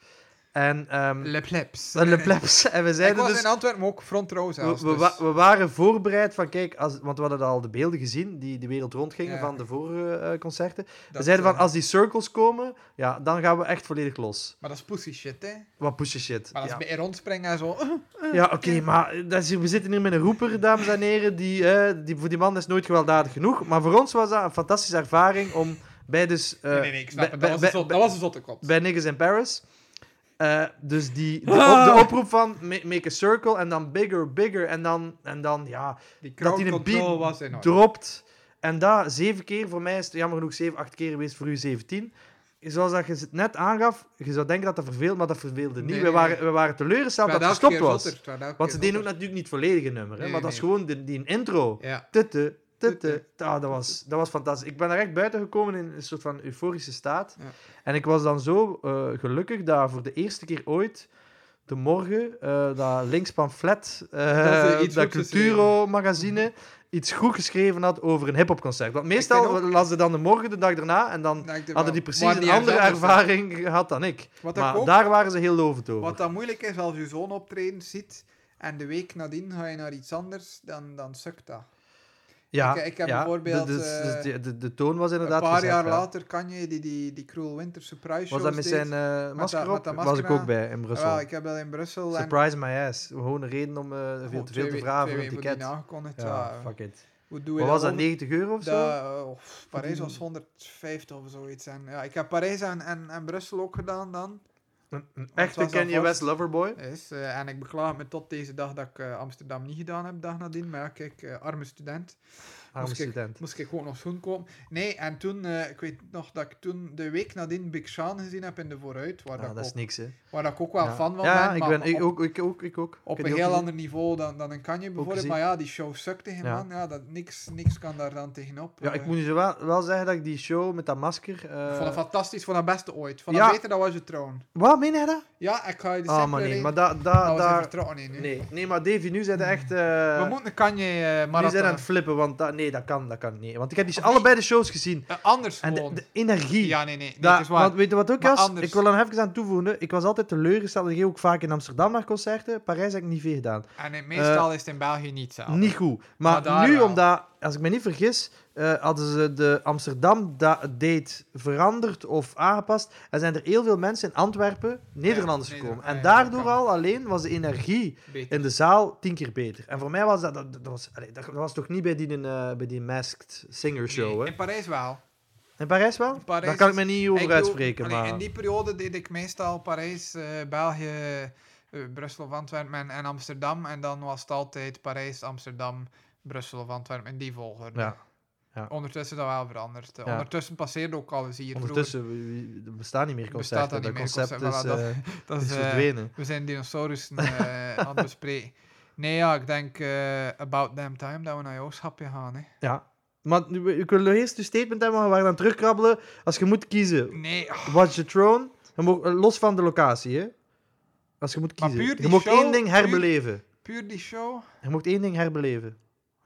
[SPEAKER 2] En ehm,
[SPEAKER 1] Le Plebs.
[SPEAKER 2] de plebs. En we
[SPEAKER 1] Ik
[SPEAKER 2] zeiden
[SPEAKER 1] was
[SPEAKER 2] dus...
[SPEAKER 1] in Antwerpen ook, front row
[SPEAKER 2] We,
[SPEAKER 1] zelfs.
[SPEAKER 2] we,
[SPEAKER 1] dus-
[SPEAKER 2] wa- we waren voorbereid van, kijk, als, want we hadden al de beelden gezien die de wereld rondgingen
[SPEAKER 1] Ja.
[SPEAKER 2] van de vorige eh, concerten. we
[SPEAKER 1] dat,
[SPEAKER 2] zeiden van,
[SPEAKER 1] eh,
[SPEAKER 2] als die circles komen, ja, dan gaan we echt volledig los.
[SPEAKER 1] Maar dat is pussy shit, hè.
[SPEAKER 2] Wat pushen shit.
[SPEAKER 1] Maar als
[SPEAKER 2] ja,
[SPEAKER 1] bij rondspringen en zo...
[SPEAKER 2] Ja, oké, maar eh, dat is hier- we zitten hier met een roeper, dames en heren. Die, eh, die, voor die man is nooit gewelddadig genoeg. Maar voor ons was dat een fantastische ervaring om bij dus... eh,
[SPEAKER 1] nee, nee, nee, ik snap
[SPEAKER 2] bij-
[SPEAKER 1] het. Dat was, dus
[SPEAKER 2] bij-
[SPEAKER 1] een zot-
[SPEAKER 2] bij-
[SPEAKER 1] dat was een zotte kot.
[SPEAKER 2] bij Niggas in Paris. Eh, Eh, dus die, de, op- de oproep van ma- make a circle en dan bigger, bigger en dan, en dan ja,
[SPEAKER 1] Die
[SPEAKER 2] Dat die een
[SPEAKER 1] crowd control
[SPEAKER 2] beat
[SPEAKER 1] was enorm.
[SPEAKER 2] dropt. En dat zeven keer voor mij is het jammer genoeg zeven, acht keer geweest, voor u 17. Zoals dat je het net aangaf, je zou denken dat dat verveelt, maar dat verveelde niet.
[SPEAKER 1] Nee,
[SPEAKER 2] we,
[SPEAKER 1] nee,
[SPEAKER 2] waren,
[SPEAKER 1] nee.
[SPEAKER 2] we waren teleurgesteld
[SPEAKER 1] Het
[SPEAKER 2] dat het gestopt
[SPEAKER 1] werd elke keer
[SPEAKER 2] was.
[SPEAKER 1] zotter, het werd elke
[SPEAKER 2] Want
[SPEAKER 1] keer
[SPEAKER 2] ze deden ook
[SPEAKER 1] zotter.
[SPEAKER 2] natuurlijk niet het volledige nummer, hè,
[SPEAKER 1] Nee,
[SPEAKER 2] maar dat
[SPEAKER 1] nee,
[SPEAKER 2] is
[SPEAKER 1] nee.
[SPEAKER 2] gewoon die, die intro.
[SPEAKER 1] Ja.
[SPEAKER 2] Tutte, tutte.
[SPEAKER 1] Tutte.
[SPEAKER 2] Ah, dat, was, dat was fantastisch. Ik ben er echt buiten gekomen in een soort van euforische staat.
[SPEAKER 1] Ja.
[SPEAKER 2] En ik was dan zo eh, gelukkig dat voor de eerste keer ooit de morgen eh, dat links pamflet, eh,
[SPEAKER 1] Dat
[SPEAKER 2] dat,
[SPEAKER 1] ze iets goed
[SPEAKER 2] Culturo magazine, iets goed geschreven had over een hip-hop concert. Want meestal
[SPEAKER 1] vind
[SPEAKER 2] las ze dan de morgen de dag daarna en dan
[SPEAKER 1] Ik dacht er wel,
[SPEAKER 2] hadden die precies
[SPEAKER 1] maar
[SPEAKER 2] een
[SPEAKER 1] die
[SPEAKER 2] andere
[SPEAKER 1] hebben zelf bestaan.
[SPEAKER 2] ervaring gehad dan ik.
[SPEAKER 1] Wat ik
[SPEAKER 2] maar
[SPEAKER 1] ook
[SPEAKER 2] daar waren ze heel lovend over.
[SPEAKER 1] Wat dan moeilijk is, als je zo'n optreden ziet en de week nadien ga je naar iets anders, dan, dan sukt dat.
[SPEAKER 2] ja,
[SPEAKER 1] ik- ik heb
[SPEAKER 2] ja,
[SPEAKER 1] bijvoorbeeld,
[SPEAKER 2] de- Dus, dus
[SPEAKER 1] eh,
[SPEAKER 2] de, de, de toon was inderdaad
[SPEAKER 1] een paar
[SPEAKER 2] gezet,
[SPEAKER 1] jaar
[SPEAKER 2] ja.
[SPEAKER 1] later kan je die, die, die Cruel Winter Surprise Show.
[SPEAKER 2] Was dat met zijn eh, masker
[SPEAKER 1] dat-
[SPEAKER 2] op?
[SPEAKER 1] met dat
[SPEAKER 2] was
[SPEAKER 1] masker
[SPEAKER 2] ik ook
[SPEAKER 1] aan.
[SPEAKER 2] bij in Brussel.
[SPEAKER 1] ik heb dat in Brussel. en
[SPEAKER 2] Surprise my ass. Gewoon een reden om eh, veel,
[SPEAKER 1] Gewoon
[SPEAKER 2] te
[SPEAKER 1] twee
[SPEAKER 2] veel te
[SPEAKER 1] we-
[SPEAKER 2] vragen
[SPEAKER 1] twee
[SPEAKER 2] voor een
[SPEAKER 1] weken die
[SPEAKER 2] ticket.
[SPEAKER 1] aangekondigd,
[SPEAKER 2] Ja,
[SPEAKER 1] ja.
[SPEAKER 2] fuck it.
[SPEAKER 1] Hoe doe je
[SPEAKER 2] Wat was dat,
[SPEAKER 1] om?
[SPEAKER 2] 90 euro of zo?
[SPEAKER 1] Dat, eh, of Parijs was 150 of zoiets. En, ja, ik heb Parijs en, en, en Brussel ook gedaan dan.
[SPEAKER 2] Een, een
[SPEAKER 1] het
[SPEAKER 2] echte
[SPEAKER 1] was dan
[SPEAKER 2] Kanye
[SPEAKER 1] vast.
[SPEAKER 2] West loverboy.
[SPEAKER 1] Is, eh, en ik beklaag me tot deze dag dat ik eh, Amsterdam niet gedaan heb, dag nadien. Maar ja, kijk, eh, arme student.
[SPEAKER 2] Arme
[SPEAKER 1] Moest ik-
[SPEAKER 2] student.
[SPEAKER 1] Moest ik gewoon nog schoen kopen. Nee, en toen, eh, ik weet nog dat ik toen de week nadien Big Sean gezien heb in de vooruit. Waar,
[SPEAKER 2] Ah,
[SPEAKER 1] dat,
[SPEAKER 2] dat
[SPEAKER 1] ik
[SPEAKER 2] is
[SPEAKER 1] ook,
[SPEAKER 2] niks, hè.
[SPEAKER 1] waar dat ik ook wel
[SPEAKER 2] ja.
[SPEAKER 1] fan van
[SPEAKER 2] ja,
[SPEAKER 1] ben.
[SPEAKER 2] ik
[SPEAKER 1] maar
[SPEAKER 2] ben... Ik
[SPEAKER 1] op-
[SPEAKER 2] ook, ik ook, ik ook.
[SPEAKER 1] op
[SPEAKER 2] Ik heb
[SPEAKER 1] een
[SPEAKER 2] die ook
[SPEAKER 1] heel
[SPEAKER 2] gezien.
[SPEAKER 1] ander niveau dan, dan een Kanye bijvoorbeeld.
[SPEAKER 2] gezien.
[SPEAKER 1] Maar ja, die show sukte geen
[SPEAKER 2] Ja.
[SPEAKER 1] man. Ja, dat, niks, niks kan daar dan tegenop.
[SPEAKER 2] Ja,
[SPEAKER 1] Eh,
[SPEAKER 2] ik moet nu wel, wel zeggen dat ik die show met dat masker... eh,
[SPEAKER 1] Ik vond het fantastisch, van het beste ooit. Van
[SPEAKER 2] Ja.
[SPEAKER 1] dat beter dan was je troon.
[SPEAKER 2] Wat, meen jij dat?
[SPEAKER 1] Ja, ik ga je de
[SPEAKER 2] Ah,
[SPEAKER 1] simpele
[SPEAKER 2] maar nee.
[SPEAKER 1] reden-
[SPEAKER 2] Maar da,
[SPEAKER 1] dat
[SPEAKER 2] da,
[SPEAKER 1] Nou, was
[SPEAKER 2] daar-
[SPEAKER 1] even troon in. nu.
[SPEAKER 2] Nee, nee, maar Davy, nu zijn er echt... eh,
[SPEAKER 1] We moeten een Kanye eh
[SPEAKER 2] nu zijn
[SPEAKER 1] marathon.
[SPEAKER 2] we aan het flippen, want dat, nee, dat kan, dat kan niet. Want ik heb die
[SPEAKER 1] Of niet?
[SPEAKER 2] allebei de shows gezien.
[SPEAKER 1] Eh, anders
[SPEAKER 2] En de,
[SPEAKER 1] gewoon.
[SPEAKER 2] de energie.
[SPEAKER 1] Ja, nee, nee. nee
[SPEAKER 2] Ja,
[SPEAKER 1] het is waar.
[SPEAKER 2] want weet je wat ook
[SPEAKER 1] Maar
[SPEAKER 2] was?
[SPEAKER 1] anders.
[SPEAKER 2] Ik wil er nog even aan toevoegen. hè. Ik was altijd teleurgesteld. Ik ging ook vaak in Amsterdam naar concerten. Parijs heb ik niet veel gedaan.
[SPEAKER 1] En eh, meestal is het in België niet zo.
[SPEAKER 2] Niet goed. Maar
[SPEAKER 1] Maar daar
[SPEAKER 2] nu,
[SPEAKER 1] wel.
[SPEAKER 2] omdat, als ik me niet vergis, eh, hadden ze de Amsterdam da- date veranderd of aangepast. En zijn er heel veel mensen in Antwerpen, Nederlanders
[SPEAKER 1] nee,
[SPEAKER 2] gekomen.
[SPEAKER 1] ah,
[SPEAKER 2] en
[SPEAKER 1] ja,
[SPEAKER 2] daardoor
[SPEAKER 1] dat kan.
[SPEAKER 2] al alleen was de energie
[SPEAKER 1] Beter.
[SPEAKER 2] in de zaal tien keer beter. En voor mij was dat... Dat, dat was, allee, dat was toch niet bij die, eh, bij die Masked Singer Show,
[SPEAKER 1] Nee,
[SPEAKER 2] hè?
[SPEAKER 1] In Parijs wel.
[SPEAKER 2] In Parijs wel?
[SPEAKER 1] In Parijs
[SPEAKER 2] Daar kan ik
[SPEAKER 1] is-
[SPEAKER 2] me niet
[SPEAKER 1] Ik
[SPEAKER 2] over
[SPEAKER 1] doe-
[SPEAKER 2] uitspreken,
[SPEAKER 1] allee,
[SPEAKER 2] maar...
[SPEAKER 1] In die periode deed ik meestal Parijs, eh, België, eh, Brussel of Antwerpen en, en Amsterdam. En dan was het altijd Parijs, Amsterdam, Brussel of Antwerpen in die volgorde.
[SPEAKER 2] Ja. Ja.
[SPEAKER 1] Ondertussen is dat wel veranderd. eh.
[SPEAKER 2] Ja.
[SPEAKER 1] Ondertussen passeerde ook alles hier.
[SPEAKER 2] Ondertussen we- we- er bestaan niet meer
[SPEAKER 1] Bestaat
[SPEAKER 2] concerten.
[SPEAKER 1] dat niet meer,
[SPEAKER 2] concept is,
[SPEAKER 1] concept, voilà,
[SPEAKER 2] eh,
[SPEAKER 1] vroeger. Dat
[SPEAKER 2] is
[SPEAKER 1] is, eh,
[SPEAKER 2] verdwenen.
[SPEAKER 1] we zijn dinosaurussen eh, aan het bespreken. Nee, ja, ik denk eh, about damn time dat we naar jouw schapje gaan. Hè.
[SPEAKER 2] Ja. Maar nu, we- ik wil nog eerst een statement hebben, maar we gaan dan terugkrabbelen. Als je moet kiezen,
[SPEAKER 1] Nee, ah,
[SPEAKER 2] Watch the Throne, je mag- eh, los van de locatie, hè. Als je moet
[SPEAKER 1] Maar
[SPEAKER 2] kiezen.
[SPEAKER 1] puur die
[SPEAKER 2] je mag
[SPEAKER 1] show,
[SPEAKER 2] één ding
[SPEAKER 1] puur-
[SPEAKER 2] herbeleven.
[SPEAKER 1] puur die show.
[SPEAKER 2] Je mag één ding herbeleven.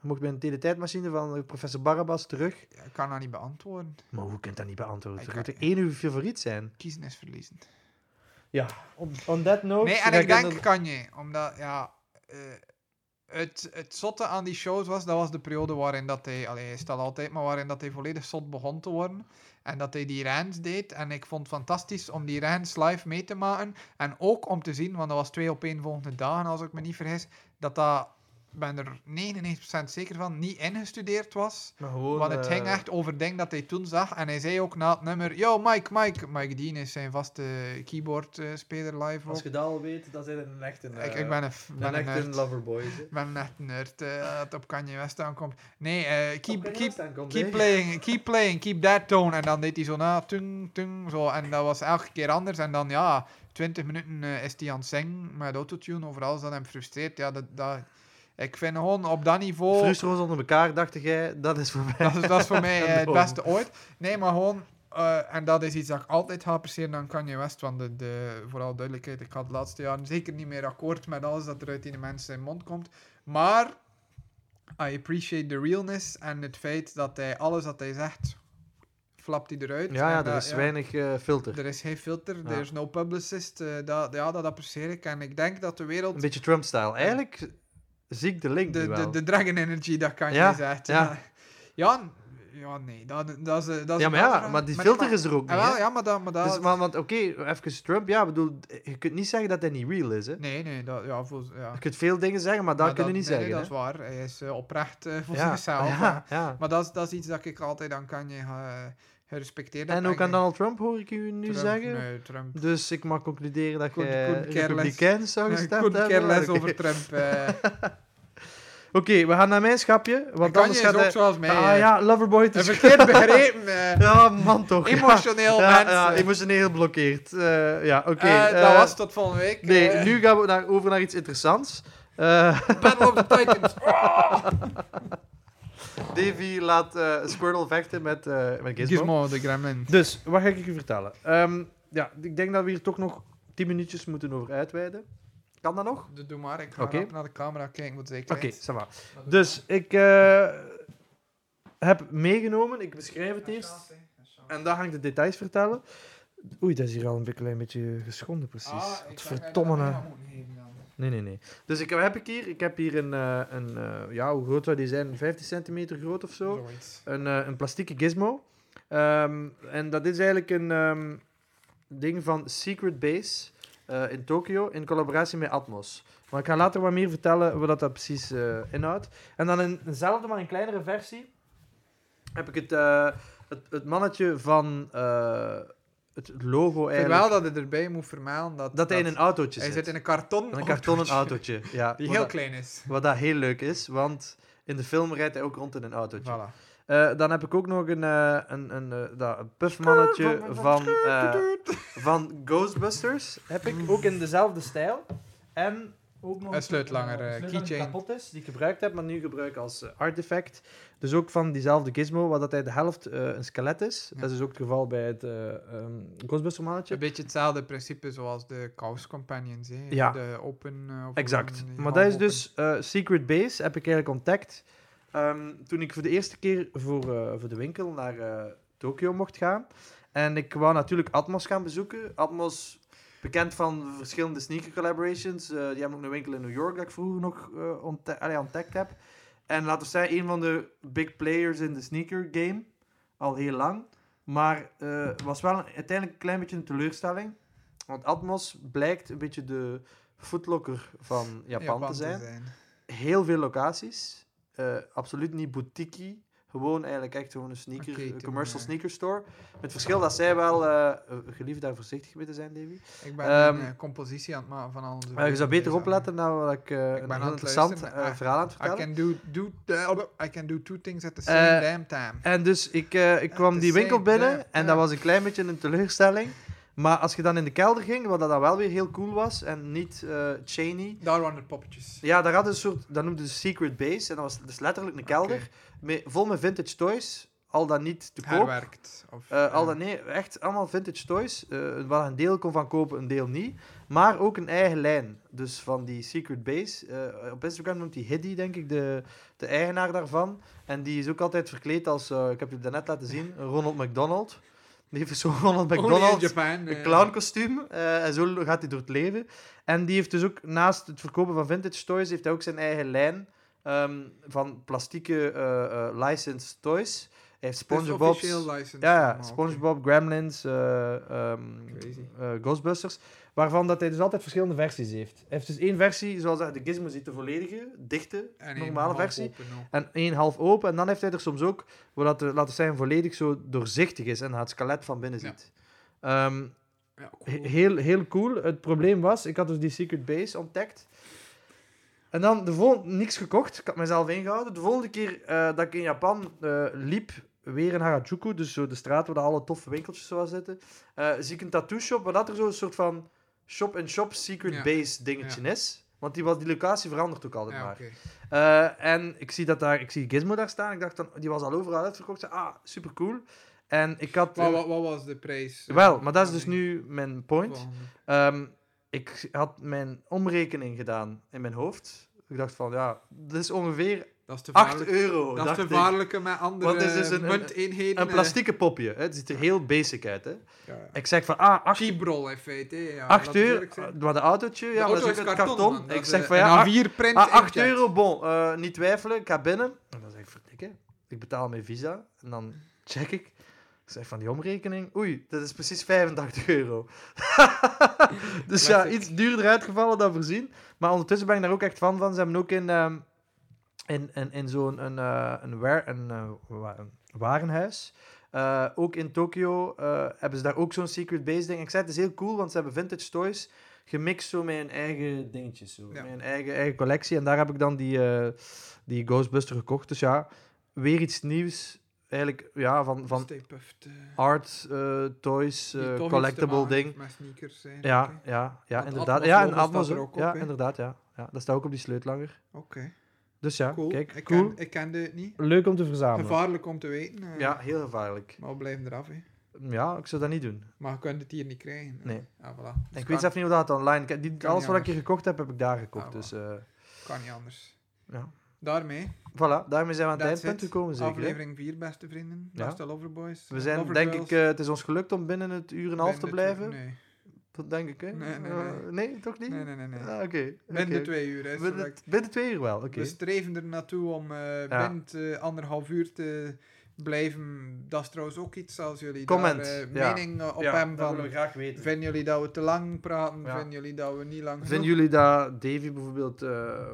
[SPEAKER 2] Je mag bij een teletijdmachine van eh, professor Barabbas terug.
[SPEAKER 1] Ja, Ik kan dat niet beantwoorden.
[SPEAKER 2] Maar hoe kunt dat niet beantwoorden?
[SPEAKER 1] Ik
[SPEAKER 2] Er
[SPEAKER 1] kan-
[SPEAKER 2] moet er één uw favoriet zijn.
[SPEAKER 1] Kiezen is verliezen.
[SPEAKER 2] Ja, on, on that note...
[SPEAKER 1] Nee,
[SPEAKER 2] ga
[SPEAKER 1] en ik denk
[SPEAKER 2] inderdaad-
[SPEAKER 1] Kanye, omdat ja, eh, het, het zotte aan die shows was, dat was de periode waarin dat hij, allee, hij is dat altijd, maar waarin dat hij volledig zot begon te worden. En dat hij die rants deed. En ik vond het fantastisch om die rants live mee te maken. En ook om te zien, want dat was twee op één volgende dagen, als ik me niet vergis, dat dat, ik ben er 99% zeker van, niet ingestudeerd was.
[SPEAKER 2] Maar gewoon,
[SPEAKER 1] Want het
[SPEAKER 2] eh,
[SPEAKER 1] ging echt over dingen dat hij toen zag. En hij zei ook na het nummer... Yo, Mike, Mike. Mike Dean is zijn vaste keyboardspeler live ook.
[SPEAKER 2] Als je dat al weet, dan zijn een echt een...
[SPEAKER 1] Ik,
[SPEAKER 2] eh,
[SPEAKER 1] ik ben een, f- ben een
[SPEAKER 2] echt een
[SPEAKER 1] nerd.
[SPEAKER 2] loverboy.
[SPEAKER 1] Ik ben een echt nerd eh, dat op Kanye West aankomt. Nee, eh, keep, keep,
[SPEAKER 2] keep,
[SPEAKER 1] keep, playing, keep playing, keep that tone. En dan deed hij zo na, tung, tung, zo. En dat was elke keer anders. En dan, ja, 20 minuten eh, is hij aan het zingen met autotune over alles dat hem frustreert. Ja, dat, dat, ik vind gewoon op dat niveau...
[SPEAKER 2] Frustro's onder elkaar, dacht jij, dat is voor mij.
[SPEAKER 1] Dat is, dat is voor mij eh, het
[SPEAKER 2] Enorm.
[SPEAKER 1] beste ooit. Nee, maar gewoon... eh, en dat is iets dat ik altijd ga appreciëren aan Kanye West. Want de, de, vooral duidelijkheid, ik had de laatste jaren zeker niet meer akkoord met alles dat er uit die mens zijn mond komt. Maar I appreciate the realness en het feit dat hij alles wat hij zegt, flapt hij eruit.
[SPEAKER 2] Ja, ja,
[SPEAKER 1] En
[SPEAKER 2] er
[SPEAKER 1] dat-
[SPEAKER 2] is weinig eh, filter.
[SPEAKER 1] Er is geen filter,
[SPEAKER 2] Ja.
[SPEAKER 1] er is no publicist. eh, dat, ja, dat apprecieer ik. En ik denk dat de wereld...
[SPEAKER 2] Een beetje Trump-style. Eigenlijk zie ik de link
[SPEAKER 1] de,
[SPEAKER 2] nu wel.
[SPEAKER 1] de, de dragon energy, dat kan
[SPEAKER 2] Ja,
[SPEAKER 1] je zegt.
[SPEAKER 2] ja.
[SPEAKER 1] Ja, ja, n- ja nee, dat, dat is... Dat
[SPEAKER 2] ja,
[SPEAKER 1] is een
[SPEAKER 2] maar ja,
[SPEAKER 1] andere-
[SPEAKER 2] maar die
[SPEAKER 1] maar-
[SPEAKER 2] filter
[SPEAKER 1] maar-
[SPEAKER 2] is er ook niet.
[SPEAKER 1] Ah, wel,
[SPEAKER 2] hè.
[SPEAKER 1] ja, maar dat... Maar dat
[SPEAKER 2] Dus, maar, want oké, even Trump, ja, bedoel, je kunt niet zeggen dat hij niet real is. Hè.
[SPEAKER 1] Nee, nee, dat, ja, volgens... Ja.
[SPEAKER 2] Je kunt veel dingen zeggen, maar dat
[SPEAKER 1] Maar
[SPEAKER 2] kun je niet
[SPEAKER 1] nee,
[SPEAKER 2] zeggen.
[SPEAKER 1] Nee, dat
[SPEAKER 2] hè.
[SPEAKER 1] is waar. Hij is eh, oprecht eh, voor
[SPEAKER 2] ja,
[SPEAKER 1] zichzelf.
[SPEAKER 2] ja,
[SPEAKER 1] maar-
[SPEAKER 2] ja.
[SPEAKER 1] Maar dat is, dat is iets dat ik altijd aan Kanye ga, eh, gerespecteerd hebt.
[SPEAKER 3] En ook
[SPEAKER 1] ik
[SPEAKER 3] aan
[SPEAKER 1] denk,
[SPEAKER 3] Donald Trump hoor ik u nu
[SPEAKER 1] Trump,
[SPEAKER 3] zeggen.
[SPEAKER 1] Nee, Trump.
[SPEAKER 3] Dus ik mag concluderen dat
[SPEAKER 1] Could-
[SPEAKER 3] je
[SPEAKER 1] could care less.
[SPEAKER 3] republikeins zou
[SPEAKER 1] Ik
[SPEAKER 3] gestemd
[SPEAKER 1] couldn't
[SPEAKER 3] hebben.
[SPEAKER 1] care less
[SPEAKER 3] Oké.
[SPEAKER 1] over Trump. eh.
[SPEAKER 3] Oké, we gaan naar mijn schapje. Want
[SPEAKER 1] Kanye
[SPEAKER 3] anders
[SPEAKER 1] is
[SPEAKER 3] gaat
[SPEAKER 1] ook
[SPEAKER 3] hij...
[SPEAKER 1] zoals mij.
[SPEAKER 3] ah
[SPEAKER 1] eh,
[SPEAKER 3] ja, Loverboy. het
[SPEAKER 1] een
[SPEAKER 3] is-
[SPEAKER 1] verkeerd begrepen. eh,
[SPEAKER 3] Ja, man toch. ja.
[SPEAKER 1] emotioneel
[SPEAKER 3] ja,
[SPEAKER 1] mensen.
[SPEAKER 3] ja, emotioneel geblokkeerd. Eh, ja, oké.
[SPEAKER 1] Eh, dat
[SPEAKER 3] eh,
[SPEAKER 1] was tot volgende week.
[SPEAKER 3] Nee,
[SPEAKER 1] eh,
[SPEAKER 3] nu gaan we naar, over naar iets interessants. Eh,
[SPEAKER 1] Battle of the Titans.
[SPEAKER 3] Davy laat eh, Squirtle vechten met, eh met Gizmo.
[SPEAKER 1] Gizmo, de gremlin.
[SPEAKER 2] Dus, wat ga ik je vertellen? Ehm, ja, ik denk dat we hier toch nog 10 minuutjes moeten over uitweiden. Kan dat nog?
[SPEAKER 1] Dat doe maar. Ik ga
[SPEAKER 2] Oké.
[SPEAKER 1] rap naar de camera kijken, want zeker.
[SPEAKER 2] Oké, ça va. Dus, ik eh, heb meegenomen, ik beschrijf het
[SPEAKER 1] Ah,
[SPEAKER 2] eerst. En dan ga ik de details vertellen. Oei, dat is hier al een klein beetje geschonden, precies.
[SPEAKER 1] Ah,
[SPEAKER 2] Wat verdomme. hè. Nee, nee, nee. Dus ik heb ik hier, ik heb hier een, eh, een eh, ja, hoe groot zou die zijn? 15 centimeter groot of zo.
[SPEAKER 1] Zoiets.
[SPEAKER 2] Een, eh, een plastieke gizmo. Ehm, en dat is eigenlijk een ehm, ding van Secret Base eh, in Tokio in collaboratie met Atmos. Maar ik ga later wat meer vertellen wat dat precies eh, inhoudt. En dan in dezelfde, maar een kleinere versie, heb ik het, eh, het, het mannetje van eh, het logo
[SPEAKER 1] Vind
[SPEAKER 2] eigenlijk.
[SPEAKER 1] wel dat hij erbij moet vermelden dat,
[SPEAKER 2] dat hij in een autootje
[SPEAKER 1] hij
[SPEAKER 2] zit.
[SPEAKER 1] zit in een karton.
[SPEAKER 2] een kartonnen autootje. Ja,
[SPEAKER 1] Die
[SPEAKER 2] Wat
[SPEAKER 1] heel
[SPEAKER 2] dat-
[SPEAKER 1] klein is.
[SPEAKER 3] Wat dat heel leuk is, want in de film rijdt hij ook rond in een autootje.
[SPEAKER 1] Voilà.
[SPEAKER 2] Eh, dan heb ik ook nog een, eh, een, een, eh, dat, een puffmannetje van, eh, van Ghostbusters. Heb ik ook in dezelfde stijl. En ook nog
[SPEAKER 1] Een sleutelanger, eh,
[SPEAKER 2] een sleutel die
[SPEAKER 1] keychain.
[SPEAKER 2] kapot is, die ik gebruikt heb, maar nu gebruik als eh, artefact. Dus ook van diezelfde gizmo, waar dat hij de helft eh, een skelet is.
[SPEAKER 1] Ja.
[SPEAKER 2] Dat is dus ook het geval bij het eh ehm Ghostbuster mannetje.
[SPEAKER 1] Een beetje hetzelfde principe zoals de Chaos Companions. Hè?
[SPEAKER 2] Ja.
[SPEAKER 1] De open... eh, of
[SPEAKER 2] Exact.
[SPEAKER 1] gewoon die
[SPEAKER 2] Maar dat is
[SPEAKER 1] half open.
[SPEAKER 2] dus eh, Secret Base, heb ik eigenlijk ontdekt. ehm, toen ik voor de eerste keer voor, eh, voor de winkel naar eh, Tokio mocht gaan. En ik wou natuurlijk Atmos gaan bezoeken. Atmos, bekend van verschillende sneaker collaborations. Eh, die hebben ook een winkel in New York dat ik vroeger nog eh, ontde- allee, ontdekt heb. En laten we zeggen, een van de big players in de sneaker game. Al heel lang. Maar eh was wel een- uiteindelijk een klein beetje een teleurstelling. Want Atmos blijkt een beetje de footlocker van Japan, te zijn heel veel locaties. Eh, absoluut niet boutique. Gewoon eigenlijk echt gewoon een sneaker,
[SPEAKER 1] Oké,
[SPEAKER 2] eh,
[SPEAKER 1] toen,
[SPEAKER 2] commercial
[SPEAKER 1] eh,
[SPEAKER 2] sneaker store. Met het verschil dat zij wel, eh, eh, geliefd daar voorzichtig mee te zijn, Davy.
[SPEAKER 1] Ik ben
[SPEAKER 2] Ehm,
[SPEAKER 1] een eh, compositie aan het maken van al onze...
[SPEAKER 2] Eh, je zou
[SPEAKER 1] vrienden,
[SPEAKER 2] beter
[SPEAKER 1] dus, eh,
[SPEAKER 2] opletten nou wat ik, eh, een
[SPEAKER 1] ben aan
[SPEAKER 2] heel
[SPEAKER 1] het
[SPEAKER 2] interessant
[SPEAKER 1] luisteren,
[SPEAKER 2] eh,
[SPEAKER 1] ah,
[SPEAKER 2] verhaal aan het
[SPEAKER 1] I
[SPEAKER 2] vertellen.
[SPEAKER 1] can, do, do, eh, I can do two things at the same
[SPEAKER 2] Eh,
[SPEAKER 1] damn time.
[SPEAKER 2] En dus ik, eh, ik kwam
[SPEAKER 1] te
[SPEAKER 2] die winkel
[SPEAKER 1] zijn,
[SPEAKER 2] binnen
[SPEAKER 1] ja,
[SPEAKER 2] en
[SPEAKER 1] ja.
[SPEAKER 2] dat was een klein beetje een teleurstelling. Maar als je dan in de kelder ging, wat dat dan wel weer heel cool was en niet eh Cheney,
[SPEAKER 1] Daar waren de poppetjes.
[SPEAKER 2] Ja, daar hadden ze een soort, dat noemden ze Secret Base. En dat was dus letterlijk een kelder. Met, vol met vintage toys. Al dan niet te koop.
[SPEAKER 1] Herwerkt. Of,
[SPEAKER 2] Eh, al
[SPEAKER 1] eh,
[SPEAKER 2] dan nee, echt allemaal vintage toys. eh waar een deel kon van kopen, een deel niet. Maar ook een eigen lijn. Dus van die Secret Base. Eh, op Instagram noemt die Hiddy, denk ik, de, de eigenaar daarvan. En die is ook altijd verkleed als, eh, ik heb je daarnet laten zien, Ronald McDonald. Die heeft zo'n Ronald
[SPEAKER 1] only in
[SPEAKER 2] McDonald
[SPEAKER 1] Oh, Japan,
[SPEAKER 2] een
[SPEAKER 1] eh,
[SPEAKER 2] clownkostuum. eh, en zo gaat hij door het leven. En die heeft dus ook naast het verkopen van vintage toys, heeft hij ook zijn eigen lijn ehm, van plastieke eh, eh, licensed toys. Hij heeft
[SPEAKER 1] het is
[SPEAKER 2] SpongeBob.
[SPEAKER 1] officieel licensed
[SPEAKER 2] Ja, ja,
[SPEAKER 1] allemaal, oké.
[SPEAKER 2] SpongeBob, Gremlins, eh, ehm,
[SPEAKER 1] Crazy.
[SPEAKER 2] eh, Ghostbusters. Waarvan dat hij dus altijd verschillende versies heeft. Hij heeft dus één versie, zoals dat je de Gizmo ziet, de volledige, dichte,
[SPEAKER 1] En één
[SPEAKER 2] normale
[SPEAKER 1] half
[SPEAKER 2] versie.
[SPEAKER 1] open ook.
[SPEAKER 2] En één half open. En dan heeft hij er soms ook, waar dat, eh, laten we zeggen, volledig zo doorzichtig is en dat het skelet van binnen
[SPEAKER 1] Ja.
[SPEAKER 2] ziet. Ehm,
[SPEAKER 1] Ja, cool.
[SPEAKER 2] He- Heel, heel cool. Het probleem was, ik had dus die Secret Base ontdekt. En dan de volgende, niks gekocht. Ik had mezelf ingehouden. De volgende keer eh, dat ik in Japan eh, liep, weer in Harajuku, dus zo de straat waar de alle toffe winkeltjes zo zitten, eh, zie ik een tattoo shop, waar dat er zo'n soort van shop-in-shop Secret
[SPEAKER 1] Ja.
[SPEAKER 2] Base dingetje is. Want die, was, die locatie verandert ook altijd
[SPEAKER 1] Ja,
[SPEAKER 2] maar.
[SPEAKER 1] oké.
[SPEAKER 2] Eh, en ik zie, dat daar, ik zie Gizmo daar staan. Ik dacht, dan, die was al overal uitverkocht. Ik zei, Ah, super cool. En ik had... eh,
[SPEAKER 1] Maar wat, wat was de prijs? eh,
[SPEAKER 2] Wel, maar dat is
[SPEAKER 1] van
[SPEAKER 2] dus
[SPEAKER 1] die
[SPEAKER 2] nu mijn point.
[SPEAKER 1] volgende?
[SPEAKER 2] Ehm, ik had mijn omrekening gedaan in mijn hoofd. Ik dacht van, ja, dat is ongeveer
[SPEAKER 1] Dat is te
[SPEAKER 2] 8
[SPEAKER 1] vaarlijk.
[SPEAKER 2] euro.
[SPEAKER 1] Dat is
[SPEAKER 2] dacht
[SPEAKER 1] te
[SPEAKER 2] ik.
[SPEAKER 1] vaarlijke met andere
[SPEAKER 2] Want het is dus een- een-
[SPEAKER 1] munteenheden.
[SPEAKER 2] Een
[SPEAKER 1] eh,
[SPEAKER 2] plastieke popje. Hè? Het ziet er heel basic uit. Hè?
[SPEAKER 1] ja, ja.
[SPEAKER 2] Ik zeg van, ah, 8,
[SPEAKER 1] Cheaprol in feite. hè, Ja,
[SPEAKER 2] 8
[SPEAKER 1] laten we
[SPEAKER 2] euro.
[SPEAKER 1] eerlijk zijn.
[SPEAKER 2] Wat een autootje.
[SPEAKER 1] De
[SPEAKER 2] Ja, maar
[SPEAKER 1] auto
[SPEAKER 2] dat
[SPEAKER 1] is
[SPEAKER 2] is ook
[SPEAKER 1] karton.
[SPEAKER 2] uit karton.
[SPEAKER 1] man, dat
[SPEAKER 2] Ik
[SPEAKER 1] is,
[SPEAKER 2] zeg
[SPEAKER 1] eh,
[SPEAKER 2] van,
[SPEAKER 1] een
[SPEAKER 2] ja, 8,
[SPEAKER 1] A4 print.
[SPEAKER 2] ah, 8
[SPEAKER 1] inkjet.
[SPEAKER 2] euro. Bon, eh, niet twijfelen. Ik ga binnen. En dan zeg ik, verdikke. Ik betaal mijn visa. En dan check ik. Ik zeg van die omrekening, oei, dat is precies 85 euro. dus ja,
[SPEAKER 1] Classic.
[SPEAKER 2] iets duurder uitgevallen dan voorzien. Maar ondertussen ben ik daar ook echt fan van. Ze hebben ook in, ehm, in, in, in zo'n een, eh, een, waar, een, eh, wa- een warenhuis. eh, Eh, ook in Tokio eh, hebben ze daar ook zo'n secret base ding. Ik zei, het is heel cool, want ze hebben vintage toys gemixt zo met hun eigen dingetjes. Zo.
[SPEAKER 1] Ja.
[SPEAKER 2] Met hun eigen, eigen collectie. En daar heb ik dan die, eh, die Ghostbuster gekocht. Dus ja, weer iets nieuws. Eigenlijk, ja, van, van
[SPEAKER 1] Stay puffed. eh, die
[SPEAKER 2] art, eh, toys, eh,
[SPEAKER 1] toch iets te
[SPEAKER 2] collectible
[SPEAKER 1] maken
[SPEAKER 2] ding.
[SPEAKER 1] heeft Met sneakers. eh, denk
[SPEAKER 2] Ja,
[SPEAKER 1] ik.
[SPEAKER 2] ja, ja,
[SPEAKER 1] Want
[SPEAKER 2] inderdaad.
[SPEAKER 1] Atmos
[SPEAKER 2] Ja, en
[SPEAKER 1] logo staat
[SPEAKER 2] Atmos
[SPEAKER 1] er
[SPEAKER 2] ook.
[SPEAKER 1] ook
[SPEAKER 2] Ja,
[SPEAKER 1] op, hè?
[SPEAKER 2] inderdaad, ja. ja. Dat staat ook op die sleutelanger.
[SPEAKER 1] Oké,
[SPEAKER 2] Dus ja,
[SPEAKER 1] cool.
[SPEAKER 2] kijk,
[SPEAKER 1] ik,
[SPEAKER 2] cool.
[SPEAKER 1] Ken, ik kende het niet.
[SPEAKER 2] Leuk om te verzamelen.
[SPEAKER 1] Gevaarlijk om te weten. eh,
[SPEAKER 2] Ja, heel gevaarlijk.
[SPEAKER 1] Maar we blijven eraf. Hè.
[SPEAKER 2] Ja, ik zou dat niet doen.
[SPEAKER 1] Maar je kunt het hier niet krijgen.
[SPEAKER 2] Nee.
[SPEAKER 1] Ah, voilà. Dus
[SPEAKER 2] ik
[SPEAKER 1] kan,
[SPEAKER 2] weet zelf niet hoe dat online... ik heb die-
[SPEAKER 1] kan
[SPEAKER 2] alles
[SPEAKER 1] niet
[SPEAKER 2] wat ik hier
[SPEAKER 1] anders.
[SPEAKER 2] gekocht heb, heb ik daar gekocht.
[SPEAKER 1] Ah,
[SPEAKER 2] dus eh,
[SPEAKER 1] kan niet anders.
[SPEAKER 2] ja.
[SPEAKER 1] Daarmee.
[SPEAKER 2] Voilà, daarmee zijn we aan het
[SPEAKER 1] That's
[SPEAKER 2] eindpunt
[SPEAKER 1] it.
[SPEAKER 2] gekomen zeker. hè?
[SPEAKER 1] Aflevering 4, beste vrienden.
[SPEAKER 2] Ja.
[SPEAKER 1] Beste Loverboys.
[SPEAKER 2] We zijn, denk
[SPEAKER 1] Lovergirls.
[SPEAKER 2] ik... eh, het is ons gelukt om binnen het uur en een half te
[SPEAKER 1] Binnen de twee-
[SPEAKER 2] blijven. Dat denk ik, hè?
[SPEAKER 1] Nee, nee,
[SPEAKER 2] Eh, nee, toch niet?
[SPEAKER 1] Nee, nee, nee. nee, nee.
[SPEAKER 2] Ah, Oké.
[SPEAKER 1] Binnen de
[SPEAKER 2] oké.
[SPEAKER 1] twee uur. Dus Hè,
[SPEAKER 2] Binnen,
[SPEAKER 1] zodat ik-
[SPEAKER 2] binnen twee uur wel, oké.
[SPEAKER 1] We streven er naartoe om eh
[SPEAKER 2] Ja.
[SPEAKER 1] binnen eh, anderhalf uur te blijven. Dat is trouwens ook iets als jullie
[SPEAKER 2] Comment,
[SPEAKER 1] daar eh,
[SPEAKER 2] ja.
[SPEAKER 1] mening eh, op
[SPEAKER 2] Ja,
[SPEAKER 1] hebben.
[SPEAKER 2] dat
[SPEAKER 1] Van,
[SPEAKER 2] willen we graag weten.
[SPEAKER 1] Vinden jullie dat we te lang praten?
[SPEAKER 2] Ja.
[SPEAKER 1] Vinden jullie dat we niet lang
[SPEAKER 2] Vinden
[SPEAKER 1] genoeg
[SPEAKER 2] jullie dat Davy bijvoorbeeld eh,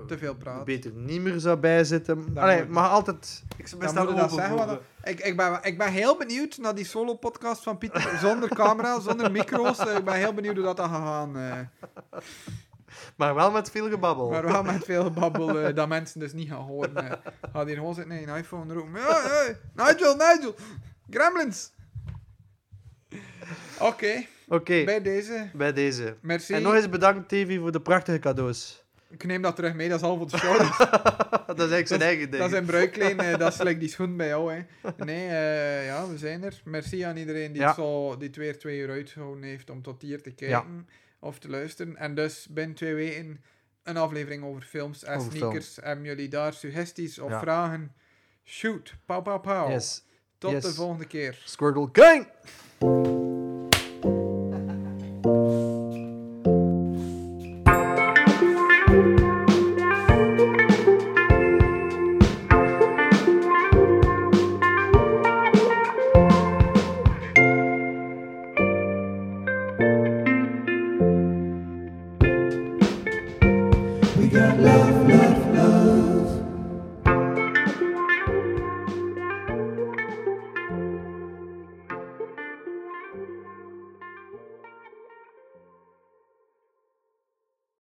[SPEAKER 1] te veel praten?
[SPEAKER 2] beter niet meer zou bijzitten?
[SPEAKER 1] Dan
[SPEAKER 2] Allee,
[SPEAKER 1] moet-
[SPEAKER 2] maar altijd... Ik zou
[SPEAKER 1] Dan moeten we dat zeggen, want Ik, ik, ben, ik ben heel benieuwd naar die solo-podcast van Pieter. Zonder camera, zonder micro's. Eh, Ik ben heel benieuwd hoe dat gaat gaan. eh.
[SPEAKER 2] Maar wel met veel gebabbel.
[SPEAKER 1] Maar wel met veel babbel eh, dat mensen dus niet gaan horen. eh. Gaat hier gewoon zitten in een iPhone roepen. Ja, hey, Nigel, Nigel! Gremlins! Oké,
[SPEAKER 2] Oké,
[SPEAKER 1] bij deze.
[SPEAKER 2] bij deze.
[SPEAKER 1] Merci.
[SPEAKER 2] En nog eens bedankt, Davy, voor de prachtige cadeaus.
[SPEAKER 1] Ik neem dat terug mee, dat is half op de show.
[SPEAKER 2] dat is eigenlijk zijn eigen ding.
[SPEAKER 1] dat is een bruikleen, eh, dat is like die schoen bij jou. Hè. Nee, eh, ja, we zijn er. Merci aan iedereen die,
[SPEAKER 2] Ja.
[SPEAKER 1] het zo, die het weer twee uur uitgehouden heeft om tot hier te kijken of te luisteren. En dus binnen twee weken een aflevering over films en
[SPEAKER 2] Over
[SPEAKER 1] sneakers. Hebben jullie daar suggesties of
[SPEAKER 2] Ja.
[SPEAKER 1] vragen? Shoot, pauw, pauw, pauw.
[SPEAKER 2] Yes.
[SPEAKER 1] Tot
[SPEAKER 2] yes.
[SPEAKER 1] de volgende keer.
[SPEAKER 2] Squirtle Gang!